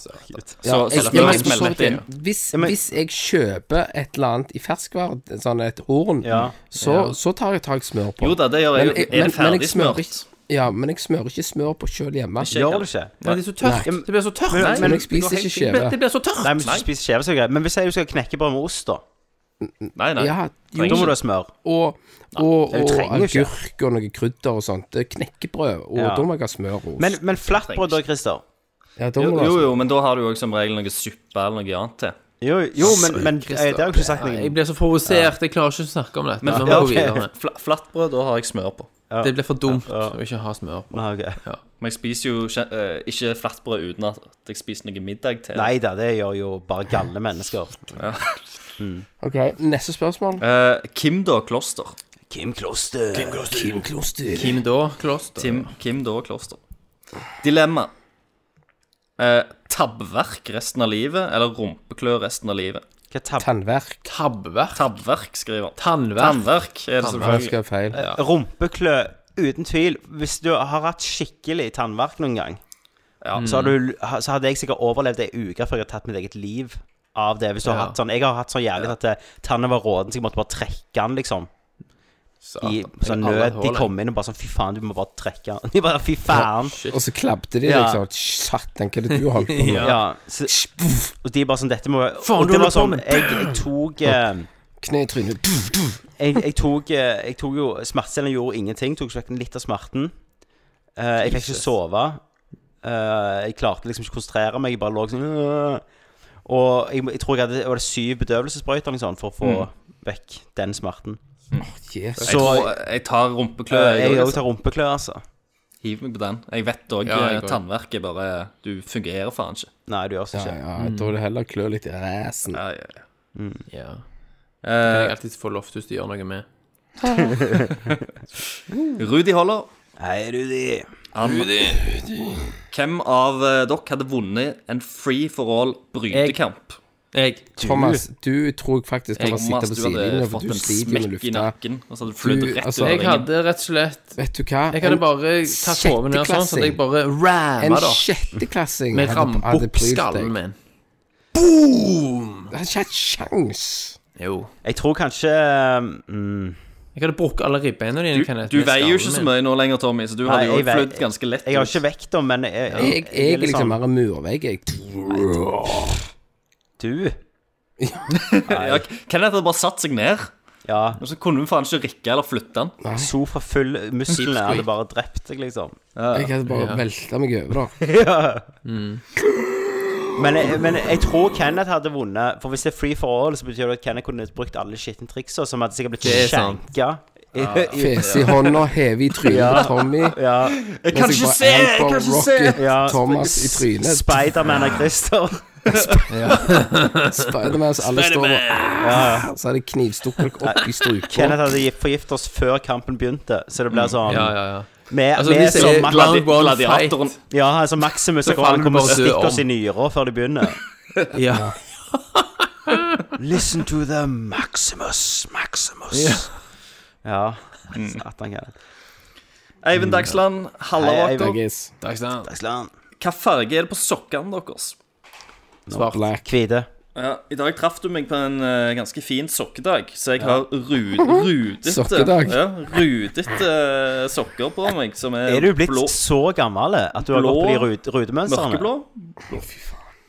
Speaker 3: Så,
Speaker 1: Ja,
Speaker 3: så
Speaker 1: jeg-
Speaker 3: la
Speaker 1: ja, men
Speaker 3: meg
Speaker 1: for så
Speaker 3: smelle
Speaker 1: vidt
Speaker 3: litt inn.
Speaker 1: det. Hvis,
Speaker 7: men-
Speaker 1: hvis jeg kjøper et eller annet i ferskvare, sånn et horn,
Speaker 7: Ja.
Speaker 1: så, så tar jeg tak smør på.
Speaker 3: Jo da, det gjør jeg.
Speaker 1: Men
Speaker 3: jo.
Speaker 1: jeg- men-
Speaker 3: Er det
Speaker 1: men jeg
Speaker 3: ferdig
Speaker 1: smører
Speaker 3: smørt?
Speaker 1: ikke- Ja, men jeg smører ikke smør på sjøl hjemme.
Speaker 7: Gjør du ikke?
Speaker 2: Men det er så tørt.
Speaker 1: Nei.
Speaker 2: Det blir så tørt.
Speaker 7: Men-
Speaker 1: Men jeg spiser ikke skjeve.
Speaker 2: Det blir så tørt.
Speaker 7: Nei, men hvis du spiser skjeve, så er det greit. Men hvis jeg jo skal knekke brød med ost, da?
Speaker 3: Nei, nei.
Speaker 1: Ja, jo,
Speaker 7: Da må du ha smør.
Speaker 1: og, og,
Speaker 7: Nei, du
Speaker 1: og
Speaker 7: trenger ikke.
Speaker 1: agurk og noe krydder og sånt. Det er knekkebrød, og
Speaker 7: Ja.
Speaker 1: da må jeg ha smør og ost.
Speaker 7: Men, men flatbrød da, Christer?
Speaker 1: ja, da
Speaker 3: Jo,
Speaker 1: må du ha
Speaker 3: jo,
Speaker 1: smør.
Speaker 3: jo, men da har du jo også som regel noe suppe eller noe annet til.
Speaker 7: Jo, jo men, men eh, det har jeg ikke sagt
Speaker 2: Nei, Jeg
Speaker 7: noe om.
Speaker 2: blir så provosert. Jeg klarer ikke å snakke om dette. Men,
Speaker 7: ja,
Speaker 2: vi
Speaker 7: *laughs*
Speaker 2: må gå
Speaker 7: ok.
Speaker 2: videre.
Speaker 3: Fla, flatbrød, da har jeg smør på.
Speaker 2: Det blir for dumt å ikke ha smør. på.
Speaker 7: Nei, ok.
Speaker 3: Men jeg spiser jo ikke, eh, ikke flatbrød uten at jeg spiser noe middag til.
Speaker 7: Nei da, det gjør jo bare gale mennesker.
Speaker 1: OK, neste spørsmål.
Speaker 3: Eh, Kim da Kloster.
Speaker 7: Kim Kloster.
Speaker 2: Kim da, kloster.
Speaker 3: Tim, Kim da Kloster. Dilemma. Eh, tabbeverk resten av livet eller rumpeklør resten av livet?
Speaker 7: Hva tab...
Speaker 1: Tannverk.
Speaker 2: Tabbeverk.
Speaker 3: Tabbeverk, skriver han.
Speaker 2: Tannverk.
Speaker 3: Tannverk er det
Speaker 1: Jeg
Speaker 3: selvfølgelig.
Speaker 1: skrev feil.
Speaker 7: Rumpeklø, uten tvil. Hvis du har hatt skikkelig tannverk noen gang,
Speaker 3: Ja.
Speaker 7: så, har du, så hadde jeg sikkert overlevd ei uke før jeg hadde tatt mitt eget liv av det. Hvis du har
Speaker 2: Ja.
Speaker 7: hatt sånn Jeg har hatt så jævlig at eh, tannen var råden, så jeg måtte bare trekke den, liksom.
Speaker 2: Satan,
Speaker 7: I
Speaker 2: jeg har
Speaker 7: sånn
Speaker 2: aldri hatt
Speaker 7: nød. De
Speaker 2: hull, jeg.
Speaker 7: kom inn og bare sånn Fy faen, du må bare trekke den. *laughs* De bare Fy faen.
Speaker 1: Og så klabte de
Speaker 7: Ja.
Speaker 1: liksom. Satan, hva er det du holdt
Speaker 3: *laughs*
Speaker 1: på med?
Speaker 7: Ja. så, og de bare sånn Dette må
Speaker 2: Faen,
Speaker 7: Og
Speaker 2: du holder
Speaker 7: det var
Speaker 2: på
Speaker 7: sånn
Speaker 2: med-
Speaker 7: Jeg, jeg tok eh,
Speaker 1: Kne i trynet.
Speaker 7: jeg, jeg, tok, eh, jeg tok jo Smertecellene gjorde ingenting. Tok vekk litt av smerten. Eh, jeg fikk ikke sove. Eh, jeg klarte liksom ikke å konsentrere meg. Jeg bare lå sånn øh. Og jeg, jeg tror jeg hadde var det syv bedøvelsessprøyter liksom, for å få
Speaker 2: Mm.
Speaker 7: vekk den smerten.
Speaker 1: Jesus.
Speaker 3: Jeg, tror, jeg tar rumpeklør.
Speaker 7: Eh, jeg
Speaker 3: jeg
Speaker 7: òg
Speaker 3: også.
Speaker 7: tar rumpeklø, altså.
Speaker 3: Hiv meg på den. Jeg vet òg
Speaker 2: Ja, jeg går.
Speaker 3: tannverket bare Du fungerer faen ikke.
Speaker 7: Nei, du gjør så
Speaker 1: Ja,
Speaker 7: ikke.
Speaker 1: ja, jeg tror det heller klør litt i ræsen.
Speaker 3: Ja, ja, ja.
Speaker 2: Ja.
Speaker 3: Eh,
Speaker 2: Jeg alltid får Loftus til å gjøre noe med.
Speaker 3: Rudi Holler.
Speaker 7: Hei, Rudi.
Speaker 3: Han, Hvem av eh, dere hadde vunnet en free for all brytekamp?
Speaker 2: Jeg.
Speaker 1: Thomas, du tror jeg faktisk kan
Speaker 3: Jeg,
Speaker 1: bare sitte
Speaker 3: Thomas,
Speaker 1: på
Speaker 3: du hadde
Speaker 1: sidelinja, for
Speaker 3: fått
Speaker 1: du
Speaker 3: en
Speaker 1: sliter jo med
Speaker 3: smekk i
Speaker 1: lufta.
Speaker 3: nakken. Og så hadde du flydd
Speaker 1: Du,
Speaker 3: rett
Speaker 1: altså,
Speaker 3: over
Speaker 2: Jeg
Speaker 3: ringen.
Speaker 2: hadde rett og slett
Speaker 1: Vet du hva?
Speaker 2: Jeg hadde
Speaker 1: En-
Speaker 2: bare tatt hodet ned sånn, så at jeg bare
Speaker 1: En
Speaker 2: ramma, da.
Speaker 1: sjetteklassing
Speaker 2: Med
Speaker 1: hadde- hadde
Speaker 2: rambukt
Speaker 1: prydd
Speaker 2: skallen
Speaker 1: deg.
Speaker 2: min.
Speaker 1: Det hadde ikke hatt sjans.
Speaker 2: Jo.
Speaker 7: Jeg tror kanskje eh, mm,
Speaker 2: Jeg hadde brukket alle ribbeina dine.
Speaker 3: Du,
Speaker 2: Kenneth,
Speaker 3: du
Speaker 2: med
Speaker 3: veier jo ikke så
Speaker 2: skallen min.
Speaker 3: mye nå lenger, Tommy, så du
Speaker 7: Nei,
Speaker 3: hadde jo
Speaker 7: jeg vei-
Speaker 3: flydd ganske lett.
Speaker 7: Jeg har
Speaker 3: ut.
Speaker 7: ikke vekt dem, men jeg, jeg,
Speaker 1: Jeg, jeg
Speaker 7: er sånn,
Speaker 1: er liksom mer en murvegg, jeg.
Speaker 7: Du?
Speaker 3: Ja, Kenneth hadde bare satt seg ned,
Speaker 7: Ja.
Speaker 3: og så kunne hun faen ikke rikke eller flytte den.
Speaker 7: Sofa full musklene hadde bare drept deg, liksom. *laughs*
Speaker 1: Jeg hadde bare velta meg over, da. Mm.
Speaker 7: Men jeg, men jeg tror Kenneth hadde vunnet. For hvis det er free for all, så betyr det at Kenneth kunne brukt alle skitne triksa, som hadde sikkert blitt
Speaker 2: Det er sant.
Speaker 7: skjenka. *laughs* *laughs* Ja,
Speaker 1: Fese i hånda, heve i trynet på Tommy.
Speaker 7: ja,
Speaker 3: Jeg kan ikke se! Jeg kan ikke se!
Speaker 1: Rocket
Speaker 7: ja.
Speaker 1: Thomas i trynet.
Speaker 7: Spiderman av
Speaker 1: *laughs*
Speaker 7: Christer.
Speaker 1: Spiderman, så alle står og Ah, Så hadde jeg knivstukket dere opp i strupa.
Speaker 7: Kenneth hadde gitt- forgiftet oss før kampen begynte, så det blir sånn
Speaker 2: Mm. Ja, ja,
Speaker 7: *laughs*
Speaker 2: ja.
Speaker 7: Med,
Speaker 2: Altså,
Speaker 7: med
Speaker 2: hvis det
Speaker 7: som,
Speaker 2: er
Speaker 7: Max-
Speaker 2: round one
Speaker 3: Gladiatoren.
Speaker 2: fight
Speaker 7: ja, altså Maximus
Speaker 2: Så
Speaker 7: så kommer
Speaker 2: faller
Speaker 7: han
Speaker 2: du
Speaker 7: kommer og
Speaker 2: bare
Speaker 7: stikker oss
Speaker 2: om.
Speaker 7: i nyra før de begynner.
Speaker 2: Ja.
Speaker 7: *laughs* Listen to them, Maximus, Maximus. Ja. Satan, Kenneth.
Speaker 3: Eivind Dagsland,
Speaker 7: Hei, Eivind.
Speaker 3: Halleraker.
Speaker 1: Veggis.
Speaker 2: Takk skal du ha.
Speaker 7: Dagsland.
Speaker 3: Hva farge er det på sokkene deres?
Speaker 2: Svart.
Speaker 1: Black.
Speaker 7: Hvite.
Speaker 3: Ja, I dag traff du meg på en eh, ganske fin sokkedag, så jeg har ru- rudete
Speaker 1: Sokkedag.
Speaker 3: Ja, rudete eh, sokker på meg, som er,
Speaker 7: Er du blitt
Speaker 3: blå,
Speaker 7: så gammel eh, at du har
Speaker 3: Blå.
Speaker 7: gått på de rute, rutemønstrene?
Speaker 3: mørkeblå.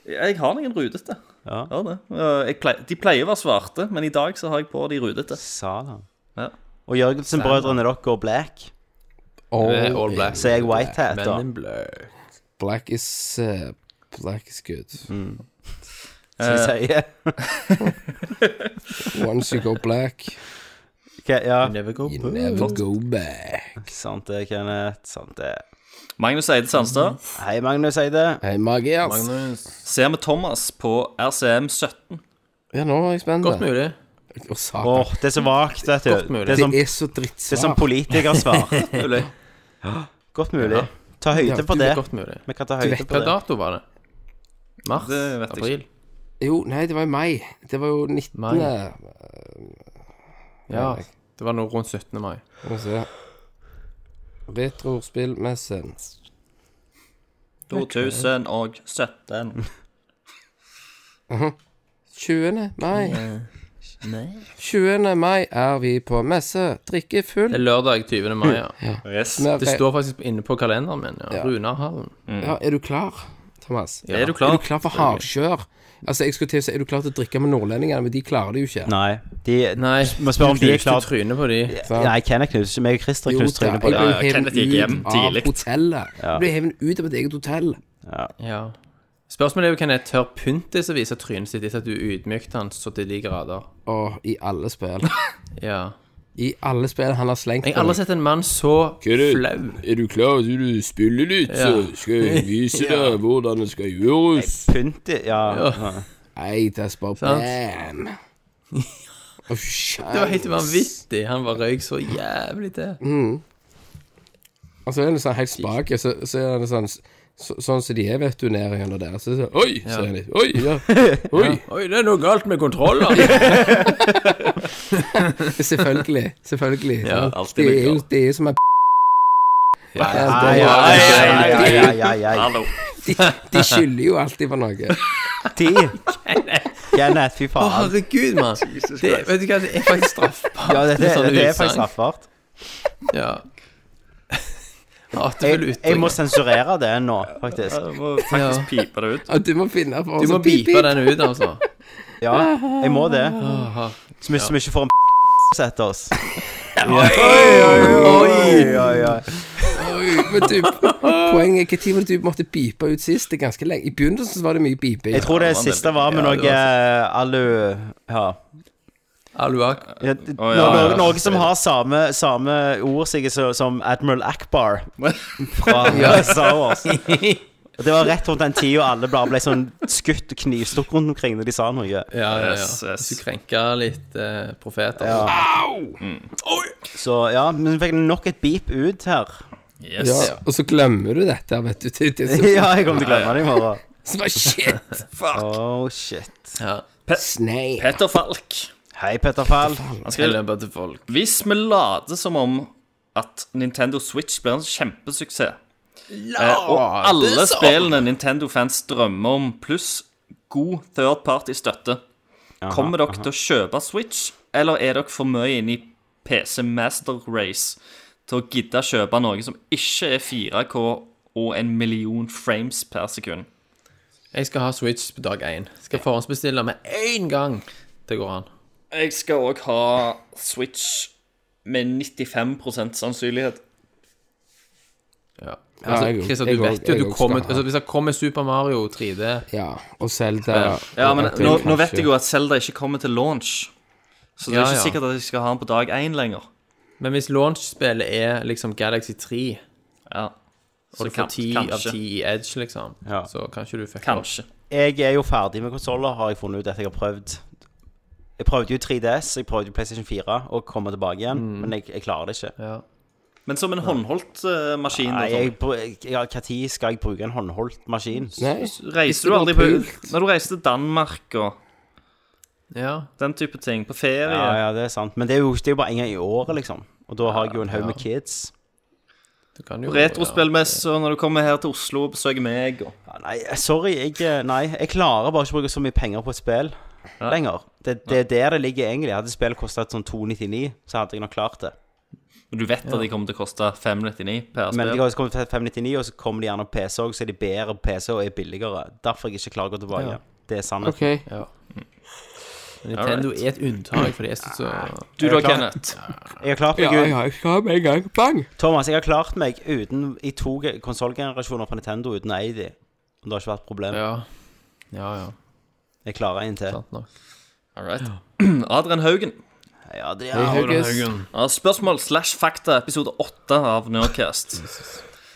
Speaker 3: Jeg har noen rudete.
Speaker 7: Ja.
Speaker 3: Jeg har det. Eh, Jeg pleier, de pleier å være svarte, men i dag så har jeg på de rudete.
Speaker 7: Satan.
Speaker 3: Ja.
Speaker 7: Og Jørgensen-brødrene deres går black,
Speaker 2: Eh,
Speaker 1: All
Speaker 2: All black.
Speaker 7: så jeg white hat,
Speaker 2: Men
Speaker 7: da.
Speaker 2: in blue.
Speaker 1: black is eh, Black is good.
Speaker 7: Mm. Som jeg sier.
Speaker 1: Once you go black,
Speaker 7: Ok, ja.
Speaker 2: Never go
Speaker 1: you
Speaker 7: Mm.
Speaker 2: blue.
Speaker 1: never go back.
Speaker 7: Sant det, Kenneth. Sant det.
Speaker 3: Magnus Eide Sandstad.
Speaker 7: Hei, Magnus Eide.
Speaker 1: Hei, Magias.
Speaker 2: Magnus.
Speaker 3: Ser vi Thomas på RCM17.
Speaker 1: Ja, nå er jeg spent.
Speaker 2: Godt mulig.
Speaker 1: Å,
Speaker 7: Åh,
Speaker 1: satan.
Speaker 7: det er så vagt, vet
Speaker 2: Godt
Speaker 7: du.
Speaker 2: mulig.
Speaker 7: Det er som,
Speaker 1: Det er så
Speaker 7: det er som
Speaker 1: drittsvart.
Speaker 2: *laughs*
Speaker 7: politikersvar.
Speaker 3: Mulig.
Speaker 7: Godt mulig. Ta høyde på
Speaker 2: Det
Speaker 7: det.
Speaker 2: er godt mulig.
Speaker 7: Vi kan ta
Speaker 1: vet
Speaker 7: høyde på
Speaker 2: Hva
Speaker 7: det.
Speaker 2: dato var det? Mars?
Speaker 3: Det vet jeg
Speaker 2: April?
Speaker 1: Jo, nei, det var i mai. Det var jo 19.
Speaker 2: Mai. Ja.
Speaker 1: Nei.
Speaker 2: Det var noe rundt 17. mai.
Speaker 1: Skal vi se. Retrospillmessen.
Speaker 3: 2017.
Speaker 1: 20. mai. 20. mai er vi på messe. Drikke full.
Speaker 2: Det er lørdag 20. mai, ja.
Speaker 3: Yes.
Speaker 1: Med-
Speaker 2: Det står faktisk inne på kalenderen min. ja. Runarhallen.
Speaker 1: ja, Er du klar, Thomas?
Speaker 3: Er du
Speaker 1: Er
Speaker 3: klar?
Speaker 1: du klar for hardkjør? Altså, jeg skulle til å si, er du klar til å drikke med nordlendinger, men de klarer det jo ikke.
Speaker 7: Nei, de
Speaker 2: Nei,
Speaker 7: Må spørre om de er klare.
Speaker 2: trynet på de.
Speaker 1: sant?
Speaker 7: Nei, Kenneth knuser. Meg og Christer
Speaker 1: Jo,
Speaker 7: knuser
Speaker 1: da, jeg
Speaker 7: trynet på det.
Speaker 1: ble
Speaker 3: Ja, ja,
Speaker 1: hevet
Speaker 3: Kenneth gikk hjem
Speaker 1: ut av
Speaker 3: tidlig.
Speaker 1: hotellet. Jeg ble hevet ut av mitt eget hotell.
Speaker 2: Ja. Spørsmålet er jo hvem jeg tør pynte som viser trynet sitt etter at du ydmyket han så til de grader.
Speaker 1: Og i alle spill.
Speaker 2: Ja.
Speaker 1: I alle spill han har slengt
Speaker 2: Jeg har aldri
Speaker 1: på
Speaker 2: sett en mann så flau.
Speaker 1: Er du klar til du spiller litt,
Speaker 2: så
Speaker 1: skal jeg vise
Speaker 2: Ja.
Speaker 1: deg hvordan det skal gjøres?
Speaker 7: Pynt i Ja.
Speaker 2: Altså,
Speaker 1: Nei, det er bare
Speaker 2: Sant.
Speaker 1: bam.
Speaker 2: *laughs*
Speaker 1: Å, skjæ-
Speaker 2: Det var helt vanvittig. Han bare røyk så jævlig
Speaker 7: Mm.
Speaker 2: til.
Speaker 1: Og så er det sånn helt spake, så, så er det sånn så, Sånn som de er, vet du, nede gjennom der. Så, så, oi, så er de
Speaker 2: *laughs*
Speaker 1: Oi, ja. Oi.
Speaker 2: Oi, det er noe galt med kontroller.
Speaker 1: *laughs* Selvfølgelig. Selvfølgelig.
Speaker 2: Ja,
Speaker 1: sant?
Speaker 3: alltid
Speaker 1: de
Speaker 3: noe
Speaker 1: er jo
Speaker 3: galt.
Speaker 1: de er jo som er
Speaker 7: *laughs* Ja, ja, ja, ja, ja, ja, ja.
Speaker 3: Hallo.
Speaker 1: De, de skylder jo alltid på noe.
Speaker 7: De Kenneth, fy
Speaker 2: Å,
Speaker 7: faen.
Speaker 2: herregud, mann. Det, vet du hva, det er faktisk straffbart.
Speaker 7: Ja, dette,
Speaker 2: med sånne
Speaker 7: dette er
Speaker 2: utsagn.
Speaker 7: faktisk straffbart.
Speaker 2: Ja. Hatefulle
Speaker 7: Jeg, jeg må
Speaker 2: uttrykk.
Speaker 7: sensurere det nå, faktisk.
Speaker 3: Jeg må faktisk pipe det ut.
Speaker 1: Og du må finne på
Speaker 2: Du må bipe den ut, altså.
Speaker 7: Ja, jeg må det.
Speaker 2: Aha.
Speaker 7: Så mye som ikke får en *laughs* sett oss.
Speaker 2: Oi!
Speaker 7: Oi, oi.
Speaker 1: Oi, men du,
Speaker 2: *laughs*
Speaker 1: poenget er når du måtte bipe ut sist. Det er ganske lenge. I begynnelsen så var det mye biping.
Speaker 7: Jeg tror det
Speaker 3: det var en del-
Speaker 7: siste var med
Speaker 2: ja, det
Speaker 7: noe eh, alu Ja.
Speaker 2: Aluak.
Speaker 7: Ja, d-
Speaker 3: Å, ja,
Speaker 7: noe,
Speaker 3: ja.
Speaker 7: noe som har samme, samme ord sikkert så- som Admiral Akbar *laughs* fra Star Wars. Og det var rett rundt den tida alle bare ble sånn skutt og knivstukket rundt omkring når de sa noe.
Speaker 2: Ja, ja, ja.
Speaker 3: Yes, yes.
Speaker 2: Hvis du krenker litt eh, profeter.
Speaker 7: Ja. Så ja, men vi fikk nok et beep ut her.
Speaker 3: Yes.
Speaker 1: ja, og så glemmer du dette, vet du. Det, det,
Speaker 2: *laughs*
Speaker 1: er så-
Speaker 7: *laughs* Ja, jeg kommer til å glemme det i morgen.
Speaker 1: så bare shit.
Speaker 7: *laughs* Oh shit.
Speaker 2: Ja.
Speaker 1: Snei.
Speaker 3: Petter Falk.
Speaker 7: Hei, Petter Fall.
Speaker 3: Han skriver
Speaker 2: Eller bare til folk.
Speaker 3: Hvis vi later som om at Nintendo Switch blir en kjempesuksess, eh, og alle spillene Nintendo-fans drømmer om, pluss god third party-støtte, kommer dere til å kjøpe Switch, eller er dere for mye inne i PC Master Race til å gidde kjøpe noe som ikke er 4K og en million frames per sekund?
Speaker 2: Jeg skal ha Switch på dag én. Skal forhåndsbestille med én gang det går an.
Speaker 3: Jeg skal òg ha Switch med 95 sannsynlighet.
Speaker 2: Ja.
Speaker 1: Ja,
Speaker 2: Altså,
Speaker 1: jeg-
Speaker 2: Christer,
Speaker 1: jeg
Speaker 2: du
Speaker 1: også-
Speaker 2: vet jo
Speaker 1: jeg
Speaker 2: at
Speaker 1: også
Speaker 2: du kommer
Speaker 1: skal ha.
Speaker 2: altså, Hvis det kommer Super Mario 3D
Speaker 1: Ja, og Zelda
Speaker 3: Ja, men
Speaker 1: og-
Speaker 3: nå, nå vet jeg jo at Zelda ikke kommer til launch. Så det er
Speaker 2: Ja,
Speaker 3: ikke
Speaker 2: ja.
Speaker 3: sikkert at jeg skal ha den på dag én lenger.
Speaker 2: Men hvis launch-spillet er liksom Galaxy 3,
Speaker 3: Ja,
Speaker 2: og du får 10 av 10 i Edge, liksom,
Speaker 7: Ja.
Speaker 2: så kanskje du fikk
Speaker 3: Kanskje.
Speaker 7: Jeg er jo ferdig med konsoller, har jeg funnet ut etter jeg har prøvd. Jeg prøvde jo 3DS, jeg prøvde jo PlayStation 4 og komme tilbake igjen, men jeg, jeg klarer det ikke.
Speaker 3: Men som en håndholdt eh, maskin
Speaker 7: Nei,
Speaker 3: da,
Speaker 7: jeg,
Speaker 3: Tom.
Speaker 1: sånn.
Speaker 7: br- jeg, hva tid skal jeg bruke en håndholdt maskin?
Speaker 1: Nei, Hvis det
Speaker 3: Reiser du
Speaker 1: var
Speaker 3: aldri på
Speaker 1: pult.
Speaker 3: Når du reiser til Danmark og
Speaker 2: Ja.
Speaker 3: den type ting, på ferie
Speaker 7: Ja, ja, det er sant. Men det er jo, det er jo bare en gang i året, liksom. Og da har jeg jo en haug med kids.
Speaker 2: Du kan jo
Speaker 3: Retrospillmesse, og når du kommer her til Oslo og besøker meg og
Speaker 7: Ja, nei, sorry, jeg eh, Nei, jeg klarer bare ikke å bruke så mye penger på et spill lenger. Det, det er der det ligger, egentlig. Hadde spillet kostet sånn 299, så hadde jeg nok klart det.
Speaker 3: Men Du vet at de kommer til å koste 599 per
Speaker 7: Men de
Speaker 3: spill.
Speaker 7: har jo kommet til 599, og så kommer de gjerne på PC òg, så er de bedre på PC og er billigere. Derfor jeg ikke klarer å gå tilbake. Det er sannheten.
Speaker 1: OK.
Speaker 2: Nintendo er et unntak, for de er så så
Speaker 7: Ah.
Speaker 3: Du da, Kenneth.
Speaker 7: Jeg har klart
Speaker 1: Ja,
Speaker 7: meg ut.
Speaker 1: ja, jeg skal ha med en gang. Bang!
Speaker 7: Thomas, jeg har klart meg uten i to konsollgenerasjoner fra Nintendo uten å eie de. Det har ikke vært et problem.
Speaker 2: Ja. Ja, ja.
Speaker 7: Jeg klarer en til.
Speaker 2: Sant nok.
Speaker 3: All right. *clears throat* Adrian Haugen.
Speaker 7: Ja, det
Speaker 1: Hei,
Speaker 7: er
Speaker 1: Haugis.
Speaker 3: Ja, spørsmål slash fakta, episode 8 av Nerdcast.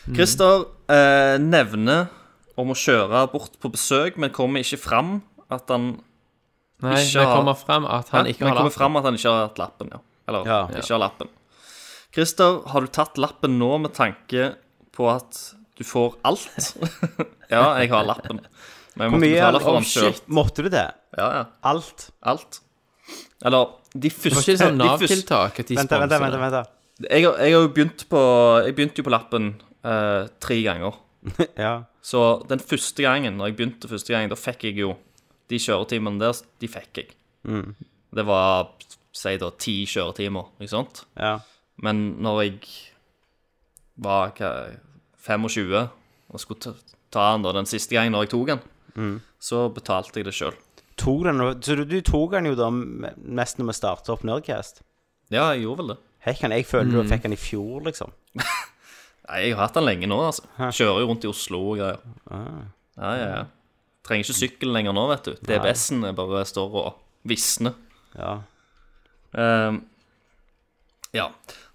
Speaker 2: Mm.
Speaker 3: Christer eh, nevner om å kjøre bort på besøk, men kommer ikke fram at han
Speaker 2: Nei,
Speaker 3: Ikke
Speaker 2: det
Speaker 3: har-
Speaker 2: kommer frem at han ikke har
Speaker 3: men kommer
Speaker 2: lappen.
Speaker 3: fram at han ikke har hatt lappen. ja. Eller
Speaker 7: Ja.
Speaker 3: ikke har lappen. Christer, har du tatt lappen nå med tanke på at du får alt? *laughs* ja, jeg har lappen. Men jeg
Speaker 7: Hvor
Speaker 3: måtte
Speaker 7: mye
Speaker 3: betale for
Speaker 7: oh,
Speaker 3: den selv.
Speaker 7: shit. Måtte du det?
Speaker 3: Ja, ja.
Speaker 7: Alt?
Speaker 3: Alt. Eller de
Speaker 2: Det
Speaker 3: første,
Speaker 2: var ikke
Speaker 7: *laughs*
Speaker 2: sånn
Speaker 3: de første
Speaker 2: Nav-tiltak at de
Speaker 7: Vent, da, vent, da, vent,
Speaker 2: sponser det.
Speaker 7: da, vent. da.
Speaker 3: jeg, har- jeg har jo begynt på Jeg begynte jo på lappen eh, tre ganger.
Speaker 7: *laughs* Ja.
Speaker 3: Så den første gangen, når jeg begynte første gangen, da fikk jeg jo de kjøretimene der, de fikk jeg. Det var, si da, ti kjøretimer, ikke sant?
Speaker 7: ja.
Speaker 3: Men når jeg var hva, 25 og skulle ta, ta den da, den siste gangen når jeg tok den, så betalte jeg det sjøl.
Speaker 7: Tok den, så du, du tok den jo da m- mest når vi startet opp Nerdcast.
Speaker 3: Ja, jeg gjorde vel det.
Speaker 7: Hekken, jeg føler du fikk den i fjor, liksom.
Speaker 3: Nei, jeg har hatt den lenge nå, altså. Kjører jo rundt i Oslo og greier. Ja, ja, ja. Trenger ikke sykkel lenger nå, vet du. DBS-en er bare står og visner.
Speaker 7: Ja.
Speaker 3: Ehm, Ja.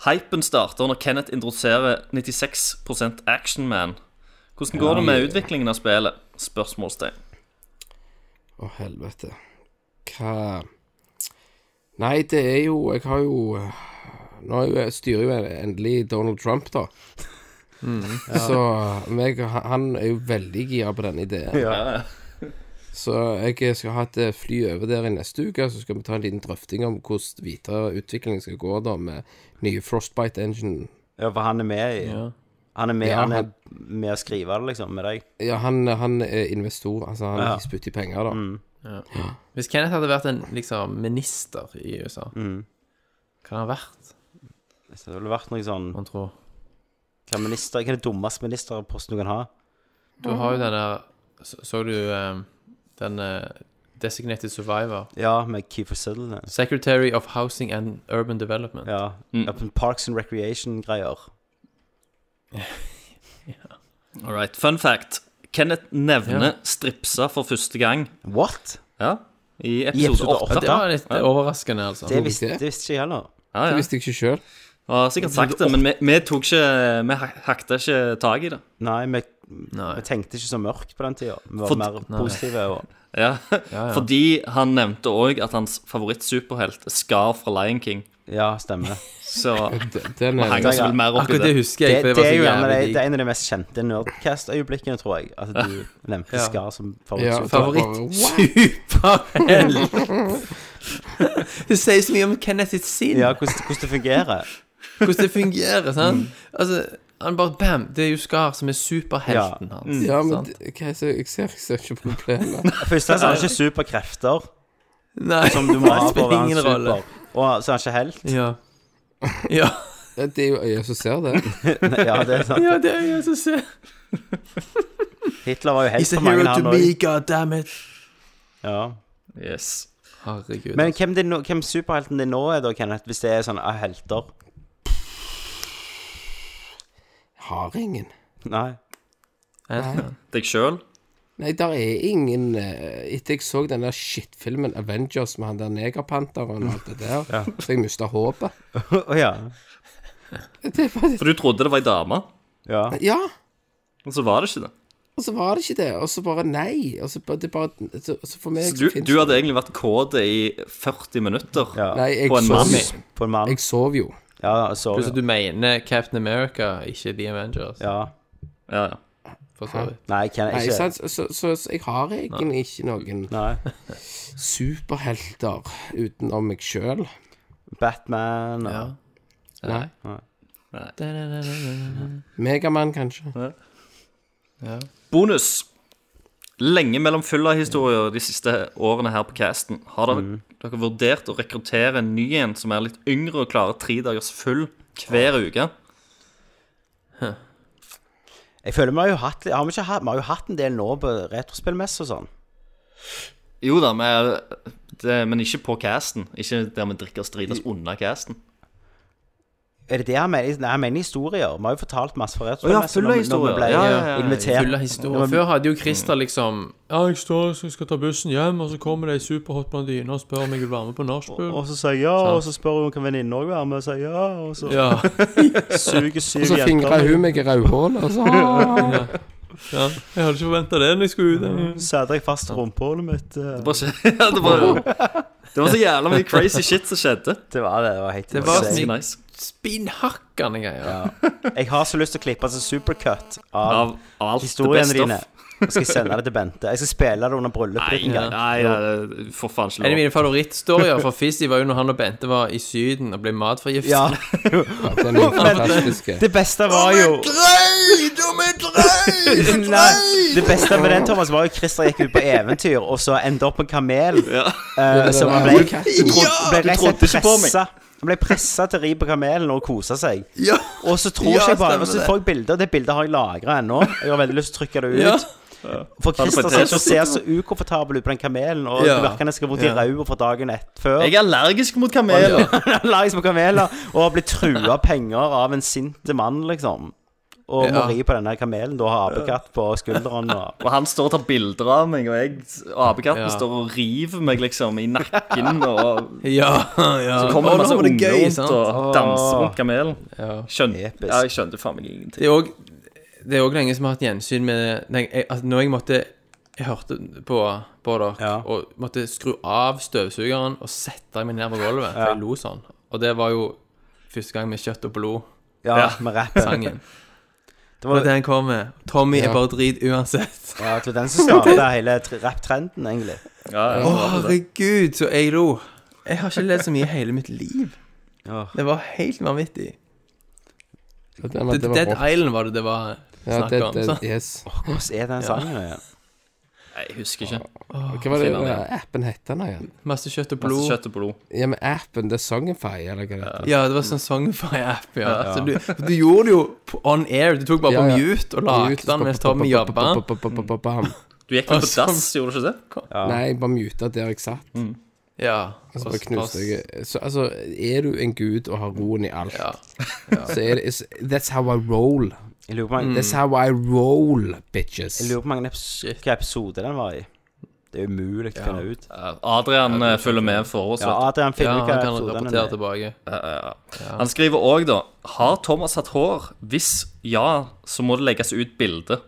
Speaker 3: Hypen starter når Kenneth introduserer 96 Action Man. Hvordan går det med utviklingen av spillet? Spørsmålstegn.
Speaker 1: Å, helvete. Hva Nei, det er jo Jeg har jo Nå er jo, jeg styrer jo endelig Donald Trump, da.
Speaker 3: Mm.
Speaker 1: *laughs* Så meg, og han- han er jo veldig gira på denne ideen. Så jeg skal ha et eh, fly over der i neste uke, så skal vi ta en liten drøfting om hvordan videre utviklingen skal gå da med nye Frostbite Engine.
Speaker 7: Ja, for han er med i Han er med,
Speaker 1: Ja,
Speaker 7: han er
Speaker 1: han-
Speaker 7: med å skrive det, liksom, med deg.
Speaker 1: Ja, han, han er investor, altså han
Speaker 7: Ja.
Speaker 1: ja. spytter i penger, da.
Speaker 3: Mm.
Speaker 2: Hvis Kenneth hadde vært en liksom, minister i USA,
Speaker 7: Mm.
Speaker 2: hva hadde han vært,
Speaker 7: Så det ville vært noe sånn
Speaker 2: man tror?
Speaker 7: Hva, minister, hva er det dummeste ministerposten du kan ha?
Speaker 2: Du har jo den der Så, så du eh, den eh, Designated Survivor?
Speaker 7: Ja, med Keefer Siddle.
Speaker 2: Secretary of Housing and Urban Development.
Speaker 7: Ja. ja, på Parks and Recreation-greier.
Speaker 3: All right. Fun fact. Kenneth nevner stripsa for første gang
Speaker 7: What?
Speaker 3: Ja, i
Speaker 7: I
Speaker 3: episode
Speaker 7: episode
Speaker 3: 8.
Speaker 2: Ja, det
Speaker 7: 8?
Speaker 2: var litt overraskende, altså.
Speaker 7: Det visste, det visste ikke jeg heller.
Speaker 3: Ja,
Speaker 1: Det
Speaker 3: ja.
Speaker 1: visste jeg ikke sjøl.
Speaker 3: Jeg har sikkert sagt det, men vi, vi tok ikke Vi hak- hakta ikke tak i det.
Speaker 7: Nei, vi,
Speaker 2: Nei.
Speaker 7: vi tenkte ikke så mørkt på den tida. Vi var
Speaker 3: For-
Speaker 7: mer positive. Og,
Speaker 3: Ja. Fordi han nevnte òg at hans favorittsuperhelt er Scar fra Lion King.
Speaker 2: *laughs*
Speaker 7: ja, stemmer.
Speaker 3: Så han
Speaker 1: Den er
Speaker 3: henger seg vel mer opp i
Speaker 2: Akkurat det
Speaker 3: det.
Speaker 2: husker
Speaker 7: Det,
Speaker 2: jeg, for
Speaker 7: det,
Speaker 2: det var
Speaker 7: er jo
Speaker 2: så
Speaker 7: gjerne det,
Speaker 2: jævlig
Speaker 7: det
Speaker 2: digg.
Speaker 7: er en av de mest kjente Nerdcast-øyeblikkene, tror jeg. At
Speaker 2: *laughs*
Speaker 7: du nevnte
Speaker 2: Ja.
Speaker 7: Skar som
Speaker 1: ja,
Speaker 7: favoritt.
Speaker 2: Favoritt
Speaker 1: bare, wow.
Speaker 2: superhelt. Du sier så mye om Kenneth sitt sinn,
Speaker 7: Ja, hvordan, hvordan det fungerer.
Speaker 2: *laughs* hvordan det fungerer. Sant?
Speaker 7: Mm.
Speaker 2: Altså, han bare bam! Det er jo Skar som er superhelten
Speaker 7: Mm.
Speaker 2: hans.
Speaker 1: Ja, men
Speaker 2: sant?
Speaker 1: det- hva er det- jeg ser, jeg ser ikke problemet.
Speaker 7: Først og fremst har han ikke superkrefter,
Speaker 2: Nei,
Speaker 7: som du må
Speaker 2: *laughs*
Speaker 7: ha
Speaker 2: det
Speaker 7: for å
Speaker 2: spiller
Speaker 7: være en
Speaker 2: ingen rolle.
Speaker 7: super. Og så er han ikke helt.
Speaker 2: Ja.
Speaker 7: *laughs*
Speaker 2: Ja.
Speaker 1: Det det er jo øyet som ser det.
Speaker 7: Ja, det er
Speaker 2: *laughs*
Speaker 7: sant.
Speaker 2: ja, det er jeg som ser.
Speaker 7: Hitler var jo helt
Speaker 2: He's a
Speaker 7: for mange,
Speaker 2: hero to me,
Speaker 7: han òg.
Speaker 2: god damn it.
Speaker 7: Ja.
Speaker 3: Yes.
Speaker 2: Herregud.
Speaker 7: Men hvem, din, nå- hvem superhelten din nå er, da, Kenneth, hvis det er sånn ah, helter?
Speaker 1: Har ingen.
Speaker 7: Nei. *laughs*
Speaker 2: Ant-Man.
Speaker 3: Deg sjøl?
Speaker 1: Nei, der er ingen eh, Etter jeg så den der shitfilmen Avengers med han der negerpanteren og alt det der, så jeg mista håpet.
Speaker 7: Å ja.
Speaker 1: Det er bare-
Speaker 3: For du trodde det var ei dame,
Speaker 7: ja.
Speaker 1: Ja,
Speaker 3: og så var det ikke det.
Speaker 1: og så var det ikke det. Og så bare nei. Og så bare, det bare så, så for meg
Speaker 3: Så du,
Speaker 1: så finnes
Speaker 3: du
Speaker 1: det-
Speaker 3: hadde egentlig vært kåt i 40 minutter.
Speaker 7: Ja.
Speaker 1: Nei, jeg
Speaker 3: på en
Speaker 1: sov,
Speaker 3: mann.
Speaker 1: jo.
Speaker 7: På en mann.
Speaker 1: jeg sov jo.
Speaker 7: Ja,
Speaker 2: Pluss at
Speaker 7: så
Speaker 2: Altså, du mener Captain America, ikke The Avengers.
Speaker 7: Ja.
Speaker 3: Ja, ja.
Speaker 2: For så vidt.
Speaker 7: Nei, Kenneth,
Speaker 1: Nei,
Speaker 7: ikke
Speaker 1: sant? Så, så, så, så jeg har egentlig ikke noen
Speaker 7: Nei.
Speaker 1: superhelter utenom meg sjøl.
Speaker 7: Batman og
Speaker 2: Ja.
Speaker 1: Nei.
Speaker 3: Nei.
Speaker 1: Megamann, kanskje.
Speaker 3: Bonus. Lenge mellom full av historier de siste årene her på casten. Har dere, dere vurdert å rekruttere en ny en som er litt yngre og klarer tre dagers full hver uke?
Speaker 7: Jeg føler vi har jo hatt Har vi ikke hatt Vi har jo hatt en del nå på retrospillmesse og sånn.
Speaker 3: Jo da, men, det, men ikke på casten. Ikke der vi drikker og strides under casten.
Speaker 7: Er det det han mener? Nei, han mener historier. Vi har jo fortalt masse fra
Speaker 3: Å ja,
Speaker 7: retrospillmesse
Speaker 3: full av historier.
Speaker 7: når vi- når vi ble
Speaker 3: Ja, ja, ja, ja.
Speaker 7: invitert.
Speaker 2: Full av historier. Før hadde jo Christer liksom Ja, jeg står og skal ta bussen hjem, og så kommer det ei superhot blondine og spør om jeg vil være med på nachspiel.
Speaker 7: Og så sier jeg ja, og så spør hun om venninne òg være med, og sier ja, og så
Speaker 2: Ja.
Speaker 7: suger syv
Speaker 1: Og så fingra hun meg i rødhålet, og så
Speaker 2: ja. Jeg hadde ikke forventa det når jeg skulle ut.
Speaker 7: Sæder jeg fast rumpehullet mitt. eh.
Speaker 3: Det var, så- *laughs* ja, det, var, det var så jævla mye crazy shit som skjedde.
Speaker 7: Det var det. Det var helt
Speaker 2: Det var
Speaker 7: insane.
Speaker 3: Ganske
Speaker 2: snill.
Speaker 3: nice.
Speaker 2: Spinnhakkende greier.
Speaker 7: Jeg har så lyst til å klippe altså supercut av,
Speaker 3: Av alt det
Speaker 7: historiene
Speaker 3: beste.
Speaker 7: dine. Jeg skal sende det til Bente. Jeg skal spille det under bryllupet
Speaker 3: Nei,
Speaker 7: ditt en gang.
Speaker 3: nei, nei, for faen ikke
Speaker 2: En av
Speaker 3: lov.
Speaker 2: mine favorittstorier fra Fizzy var jo når han og Bente var i Syden og ble matforgiftet.
Speaker 7: Ja.
Speaker 2: *laughs*
Speaker 1: Den er jo fantastisk.
Speaker 7: Det beste var jo *laughs* Nei, det beste med den, Thomas, var jo Christer gikk ut på eventyr, og så endte opp med en kamel. eh, som han ble, du trodde, ble rett og slett pressa. Han ble pressa til å ri på kamelen og kose seg. Og så tror
Speaker 2: Ja,
Speaker 7: ikke jeg bare
Speaker 2: stemmer
Speaker 7: Og så
Speaker 2: det.
Speaker 7: får jeg bilder, og det bildet har jeg lagra ennå. Jeg har veldig lyst til å trykke det ut.
Speaker 2: Ja.
Speaker 7: For
Speaker 3: Har du
Speaker 7: Christer
Speaker 3: fått
Speaker 7: ser
Speaker 3: det?
Speaker 7: så, ser så ukomfortabel ut på den kamelen, og
Speaker 2: Ja.
Speaker 7: det virker han skal vondt i
Speaker 2: Ja.
Speaker 7: ræva fra dagen et før.
Speaker 3: Jeg er allergisk mot kameler.
Speaker 7: Han lages på kameler og har blitt trua av penger av en sint mann, liksom. Og Marie på denne kamelen da har apekatt på skulderen. Og...
Speaker 3: Og han står og tar bilder av meg, og jeg og apekatten står og river meg liksom i nakken.
Speaker 2: *laughs*
Speaker 3: Og
Speaker 2: Ja, ja.
Speaker 3: så kommer
Speaker 2: Å,
Speaker 3: det masse
Speaker 2: nå var
Speaker 3: unger
Speaker 2: gøy,
Speaker 3: rundt
Speaker 2: sant?
Speaker 3: og danser rundt kamelen. Skjønte,
Speaker 7: Episk.
Speaker 3: ja, jeg skjønte faen meg ingenting.
Speaker 2: Det er òg Det er òg lenge som har hatt gjensyn med nei, jeg, altså, Når jeg måtte Jeg hørte på, på dere
Speaker 7: Ja.
Speaker 2: og måtte skru av støvsugeren og sette meg ned på gulvet, for jeg lo sånn. Og det var jo første gang med kjøtt og
Speaker 3: *laughs*
Speaker 2: blod-sangen.
Speaker 7: Ja, med rappen. Det
Speaker 2: Og
Speaker 7: var,
Speaker 2: den kom med. Tommy er bare drit uansett.
Speaker 7: ja, det var den
Speaker 2: *laughs*
Speaker 7: som starta hele tr- rapp-trenden, egentlig.
Speaker 3: Ja, ja,
Speaker 2: Å,
Speaker 3: det var det.
Speaker 2: herregud, så jeg lo. Jeg har ikke ledd så mye i hele mitt liv.
Speaker 7: Ja.
Speaker 2: Det var helt vanvittig.
Speaker 1: Det, det,
Speaker 2: The
Speaker 1: var
Speaker 2: Dead
Speaker 1: bra.
Speaker 2: Island var det det var
Speaker 1: ja,
Speaker 2: snakk
Speaker 1: det,
Speaker 2: om.
Speaker 1: det,
Speaker 2: sant?
Speaker 1: yes.
Speaker 7: Hvordan er den sangen igjen?
Speaker 3: Nei, jeg husker ikke.
Speaker 1: Hva var det
Speaker 3: finner
Speaker 1: eh, appen het nå igjen?
Speaker 2: Masse kjøtt og
Speaker 3: Masse
Speaker 2: blod.
Speaker 3: Altså, kjøtt og blod.
Speaker 1: Ja, men appen, det er Songify, eller hva det heter.
Speaker 2: Ja, det var sånn Songify-app, ja. Så du, for du gjorde det jo på- on air. Du tok bare
Speaker 1: Ja, ja.
Speaker 2: på mute og lagde den mens Tommy jobba.
Speaker 1: jobba.
Speaker 3: Du gikk vel på
Speaker 2: Altså-
Speaker 3: dass, gjorde du ikke det?
Speaker 1: Nei, jeg bare muta der jeg satt.
Speaker 2: Ja.
Speaker 1: Så
Speaker 2: og
Speaker 1: bare knuste
Speaker 2: pass-
Speaker 1: jeg Så altså, er du en gud og har roen i alt,
Speaker 2: Ja.
Speaker 1: så er det is- That's how I roll.
Speaker 7: Jeg lurer på hvor
Speaker 2: Mm.
Speaker 7: mange-
Speaker 1: That's how I roll, bitches.
Speaker 7: jeg lurer på hvor mange eps hva episode den var i. Det er umulig å finne ut.
Speaker 3: Adrian eh, følger med for oss.
Speaker 7: Ja,
Speaker 3: vet
Speaker 7: Adrian
Speaker 2: Altså, ja,
Speaker 7: finner ut hva
Speaker 2: han kan
Speaker 7: episoden
Speaker 2: rapportere tilbake.
Speaker 7: er.
Speaker 3: du. Han skriver òg, da Har Thomas hatt hår? Hvis ja, så må det legges ut bilde.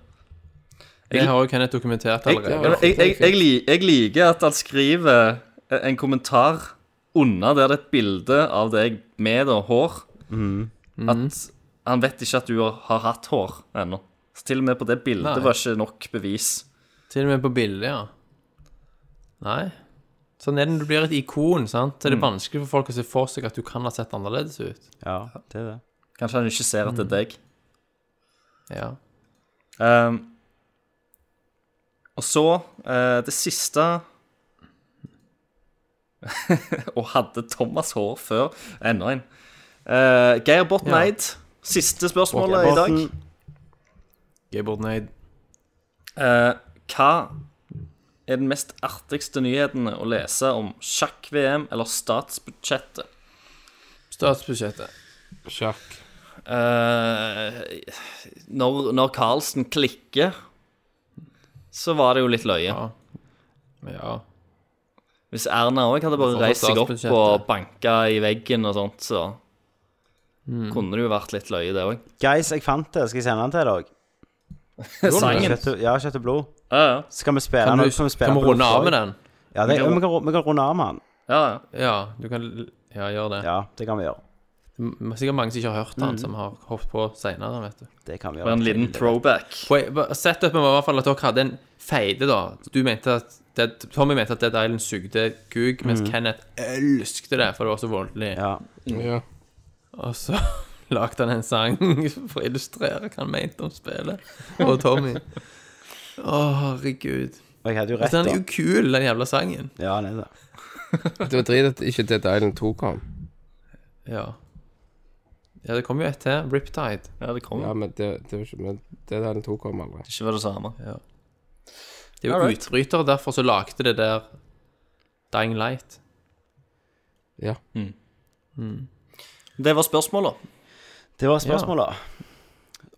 Speaker 2: Det har jo Kenneth dokumentert
Speaker 3: Jeg,
Speaker 2: allerede.
Speaker 3: jeg, jeg, jeg, li- jeg liker at han skriver en kommentar under der det er et bilde av deg med da, hår. At han vet ikke at du har- har hatt hår ennå. Så til og med på det bildet
Speaker 2: Nei.
Speaker 3: var ikke nok bevis.
Speaker 2: Til og med på bildet, ja. Nei. Sånn er det når du blir et ikon, sant. Så er det
Speaker 7: Mm.
Speaker 2: vanskelig for folk å se for seg at du kan ha sett annerledes ut.
Speaker 7: Ja, det er det.
Speaker 3: Kanskje han ikke ser at
Speaker 2: Mhm.
Speaker 3: det er deg.
Speaker 2: Ja.
Speaker 3: Ehm, og så eh, det siste *laughs* Og hadde Thomas hår før? Enda en. Eh, Geir Botten
Speaker 2: Ja.
Speaker 3: Eid, siste spørsmålet i dag.
Speaker 2: Gaybord Neid.
Speaker 3: Eh, hva er den mest artigste nyheten å lese om sjakk-VM eller statsbudsjettet?
Speaker 2: Statsbudsjettet.
Speaker 1: Sjakk.
Speaker 3: Eh, når, når Carlsen klikker, så var det jo litt løye.
Speaker 2: Ja.
Speaker 3: Hvis Erna òg hadde bare
Speaker 2: Hvorfor
Speaker 3: reist seg opp
Speaker 2: statsbudsjettet?
Speaker 3: og banka i veggen og sånt, så kunne det jo vært litt løye, det òg.
Speaker 7: Guys, jeg fant det. Skal jeg sende den til deg?
Speaker 3: Sangen.
Speaker 7: Kjøtt og- Ja, kjøtt og blod.
Speaker 3: Ja, ja.
Speaker 7: Så kan vi spille
Speaker 2: Kan
Speaker 7: den.
Speaker 2: du
Speaker 7: så vi spille
Speaker 2: kan vi
Speaker 7: den på
Speaker 2: runde
Speaker 7: lufta
Speaker 2: av med
Speaker 7: også.
Speaker 2: den?
Speaker 7: Ja, det, vi, kan, vi kan runde av med den.
Speaker 3: ja, ja.
Speaker 2: Ja, du kan Ja, gjør det.
Speaker 7: Ja, Mm. det kan vi gjøre.
Speaker 2: M- Sikkert mange som ikke har hørt han, som har hoppet på seinere, vet du.
Speaker 7: Det kan vi
Speaker 3: Det var
Speaker 7: gjøre.
Speaker 3: en liten throwback.
Speaker 2: Poe- ba- Setupen var i hvert fall at dere hadde en feide, da. Du mente at Dead, Tommy mente at Dead Island sugde kuk, mens Kenneth elskte det, for det var så voldelig.
Speaker 7: Mm. Ja.
Speaker 1: Ja.
Speaker 2: Og så *laughs* lagde han en sang for å illustrere hva han mente om spillet og Tommy. Å, herregud.
Speaker 7: Og jeg hadde jo rett,
Speaker 2: Den
Speaker 7: da.
Speaker 2: er jo kul, den jævla sangen.
Speaker 7: Ja, han er det.
Speaker 1: Det var drit at ikke Dead Island 2 kom.
Speaker 2: Ja. Ja, det kom jo et til. Riptide.
Speaker 3: Ja, det kom.
Speaker 1: Ja, men det, det var ikke Men Dead Island 2 kom aldri.
Speaker 3: Ikke var det samme.
Speaker 2: Det er jo
Speaker 3: Alright.
Speaker 2: utbrytere, derfor så lagde det der Dying Light.
Speaker 1: Ja.
Speaker 3: Det var spørsmålet.
Speaker 7: Det var spørsmålet.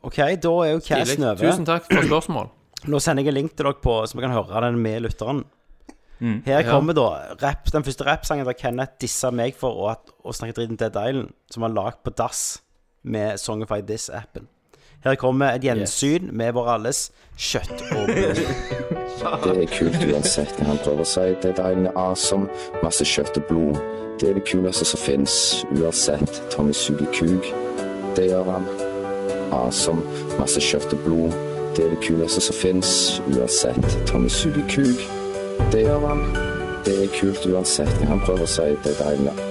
Speaker 7: OK, da er jo
Speaker 2: Tidlig.
Speaker 7: casten over.
Speaker 2: Tusen takk for spørsmål.
Speaker 7: Nå sender jeg en link til dere på, så vi kan høre den med lytteren. Her kommer da rap, den første rappsangen der Kenneth dissa meg for å, at- å snakke dritt om Dead Island, som han lagd på dass med Songify This-appen. Her kommer et gjensyn med vår alles kjøtt og blod.
Speaker 9: Det er kult uansett når han prøver å si at det er en awesome, masse kjøtt og blod. Det er det kuleste som finnes, uansett. Tommy suger kuk. Det gjør han. Awesome, masse kjøtt og blod. Det er det kuleste som finnes, uansett. Tommy suger kuk. Det gjør han. Det er kult uansett når han prøver å si at det er en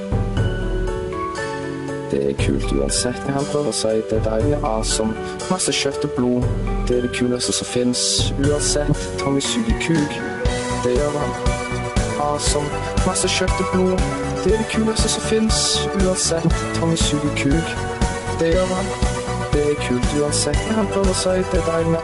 Speaker 9: det er kult uansett når han prøver å si det er deilig awesome. Masse kjøtt og blod. Det er det kuleste som fins. Uansett, Tommy suger kuk. Det gjør han. Awesome. Masse kjøtt og blod. Det er det kuleste som fins. Uansett, Tommy suger kuk. Det gjør han. Det er kult uansett når han prøver å si det er deilig.